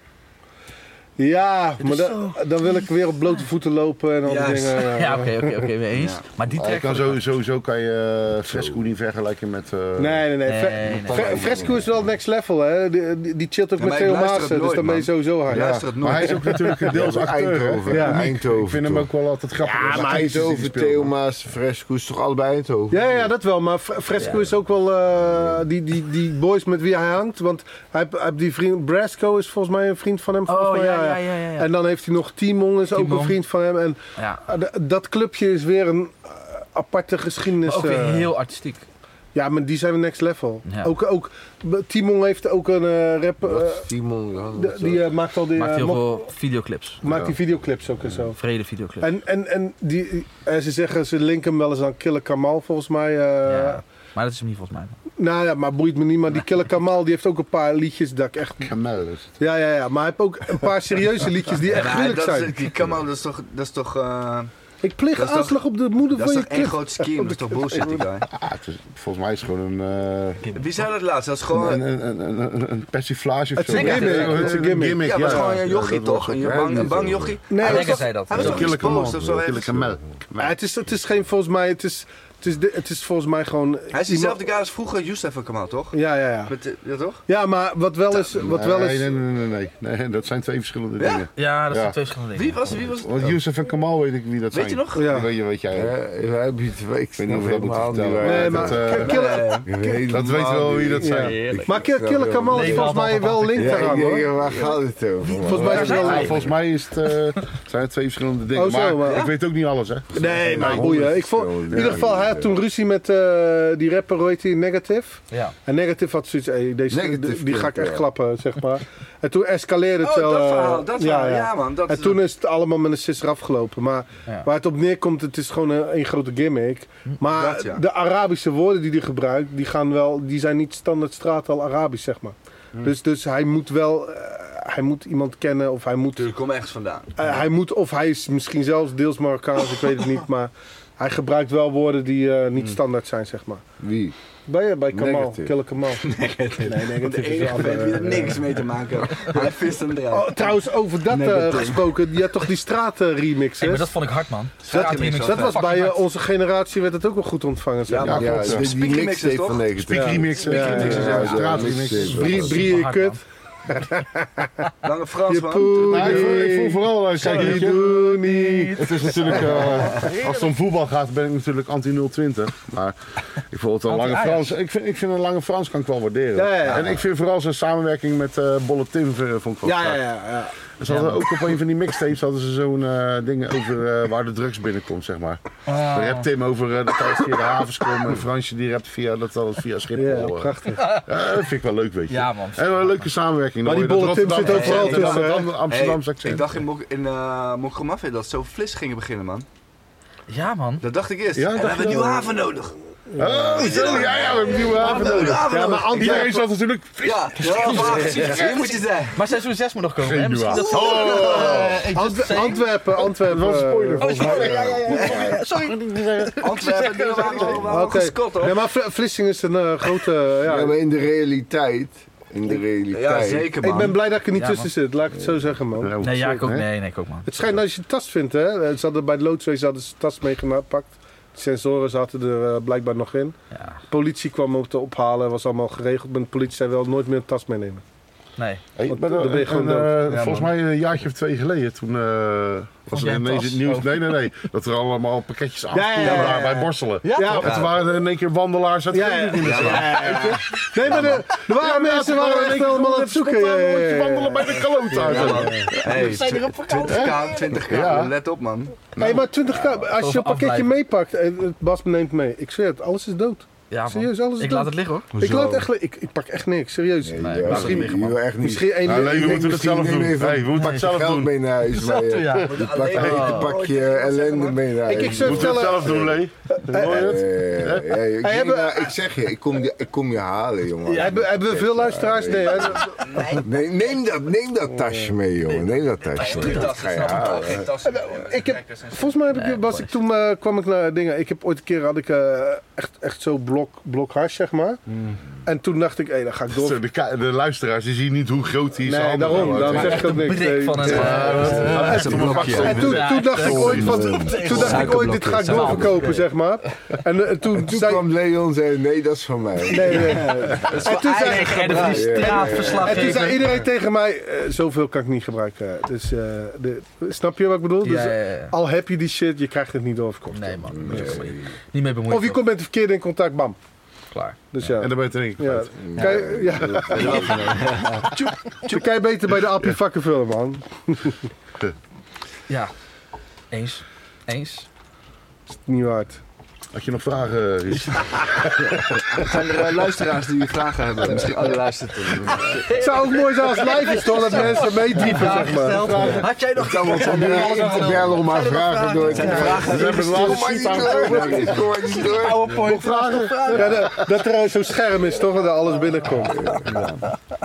S3: is
S1: maar da-
S3: zo
S1: dan wil ik weer op blote voeten lopen en al die
S4: Juist.
S1: dingen. eh. ja.
S3: Ja, oké, oké, oké, mee eens. Maar die
S5: Ah, je
S3: track...
S5: kan zo- sowieso kan je eh, Fresco niet vergelijken met... eh,
S1: Nee, nee, nee.
S3: Nee,
S1: Fre-
S3: nee, nee.
S1: Fre- Fresco is wel next level, hè? Die, die, die chillt ook
S4: Ja,
S1: met
S4: maar ik
S1: Theo
S4: luister het
S1: Maassen, dus
S4: nooit,
S1: dan ben je
S4: man.
S1: sowieso hard.
S4: Ik luister het
S5: Maar
S4: nooit.
S5: hij is ook natuurlijk een deels acteur, hè?
S2: Eindhoven.
S1: Ja.
S2: Eindhoven.
S5: Ik vind hem ook wel altijd grappig.
S2: Ja, maar Eindhoven, Theoma's, Fresco is toch allebei Eindhoven?
S1: Ja, ja, dat wel. Maar Fre- Fresco is ook wel eh, die, die, die boys met wie hij hangt. Want hij, hij heeft die vriend, Brasco is volgens mij een vriend van hem. volgens
S3: Oh,
S1: mij,
S3: ja, ja, ja, ja. ja.
S1: En dan heeft hij nog Timon, is ook
S3: Timon.
S1: een vriend van hem. En
S3: Ja.
S1: eh, d- dat clubje is weer een eh, aparte geschiedenis.
S3: Maar ook weer
S1: eh.
S3: heel artistiek.
S1: Ja, maar die zijn we next level.
S3: Ja.
S1: Ook, ook, Timon heeft ook een eh, rap. eh,
S2: Wat is Timon? Ja,
S1: de-
S2: dat-
S1: die eh, maakt al die,
S3: Maakt
S1: eh,
S3: heel
S1: mo-
S3: veel videoclips.
S1: maakt
S2: Ja.
S1: die videoclips ook en zo.
S3: Vrede videoclips.
S1: En, en, en die, eh, ze zeggen, ze linken hem wel eens aan Killer Kamal volgens mij. eh,
S3: ja. Maar dat is hem niet volgens mij.
S1: Nou ja, maar boeit me niet. Maar die Killer Kamal die heeft ook een paar liedjes dat ik echt...
S5: Kamel is het.
S1: Ja, ja, ja. Maar hij heeft ook een paar serieuze liedjes die echt
S4: Ja,
S1: gruwelijk
S4: dat
S1: zijn.
S4: is, die Kamal, dat is toch, dat is toch, eh,
S1: Ik pleeg
S4: dat is toch-
S1: aanslag op de moeder
S4: dat is
S1: van
S4: toch
S1: je
S4: één
S1: kind.
S4: groot scheme, dat is toch bullshit die guy.
S5: Ah, het is- volgens mij is het gewoon een, eh,
S4: Wie zei dat laatst? Dat is gewoon,
S5: een, een, een, een, een, een persiflage of
S1: Het
S5: zo.
S1: is
S4: een gimmick,
S1: het is een gimmick.
S4: ja, was gewoon een jochie
S5: dat
S4: toch?
S5: was
S4: Een
S5: het.
S4: bang, een bang jochie.
S1: Nee, dat
S4: Hij was
S1: is-
S3: Lekker zei dat.
S4: Hij was
S5: Een
S4: toch
S5: killer
S4: exposed
S5: kamal.
S4: of zo
S5: Een killer
S4: ergens?
S5: kamel.
S1: maar het, is, het is geen volgens mij... Het is, het is, de- het is volgens mij gewoon...
S4: Hij is diezelfde guy als vroeger Youssef en Kamal, toch?
S1: Ja, ja, ja.
S4: Met, eh, ja, toch?
S1: Ja, maar wat wel is... Wat wel
S5: Nee, nee,
S1: is
S5: nee, nee, nee, nee. Dat zijn twee verschillende
S4: Ja?
S5: dingen.
S3: Ja, dat
S5: Ja.
S3: zijn twee verschillende
S4: Wie
S3: dingen.
S4: was, wie was het?
S5: Want Youssef en Kamal weet ik wie dat
S4: Weet je
S5: zijn.
S4: nog?
S1: ja.
S5: Weet je wat jij...
S2: Ja, we hebben iets, ik
S5: weet
S2: weet
S5: niet of we dat
S2: helemaal
S5: moeten
S2: niet waar.
S1: Nee,
S5: vertellen. dat,
S1: maar
S5: eh,
S1: Killer,
S2: Ik weet
S5: Dat weet
S2: helemaal
S5: wel wie
S2: niet.
S5: dat
S1: Ja.
S5: zijn.
S1: maar Killer, Killer Kamal is
S3: Nee,
S1: volgens mij wel link
S2: Ja, ik
S1: eraan,
S2: denk,
S1: hoor.
S2: waar gaat het over? man?
S1: Volgens mij is het wel...
S5: Ja, volgens mij is het, eh, zijn het twee verschillende dingen.
S1: Oh, zo,
S5: maar
S1: maar-
S5: ik weet ook niet alles, hè?
S1: Nee, maar
S5: Nee,
S1: boeien. Ik vond,
S2: honderd
S1: in ieder geval, hij had toen ruzie met eh, die rapper, hoe heet die, Negative.
S3: Ja.
S1: En Negative had zoiets, hey, deze,
S2: Negative,
S1: die, die ga ik
S2: ja.
S1: echt klappen, zeg maar. En toen escaleerde het
S4: Oh,
S1: wel.
S4: dat
S1: eh,
S4: verhaal, dat verhaal. Ja, man. Dat
S1: En
S4: is-
S1: toen is het allemaal met een sisser afgelopen. Maar
S3: Ja.
S1: waar het op neerkomt, het is gewoon een, een grote gimmick. Maar
S4: dat ja.
S1: de Arabische woorden die hij gebruikt, die, gaan wel, die zijn niet standaard straattaal Arabisch, zeg maar.
S4: Hm.
S1: Dus, dus hij moet wel, eh, hij moet iemand kennen of hij moet...
S4: Tuurlijk, kom ergens vandaan.
S1: Eh, hij moet, of hij is misschien zelfs deels Marokkaans, ik weet het niet. Maar hij gebruikt wel woorden die eh, niet
S4: Hm.
S1: standaard zijn, zeg maar.
S2: Wie?
S1: Bij, eh, bij Kamal,
S2: Negative.
S1: Killer Kamal. nee,
S4: De
S1: negatief is wel,
S4: enige bent die er
S1: eh,
S4: niks mee te maken heeft. Hij vist hem
S1: Oh,
S4: eruit.
S1: trouwens, over dat eh,
S4: Negative.
S1: gesproken, je had toch die stratenremixes?
S3: Hey, maar dat vond ik hard, man.
S1: dat,
S4: remix
S1: dat
S4: was
S1: was
S3: fucking
S1: bij eh,
S3: hard.
S1: onze generatie werd het ook wel goed ontvangen. Zeg.
S4: Ja,
S1: maar.
S2: Ja,
S4: maar-
S2: ja, die- die
S4: Speakermixes,
S2: mixtape
S4: toch?
S2: van 90.
S5: Speak remixen,
S1: Ja,
S5: speak remixen,
S1: ja,
S5: ja,
S1: ja,
S5: straat remixen.
S2: mixtape.
S1: Drie, drie je
S3: Superhard,
S1: kut.
S4: Lange
S1: Je
S4: Frans, man.
S1: poe
S5: Nou, ik, voel, ik voel
S1: niet,
S5: vooral, eh, kijk,
S1: je
S5: weet je,
S1: doe niet.
S5: het is natuurlijk, eh, als het om voetbal gaat, ben ik natuurlijk anti-020. Maar ik voel het een lange
S3: Anti-Ajax.
S5: Frans. Ik vind, ik vind een lange Frans kan ik wel waarderen.
S1: Ja, ja, ja.
S5: En ik vind vooral zijn samenwerking met eh Bolle Tim eh, vond ik wel
S1: Ja, ja,
S5: sterk.
S1: ja. ja.
S5: Ze Dus hadden ook op een van die mixtapes hadden ze zo'n eh, ding over eh, waar de drugs binnenkomt, zeg maar.
S1: Ah.
S5: Daar rapt Tim over eh, dat alles via de havens komt en Fransje die rapt via, dat alles via
S1: Ja,
S5: Schiphol. eh.
S1: prachtig.
S5: Ja, dat vind ik wel leuk, weet je.
S3: Ja, man.
S5: En wel een leuke samenwerking.
S1: Maar
S5: Dan
S1: die
S5: hoor je dat
S1: bolle Tim
S5: Rotterdam-
S1: zit overal
S5: en dan
S1: tussen, hè?
S5: het Amsterdamse
S4: Hey,
S5: accent.
S4: ik dacht in, Mok in eh, Mokromaffe dat zo flis gingen beginnen, man.
S3: Ja, man.
S4: Dat dacht ik eerst.
S5: Ja,
S4: en we
S5: dacht
S4: hebben
S5: je
S4: een nieuwe
S5: wel.
S4: haven nodig.
S5: Oh, zo, ja, ja, we hebben een nieuwe haven
S4: Nieuwe
S5: nodig.
S4: haven
S1: Ja, maar
S4: nodig.
S1: Antwerpen...
S5: Iedereen zat natuurlijk...
S4: Ja, ja, maar hier moet je zijn.
S3: Maar seizoen 6 moet nog komen.
S5: Geen
S3: hè?
S5: nieuwe
S3: Misschien dat...
S5: haven. Oh,
S3: Eh, ik just
S1: Antwerpen,
S3: saying.
S1: Antwerpen, eh,
S5: dat was een spoiler
S1: Antwerpen.
S5: volgens mij.
S4: Antwerpen, die waren allemaal
S1: Oké.
S4: gescot, hoor.
S1: Nee, maar Vl- Vlissingen is een eh, grote... eh, ja,
S2: Ja, maar in de realiteit. In de realiteit.
S4: Ja, zeker, man.
S1: ik ben blij dat ik er niet
S3: Ja,
S1: tussen zit, laat ik het zo zeggen, man.
S3: Nee, ja, ik ook.
S5: Hè?
S3: Nee, nee, ik ook, man.
S1: Het schijnt dat als je een tas vindt, hè. Eh, Ze hadden bij het loodswezen ze hadden ze tas meegepakt. De sensoren zaten er eh, blijkbaar nog in.
S3: Ja.
S1: De politie kwam ook te ophalen, was allemaal geregeld. Maar de politie zei wel nooit meer een tas meenemen.
S3: Nee.
S5: Hey,
S1: Want
S5: maar
S1: dan
S5: dan-
S1: ben je
S5: en,
S1: gewoon
S5: eh,
S1: dood.
S5: volgens mij een jaartje of twee geleden, toen eh, was
S3: jij
S5: er
S3: een
S5: ineens
S3: tas?
S5: het nieuws.
S3: Oh.
S5: Nee, nee, nee. Dat er allemaal pakketjes aan
S1: ja, ja, ja, ja.
S5: bij borstelen.
S1: Ja,
S5: En toen waren er in één keer wandelaars uit
S1: Ja,
S5: Groningen
S1: ja,
S5: in de
S1: ja,
S5: zaal.
S1: Nee, maar de- er waren mensen waren echt helemaal aan het zoeken. eh, Ja, ja, ja, ja.
S5: wandelen bij de kalota.
S4: Ja, man. Hey, tw- 20k, 20k,
S5: Ja.
S4: let op, man.
S1: Hey, maar 20k, als je
S3: Over
S1: een pakketje
S3: afblijven.
S1: meepakt, eh, Bas neemt mee. Ik zweer het, alles is dood.
S3: Ja, man.
S1: Serieus, alles is
S3: Ik
S1: dood.
S3: laat het liggen, hoor.
S1: Ik, laat echt, ik, ik pak echt niks, serieus.
S2: Nee,
S3: laat
S2: misschien
S3: het liggen,
S2: je wil echt niet.
S1: Misschien één...
S5: Nee, we moeten het
S2: misschien
S5: zelf
S2: neem
S5: doen. Nee,
S2: even-
S5: we moeten het zelf
S2: geld
S5: doen.
S2: mee naar huis. maar je-
S3: ja.
S2: Je pakt eten, pak je ellende mee naar
S1: Ik-
S2: huis.
S1: ik zou
S5: We moeten het zelf doen, Lee. Hoor je
S2: Ja,
S5: het?
S2: ja, ja, ja, ik,
S1: Hey, hebben-
S2: nou, ik zeg je, ik kom, je- ik kom je halen, jongen.
S1: hebben, hebben we veel luisteraars? Nee, hè?
S2: Nee, neem, dat, neem dat tasje mee, jongen. Neem dat tasje mee. Dat ga je halen.
S1: Ik heb, volgens mij heb ik, was ik toen eh, kwam ik naar dingen. Ik heb ooit een keer had ik eh, echt, echt zo blok, blok hash, zeg maar.
S5: Mm.
S1: En toen dacht ik, hé, dan ga ik door.
S5: Zo, De ka- de luisteraars die zien niet hoe groot die is.
S1: Nee, daarom. Daarom zeg ik ook niks.
S3: Blik
S1: Nee.
S3: van een... eh,
S5: Dat is een
S1: En toen, toen dacht ik ooit van, toen dacht ik ooit, dit ga ik doorverkopen, zeg maar. En eh, toen
S2: Toen
S1: zei
S2: kwam Leon en zei, nee, dat is van mij.
S1: Nee, nee. En toen zei,
S3: Eigen energie,
S2: Ja, ja, ja.
S3: straatverslag
S1: en toen
S3: geven.
S1: zei iedereen tegen mij, eh, zoveel kan ik niet gebruiken. Dus, eh, de, snap je wat ik bedoel? Dus,
S3: Ja, ja, ja.
S1: Al heb je die shit, je krijgt het niet doorverkocht.
S3: Nee, man. Moet je ook niet- Niet mee bemoeien.
S1: Of je komt met de verkeerde in contact, bam.
S3: Klaar.
S1: Dus ja.
S5: En dan ben je het in één keer
S1: Ja.
S5: kwijt.
S1: Kan je, ja. Dan kan je beter bij de appie vakken vullen, man.
S3: Ja. Eens. Eens.
S1: Niet waard.
S5: Had je nog vragen, Ries?
S4: Zijn er eh, luisteraars die vragen hebben? Misschien oh, alle luisteren.
S1: Het zou ook mooi zijn als het live is, toch? Dat mensen meediepen, zeg maar.
S3: Had jij nog
S2: kan wel proberen in te bellen om haar vragen door te krijgen.
S1: We hebben de laatste sheet aan. Nog vragen? Ja, de- dat er eh, zo'n scherm is, toch? Dat er alles binnenkomt.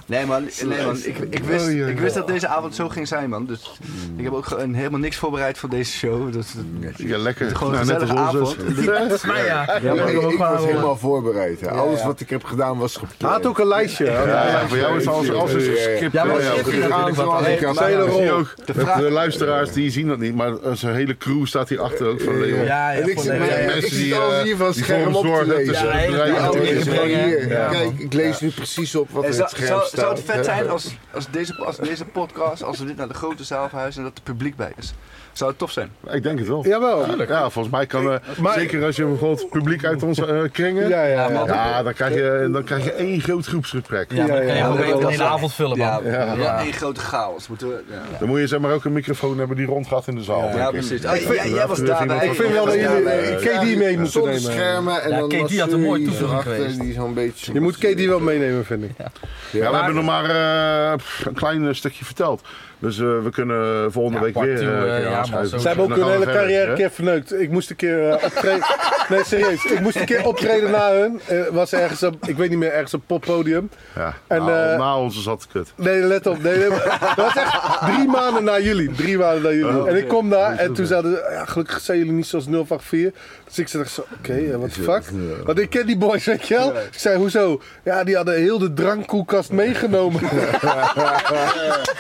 S4: Nee man, nee, man. Ik, ik, wist, ik wist dat deze avond zo ging zijn man. Dus ik heb ook ge- een- helemaal niks voorbereid voor deze show. Dus,
S5: Ja, lekker.
S4: Gewoon een
S5: Nou, net als
S4: gezellige
S5: ons.
S4: avond.
S3: mij, ja.
S2: Ja, maar ik, ik was helemaal voorbereid. hè. Alles wat ik heb gedaan was
S1: Hij
S2: gepland.
S1: had ook een lijstje. hè?
S5: Ja, ja, voor jou is alles, alles is gescript.
S3: Ja, maar
S5: hè?
S3: het schip is natuurlijk wat
S2: Aan,
S3: aan.
S2: ik had-
S5: Dat zie je ook.
S4: De
S5: De,
S4: vraag-
S5: de luisteraars die zien dat niet, maar eh, zijn hele crew staat hier achter ook van Leon.
S3: Ja,
S2: En ik zit
S3: ja,
S5: ja,
S2: mij- ik
S5: mensen die,
S2: zit alles
S5: eh,
S2: hier van
S5: die
S2: scherm
S5: voor
S2: op
S5: hem
S2: te
S5: zorgen
S2: lezen.
S5: tussen
S3: Ja,
S5: het
S3: hele
S5: bedrijf en
S2: Die
S3: oude
S5: het
S2: dingen
S5: is.
S2: zijn hier.
S3: Ja.
S2: Kijk, ik lees nu precies op wat er in
S4: zou,
S2: het scherm
S4: zou,
S2: staat.
S4: zou het vet zijn als, als, deze, als deze podcast, als we dit naar de grote zaal verhuizen en dat er publiek bij is? Zou het tof zijn?
S5: Ik denk het wel.
S1: Jawel.
S5: Ja, volgens mij kan, eh, zeker als je bijvoorbeeld het publiek uit onze eh, kringen, ja,
S1: Ja, ja, ja.
S5: dan, krijg je, dan krijg je één groot groepsgesprek.
S3: Ja, maar dan kan je
S1: Ja,
S3: gewoon
S4: ja,
S3: even
S4: ja.
S3: de hele avond vullen, man.
S4: ja.
S3: Ja.
S4: één grote chaos. Moeten we, ja.
S5: Dan moet je zeg maar ook een microfoon hebben die rondgaat in de zaal. denk
S4: Ja,
S5: ik.
S4: precies.
S5: Ja,
S4: Oh, jij- jij was
S5: even
S4: daarbij.
S5: iemand-
S1: Ik vind wel dat jullie KD mee moeten
S2: Zonder
S1: nemen.
S2: schermen en
S3: Ja,
S2: dan
S3: Kate,
S2: was
S3: die had een
S2: Suri
S3: mooie toevoeging
S2: erachter,
S3: geweest.
S2: Die zo'n beetje...
S1: Je moet KD wel meenemen, vind ik.
S5: Ja, we hebben nog maar eh, pff, een klein eh, stukje verteld. Dus eh, we kunnen volgende
S3: Ja,
S5: week
S3: part
S5: weer.
S3: two,
S5: eh,
S3: eh,
S5: weer
S3: ja, man,
S5: aanschuiven.
S3: sowieso.
S1: Ze hebben ook
S5: Dan
S1: hun
S5: gaan we
S1: hele
S5: verder,
S1: carrière
S5: hè?
S1: een keer verneukt. Ik moest een keer eh, optreden. Nee, serieus. Ik moest een keer optreden na hun. Eh, was ergens op, ik weet niet meer, ergens op poppodium.
S5: Ja,
S1: En,
S5: nou,
S1: eh,
S5: na onze zat kut.
S1: Nee, let op. Nee, nee, maar- dat was echt drie maanden na jullie. Drie maanden na jullie.
S5: Oh,
S1: en ik kom daar en toen zeiden ze, ja, gelukkig zijn jullie niet zoals 084. Dus ik zei echt zo, oké, eh, what the fuck? Want ik ken die boys, weet je wel? Ik zei, hoezo? Ja, die hadden heel de drankkoelkast meegenomen.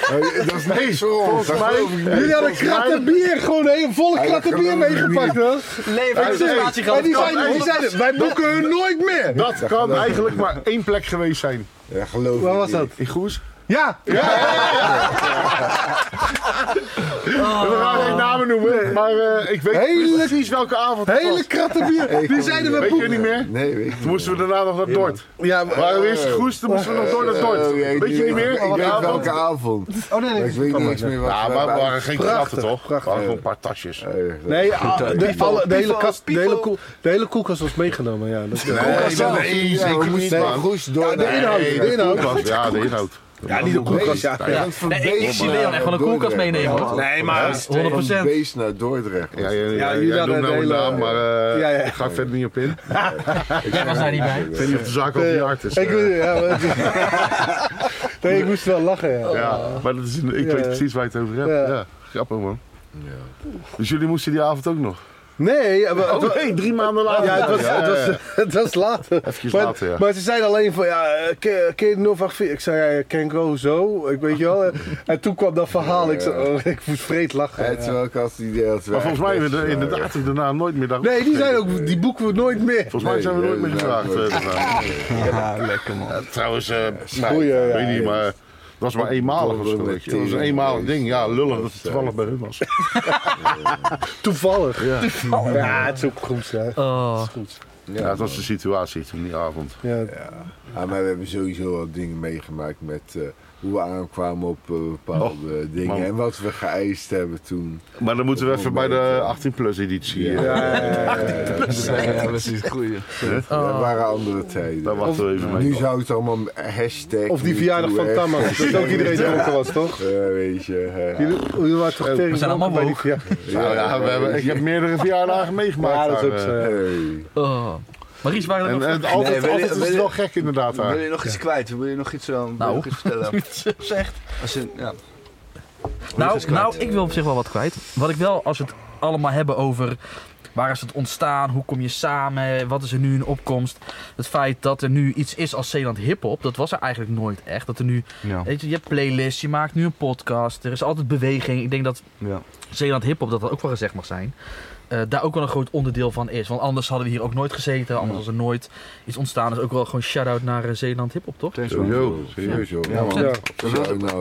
S5: Oh,
S2: Hey, Dat is niks voor ons. dat geloof ik niet.
S1: jullie hadden kratten bier, gewoon een hele volle kratten
S2: geloof
S1: bier
S2: ik
S1: meegepakt, hoor.
S3: Leven,
S1: Ik zeg, en die zeiden, die zeiden, wij boeken hun nooit meer.
S5: Dat kan eigenlijk maar één plek geweest zijn.
S2: Ja, geloof
S1: Waar
S2: ik
S1: was
S2: niet.
S1: dat?
S5: In Goes.
S1: Ja, ja,
S5: We gaan geen namen noemen, maar eh, ik weet
S1: Hele-
S5: precies welke avond het was.
S1: hele kratten bier. Die zeiden we
S5: Weet je
S1: boeken.
S5: niet meer?
S2: Nee, weet ik
S5: Toen moesten we daarna nog naar Dort.
S1: Ja, eh,
S5: We waren eerst in Goes, toen moesten we nog door naar Dort.
S2: Oh, jee,
S5: Weet
S2: die-
S5: je niet meer?
S2: Ik
S5: Die
S2: weet
S5: avond?
S2: welke avond.
S1: Oh nee,
S2: Maar Ik weet niks meer wat we
S5: Ja, maar Eh, we
S2: hebben
S5: waren geen kratten toch? We waren gewoon een paar tasjes.
S2: uitgelegd.
S1: Nee, ah, de, alle- de, hele
S4: Pivo,
S1: kast, de,
S4: Pivo.
S1: hele koel- de hele koelkast was meegenomen. Ja, dat,
S5: Nee,
S2: zelf.
S5: nee,
S2: Ja,
S5: zeker
S2: we
S5: niet,
S2: moesten
S5: man.
S2: goed door
S1: de
S2: naar-
S1: inhoud,
S5: Nee,
S1: de inhoud.
S5: koelkast. Ja, de inhoud.
S1: ja niet de koelkast. Ja,
S2: Je
S1: ja.
S2: bent van
S3: Nee, ik- ik
S2: Beest
S3: zie
S2: naar
S3: Leon echt wel een koelkast
S2: Dordrecht.
S3: meenemen.
S2: Ja,
S3: hoor.
S1: Nee, maar...
S2: Van
S3: 100%.
S2: Beest naar Dordrecht.
S5: Ja, ja,
S1: Ja,
S5: ja,
S1: jullie
S5: jij
S1: hadden
S5: noemt
S1: het
S5: nou een
S1: hele-
S5: naam, maar eh,
S1: Ja, ja.
S5: ik ga er verder niet op in. Ik
S3: Jij was daar niet bij.
S5: weet niet of de zaak al verjaard is.
S1: Ik,
S5: eh.
S1: weet- ja, maar- nee, ik moest wel lachen,
S5: Oh.
S1: ja.
S5: Ja, maar dat is, ik
S1: Ja.
S5: weet precies waar je het over hebt.
S1: Ja.
S5: Ja. grappig man. Dus jullie moesten die avond ook nog?
S1: Nee, eh, ja, maar-
S5: Oh nou nee, drie maanden later.
S1: Ja, het was, het was, het was later.
S5: Even
S1: maar,
S5: later, ja.
S1: maar ze zeiden alleen van, ja, eh, ken ken je de 084? Ik zei, ja, ken ik wel zo, ik weet je wel. En toen kwam dat verhaal, ik, zei, oh, ik moest vreed lachen.
S2: Ja, terwijl ik had het idee dat we
S5: Maar volgens mij hebben we er
S2: eigenlijk best
S5: inderdaad daarna nooit meer daarop
S1: Nee, die
S5: gekeken.
S1: zijn ook, die boeken we nooit meer.
S5: Volgens mij
S2: Nee,
S5: zijn we nooit
S2: nee,
S5: meer gevraagd.
S2: nee.
S5: eh, daarna.
S4: lekker man.
S5: Ja, Trouwens, eh nou,
S1: Goeie,
S5: ik
S1: ja,
S5: weet niet,
S2: ja.
S5: maar het was maar eenmalig of zo. weet je. Het was een eenmalig ding. Ja, lullig dat het toevallig bij hun was.
S1: Toevallig.
S5: Ja.
S1: Toevallig. Ja, het is ook goed, hè.
S3: Oh.
S5: Ja, dat was de situatie toen die avond.
S1: Ja,
S2: Ja, maar we hebben sowieso wel dingen meegemaakt met eh, hoe we aankwamen op eh, bepaalde dingen
S5: man.
S2: en wat we geëist hebben toen.
S5: Maar dan moeten we even bij de 18 plus editie. eh,
S4: Ja, precies. Goeie.
S2: Dat waren andere tijden.
S5: Daar wachten we even mee.
S2: nu zou het allemaal hashtag...
S1: Of die verjaardag van
S2: MeToo,
S1: Tamas, dat ook iedereen dronken was, toch?
S2: eh, weet je. eh,
S1: Jullie, jullie waren toch tegen
S3: zijn allemaal
S1: bij die
S3: woke.
S1: verjaardag?
S5: Nou ja, we hebben, ik heb meerdere verjaardagen meegemaakt.
S1: Ja, dat is
S5: daar,
S1: ook
S5: eh.
S1: zo.
S2: hey.
S3: Oh. Maries, waren er
S5: En,
S3: nog
S5: en het altijd,
S4: Nee, wil je-
S5: altijd is
S4: wil
S5: het
S4: je-
S5: wel gek inderdaad daar.
S4: Wil je nog iets kwijt? Wil je nog iets, eh, wil je
S3: Nou.
S4: nog iets vertellen?
S3: zegt.
S4: Als je, ja.
S3: Nou, nou, ik wil op zich wel wat kwijt. Wat ik wel, als we het allemaal hebben over waar is het ontstaan, hoe kom je samen, wat is er nu in opkomst. Het feit dat er nu iets is als Zeeland Hiphop, dat was er eigenlijk nooit echt. Dat er nu,
S4: Ja.
S3: weet je, je hebt playlists, je maakt nu een podcast, er is altijd beweging. Ik denk dat
S4: Ja.
S3: Zeeland Hiphop, dat dat ook wel gezegd mag zijn, eh, daar ook wel een groot onderdeel van is. Want anders hadden we hier ook nooit gezeten, anders was er nooit iets ontstaan. Dus ook wel gewoon shout-out naar eh, Zeeland Hiphop, toch?
S5: Sowieso, serieus.
S2: Sowieso.
S4: Ja, man.
S1: Ja.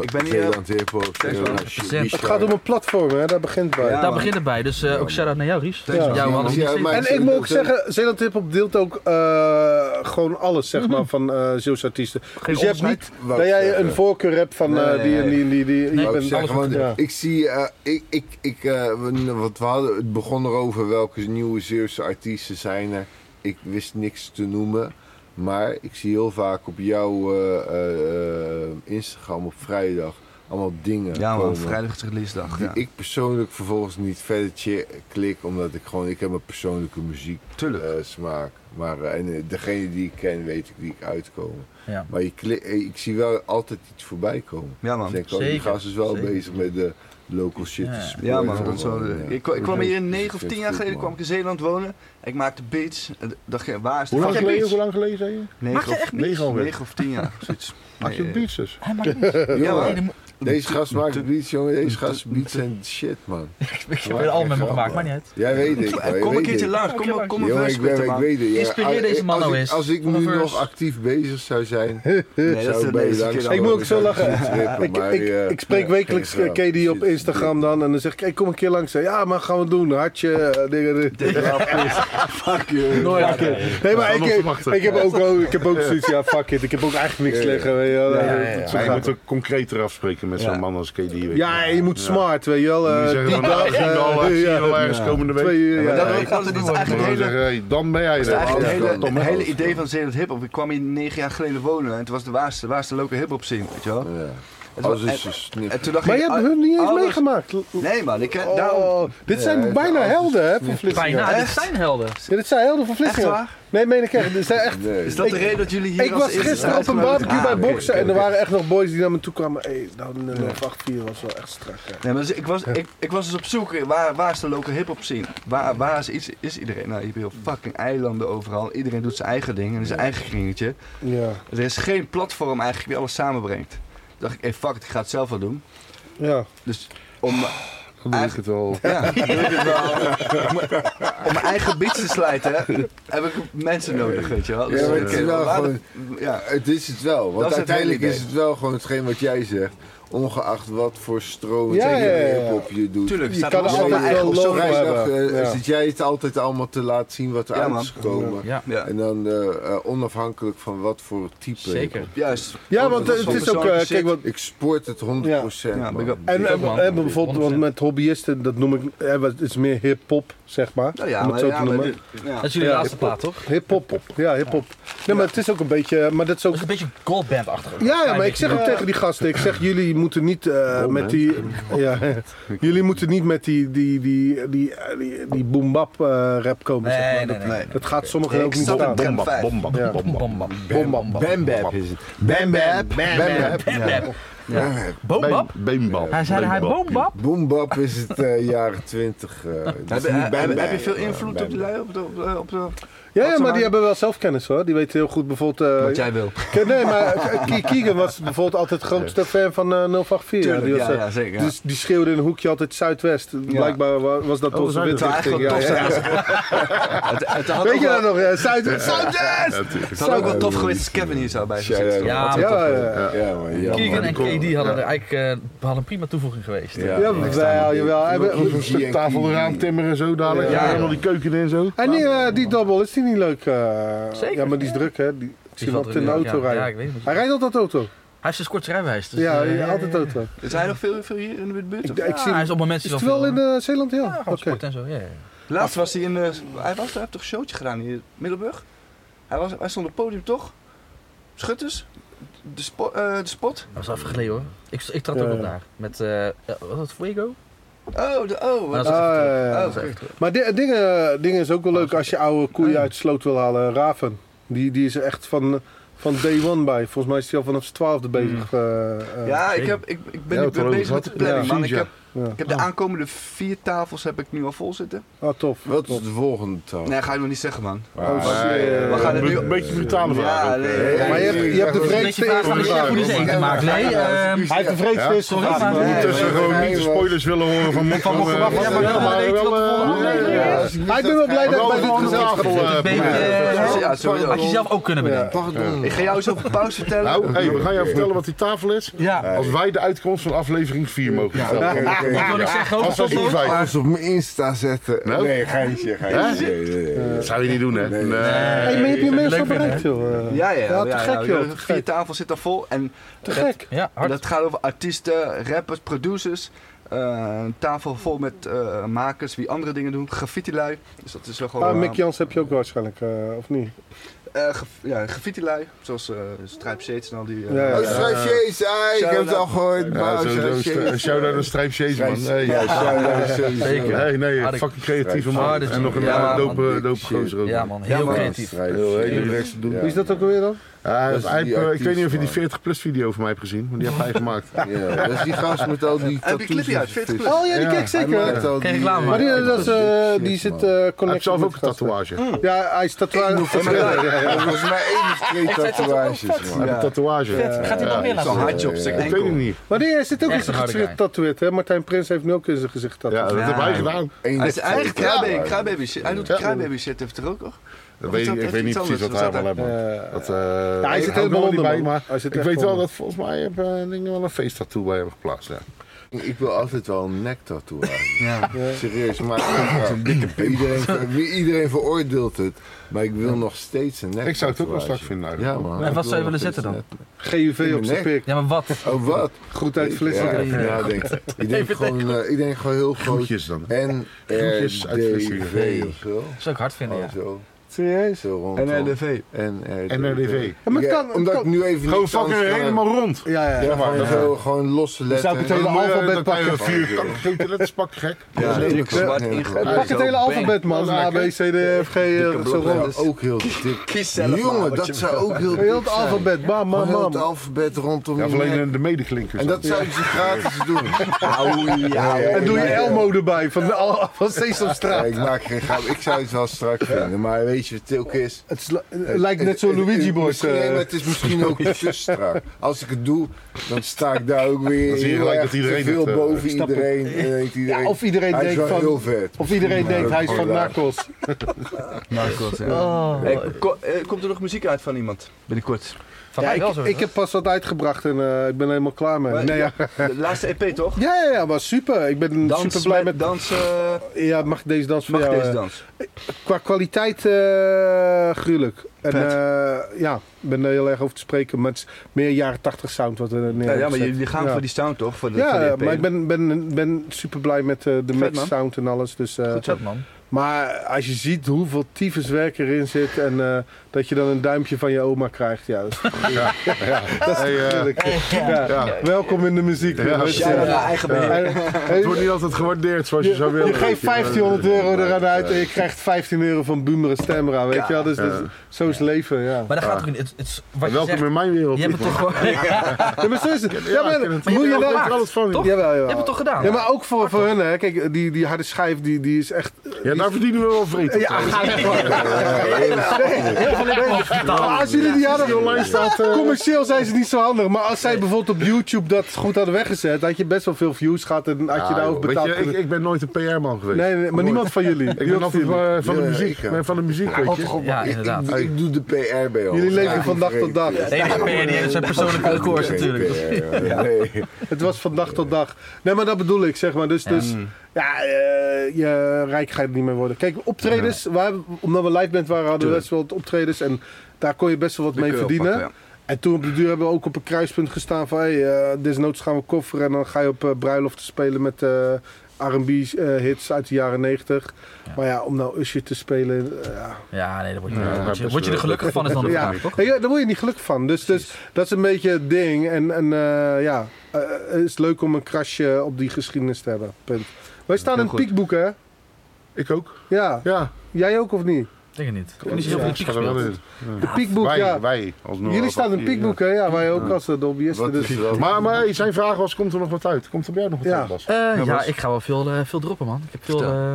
S4: Ik ben hier-
S2: hier...
S1: Het gaat om een platform, hè? daar begint bij.
S4: Ja.
S3: Daar begint het bij, dus eh, ook shout-out naar jou, Ries.
S1: Ja.
S3: Jou hadden we niet
S2: Ja,
S3: gezeten.
S2: maar-
S1: En ik moet ook zeggen, Zeeland Hip Hop deelt ook eh, gewoon alles, zeg maar, van eh Zeeuwse artiesten. dus je hebt
S3: onderscheid.
S1: niet
S2: Wou
S1: dat
S2: ik
S1: jij
S2: zeggen.
S1: een voorkeur hebt van eh,
S4: Nee,
S1: die en
S4: nee,
S1: die en die. die, die- je
S3: Nee.
S1: bent
S2: Ik, zeg,
S1: alles-
S2: want
S1: ja.
S2: ik zie, eh, ik, ik, ik, eh, we- wat we hadden, het begon er over welke nieuwe Zeeuwse artiesten zijn er. Ik wist niks te noemen. Maar ik zie heel vaak op jouw eh, eh, Instagram op vrijdag allemaal dingen
S4: Ja man,
S2: komen.
S4: vrijdag is releasedag.
S2: Die
S4: Ja.
S2: ik persoonlijk vervolgens niet verder che- klik, omdat ik gewoon, ik heb een persoonlijke muziek
S4: Tuurlijk.
S2: eh, smaak. Maar eh, en eh, degene die ik ken, weet ik die ik uitkomen.
S3: Ja.
S2: Maar je klik- eh, ik zie wel altijd iets voorbij komen.
S4: Ja
S2: Dus
S4: man.
S2: ik denk, oh, die
S3: Zeker,
S2: gast is wel
S3: zeker.
S2: bezig met de local shit. te
S3: Ja.
S2: spelen.
S4: Ja man, dat is wel-
S2: Gewoon, ja.
S4: ik, ik kwam hier negen
S2: Vet
S4: of tien
S2: goed,
S4: jaar geleden
S2: man.
S4: kwam ik in Zeeland wonen. Ik maakte beats. En dacht je, waar is de
S1: Hoe lang, geleden,
S4: fucking beats?
S1: hoe lang geleden zei je?
S4: Negen of,
S1: Negen alweer.
S4: negen of tien jaar, zoiets.
S1: Maak je
S4: Nee,
S1: beats dus?
S3: Hij maakt niet.
S2: Jongen,
S4: Ja, man.
S2: Deze gast maakt beats, jongen. Deze gast beats en shit, man.
S3: Ik heb een album
S2: Grap, man.
S3: gemaakt, maar niet uit.
S2: Jij weet het. man.
S4: eh,
S2: Jij
S4: Kom een
S2: weet
S4: keertje
S2: het.
S4: langs, kom, kom, kom een
S2: Jongen,
S4: verse
S2: ik, ben,
S4: spitten,
S2: ik
S4: man.
S2: weet het. ja. ah, eh,
S3: Inspireer deze man
S2: als
S3: nou
S2: ik-
S3: eens.
S2: Als ik
S3: Van
S2: nu
S3: een verse.
S2: nog actief bezig zou zijn,
S4: Nee, dat is
S2: zou
S4: de
S2: bij je
S4: deze
S2: langs-
S4: keer
S2: zou
S1: Ik moet ook zo
S2: langs
S1: lachen.
S2: gaan trippen,
S1: Ik,
S2: maar,
S1: ik,
S2: eh,
S1: ik spreek wekelijks
S2: geen
S1: eh,
S2: grap.
S1: Katie op
S2: Shit.
S1: Instagram dan en dan zeg ik, hey, kom een keer langs. Ja, maar gaan we doen. Hartje. eh, dingen, eh,
S4: Fuck you.
S1: Nooit. Nee, maar
S5: Ja,
S1: ik,
S5: nog te wachten.
S1: ik heb ook, wel- ik heb ook zoiets, ja, fuck it. Ik heb ook eigenlijk niks
S2: Ja, ja.
S1: liggen. Weet je wel.
S3: ja,
S1: Eh,
S3: ja.
S1: zo
S5: Maar je
S1: gaat
S5: moet
S1: het.
S5: ook concreter afspreken met zo'n man als KD. weet je.
S1: Ja, je moet smart, weet je wel.
S5: Dan
S1: eh,
S5: moet je zeggen
S1: die
S5: van, nou, ik
S1: dag,
S5: zie je
S1: eh,
S5: wel, eh, zie je
S1: ja.
S5: wel ergens komende week.
S1: Twee uur, ja.
S5: Maar
S4: Dat
S5: dan-
S4: was- dat is
S5: dan
S4: eigenlijk
S5: moet
S4: het
S5: je
S4: hele...
S5: zeggen, hey, Dan ben jij
S4: Dat
S5: er.
S4: is eigenlijk
S5: Anders
S4: het hele,
S5: dan
S4: het
S5: maar.
S4: hele idee van Zeeland hip-hop. Ik kwam hier negen jaar geleden wonen en het was de waarste, waarste local hip-hop scene, weet je wel.
S2: Ja.
S4: Het was-
S2: Als is
S4: en,
S2: een snip.
S4: en toen dacht
S1: Maar
S4: ik,
S1: je hebt
S4: ah,
S1: hun niet eens
S4: alles- Nou,
S1: meegemaakt.
S4: Nee man, ik,
S1: Oh,
S4: daarom,
S1: dit zijn
S2: Ja,
S1: bijna
S2: alles-
S1: helden, hè, voor Vlissingen.
S3: Bijna, Nou, dit
S4: Echt?
S3: zijn helden.
S1: Ja, dit zijn helden van
S4: echt
S1: Vlissingen.
S4: waar?
S1: Nee, meen ik echt. Dit zijn echt
S2: Nee.
S4: Is dat de
S1: Ik-
S4: reden dat jullie hier
S1: Ik
S4: als
S1: was
S4: eerste
S1: gisteren
S4: zijn
S1: op een
S4: uitgenodigd?
S1: barbecue bij
S4: Ah, oké.
S1: boksen en er waren echt nog boys die naar me toe kwamen. Hé, hey, nou, 084 was wel echt strak. hè.
S4: Nee, maar dus ik, was, ik, ik was dus op zoek, eh, waar, waar is de local hip-hop scene? Waar, waar is, iets, is iedereen? Nou, je hebt heel fucking eilanden overal. Iedereen doet zijn eigen ding en zijn eigen kringetje.
S1: Ja,
S4: Er is geen platform eigenlijk die alles samenbrengt. Toen dacht ik, hey, fuck it, ik ga het zelf wel doen.
S1: ja.
S4: Dus om,
S5: Dan doe ik het wel.
S4: ja, dan doe ik het wel. Om- om mijn eigen beats te slijten heb ik mensen nodig, weet je wel. Dus, eh,
S2: Ja, maar het
S4: oké,
S2: is wel
S4: waar de-
S2: Ja,
S4: ja.
S2: het is het wel. Want
S4: Dat is het
S2: uiteindelijk
S4: hele
S2: is het wel gewoon hetgeen wat jij zegt. Ongeacht wat voor stroom
S1: Ja,
S2: en
S1: ja, ja, ja.
S2: hip-hop je doet.
S4: Tuurlijk,
S1: Je
S4: staat
S1: kan
S4: er
S1: er
S4: allemaal
S1: altijd
S4: eigen
S1: wel
S4: op
S2: Op
S4: zo'n
S1: lopen
S4: reis.
S2: vrijdag
S1: hebben.
S2: eh,
S1: Ja.
S2: zit jij het altijd allemaal te laten zien wat er
S4: Ja,
S2: uit
S4: man.
S2: is gekomen.
S3: Ja,
S4: Ja,
S2: En dan eh, eh, onafhankelijk van wat voor type.
S3: zeker.
S4: juist.
S1: Ja, want
S4: Oh, Dat
S1: eh, het
S4: zo'n
S1: is ook,
S4: persoonlijke
S1: eh, kijk,
S4: shit.
S1: wat,
S2: Ik spoort het 100%.
S4: Ja,
S2: man.
S4: ik ook.
S1: En,
S3: Ik ook,
S1: eh,
S3: man.
S1: eh, bijvoorbeeld, want
S3: 100%.
S1: met hobbyisten, dat noem ik, eh, wat- het is meer hip-hop, zeg maar.
S4: Nou ja,
S1: om
S4: maar,
S1: het zo
S4: ja,
S1: te
S4: maar
S1: noemen.
S4: dit- ja.
S3: Dat is jullie
S1: Ja,
S3: laatste plaat, toch?
S1: Hip-hop, ja, hip-hop. Nee, maar het is ook een beetje, eh, maar dat is
S3: Dat
S1: ook...
S3: is een beetje goldband-achtig. ook.
S1: Ja, ja,
S3: Klein
S1: maar ik
S3: beetje.
S1: zeg ook tegen die gasten, ik zeg, jullie moeten niet eh, met die... Ja, jullie moeten niet met die, die, die, die, eh, die, die boom-bap eh, rap komen, zeg maar.
S3: Nee, nee,
S1: Dat-
S3: nee. nee.
S1: Dat gaat sommigen
S4: Ik
S1: ook niet
S4: snap
S1: staan.
S4: het.
S5: Bomba, bomba,
S1: Ja.
S5: bomba.
S3: Bom, bam.
S2: Bam, bam, bam, bam. is het. Bam, bam, bam, bam.
S3: Boombap?
S5: Beenbal.
S3: Hij zei hij boombap?
S2: Boombap is het eh, jaren 20. eh, dat is
S4: Heb, je-
S2: niet
S4: heb-
S2: Bam,
S4: heb je
S2: Bam,
S4: veel
S2: maar
S4: invloed
S2: Bam,
S4: op de... Op de, op de, op de
S1: Ja, ja,
S4: Wat ze
S1: maar die
S4: maken.
S1: hebben wel zelfkennis hoor. Die weten heel goed bijvoorbeeld... eh,
S4: wil.
S1: Ke- Nee, maar Ke- Keegan was bijvoorbeeld altijd de grootste fan van eh, 084.
S4: Tuurlijk,
S1: die was,
S4: ja,
S1: eh,
S4: ja, zeker, ja.
S1: Dus die schreeuwde in een hoekje altijd Zuidwest. Blijkbaar wa- was dat onze
S4: Het zou
S1: windrichting.
S4: eigenlijk
S1: Ja,
S4: wel tof
S1: ja,
S4: zijn.
S1: ja.
S4: als- Het- het had
S1: Weet
S4: ook
S1: je
S4: wel-
S1: dat nog? Ja, Zuidwest! Zuidwest!
S5: Ja, natuurlijk.
S4: Het had ook wel tof geweest als Kevin hier zou bij
S2: Ja,
S4: zijn.
S2: ja, ja.
S3: Ja,
S1: Ja, ja, ja.
S2: Ja, man, ja,
S3: Keegan
S2: man.
S3: en KD hadden er eigenlijk eh, hadden een prima toevoeging geweest.
S2: Ja.
S1: Jawel, jawel. Hij
S2: Keegan
S1: be-
S2: en
S5: Een stuk tafel eraan timmeren en zo dadelijk.
S3: Ja,
S5: Ja,
S3: ja.
S5: helemaal die keuken in en zo.
S1: En die, eh, die dubbel, is die niet leuk? eh?
S3: Zeker.
S1: Ja, maar die is druk hè. Die, ik zie
S3: Die
S1: hem
S3: valt
S1: altijd in de
S3: er
S1: auto
S3: weer- ja, Ja,
S1: rijden.
S3: ik weet het.
S1: Hij
S3: Hij
S1: rijdt altijd auto.
S3: heeft zijn kort rijbewijs. Dus,
S1: Ja,
S3: eh,
S1: ja, altijd auto.
S4: Is hij nog veel, veel hier in de buurt?
S1: Ik,
S4: of-
S1: ik
S3: Ja,
S1: zie
S3: hij
S1: hem.
S3: is op momenten
S1: Is het wel in eh, Zeeland? Ja,
S3: gewoon
S1: oké.
S3: sport en zo, ja, ja.
S4: Laatst was hij in... eh, hij was daar, hij heeft toch een showtje gedaan hier in Middelburg? Hij, was, hij stond op het podium, toch? Schutters? De, spo- eh, de spot?
S3: Dat was afgegleden hoor. Ik, ik trad
S1: Ja,
S3: ook op
S1: ja.
S3: daar. Met, eh, eh, wat was dat, Fuego?
S4: Oh, de, oh.
S3: Maar
S4: Wat,
S3: dat is
S1: Ah,
S3: even
S1: ja, ja.
S4: oh,
S3: dat is
S4: oké.
S3: echt- Ah.
S1: Maar di- dingen, dingen is ook wel leuk als je oude koeien uit de sloot wil halen. Raven, die, die is er echt van, van day one bij. Volgens mij is hij al vanaf zijn twaalfde
S3: Hmm.
S1: bezig. eh, eh,
S4: Ja, ik,
S3: zeker.
S4: heb, ik, ik ben
S5: Ja,
S4: nu
S5: we hadden
S4: bezig met
S5: het
S4: de
S5: over
S4: planning,
S5: ja.
S4: man. Ik heb,
S1: ja.
S4: ik heb de aankomende vier tafels heb ik nu al vol zitten.
S1: Ah, tof.
S2: Wat
S1: tof.
S2: is de volgende taal? Ah.
S4: Nee, ga je nog niet zeggen, man.
S1: Oh, shit.
S4: we gaan het nu-
S5: eh, Een beetje brutale vraag.
S4: Ja,
S5: ook. eh.
S4: nee.
S2: Hey,
S1: Maar je hebt, je hebt de
S2: Een
S3: Een
S1: vreedste
S3: beetje vragen
S1: eerste
S3: die je
S1: vraag.
S3: voor die zee te maken. Nee, ehm,
S1: Hij heeft de vreedste
S5: Ja?
S1: eerste
S3: Sorry,
S1: vraag.
S3: maar-
S1: Ja,
S5: Het is
S2: Nee,
S5: gewoon
S2: nee,
S5: niet de
S2: nee,
S5: spoilers willen horen van Mok van
S3: mogen wachten. Ja, maar wel, maar
S5: Maar eh,
S3: weet je wat de volgende
S5: wel,
S3: regel
S5: eh,
S3: is?
S1: ja. Maar ik ben wel blij
S5: Maar
S1: dat bij
S5: wel
S1: dit
S5: een tafel,
S1: gezelschap...
S5: eh,
S3: Een beetje,
S4: Ja,
S3: eh,
S4: sowieso.
S3: Had je zelf ook kunnen bedenken.
S2: Pardon.
S4: Ik ga jou eens over pauze vertellen.
S5: Nou, hey, we gaan jou vertellen wat die tafel is.
S3: Ja.
S5: Als wij de uitkomst van aflevering 4 mogen vertellen.
S2: Oké, oké.
S3: Ik wil nog zeggen, ook
S5: Als dat
S3: Potlood.
S5: in vijf.
S2: Alles op mijn Insta zetten.
S5: Nou?
S2: Nee, geintje, geintje. Nee, nee, nee.
S5: Dat zou je niet doen, hè?
S2: Nee.
S1: Hé, maar heb je mensen
S3: Leuk
S1: bereikt, joh.
S4: Ja, ja,
S1: Ja,
S4: ja.
S1: te
S4: ja,
S1: gek,
S4: ja.
S1: joh, te
S4: De
S1: gek.
S4: Vier tafels zitten vol. En
S1: Te gek.
S3: Ja, hard.
S4: dat gaat over artiesten, rappers, producers. eh, een tafel vol met eh, makers die andere dingen doen. Graffiti-lui. Dus dat is wel gewoon...
S1: Ah,
S4: eh,
S1: Mick Jans heb je ook waarschijnlijk, eh, of niet?
S4: eh, graf- ja, graffiti-lui. Zoals eh Strijp Seets en al die... eh,
S1: Ja, ja.
S2: Oh, Strijfjees, ai, Ah, ik heb het al gehoord.
S5: Ja,
S2: maar
S5: zo, zo,
S2: Strijfjees.
S5: een shout-out aan Strijp Shays, man.
S2: Strijf-
S5: Hey,
S2: Ja, shout-out,
S3: Zeker.
S2: sowieso.
S5: Nee, nee,
S3: Ah, de-
S5: fucking creatieve
S3: Ah,
S5: man.
S3: dat is-
S5: En nog een
S3: ja,
S5: eh,
S3: man.
S5: dope dope gozer ook.
S3: Ja man, heel
S4: man.
S3: creatief.
S5: Heel heel rechts te doen.
S1: Wie is dat ook alweer dan?
S5: Ja,
S2: Dat is
S5: hij-
S2: die
S5: eh, ik
S2: artiest,
S5: weet niet of je die
S2: man.
S5: 40 plus video van mij hebt gezien, maar die heb hij gemaakt.
S2: Ja, dat is die gast met al die
S4: Heb je
S2: tattoos.
S4: clipje uit? 40 plus?
S1: Oh ja, die
S5: Ja,
S1: kijk ik
S2: Hij
S1: zeker.
S2: maakt al
S3: Geen
S2: die-
S3: reclame.
S1: Maar die,
S2: Ja,
S1: dat is, eh,
S2: shit,
S1: die
S2: man.
S1: zit eh
S5: Hij heeft
S1: connected
S5: zelf
S1: met
S5: ook een
S1: gasten.
S5: tatoeage. Hij
S1: Ja, hij is tatoeage.
S2: Ja, volgens mij één of twee tatoeages, man.
S5: heeft een tatoeage.
S3: Gaat hij nog meer laten
S4: Zo'n
S3: zien?
S4: hardjob, zeg
S5: Ik weet het niet.
S1: Maar die hij zit ook in
S3: Echt een
S1: zijn
S3: harde
S1: gezicht
S3: guy.
S1: getatoeëerd, hè? Martijn Prins heeft nu ook in zijn gezicht
S5: Ja,
S1: getatoeëerd.
S5: dat
S3: Ja.
S5: heb hij gedaan.
S2: Eén
S4: Hij
S2: of
S4: is eigenlijk
S2: twee
S4: kraaibaby,
S2: tatoeages.
S4: kraaibaby shit. Hij doet
S5: Ja.
S4: kraaibaby shit, heeft er ook nog?
S5: Dat weet,
S4: dat
S5: ik- ik
S4: heeft
S5: weet niet
S4: iets
S5: precies
S4: anders,
S5: wat
S4: wat
S5: hij
S4: staat
S5: allemaal heeft.
S1: Eh,
S5: man. Dat, eh,
S1: hij
S5: ik
S1: zit
S5: hou er wel
S1: helemaal
S5: niet bij,
S1: onder, man.
S5: maar
S1: Hij zit
S5: ik
S1: echt
S5: weet wel
S1: onder.
S5: dat volgens mij heb, eh, dingen wel een feesttattoo bij hebben geplaatst. Ja.
S2: Ik wil altijd wel een nektattoo eigenlijk.
S4: Ja.
S2: Serieus, maar iedereen, ver- wie- iedereen veroordeelt het. Maar ik wil nog steeds een nek.
S5: Ik zou het ook wel strak vinden
S2: Ja,
S5: eigenlijk.
S2: man.
S3: En
S2: Ik
S3: wat zou je
S2: wil nog
S3: willen
S2: steeds
S3: zetten dan?
S2: een
S1: GUV op zijn
S2: Nee.
S1: pik.
S3: Ja, maar wat?
S2: nek. Oh, wat?
S1: Goed uit
S2: Ja,
S1: Vlissingen.
S2: even nadenken. Ik denk gewoon, eh, ik denk gewoon heel groot.
S5: Groetjes dan.
S2: En
S5: Groetjes uit
S2: RDV
S5: Vlissingen.
S2: of zo.
S3: Dat zou ik hard vinden, ja.
S2: Oh, zo.
S1: Serieus?
S2: Zo rond.
S4: NRDV.
S2: En eh,
S5: NRDV.
S1: Ja, maar het
S2: Ja,
S1: kan- het
S2: omdat
S1: kan-
S2: ik nu even
S5: Gewoon
S2: niet
S5: fucking
S2: anders kan-
S5: helemaal rond.
S1: Ja, ja.
S2: Ja,
S1: ja.
S2: gewoon,
S5: Ja.
S2: zo, gewoon losse
S1: Dan
S2: letters.
S1: zou ik het hele
S5: Dan moet je-
S1: alfabet
S5: dan kan je
S1: pakken.
S5: Vier kan- grote letters pakken, gek.
S2: Ja,
S4: Ja,
S2: dat
S4: dik
S2: is ook
S4: zwart
S2: heel
S4: ingelegd.
S2: goed.
S1: Pak het
S4: Zo,
S1: hele
S4: bang.
S1: alfabet, man. A, B, C, D, E, F, G, eh, zo
S2: Ja,
S1: rond.
S2: ook heel dik.
S4: Kies zelf maar
S2: Jongen,
S4: wat je
S2: dat zou ook heel dik
S1: Heel het
S2: zijn.
S1: alfabet. Bam,
S2: Gewoon
S1: bam,
S2: heel het
S1: bam.
S2: alfabet rondom
S5: Ja,
S2: je
S5: of alleen
S2: nek.
S5: in de medeklinkers.
S2: En
S5: dan.
S2: dat zouden ze gratis doen.
S1: En doe je
S2: Ja, ja, ja.
S1: Elmo dus erbij van, de al- van
S2: Ja,
S1: Sesamstraat.
S2: ik maak geen grap. Ik zou het wel strak vinden. Maar weet je wat het ook is?
S1: Het is li- het lijkt net zo'n
S2: Het- het-
S1: Luigi Boys.
S2: misschien- Nee, maar
S1: eh.
S2: het is misschien ook te strak. Als ik het doe, dan sta ik daar ook weer
S5: Dan zie je
S2: heel
S5: gelijk
S2: erg
S5: dat iedereen
S2: te veel
S5: het, eh,
S2: boven
S1: snapt.
S2: iedereen. En dan denkt iedereen,
S1: Ja, of iedereen
S2: hij is
S1: denkt
S2: wel
S1: van-
S2: heel vet.
S1: Of iedereen
S2: Maar
S1: denkt
S2: ook
S1: hij is
S2: gewoon
S1: van
S2: raar.
S1: Nakkels.
S4: Narcos, ja.
S1: Oh.
S4: Hey, ko- eh, komt er nog muziek uit van iemand? Binnenkort.
S3: Van
S1: Ja,
S3: mij
S1: ik,
S3: wel zo.
S1: ik heb pas wat uitgebracht en eh, ik ben er helemaal klaar mee.
S4: Maar-
S1: Nee, ja.
S4: De laatste EP toch?
S1: Ja, ja, ja, maar super. Ik ben
S4: Dans
S1: super blij met...
S4: Dans, eh,
S1: Ja, mag ik deze dans voor
S4: mag
S1: jou?
S4: deze
S1: eh,
S4: dans?
S1: Qua kwaliteit eh gruwelijk. En
S4: Vet.
S1: eh, ja, ik ben er heel erg over te spreken. Maar het is meer jaren 80 sound wat we neer
S4: Ja,
S1: hebben
S4: ja, maar
S1: gezet.
S4: jullie gaan
S1: Ja.
S4: voor die sound toch? Voor de,
S1: Ja,
S4: voor die EP.
S1: maar ik ben, ben, ben super blij met eh, de match
S4: man.
S1: sound en alles. Dus, eh,
S3: Goed zo, man.
S1: maar als je ziet hoeveel tyfuswerk erin zit en eh, dat je dan een duimpje van je oma krijgt. Ja, dat is
S5: dat
S1: gruwelijk. Ja. Welkom in de muziek. jongens.
S4: Shout-out naar
S1: Ja.
S4: eigen beheer.
S1: En- en-
S5: Het wordt niet altijd gewaardeerd zoals je, zou willen.
S1: je geeft 1500 euro eraan uit en je krijgt 15 euro van Boomer en Stemra, weet je wel? Dus, dat is- zo is leven, ja.
S3: Maar dat gaat ook niet. Het, het, is- wat je
S5: Welkom
S3: zegt,
S5: in mijn wereld.
S3: je hebt het toch gewoon...
S1: Ja, maar zo is het. Ja, maar
S5: ik ken
S1: moet
S5: het.
S3: Je
S1: je
S3: hebt het
S1: daar...
S3: gemaakt.
S5: alles van.
S3: Toch?
S1: Jawel,
S3: Je hebt het
S1: jawel.
S3: toch gedaan?
S1: Ja, maar ook voor, voor hun, hè. Kijk, die, die harde schijf, die, die is echt...
S5: Ja, daar verdienen we wel vreten.
S1: Ja, ga weg, man. Nee, maar Als jullie die hadden...
S5: online staat. eh,
S1: Commercieel zijn ze niet zo handig, maar als zij bijvoorbeeld op YouTube dat goed hadden weggezet, had je best wel veel views gehad en had je
S5: ja,
S1: daar
S5: joh.
S1: ook betaald.
S5: Weet je, ik,
S1: kunnen-
S5: ik ben nooit een PR-man geweest.
S1: Nee, nee, maar niemand van jullie.
S5: Ik ben altijd eh, van de
S2: Ja, ik,
S5: muziek. Ik ben van de muziek, weet je.
S3: Ja, inderdaad.
S2: Ik, ik doe de PR bij ons.
S1: Jullie leven
S2: Ja,
S1: van dag tot dag.
S2: Ja,
S3: Nee, de PR die heeft zijn persoonlijke records natuurlijk.
S2: PR, ja. Nee.
S1: Het was van dag tot dag. Nee, maar dat bedoel ik, zeg maar. Dus, dus ja, eh, je rijk ga je er niet meer worden. Kijk, optredens, waar, omdat we live band waren, hadden we best wel wat optredens. En daar kon je best wel wat mee verdienen. En toen op de duur hebben we ook op een kruispunt gestaan van... Hey, eh, desnoods gaan we kofferen en dan ga je op eh, bruiloften spelen met eh, R&B eh, hits uit de jaren 90. Maar ja, om nou Usher te spelen... eh, ja.
S3: Ja, nee, daar word je,
S5: Ja,
S3: word je,
S5: best
S3: word je er
S5: wel.
S3: gelukkig van, is dan de
S1: Ja.
S3: vraag, toch?
S1: Hey, ja, daar word je niet gelukkig van. Dus, dus dat is een beetje het ding. En, en eh, ja, eh, het is leuk om een krasje op die geschiedenis te hebben. Punt. Wij staan
S5: Heel
S1: in
S5: goed.
S1: piekboek, hè?
S5: Ik ook.
S1: Ja.
S5: Ja,
S1: jij ook of niet?
S3: Ik denk het niet. Ik heb niet zo heel
S5: Ja,
S3: veel
S5: ik
S3: muziek
S5: ga er wel
S3: gespeeld.
S5: in.
S1: De piekboek,
S5: Wij,
S1: ja.
S5: wij. Als Noord-
S1: Jullie staan in
S5: Ja.
S1: piekboek, hè? Ja, wij ook als eh,
S2: Wat
S1: hobbyisten.
S2: is
S1: Dus.
S2: er wel-
S5: Maar, maar hey, zijn vraag was, komt er nog wat uit? Komt er bij jou nog wat
S1: Ja.
S5: uit, Bas?
S3: Eh, ja,
S5: Bas.
S3: ik ga wel veel, eh, veel droppen, man. Ik heb veel... eh,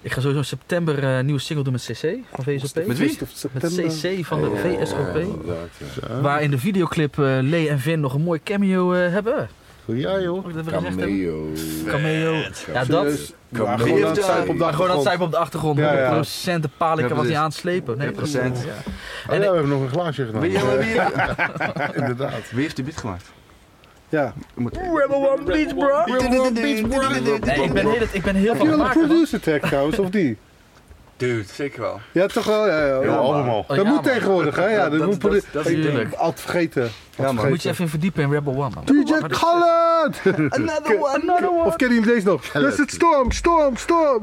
S3: ik ga sowieso in september eh, een nieuwe single doen met CC van VSOP.
S4: Met wie?
S3: Met CC van de VSOP.
S2: inderdaad, ja.
S3: Waar in de videoclip eh, Lee en Vin nog een mooi cameo eh, hebben.
S5: Ja, joh.
S3: Mag ik dat weer gezegd hebben?
S2: Cameo.
S3: Cameo. Ja, dat.
S1: Ja,
S2: Wie
S1: gewoon aan
S4: heeft,
S1: het
S4: eh,
S1: zuipen op de
S3: Maar gewoon dat
S1: achtergrond.
S3: zuipen op de achtergrond.
S1: Ja, ja.
S3: 100% de palikken
S4: Ja,
S3: wat hij
S4: precies.
S3: aanslepen. Nee,
S4: 100%.
S3: Ja.
S5: Oh, ja, we hebben nog een glaasje gedaan.
S4: Wie, ja, maar wie,
S5: Inderdaad.
S4: wie heeft de beat gemaakt?
S1: Ja.
S4: Moet-
S3: Rebel One Beach, bro.
S4: Beach, bro.
S3: Nee, ik ben heel, ik ben heel
S1: Heb je
S3: van
S1: wel een
S3: maken, man.
S1: producer track trouwens, of die?
S4: Dude, zeker wel.
S1: Ja, toch wel? Ja, ja.
S5: Heel
S1: ja.
S5: album al.
S3: Oh
S1: Dat moet tegenwoordig, hè? Ja, dat, moet
S4: dat-
S1: produ-
S4: dat is het
S1: Ik-
S4: ding.
S1: Altijd vergeten.
S4: Ja, man.
S3: Moet je even in verdiepen in Rebel One, man.
S1: DJ Khaled!
S4: Another one!
S1: Of ken je hem deze nog? Dat is het storm, storm, storm!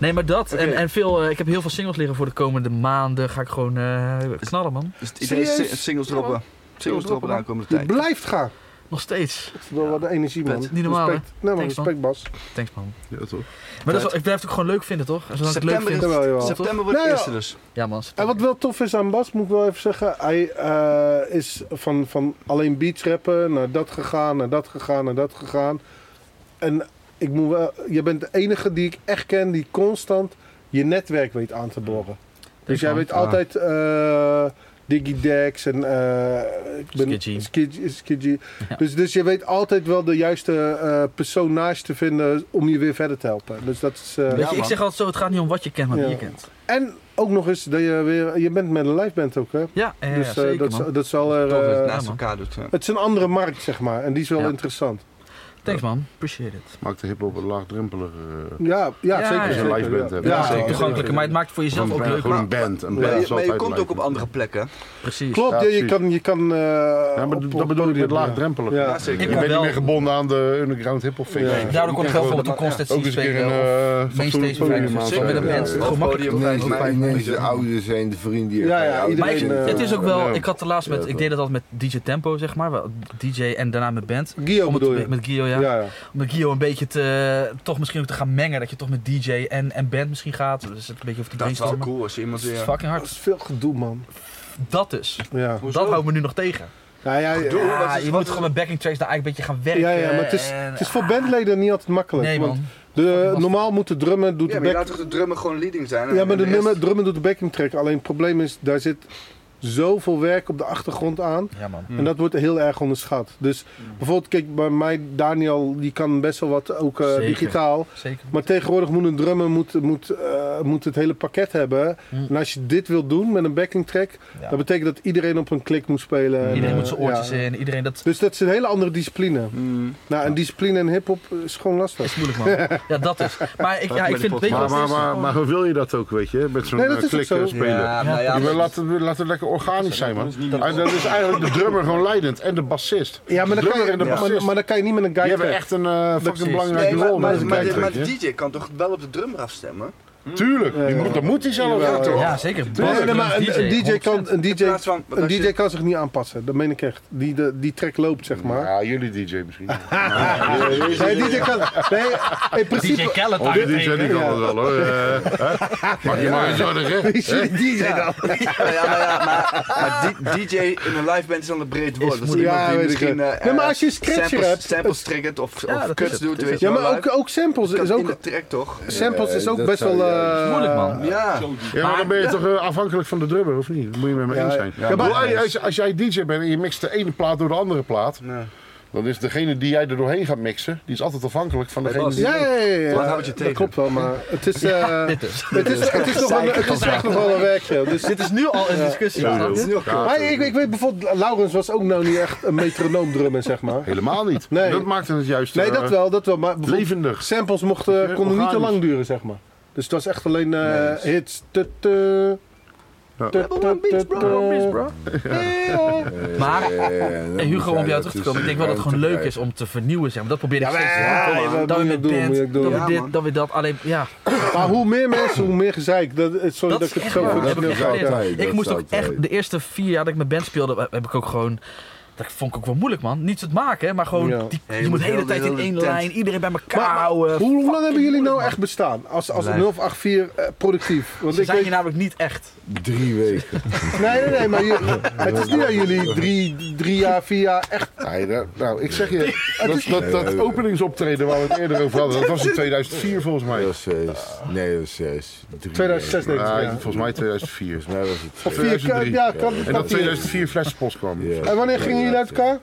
S3: Nee, maar dat. En, en veel, eh, ik heb heel veel singles liggen voor de komende maanden. Ga ik gewoon eh, knallen, man.
S4: Dus het idee is
S1: Serieus?
S4: si- singles droppen. Singles droppen de aankomende
S1: Het
S4: tijd.
S1: blijft gaan.
S3: Nog steeds.
S1: Wat een energie, man.
S3: Niet normaal, hè?
S1: Respect. Nee, maar
S3: Thanks, man.
S1: respect, Bas.
S3: Thanks, man.
S5: Ja, toch?
S3: Maar dat is, wel- ik blijf het ook gewoon leuk vinden, toch? Zolang ik het leuk
S4: September
S3: vind.
S4: is-
S1: Jawel, jawel.
S4: September wordt
S1: Nou
S4: de
S1: ja.
S4: eerste dus.
S3: Ja, man. september.
S1: En wat wel tof is aan Bas, moet ik wel even zeggen. Hij eh, is van, van alleen beats rappen naar dat gegaan, naar dat gegaan, naar dat gegaan. En ik moet wel, je bent de enige die ik echt ken die constant je netwerk weet aan te borren. Dus jij
S3: man.
S5: Ah.
S1: weet altijd eh Diggy Dex en eh, ik ben
S3: Skidgy.
S1: Skidgy- Skidgy.
S3: Ja.
S1: Dus, dus je weet altijd wel de juiste eh persoon naast te vinden om je weer verder te helpen. Dus dat is, eh,
S3: Weet
S4: Ja,
S3: je, ik
S4: man.
S3: zeg altijd zo, het gaat niet om wat je kent, maar wie
S1: Ja.
S3: je kent.
S1: En ook nog eens, dat je, weer, je bent met een live band ook hè?
S3: Ja, ja, ja,
S1: dus eh,
S3: zeker,
S1: dat,
S3: man.
S1: zal- dat zal er.
S4: Tof dat je het
S1: eh,
S4: naast
S3: man.
S4: elkaar doet. ja.
S1: het is een andere markt, zeg maar. En die is wel
S3: Ja.
S1: interessant.
S3: Thanks, man. Appreciate it.
S5: Maakt de hip-hop wat laagdrempeliger. eh.
S1: Ja, ja,
S3: Ja,
S1: zeker.
S3: ja. Als je
S5: een
S1: zeker,
S5: live band
S1: ja.
S5: hebt.
S1: Ja,
S5: Ja,
S3: Ja,
S5: zeker.
S3: toegankelijker, maar het maakt het voor jezelf
S5: Gewoon
S3: ook
S5: een band,
S3: leuk.
S5: gewoon
S3: man.
S5: een band. Een
S1: Ja,
S5: band
S4: Maar
S5: is
S4: je, maar je
S5: altijd
S4: komt
S5: live.
S4: ook op andere plekken.
S3: Precies.
S1: Klopt,
S5: Ja,
S1: je, je
S5: precies.
S1: kan. Je kan eh,
S5: Ja, maar
S1: op-
S5: dat
S1: op-
S5: bedoel ik, het
S1: ja.
S5: laagdrempelig.
S1: Ja.
S4: Ja, zeker.
S5: Je
S3: Ik
S5: bent
S3: wel-
S5: niet meer gebonden aan de underground hip-hop scene.
S1: Ja.
S5: Je
S3: Daardoor kon ik
S5: kan
S3: heel veel op
S5: gewoon
S3: een constant
S5: Ook
S3: zien
S5: eens een keer
S3: spelen. of
S5: een eh,
S3: Mainstage
S5: fatsoen-
S3: vijf
S5: podium
S3: Zeker met een
S5: aanstaan.
S3: band.
S5: Ja,
S3: Gewoon makkelijk.
S4: Podium vijf
S2: Mensen,
S4: mei.
S2: mensen, de ouderen zijn, de vrienden.
S1: Ja,
S2: van je
S1: ja,
S2: ouders.
S3: Maar ik,
S1: Iedereen, eh,
S3: het is ook wel, ik had de laatst met,
S2: Ja,
S3: ik deed dat altijd met DJ Tempo, zeg maar. wel DJ en daarna met band.
S1: Guillaume
S3: Om het,
S1: bedoel je?
S3: met Gio, ja.
S1: Ja, ja.
S3: Om met Gio een beetje te, eh, toch misschien ook te gaan mengen. Dat je toch met DJ en, en band misschien gaat. Dus het een beetje over te
S4: Dat is wel
S3: brainstormen.
S4: cool als je iemand
S3: Het is
S4: weer...
S3: fucking
S1: Dat
S3: hard.
S1: is veel gedoe, man.
S3: Dat dus.
S1: Ja.
S4: Hoezo?
S3: Dat houdt me nu nog tegen.
S1: Ja, ja, ja.
S4: Gedoe?
S3: Ja,
S4: Wat is-
S3: je
S4: wat
S3: moet
S4: is-
S3: gewoon met backing tracks daar eigenlijk een beetje gaan werken.
S1: Ja, ja, maar het is,
S3: en-
S1: het is voor bandleden niet altijd makkelijk.
S3: eh, Nee
S1: want
S3: man.
S1: De, normaal moet de drummer doet
S4: Ja,
S1: de
S4: maar je
S1: back,
S4: laat toch de drummer gewoon leading zijn? en-
S1: ja, maar
S4: en
S1: de
S4: rest-
S1: nummer, drummer doet de backing track. Alleen het probleem is, daar zit zoveel werk op de achtergrond aan.
S3: Ja man.
S1: En dat wordt heel erg onderschat. Dus
S3: Hmm.
S1: bijvoorbeeld, kijk, bij mij, Daniel, die kan best wel wat ook eh,
S3: Zeker.
S1: digitaal.
S3: Zeker.
S1: Maar tegenwoordig moet een drummer moet, moet, eh, moet het hele pakket hebben.
S3: Hm.
S1: En als je dit wilt doen met een backing track,
S3: Ja.
S1: dat betekent dat iedereen op een klik moet spelen. En,
S3: Iedereen
S1: eh,
S3: moet zijn oortjes
S1: ja.
S3: in. Iedereen dat
S1: Dus dat is een hele andere discipline.
S4: Mm.
S1: Nou, en discipline in hip-hop is gewoon lastig.
S3: is moeilijk man. Ja dat is. Maar ik, ja, ik vind weet je
S5: Maar,
S3: wat het
S5: maar,
S3: is?
S5: maar, maar hoe wil je dat ook, weet je? Met zo'n
S1: Nee, dat
S5: eh,
S1: is ook
S5: klik
S1: zo.
S5: eh, spelen.
S4: Ja, maar ja,
S5: Je wil-
S4: maar-
S5: laat, het, laat het lekker organisch zijn, man. En dat is eigenlijk de drummer gewoon leidend en de bassist.
S1: Ja, maar dan, kan
S5: Drummer
S1: je,
S5: en de
S1: maar-
S5: bassist.
S1: maar, dan kan je niet met een
S5: Die
S1: guide
S5: hebben
S1: track.
S5: echt een eh,
S3: Precies.
S5: fucking belangrijke
S4: Nee, maar,
S5: rol.
S4: maar, maar-
S5: met een
S4: maar
S5: kijktrek,
S4: de
S5: hè?
S4: DJ kan toch wel op de drummer afstemmen?
S5: Tuurlijk, die moet, dat moet hij zelf.
S1: Jawel,
S5: ja, toch?
S1: ja.
S3: Ja zeker.
S1: Nee, nee, nee, maar een, een DJ,
S3: 100%.
S1: kan, een,
S4: In
S1: DJ,
S4: plaats van- want
S1: een
S4: als je-
S1: DJ kan zich niet aanpassen. Dat meen ik echt. Die, de, die track loopt, zeg maar.
S5: Ja, jullie DJ misschien.
S1: Nee, DJ kan. Nee, in principe.
S3: DJ Khaled
S5: Oh, die DJ die
S3: eigenlijk.
S5: kan
S1: Ja.
S5: het wel hoor. Eh, hè? Maak je maar eens zorgen. hè?
S1: DJ dan.
S4: Ja, ja, maar, ja, maar, maar di- DJ in een live band is dan een breed woord. Dat is
S1: moeilijk. Ja,
S4: iemand die
S1: weet ik
S4: misschien
S1: het.
S4: eh,
S1: Nee, maar als je een scratcher
S4: samples,
S1: hebt-
S4: samples triggert of,
S3: Ja, dat
S4: of
S3: is
S4: cuts
S3: het,
S4: doet,
S3: dat
S4: weet
S3: is
S4: je
S1: Ja,
S4: wel,
S1: maar
S4: live.
S1: ook, ook samples
S4: Kan
S1: is
S4: in
S1: ook,
S4: de track toch?
S1: samples is
S2: Eh,
S1: ook
S2: dat
S1: best
S2: zou
S1: wel.
S2: je-
S1: eh,
S3: Dat is moeilijk, man.
S4: Ja,
S5: Ja, maar dan ben je toch eh, afhankelijk van de drummer, of niet? Dat moet je met me
S1: Ja,
S5: eens
S1: ja.
S5: zijn.
S1: Ja,
S5: Ik bedoel,
S1: maar-
S5: als, als jij DJ bent en je mixt de ene plaat door de andere plaat,
S4: Nee.
S5: dan is degene die jij er doorheen gaat mixen, die is altijd afhankelijk van degene die...
S1: Ja, ja, ja. ja, ja.
S4: Wat houdt je tegen?
S1: Dat klopt wel, maar het is. eh,
S3: Dit is.
S1: het is, het is, nog wel- het is echt nog wel een werkje. Dus,
S3: Dit is nu al een discussie.
S5: Ja,
S3: snap je?
S5: joh. Ja,
S1: maar ik, ik weet bijvoorbeeld, Laurens was ook nou niet echt een metronoomdrummer, zeg maar.
S5: Helemaal niet.
S1: Nee.
S5: Dat maakt het juist
S1: Nee,
S5: eh,
S1: dat wel, dat wel. Maar bijvoorbeeld
S5: levendig.
S1: samples mochten,
S5: Ja,
S1: konden niet te
S5: organisch.
S1: lang duren, zeg maar. Dus het was echt alleen eh, hits. Tut, tut,
S5: Ja.
S1: tut, tut, tut,
S3: Maar
S2: En
S3: Hey, Hugo, om bij jou terug te komen, ik denk wel dat het gewoon leuk is om te vernieuwen. Zeg maar. Dat probeer ik
S1: Ja, maar
S3: steeds te
S1: ja,
S3: doen.
S1: ja,
S3: Kom,
S1: ja,
S3: Dan
S1: moet
S3: weer
S1: je
S3: met
S1: doen, moet
S3: band,
S1: je doen.
S3: dan
S4: Ja,
S3: weer
S4: man.
S3: dit, dan weer dat. Alleen, ja,
S1: Maar hoe meer mensen, hoe meer gezeik. Dat, eh, sorry dat,
S3: dat is
S1: ik het
S3: echt
S1: zo
S3: waar.
S1: vind.
S3: Dat heb ik
S2: Dat
S3: echt
S2: is
S3: geleerd.
S2: altijd,
S3: Ik
S2: dat
S3: moest
S2: is
S3: ook echt,
S2: altijd.
S3: de eerste vier jaar dat ik met band speelde, heb ik ook gewoon... Dat vond ik ook wel moeilijk, man. Niet het maken, hè, maar gewoon...
S1: Ja.
S3: Die,
S4: Ja,
S3: je
S4: je moet
S3: moet de hele
S4: heel-
S3: tijd
S4: heel
S3: in
S4: de
S3: één
S4: tent.
S3: lijn, iedereen bij elkaar
S1: Maar-
S3: houden.
S1: Hoe lang hebben jullie nou echt bestaan? Als, als
S4: Blijf.
S1: 084 eh, productief? Want
S3: Ze
S1: ik
S3: zijn
S1: weet,
S3: hier nou- namelijk niet echt.
S2: Drie weken.
S1: nee, nee, nee, maar je- het is niet aan jullie drie, drie jaar, vier jaar echt.
S5: Nee, dat- nou, ik zeg je, dat, dat, dat openingsoptreden waar we het eerder over hadden, dat was in 2004 volgens mij.
S2: Dat was zes. Nee, dat was zes. Drie
S1: 2006 denk ik.
S5: Ah,
S1: ja.
S5: volgens mij 2004.
S2: weken. Nee, dat was het
S1: Vier,
S5: 2003.
S1: ja, kan,
S5: En
S1: kan
S5: dat
S1: die-
S5: 2004 flessenpost kwam.
S2: Ja.
S1: En wanneer gingen jullie uit elkaar?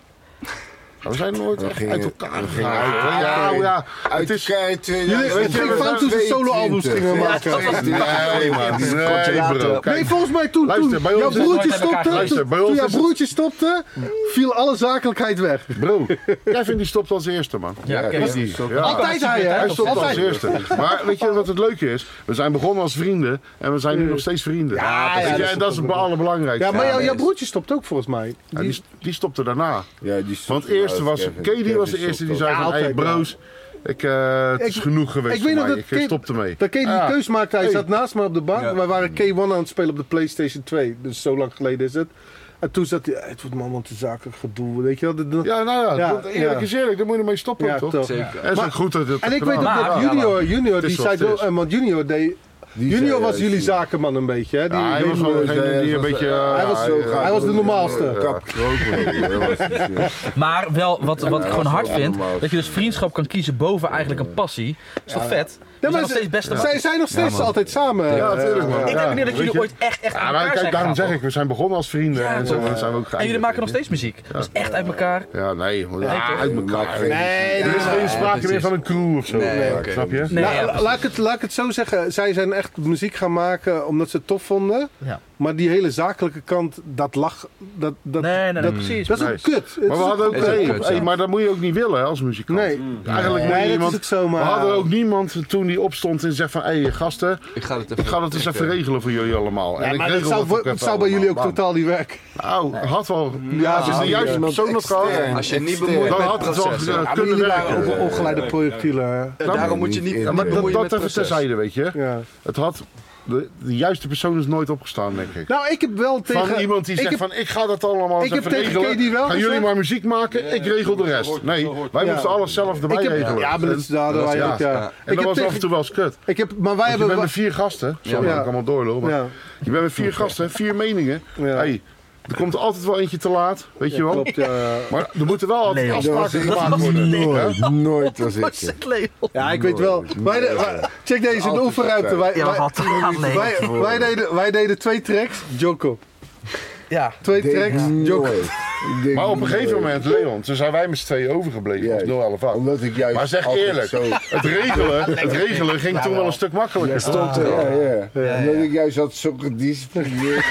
S5: we zijn nooit echt
S2: gingen-
S5: uit elkaar
S2: we gingen
S5: gegaan.
S2: uit-
S5: Ja, oh
S2: uit-
S5: ja.
S2: Uit
S5: is-
S2: kei
S1: Jullie
S2: 2000.
S1: gingen fout toen ze solo-albums gingen maken.
S5: Nee, man. Nee, bro.
S1: Nee,
S5: Kijk,
S1: volgens mij toen,
S5: Luister,
S1: toen
S5: bij ons
S1: jouw
S5: is het
S1: broertje
S3: nooit bij elkaar
S1: stopte,
S5: geweest.
S1: toen,
S5: Bij ons
S1: toen jouw
S5: is het-
S1: broertje stopte, viel alle zakelijkheid weg.
S5: bro. Kevin die stopt als eerste, man.
S3: Ja,
S5: Die- die- ja.
S1: Altijd hij, hè?
S5: Hij stopt als
S1: Altijd.
S5: eerste. Maar weet je wat het leuke is? We zijn begonnen als vrienden en we zijn nu nog steeds vrienden.
S1: Ja,
S5: Weet
S1: ja,
S5: je,
S1: dat is
S5: en dat is het allerbelangrijkste.
S1: Ja, maar jouw, jouw
S2: nee.
S1: broertje stopt ook volgens mij.
S5: Ja, die, die stopte daarna.
S2: Ja, die
S5: Want het eerste was, Katie was de eerste die zei
S1: Ja,
S5: van, hey
S1: altijd,
S5: bro's, ik, eh, het
S1: Ik-
S5: is genoeg geweest
S1: ik
S5: voor
S1: weet nog
S5: mij.
S1: dat
S5: ik eh,
S1: Katie-
S5: stopte mee.
S1: Dat Katie
S5: Ja.
S1: die keus maakte, hij
S5: Hey.
S1: zat naast me op de bank.
S4: Ja.
S1: Wij waren K1 aan het spelen op de PlayStation 2, dus zo lang geleden is het. En toen zat hij, "Eh, het wordt me allemaal te zakelijk gedoe, weet je wel. dat- dat-
S5: Ja, nou ja,
S1: Ja,
S5: dat, eerlijk
S1: ja.
S5: is eerlijk, daar moet je mee stoppen,
S1: Ja,
S5: toch?
S1: toch.
S4: Zeker.
S5: En is
S1: Maar-
S5: ook goed dat het
S1: En ik weet
S5: gedaan
S1: ook
S5: wordt.
S1: dat
S3: maar-
S1: Junior, Junior
S5: Het is
S1: die
S5: wat
S1: zei,
S5: het is.
S1: ook- eh, want Junior deed... Junior was jullie zakenman een beetje, hè? Die-
S5: Ja, hij
S1: die-
S5: was gewoon
S2: Junior
S5: degene
S2: zei,
S5: die een
S2: hij was-
S5: beetje... eh,
S1: hij was zo-
S5: ja,
S1: hij was de normaalste.
S2: Kapkroken.
S3: Maar wel, wat, wat ik gewoon
S2: dat is
S3: hard
S2: wel
S3: vind,
S2: normaal.
S3: dat je dus vriendschap kan kiezen boven eigenlijk een passie. Is toch vet?
S1: Ja,
S3: Dat is
S1: maar
S3: nog steeds best een
S1: zij zijn nog steeds altijd samen.
S5: Ja,
S1: eh,
S5: natuurlijk, man.
S3: Ik denk
S5: Ja,
S3: wanneer dat
S5: weet
S3: jullie
S5: je?
S3: ooit echt, echt
S5: Ja,
S3: aan
S5: maar
S3: elkaar
S5: kijk,
S3: zijn
S5: daarom
S3: gaan,
S5: zeg
S3: toch?
S5: ik, we zijn begonnen als vrienden
S3: Ja,
S5: en zo
S3: toch?
S5: en zijn we ook
S3: En jullie
S5: geëindigd,
S3: maken nog
S5: weet je.
S3: steeds muziek. Dat is echt uit elkaar.
S5: Ja, nee, want-
S3: Nee,
S5: ah,
S3: toch?
S5: uit elkaar.
S1: Nee,
S5: Er is
S1: nee,
S5: geen sprake meer
S3: precies.
S5: van een crew of zo,
S4: oké.
S5: snap je?
S3: Nee,
S1: Nou,
S3: ja,
S1: la-
S3: precies.
S1: laat, ik het, laat ik het zo zeggen. Zij zijn echt muziek gaan maken omdat ze het tof vonden.
S3: Ja.
S1: Maar die hele zakelijke kant, dat lag. Dat, dat,
S3: nee, nee, nee,
S1: dat,
S3: precies.
S1: dat is
S5: Nee.
S1: ook kut. Het is
S5: Maar we hadden ook,
S4: is ook
S5: hey,
S4: kut,
S5: hey,
S4: ja.
S5: maar dat moet je ook niet willen hè, als muzikant.
S1: Nee.
S5: Eigenlijk
S1: Nee,
S5: moet
S1: dat
S5: je
S1: is
S5: iemand,
S1: het zomaar.
S5: We hadden ook niemand toen die opstond en zegt van, hé hey, gasten,
S4: Ik ga het even...
S5: ik ga dat eens even regelen voor jullie allemaal. En
S1: Ja,
S5: ik
S1: maar dat
S5: regel
S1: zou,
S5: ook
S1: voor- het
S5: even
S1: zou bij jullie ook
S5: allemaal.
S1: totaal niet werken.
S5: Nou, had wel.
S1: Ja,
S5: Ja, als je de
S1: ja,
S5: juiste
S1: ja.
S5: persoon had gehad,
S4: Als je niet
S2: Extern.
S4: bemoeit
S5: dan
S4: met
S5: had het wel
S4: processen.
S5: eh,
S1: Ja, maar
S5: kunnen
S1: jullie waren
S5: werken.
S1: ook ongeleide projectielen. hè.
S4: Eh, Daarom moet je
S2: niet
S4: niet...
S2: in.
S4: dan
S5: Maar
S4: bemoei
S5: dat,
S4: je met
S5: dat even
S4: processen.
S5: terzijde, weet je.
S1: Ja.
S5: Het had, de, de juiste persoon is nooit opgestaan, denk ik.
S1: Nou, ik heb wel tegen.
S5: Van iemand die
S1: ik
S5: zegt
S1: heb-
S5: van, ik ga dat
S1: ik
S5: allemaal eens
S1: heb
S5: even
S1: tegen
S5: regelen.
S1: Katie wel
S5: Gaan jullie
S1: gezegd-
S5: maar muziek maken, ik regel de rest. Nee, wij
S1: Ja.
S5: moesten alles zelf erbij
S1: Ik heb,
S5: regelen.
S1: ja, maar dat is daar
S5: is-
S1: wij
S5: ja.
S1: ook, ja.
S5: En
S1: Ik heb
S5: dat was af en toe
S1: tegen,
S5: wel eens kut.
S1: ik heb, maar wij
S5: Want je
S1: hebben.
S5: bent met vier gasten. Sorry
S1: Ja.
S5: dat ik allemaal doorloop. Maar
S1: Ja.
S5: Je bent met vier gasten, vier meningen.
S1: Ja.
S5: Hey, er komt er altijd wel eentje te laat, weet je wel.
S1: Klopt, ja.
S5: Maar er moeten wel altijd
S3: Nee, joh.
S5: afspraken
S3: Dat
S5: gemaakt
S3: was
S5: worden.
S2: Nooit, nooit was ik. er.
S1: Ja, ik weet wel. Wij de- wij- check deze, de
S2: Altijd
S1: oefenruimte. Wij,
S3: Ja,
S1: wij,
S3: wat aan nee.
S1: wij, wij, deden, wij deden twee tracks, Joko.
S3: Ja.
S1: Twee
S2: Deed
S1: tracks, Joko.
S2: nooit. Deed
S5: Maar op een gegeven
S2: nooit.
S5: moment, Leon, toen zijn wij met z'n tweeën overgebleven.
S2: Juist.
S5: Of 011 af.
S2: Omdat ik juist.
S5: Maar zeg
S2: altijd
S5: eerlijk.
S2: Zo,
S5: Het regelen, het regelen
S1: nou
S5: ging toen wel een stuk makkelijker.
S2: stond er, ja, ja. Omdat ik juist had zo gedisciplineerd.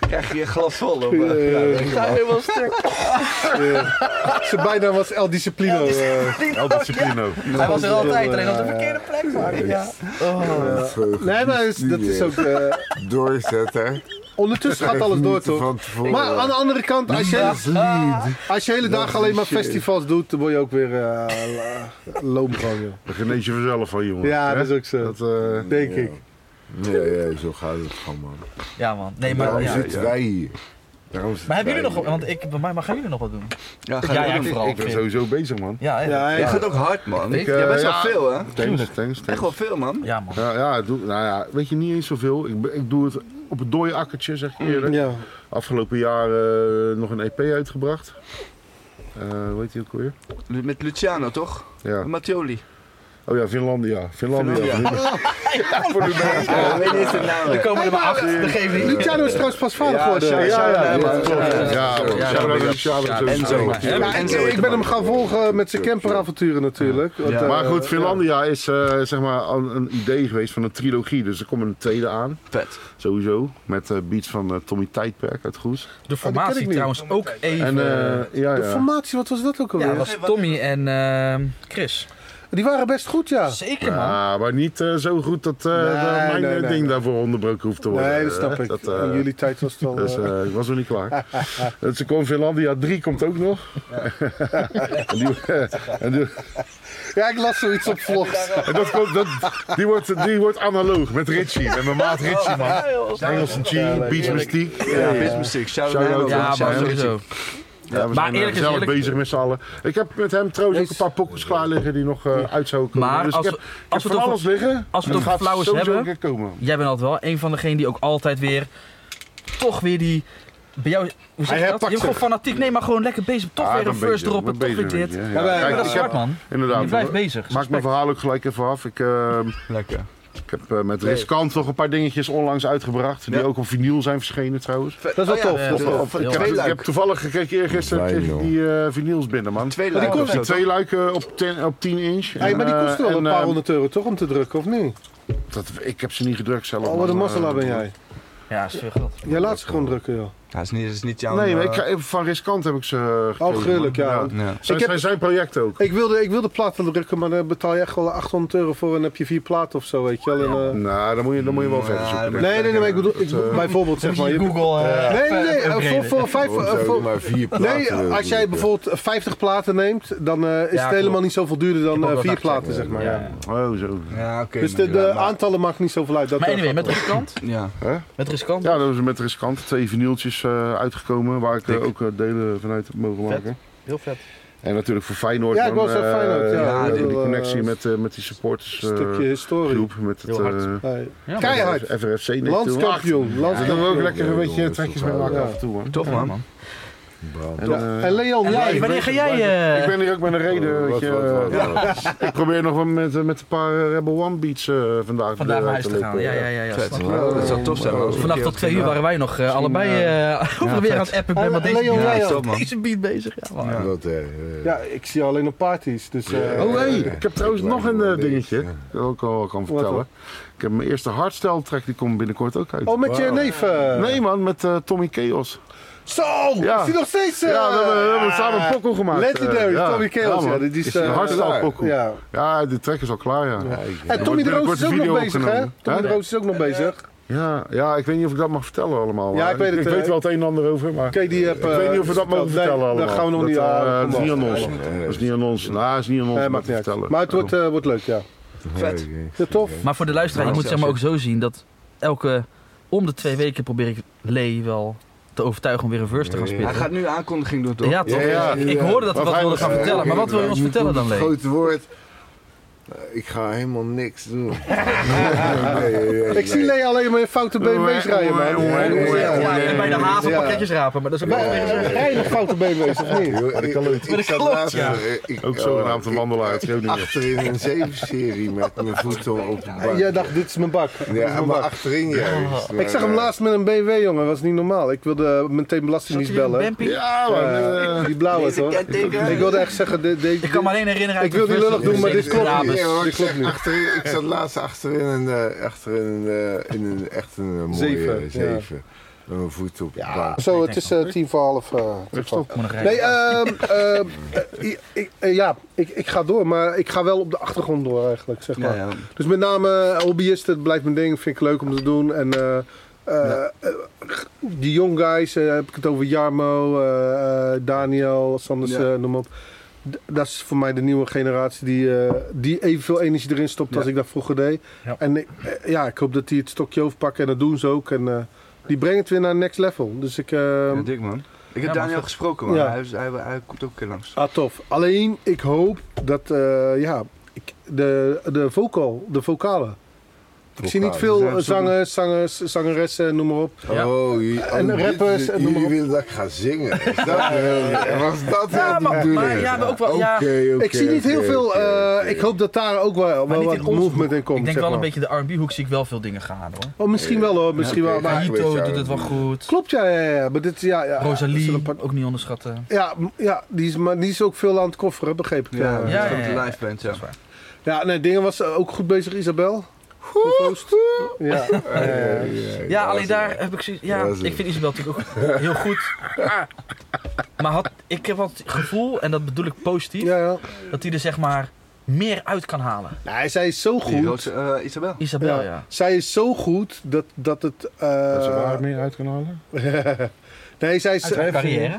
S4: Krijg je een glas vol op... eh,
S1: Ze bijna was El Disciplino. eh.
S5: Al discipline.
S3: Hij was er altijd, alleen op de verkeerde plek. Maar, ja.
S1: Oh. Nee, maar is- dat is ook. eh,
S2: Doorzetten.
S1: ondertussen gaat alles door, toch?
S2: Van tevoren.
S1: Maar aan de andere kant, als je,
S2: Lied.
S1: als je hele dagen alleen maar
S2: shit.
S1: festivals doet, dan word je ook weer eh la- loom gewoon, joh.
S5: Dat genees je vanzelf van, jongen.
S1: Ja,
S5: Hè?
S1: dat is ook zo.
S5: Dat, eh,
S1: Denk ik.
S2: Ja, ja, zo gaat het gewoon, man.
S3: ja, man. Nee, maar,
S2: Daarom
S3: ja.
S2: zitten wij hier. Daarom zitten
S3: maar hebben
S2: wij
S3: jullie nog...
S2: hier.
S3: Want ik, bij mij, maar gaan jullie nog wat doen?
S4: Ja, ga
S3: Ja,
S4: je-
S3: ja, vooral.
S5: ik ben sowieso bezig, man.
S3: Ja, hè?
S1: Ja,
S4: Jij
S1: ja.
S4: gaat ook hard, man.
S3: Ik,
S4: Jij
S5: eh,
S4: best wel
S5: ja.
S4: veel, hè?
S5: Thanks, thanks,
S4: Echt
S5: thanks.
S4: wel veel, man.
S3: Ja, man.
S5: Ja, ja, doe, nou ja, weet je, niet eens zoveel. Ik, ben- ik doe het op het dode akkertje, zeg ik eerlijk.
S1: Mm, Ja.
S5: Afgelopen jaar eh, nog een EP uitgebracht. Eh hoe heet die ook alweer?
S4: Lu- Met Luciano, toch?
S5: Ja.
S4: Met Mattioli.
S5: Oh ja, Finlandia. Finlandia.
S4: Finlandia. ik weet niet zijn naam.
S3: Er komen er maar acht, dat geeft niet.
S1: Luciano is trouwens pas vader geworden.
S5: Ja, ja, ja.
S4: Ja,
S5: klopt. Ja, man.
S3: ja,
S5: Shout-out
S3: ja.
S5: aan Sjabra
S3: Ja,
S5: sowieso.
S4: Enzo.
S1: Ja, ik,
S4: Enzo heet
S1: ik
S4: de
S1: ben
S4: man.
S1: hem gaan volgen met zijn camperavonturen natuurlijk. Want, eh,
S5: Maar goed, Finlandia is eh, zeg maar een, een idee geweest van een trilogie. Dus er komt een tweede aan,
S4: Vet.
S5: sowieso. Met eh, beats van eh, Tommy Tijdperk uit Goes.
S3: De
S1: Oh, die
S3: formatie
S1: ken ik niet.
S3: trouwens ook even...
S5: En eh, ja,
S1: De
S5: ja.
S1: formatie, wat was dat ook
S3: ja,
S1: alweer?
S3: dat was Tommy en ehm, Chris.
S1: Die waren best goed, ja.
S3: Ah. Zeker, man.
S5: Ja, maar niet eh, zo goed dat eh,
S1: Nee,
S5: dat mijn
S1: nee,
S5: eh,
S1: nee,
S5: ding
S1: nee.
S5: daarvoor onderbroken hoeft te worden.
S1: Nee, dat snap
S5: Eh,
S1: ik.
S5: dat, eh,
S1: In jullie tijd was het al...
S5: Dus
S1: eh,
S5: eh, ik was nog niet klaar. dus er komt Finlandia 3 komt ook nog. en, die, eh, en die-
S1: Ja, ik las zoiets op vlogs.
S5: en dat komt, dat, die, wordt, die wordt analoog met Richie. Met mijn maat Richie, man. Engelse G, Beach Mystique.
S4: Ja, Business Shout
S5: Shout-out
S4: out.
S5: aan
S3: Ja,
S5: Shout-out
S3: maar
S5: aan
S3: sowieso.
S5: Ja, we
S3: Maar
S5: zijn eh,
S3: eerlijk is
S5: gezellig
S3: eerlijk.
S5: bezig met z'n allen. Ik heb met hem trouwens ook een paar pokkels klaar liggen die nog eh, uit zouden komen.
S3: Maar
S5: dus
S3: als
S5: ik
S3: we-
S5: heb, ik heb
S3: als we
S5: van
S3: het over-
S5: alles liggen.
S3: als we het
S5: Het
S3: over
S5: gaat
S3: flauwers
S5: sowieso
S3: hebben-
S5: een keer komen.
S3: Jij bent altijd wel een van degenen die ook altijd weer... Toch weer die... Bij jou...
S1: Hij
S3: Hoe zeg je dat? Je
S1: herpakt
S3: bent gewoon fanatiek. Nee, maar gewoon lekker bezig. Toch
S5: Ah, ik
S3: weer
S5: ben
S3: een first
S5: bezig, ik
S3: droppen.
S5: ben
S3: Toch weer
S5: bezig,
S3: dit.
S5: weet je.
S1: Ja, wij-
S3: Maar
S5: Kijk,
S3: dat is
S5: ik heb-
S3: zwart, man. Je
S1: dus
S5: Inderdaad.
S3: blijft bezig.
S5: Maak mijn verhaal ook gelijk even af. Ik, eh,
S4: Lekker.
S5: ik heb eh, met Riskant nog een paar dingetjes onlangs uitgebracht. Die
S6: Ja.
S5: ook op vinyl zijn verschenen trouwens.
S1: Dat is wel
S4: Oh,
S1: tof.
S3: ja,
S1: dat is
S3: ja.
S1: wel tof.
S5: Of, ik,
S3: heel
S5: heb,
S3: leuk.
S5: ik heb toevallig gekeken eergisteren
S2: Fijn,
S5: kreeg ik
S2: joh.
S5: die eh, vinyls binnen, man.
S6: Twee
S5: maar die
S6: luiken
S5: kost
S6: of
S5: die
S6: zo,
S5: twee luiken op 10 op 10 inch.
S1: Hey, maar die
S5: En, eh,
S1: kost wel een
S5: en,
S1: paar
S5: eh,
S1: honderd euro toch om te drukken, of niet?
S5: dat, ik heb ze niet gedrukt zelf.
S1: Oh, wat een
S5: maar, eh,
S1: mazzelaar ben jij.
S3: Ja, is veel geld.
S1: Jij laat ze gewoon drukken, joh.
S4: Ja, is niet, is niet jouw...
S5: Nee, maar
S4: eh,
S5: ik, ga- van Riskant heb ik ze eh, gekregen.
S1: Oh, gruwelijk,
S5: man.
S1: ja.
S4: ja.
S5: Zijn,
S1: Ik heb-
S5: zijn, zijn project ook.
S1: Ik wilde, ik wilde platen drukken, maar daar betaal je echt wel 800 euro voor en dan heb je vier platen of zo, weet je wel. En, eh,
S5: Nou, dan moet je, dan moet je wel verder
S4: dan
S5: zoeken. denk ik.
S1: nee, nee, nee, maar ik bedoel, ik, bijvoorbeeld zeg maar. eh, je-
S3: Google.
S1: Nee, nee, nee, eh, voor, voor vijf... eh,
S2: Zou je
S1: voor-
S2: maar vier platen
S1: nee,
S2: willen
S5: eh,
S1: als jij
S2: drukken?
S1: bijvoorbeeld 50 platen neemt, dan eh, is
S3: Ja,
S1: het helemaal
S3: klopt.
S1: niet zoveel duurder dan eh,
S3: wel
S1: vier
S3: dacht,
S1: platen, zeg maar. ja.
S5: Oh, zo.
S4: Ja, oké.
S1: Dus de,
S4: maar-
S1: de
S4: ja, maar-
S1: aantallen maakt niet zoveel uit. Dat
S3: Maar
S1: eh,
S3: anyway, met riskant.
S4: Ja.
S3: Met riskant.
S5: Ja, dat is met Riskant. Twee vinyltjes eh, uitgekomen, waar ik eh, ook eh, delen vanuit heb mogen
S3: Vet.
S5: maken.
S3: Heel vet.
S5: En natuurlijk voor Feyenoord.
S1: Ja, ik
S5: man,
S1: wou zeggen
S5: eh,
S1: Feyenoord, ja.
S5: eh,
S1: Ja,
S5: die
S1: dat, eh,
S5: connectie met, eh, met die supporters eh,
S1: stukje historie.
S5: groep. Met het
S3: Heel hard.
S5: eh,
S1: Nee.
S3: Ja,
S1: Keihard.
S5: FRFC. nee, toen.
S1: Landskampioen.
S5: Ach, Daar kunnen we ook
S1: Landskampioen.
S5: lekker een
S2: Ja,
S5: beetje
S2: jongens,
S5: trekjes
S2: dat
S5: mee maken
S1: wel.
S5: af en toe. hoor.
S4: Toch, man.
S2: Brand.
S5: En,
S1: Ja.
S5: eh,
S1: En Leon,
S3: En
S1: jij.
S3: Leon, Oh, wanneer ga jij...
S5: Ik
S3: eh
S5: ben hier ook met een reden. weet
S2: Oh, Wat,
S5: je,
S2: wat, wat,
S5: eh,
S2: wat.
S5: Ik probeer nog wel met, eh, met een paar eh, Rebel One beats eh, vandaag de deur
S3: Vandaag naar
S5: uit
S3: huis te
S5: lopen.
S3: gaan. Ja, ja, ja. ja.
S4: eh, Vet.
S3: snap ik.
S4: Dat zou tof zijn, man. Als we
S3: Vannacht
S4: een
S3: tot
S4: keer-
S3: twee uur waren wij nog eh, allebei eh over de weer aan het appen. Ik ben
S1: Hey,
S3: met deze,
S1: Leon,
S3: beat-
S1: jij
S3: met
S4: ook, man.
S3: deze beat bezig. Ja, man.
S2: Ja, Dat, eh,
S1: Ja, ik zie alleen op parties. Dus, eh,
S5: Oh, hey,
S2: Eh,
S5: ik heb trouwens
S2: ik
S5: nog
S2: lijk
S5: een
S2: wel
S5: eh,
S2: een
S5: dingetje.
S2: beetje,
S5: Dat ik al kan vertellen.
S1: dan?
S5: Ik heb mijn eerste hardstyle track, die komt binnenkort ook uit.
S1: Oh, met je neef. eh.
S5: Nee man, met eh, Tommy Chaos.
S1: Zo!
S5: Ja.
S1: Is die nog steeds... eh,
S5: ja, we hebben, we hebben samen een pokkel gemaakt.
S1: Legendary,
S5: Eh, ja.
S1: Tommy Chaos.
S5: Ja,
S1: Ja,
S5: man.
S1: die
S5: Is
S1: is...
S5: een
S1: eh,
S5: hardstyle
S1: klaar.
S5: pokkel. Ja.
S1: Ja.
S5: die track is al klaar, ja. Ja,
S1: En Tommy
S5: wordt
S1: de Roos
S5: binnenkort
S1: is
S5: een
S1: ook nog
S5: video
S1: bezig, hè?
S5: opgenomen.
S1: Tommy de
S5: Hè?
S1: Roos is ook nog bezig. Oké,
S5: ja, ik weet niet of ik dat mag vertellen allemaal.
S1: Ja, ik weet het,
S5: Ik,
S1: eh,
S5: weet wel het een en ander over, maar...
S1: die heb...
S5: ik weet niet of we dat mogen vertellen allemaal.
S1: Dat gaan we nog niet
S5: eh,
S1: aan.
S5: dat is
S1: Kom
S5: niet
S1: op.
S5: aan ons. Dat is niet aan ons. Nou, dat is niet aan ons
S1: Nee,
S5: om dat
S1: maakt
S5: te
S1: niet uit.
S5: vertellen.
S1: Maar het wordt, eh, wordt leuk, ja.
S4: Vet.
S2: Ja, ik-
S1: Is dat tof?
S3: Maar voor de luisteraar, je moet zeg maar ook zo zien dat elke om de twee weken probeer ik Lee wel te overtuigen om weer een verse te gaan
S4: Hij
S3: spitten.
S4: gaat nu aankondiging doen, toch?
S3: Ja, toch?
S2: Ja, ja.
S3: Ik hoorde dat we
S5: Wat
S3: wat
S5: hij-
S3: wilden gaan
S5: eh,
S3: vertellen, maar wat wil je ons
S2: Ja,
S3: vertellen
S2: moet
S3: dan,
S2: een
S3: Lee?
S2: Groot woord. Eh, Ik ga helemaal niks doen. Nee, nee, nee,
S1: Ik zie
S2: nee.
S1: Lee alleen maar in foute BMW's rijden, man.
S5: Ja, ja, ja.
S1: Ja.
S3: Ja, en bij de haven
S1: Ja.
S3: pakketjes rapen, maar dat is ook
S1: Maar,
S3: wel weer
S1: eh,
S3: eens-
S1: Rij je nog foute BMW's of niet?
S2: Joh, en ik kan het iets
S3: klopt, ja.
S5: Ook zogenaamd een wandelaar uit Groningen.
S2: oh, Achterin een zevenserie met mijn voeten op de bank.
S1: Jij dacht, dit is mijn bak. Dit is
S2: Ja,
S1: mijn
S2: maar
S1: bak.
S2: achterin juist. eh,
S1: Ik zag hem laatst met een BMW, jongen. was niet normaal. Ik wilde meteen belastingdienst
S3: Zat hij in
S1: bellen.
S3: een Bampi?
S5: Ja, man.
S1: Eh, die blauwe, toch? Ik wilde echt zeggen... dit- dit-
S3: Ik kan me alleen herinneren uit
S1: Ik wil
S3: de
S1: niet
S3: verse-
S1: lullig doen, maar dit klopt
S3: Rabus.
S1: niet.
S2: Ja, hoor,
S1: Dit
S2: ik,
S1: klopt
S2: zeg
S1: niet.
S2: achterin, ik zat laatst achterin een, eh, achterin een, eh, in een echt een eh, mooie
S1: Zeven, ja.
S2: zeven. Met mijn voeten op de bank.
S1: Zo, het is eh, tien voor half. eh, tien voor half.
S3: Ik moet nog
S1: Nee,
S3: rijden.
S1: ehm, ehm, eh, ik- ik- eh, ja, ik, ik ga door, maar ik ga wel op de achtergrond door eigenlijk, zeg maar.
S4: Ja, ja.
S1: Dus met name eh, hobbyisten, het blijft mijn ding, vind ik leuk om te doen. En eh, eh, eh, die young guys, eh, heb ik het over Jarmo, eh, eh, Daniel, Sanders,
S4: Ja.
S1: eh, noem maar op. D- dat is voor mij de nieuwe generatie die, eh, die evenveel energie erin stopt als ik dat vroeger deed.
S3: Ja.
S1: En ik- eh, ja, ik hoop dat die het stokje overpakken en dat doen ze ook. En eh, die brengen het weer naar next level. Dus ik... eh,
S4: Ja, dik, man. Ik
S3: Ja,
S4: heb
S3: maar
S4: Daniel
S3: vet.
S4: gesproken, man.
S1: Ja.
S4: Hij, is- hij, hij komt ook een keer langs.
S1: Ah, tof. Alleen, ik hoop dat, eh, ja, ik, de, de vocal, de vocalen. Ik zie niet veel eh, zangers, zangers, zangeressen, noem maar op.
S3: Ja.
S2: Oh, jullie-
S1: En
S2: oh, dit-
S1: rappers en noem maar
S2: jullie
S1: op.
S2: willen dat ik ga zingen. Is dat eh, was dat
S3: Ja,
S2: wel de
S3: maar-
S2: bedoeling?
S3: maar ja, maar ook wel- ja.
S2: Oké, oké,
S1: ik zie niet heel
S2: oké,
S1: veel,
S2: oké,
S1: eh,
S2: oké.
S1: ik hoop dat daar ook wel,
S3: Maar
S1: wel
S3: niet
S1: wat
S3: in onze
S1: movement in komt.
S3: Ik
S1: zeg
S3: denk wel een
S1: maar.
S3: beetje de R&B hoek zie ik wel veel dingen gaan hoor.
S1: Oh, misschien wel hoor, misschien wel.
S2: oké.
S1: Maar,
S2: Ja, ik
S3: Hito
S2: weet
S3: doet het wel
S2: jou.
S3: goed.
S1: klopt, ja, ja, ja. Maar dit, ja, ja dat is
S3: Rosalie,
S1: een paar-
S3: ook niet onderschatten.
S1: Ja, m- ja die, is, maar die is ook veel aan het kofferen, begreep ik. Ja,
S4: dat
S1: ja.
S3: ja.
S4: is ook de live band, ja.
S3: Dat is waar.
S1: nee, dingen was ook goed bezig, Isabel. De host. Ja.
S2: Ja, ja, ja,
S3: Ja,
S2: dat
S3: alleen
S2: is-
S3: daar heb ik zoiets. Ja,
S2: Ja, dat is
S3: ik
S2: het.
S3: vind Isabel natuurlijk ook heel goed. Ah. Maar had, ik heb wel het gevoel, en dat bedoel ik positief,
S1: ja, ja.
S3: dat hij er zeg maar meer uit kan halen.
S1: Nee, zij is zo
S4: Die
S1: goed.
S4: roze, eh, Isabel.
S3: Isabel,
S1: Ja.
S3: ja.
S1: Zij is zo goed dat, dat het. eh,
S5: Ze waar meer uit kunnen halen.
S1: nee, zij is,
S3: Zijn carrière.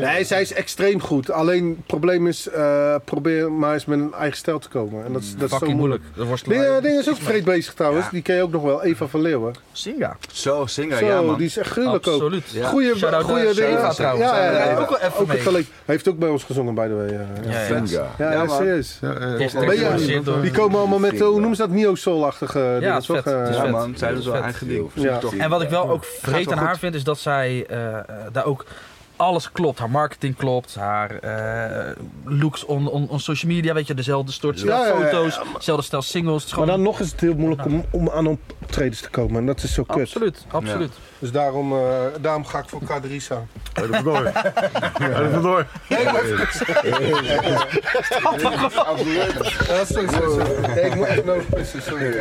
S1: nee, zij is extreem goed. Alleen het probleem is, eh, probeer maar eens met een eigen stijl te komen. En dat, is- dat is zo
S3: Mm, Fucking
S1: moeilijk.
S3: moeilijk. Dat wordt
S1: Ding, eh, ding is ook vreed bezig trouwens.
S4: Ja.
S1: Die ken je ook nog wel. Eva van Leeuwen.
S3: Singa.
S4: Zo, singer,
S1: Zo,
S4: ja, man.
S1: die is echt gruwelijk ook.
S3: Absoluut.
S4: Ja.
S1: Goeie,
S3: Shout-out
S1: goeie
S3: naar
S1: dingen.
S3: Eva
S1: Ja,
S3: trouwens.
S1: ja,
S3: Daar
S1: ja.
S3: heb ik ook wel even
S1: Ook
S3: mee.
S1: een talent. Hij heeft ook bij ons gezongen, by the way. Ja, ja.
S3: Ja, ja.
S2: Venga.
S1: Ja,
S4: Ja,
S1: ja, eh,
S4: man.
S1: serieus.
S3: Hashtag
S1: Ben je-
S3: geproduceerd door-
S1: Die komen allemaal met, eh, hoe noemen ze dat, neo-soul-achtige dingen,
S3: het is
S1: toch?
S3: vet. Het is
S1: Eh,
S4: ja,
S3: vet.
S4: man. Zij
S3: Ja,
S4: doet wel
S3: vet.
S4: eigen ding.
S1: Ja.
S2: Toch.
S3: En wat ik wel ook vreed
S4: wel
S3: aan
S4: goed.
S3: haar vind, is dat zij eh, eh, daar ook alles klopt. Haar marketing klopt, haar eh, looks on, on, on social media, weet je, dezelfde soort stel
S1: Ja, ja, ja, ja,
S3: foto's, dezelfde stel singles. Het is
S1: Maar
S3: gewoon...
S1: dan nog is het heel moeilijk om, om aan optredens te komen. En dat is zo kut.
S3: Absoluut, absoluut.
S1: Dus daarom, eh, daarom ga ik voor Kadrisa.
S5: Hij er vandoor. Hij er vandoor.
S1: Ja, sorry, sorry, sorry. Nee, ik moet echt nog pissen, sorry.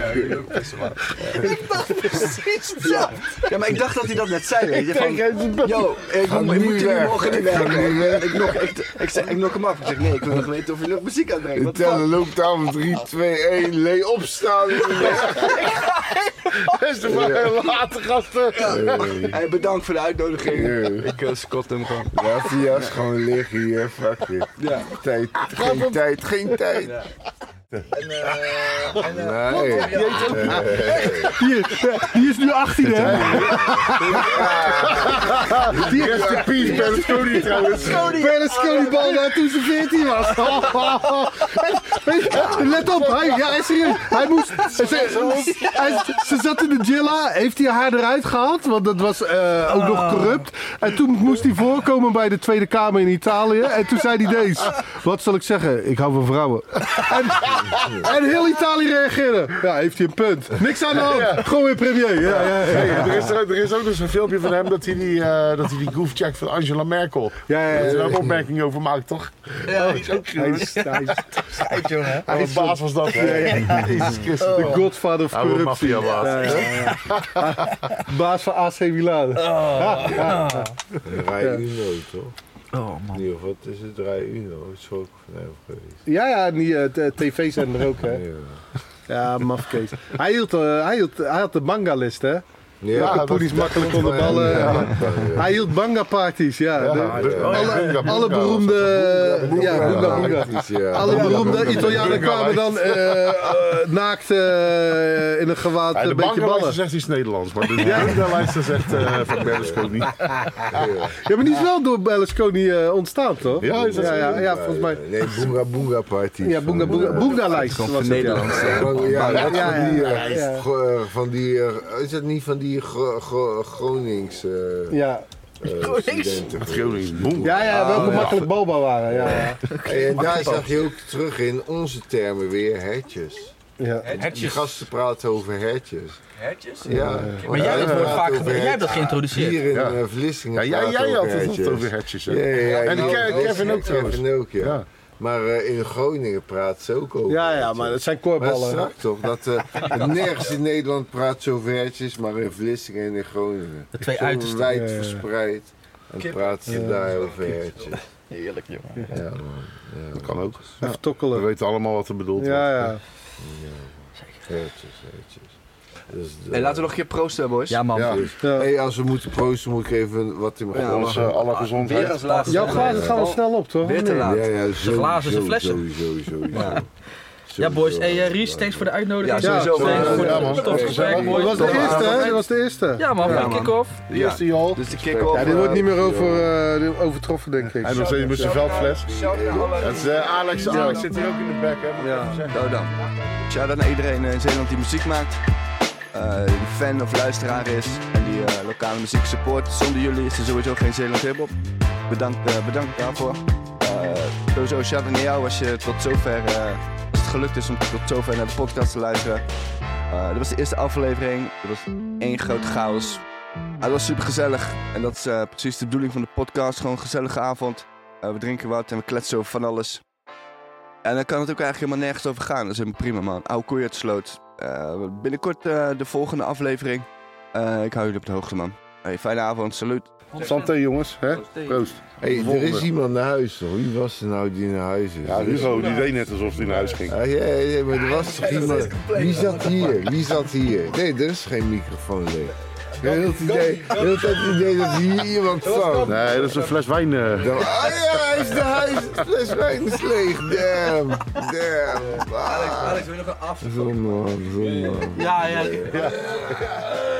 S4: Ja. ja, maar ik dacht dat hij dat net zei. Weet je, van,
S1: Kijk, het is-
S4: Yo, ik,
S2: Ga
S4: moet- ik
S2: nu
S4: moet jullie
S2: weg.
S4: morgen niet
S2: Ga nu
S4: werken.
S2: weg.
S4: Ik, nog, ik, ik, zeg, ik nok hem af. Ik zeg, nee, ik wil nog weten of je nog muziek aanbrengt.
S2: Ik
S4: Wat
S2: tel
S4: fuck?
S2: de looptafel 3, 2, 1. Lee opstaan.
S1: Best maar heel later, gasten.
S4: Hey, bedankt voor de uitnodiging.
S2: Eh.
S4: Ik eh, scot hem gewoon.
S2: Laat die jas gewoon liggen hier. Fuck it.
S4: Ja.
S2: Tijd, geen tijd, geen tijd. Nee.
S1: Die is nu 18, hè?
S2: Rest in peace, Berlusconi trouwens.
S1: Berlusconi bal daar toen ze 14 was. En- Let op, hij, ja, hij is serieus. Hij moest. Ze, hij- ze zat in de Gilla, heeft hij haar eruit gehaald, want dat was eh, ook nog corrupt. En toen moest hij voorkomen bij de Tweede Kamer in Italië. En toen zei hij deze: Wat zal ik zeggen? Ik hou van vrouwen. En, en heel Italië reageerde. Ja, heeft hij een punt. Niks aan de hand. Gewoon weer premier. Ja, ja, ja.
S5: Hey, er, is, er is ook dus een filmpje van hem dat hij die, eh dat hij die goof check van Angela Merkel.
S1: Ja, ja,
S5: Dat hij
S1: ja.
S5: daar een opmerking over maakt, toch?
S4: Ja, is ook
S1: Hij is, hij is
S5: Hij is baas was dat, hè? Jezus Christus.
S1: de godfather of
S5: Oude
S1: corruptie.
S5: maffiabaas.
S1: Ja, ja, ja. Baas van AC Milan.
S2: Rij Uno, toch?
S3: Oh man.
S2: Nee, of wat is het? Rij Uno. Het is ook van hem geweest.
S1: Ja, ja, die eh, t- tv-zender ook, hè.
S2: Ja.
S1: Ja, mafkees. Hij, hield, eh, hij, hield, hij had de manga-list, hè.
S2: Ja, dat-
S1: poelies makkelijk onder
S2: Ja,
S1: ballen.
S2: ja.
S1: Hij hield manga-parties, ja. De-
S2: Ja, ja.
S1: alle, alle beroemde... Ja, boonga, boonga.
S2: Ja.
S1: Alle beroemde
S2: Boonga,
S1: Italianen
S2: boonga.
S1: kwamen dan eh, eh, naakt eh, in een gewaad
S5: Ja, de
S1: een beetje
S5: bankenlijster
S1: ballen.
S5: zegt iets Nederlands, maar de bankenlijster zegt eh van Berlusconi.
S1: Ja, maar die is wel door Berlusconi eh, ontstaan, toch?
S5: Ja, is dat
S1: ja,
S5: zo?
S1: ja, ja, volgens mij.
S2: Nee, Boonga Boonga Party.
S1: Ja, Boonga Boonga. Boonga-lijst was het, ja.
S4: eh.
S2: Ja, dat
S1: Ja,
S2: van die, eh,
S1: ja, ja.
S2: gro- eh, van die eh, is dat niet van die Gro- Gro- Gronings eh,
S1: Ja,
S2: eh, studenten?
S5: Het Gronings boem.
S1: ja, ja wel
S2: Ah, ja.
S1: makkelijk boba waren. Ja, ja.
S2: Hey, en daar zag je ook terug in onze termen weer hertjes.
S1: Ja.
S2: Die gasten praten over hertjes.
S4: Hertjes?
S2: Ja.
S3: Maar jij hebt dat woord
S2: praten
S3: vaak
S2: over
S3: gebruikt. Jij hebt dat
S2: hertjes. Hier
S3: geïntroduceerd.
S2: in
S5: Ja.
S2: eh, Vlissingen
S5: Ja, jij,
S2: praten
S5: jij had
S2: over
S5: het
S2: hertjes.
S5: over hertjes, hè?
S2: Ja, ja, ja,
S5: En
S2: nou,
S5: Ke-
S2: dat is
S5: Kevin ook
S2: het.
S5: trouwens.
S2: Kevin ook, ja.
S5: Ja.
S2: Maar eh, in Groningen praat ze ook over
S1: ja, ja,
S2: hertjes.
S1: maar dat zijn
S2: Maar het is
S1: korballen.
S2: strak toch? Dat, eh, nergens in Nederland praat ze over hertjes, maar in Vlissingen en in Groningen.
S3: De twee
S2: Zo
S3: uitersten.
S2: wijd
S1: Ja, ja.
S2: verspreid. En
S4: Kip.
S2: praten ze daar over hertjes.
S4: Heerlijk, jongen.
S2: Ja, man. Ja,
S5: Dat kan ook.
S1: Even
S5: We
S1: tokkelen.
S5: weten allemaal wat er bedoeld
S1: Ja,
S5: wordt.
S1: ja.
S2: hertjes, hertjes. Dus, eh,
S4: Hey, laten we nog een keer proosten, boys.
S3: Ja man.
S5: Ja.
S1: ja.
S2: hey, als we moeten proosten, moet ik even wat in mijn
S4: Ja,
S2: glas
S5: Onze alle gezondheid.
S4: Ah, Weer als laatste.
S1: Jouw glazen gaan wel snel op, toch?
S4: Weer te
S1: Nee.
S4: laat.
S2: ja, sowieso,
S3: glazen, de flessen.
S2: Sowieso, sowieso.
S4: Ja.
S3: Ja boys, hey eh, Ries, thanks voor de uitnodiging.
S4: Ja, sowieso,
S3: Thanks
S4: man.
S3: voor
S5: Ja,
S3: het
S5: man.
S3: tof gesprek,
S2: Gezellig.
S1: Dat was
S3: boys.
S1: de
S4: Ja.
S1: eerste, hè? Dat was de eerste.
S3: Ja man,
S4: Ja,
S3: voor de
S4: man.
S3: kick-off.
S4: Ja.
S5: Eerste jol.
S4: Dus de kick-off.
S1: Ja, dit wordt niet meer over, eh, overtroffen, denk ik.
S5: En nog steeds met zijn veldfles. Het is eh, Alex. Alex zit hier ook in de bek, hè? moet ik even zeggen.
S4: Nou dan. Shout-out naar iedereen eh, in Zeeland die muziek maakt. eh, die fan of luisteraar is. En die eh, lokale muziek support. Zonder jullie is er sowieso geen Zeeland hiphop. Bedankt, eh, bedankt daarvoor. Eh, sowieso shout-out naar jou als je tot zover... eh, als het gelukt is om tot zover naar de podcast te luisteren. Eh, dit was de eerste aflevering. Dit was één groot chaos. Maar het was super gezellig. En dat is eh, precies de bedoeling van de podcast. Gewoon een gezellige avond. Eh, we drinken wat en we kletsen over van alles. En dan kan het ook eigenlijk helemaal nergens over gaan. Dat is helemaal prima, man. Oude koeien uit de sloot. Eh, binnenkort eh, de volgende aflevering. Eh, ik hou jullie op de hoogte, man. Hey, fijne avond, salut.
S5: Santé, jongens. Hè? Proost.
S2: Hey, er
S5: Volgende.
S2: is iemand naar huis toch? Wie was er nou die naar huis is?
S5: Ja,
S2: Er is-
S5: Hugo, die deed net alsof hij naar huis ging.
S2: Ah, ja, ja, ja, maar er was toch iemand... Wie zat hier? Wie zat hier? Nee, er is geen microfoon leeg. Ja, heel het idee, heel het tijd het idee dat hier iemand zat.
S5: Nee, dat is een fles wijn. eh.
S2: Dan- Ah ja, hij is naar huis. Het fles wijn is leeg. Damn. Damn. Ah,
S4: wil je nog een af?
S2: Zonde man, zonde man.
S3: Ja, ja.
S2: Ja,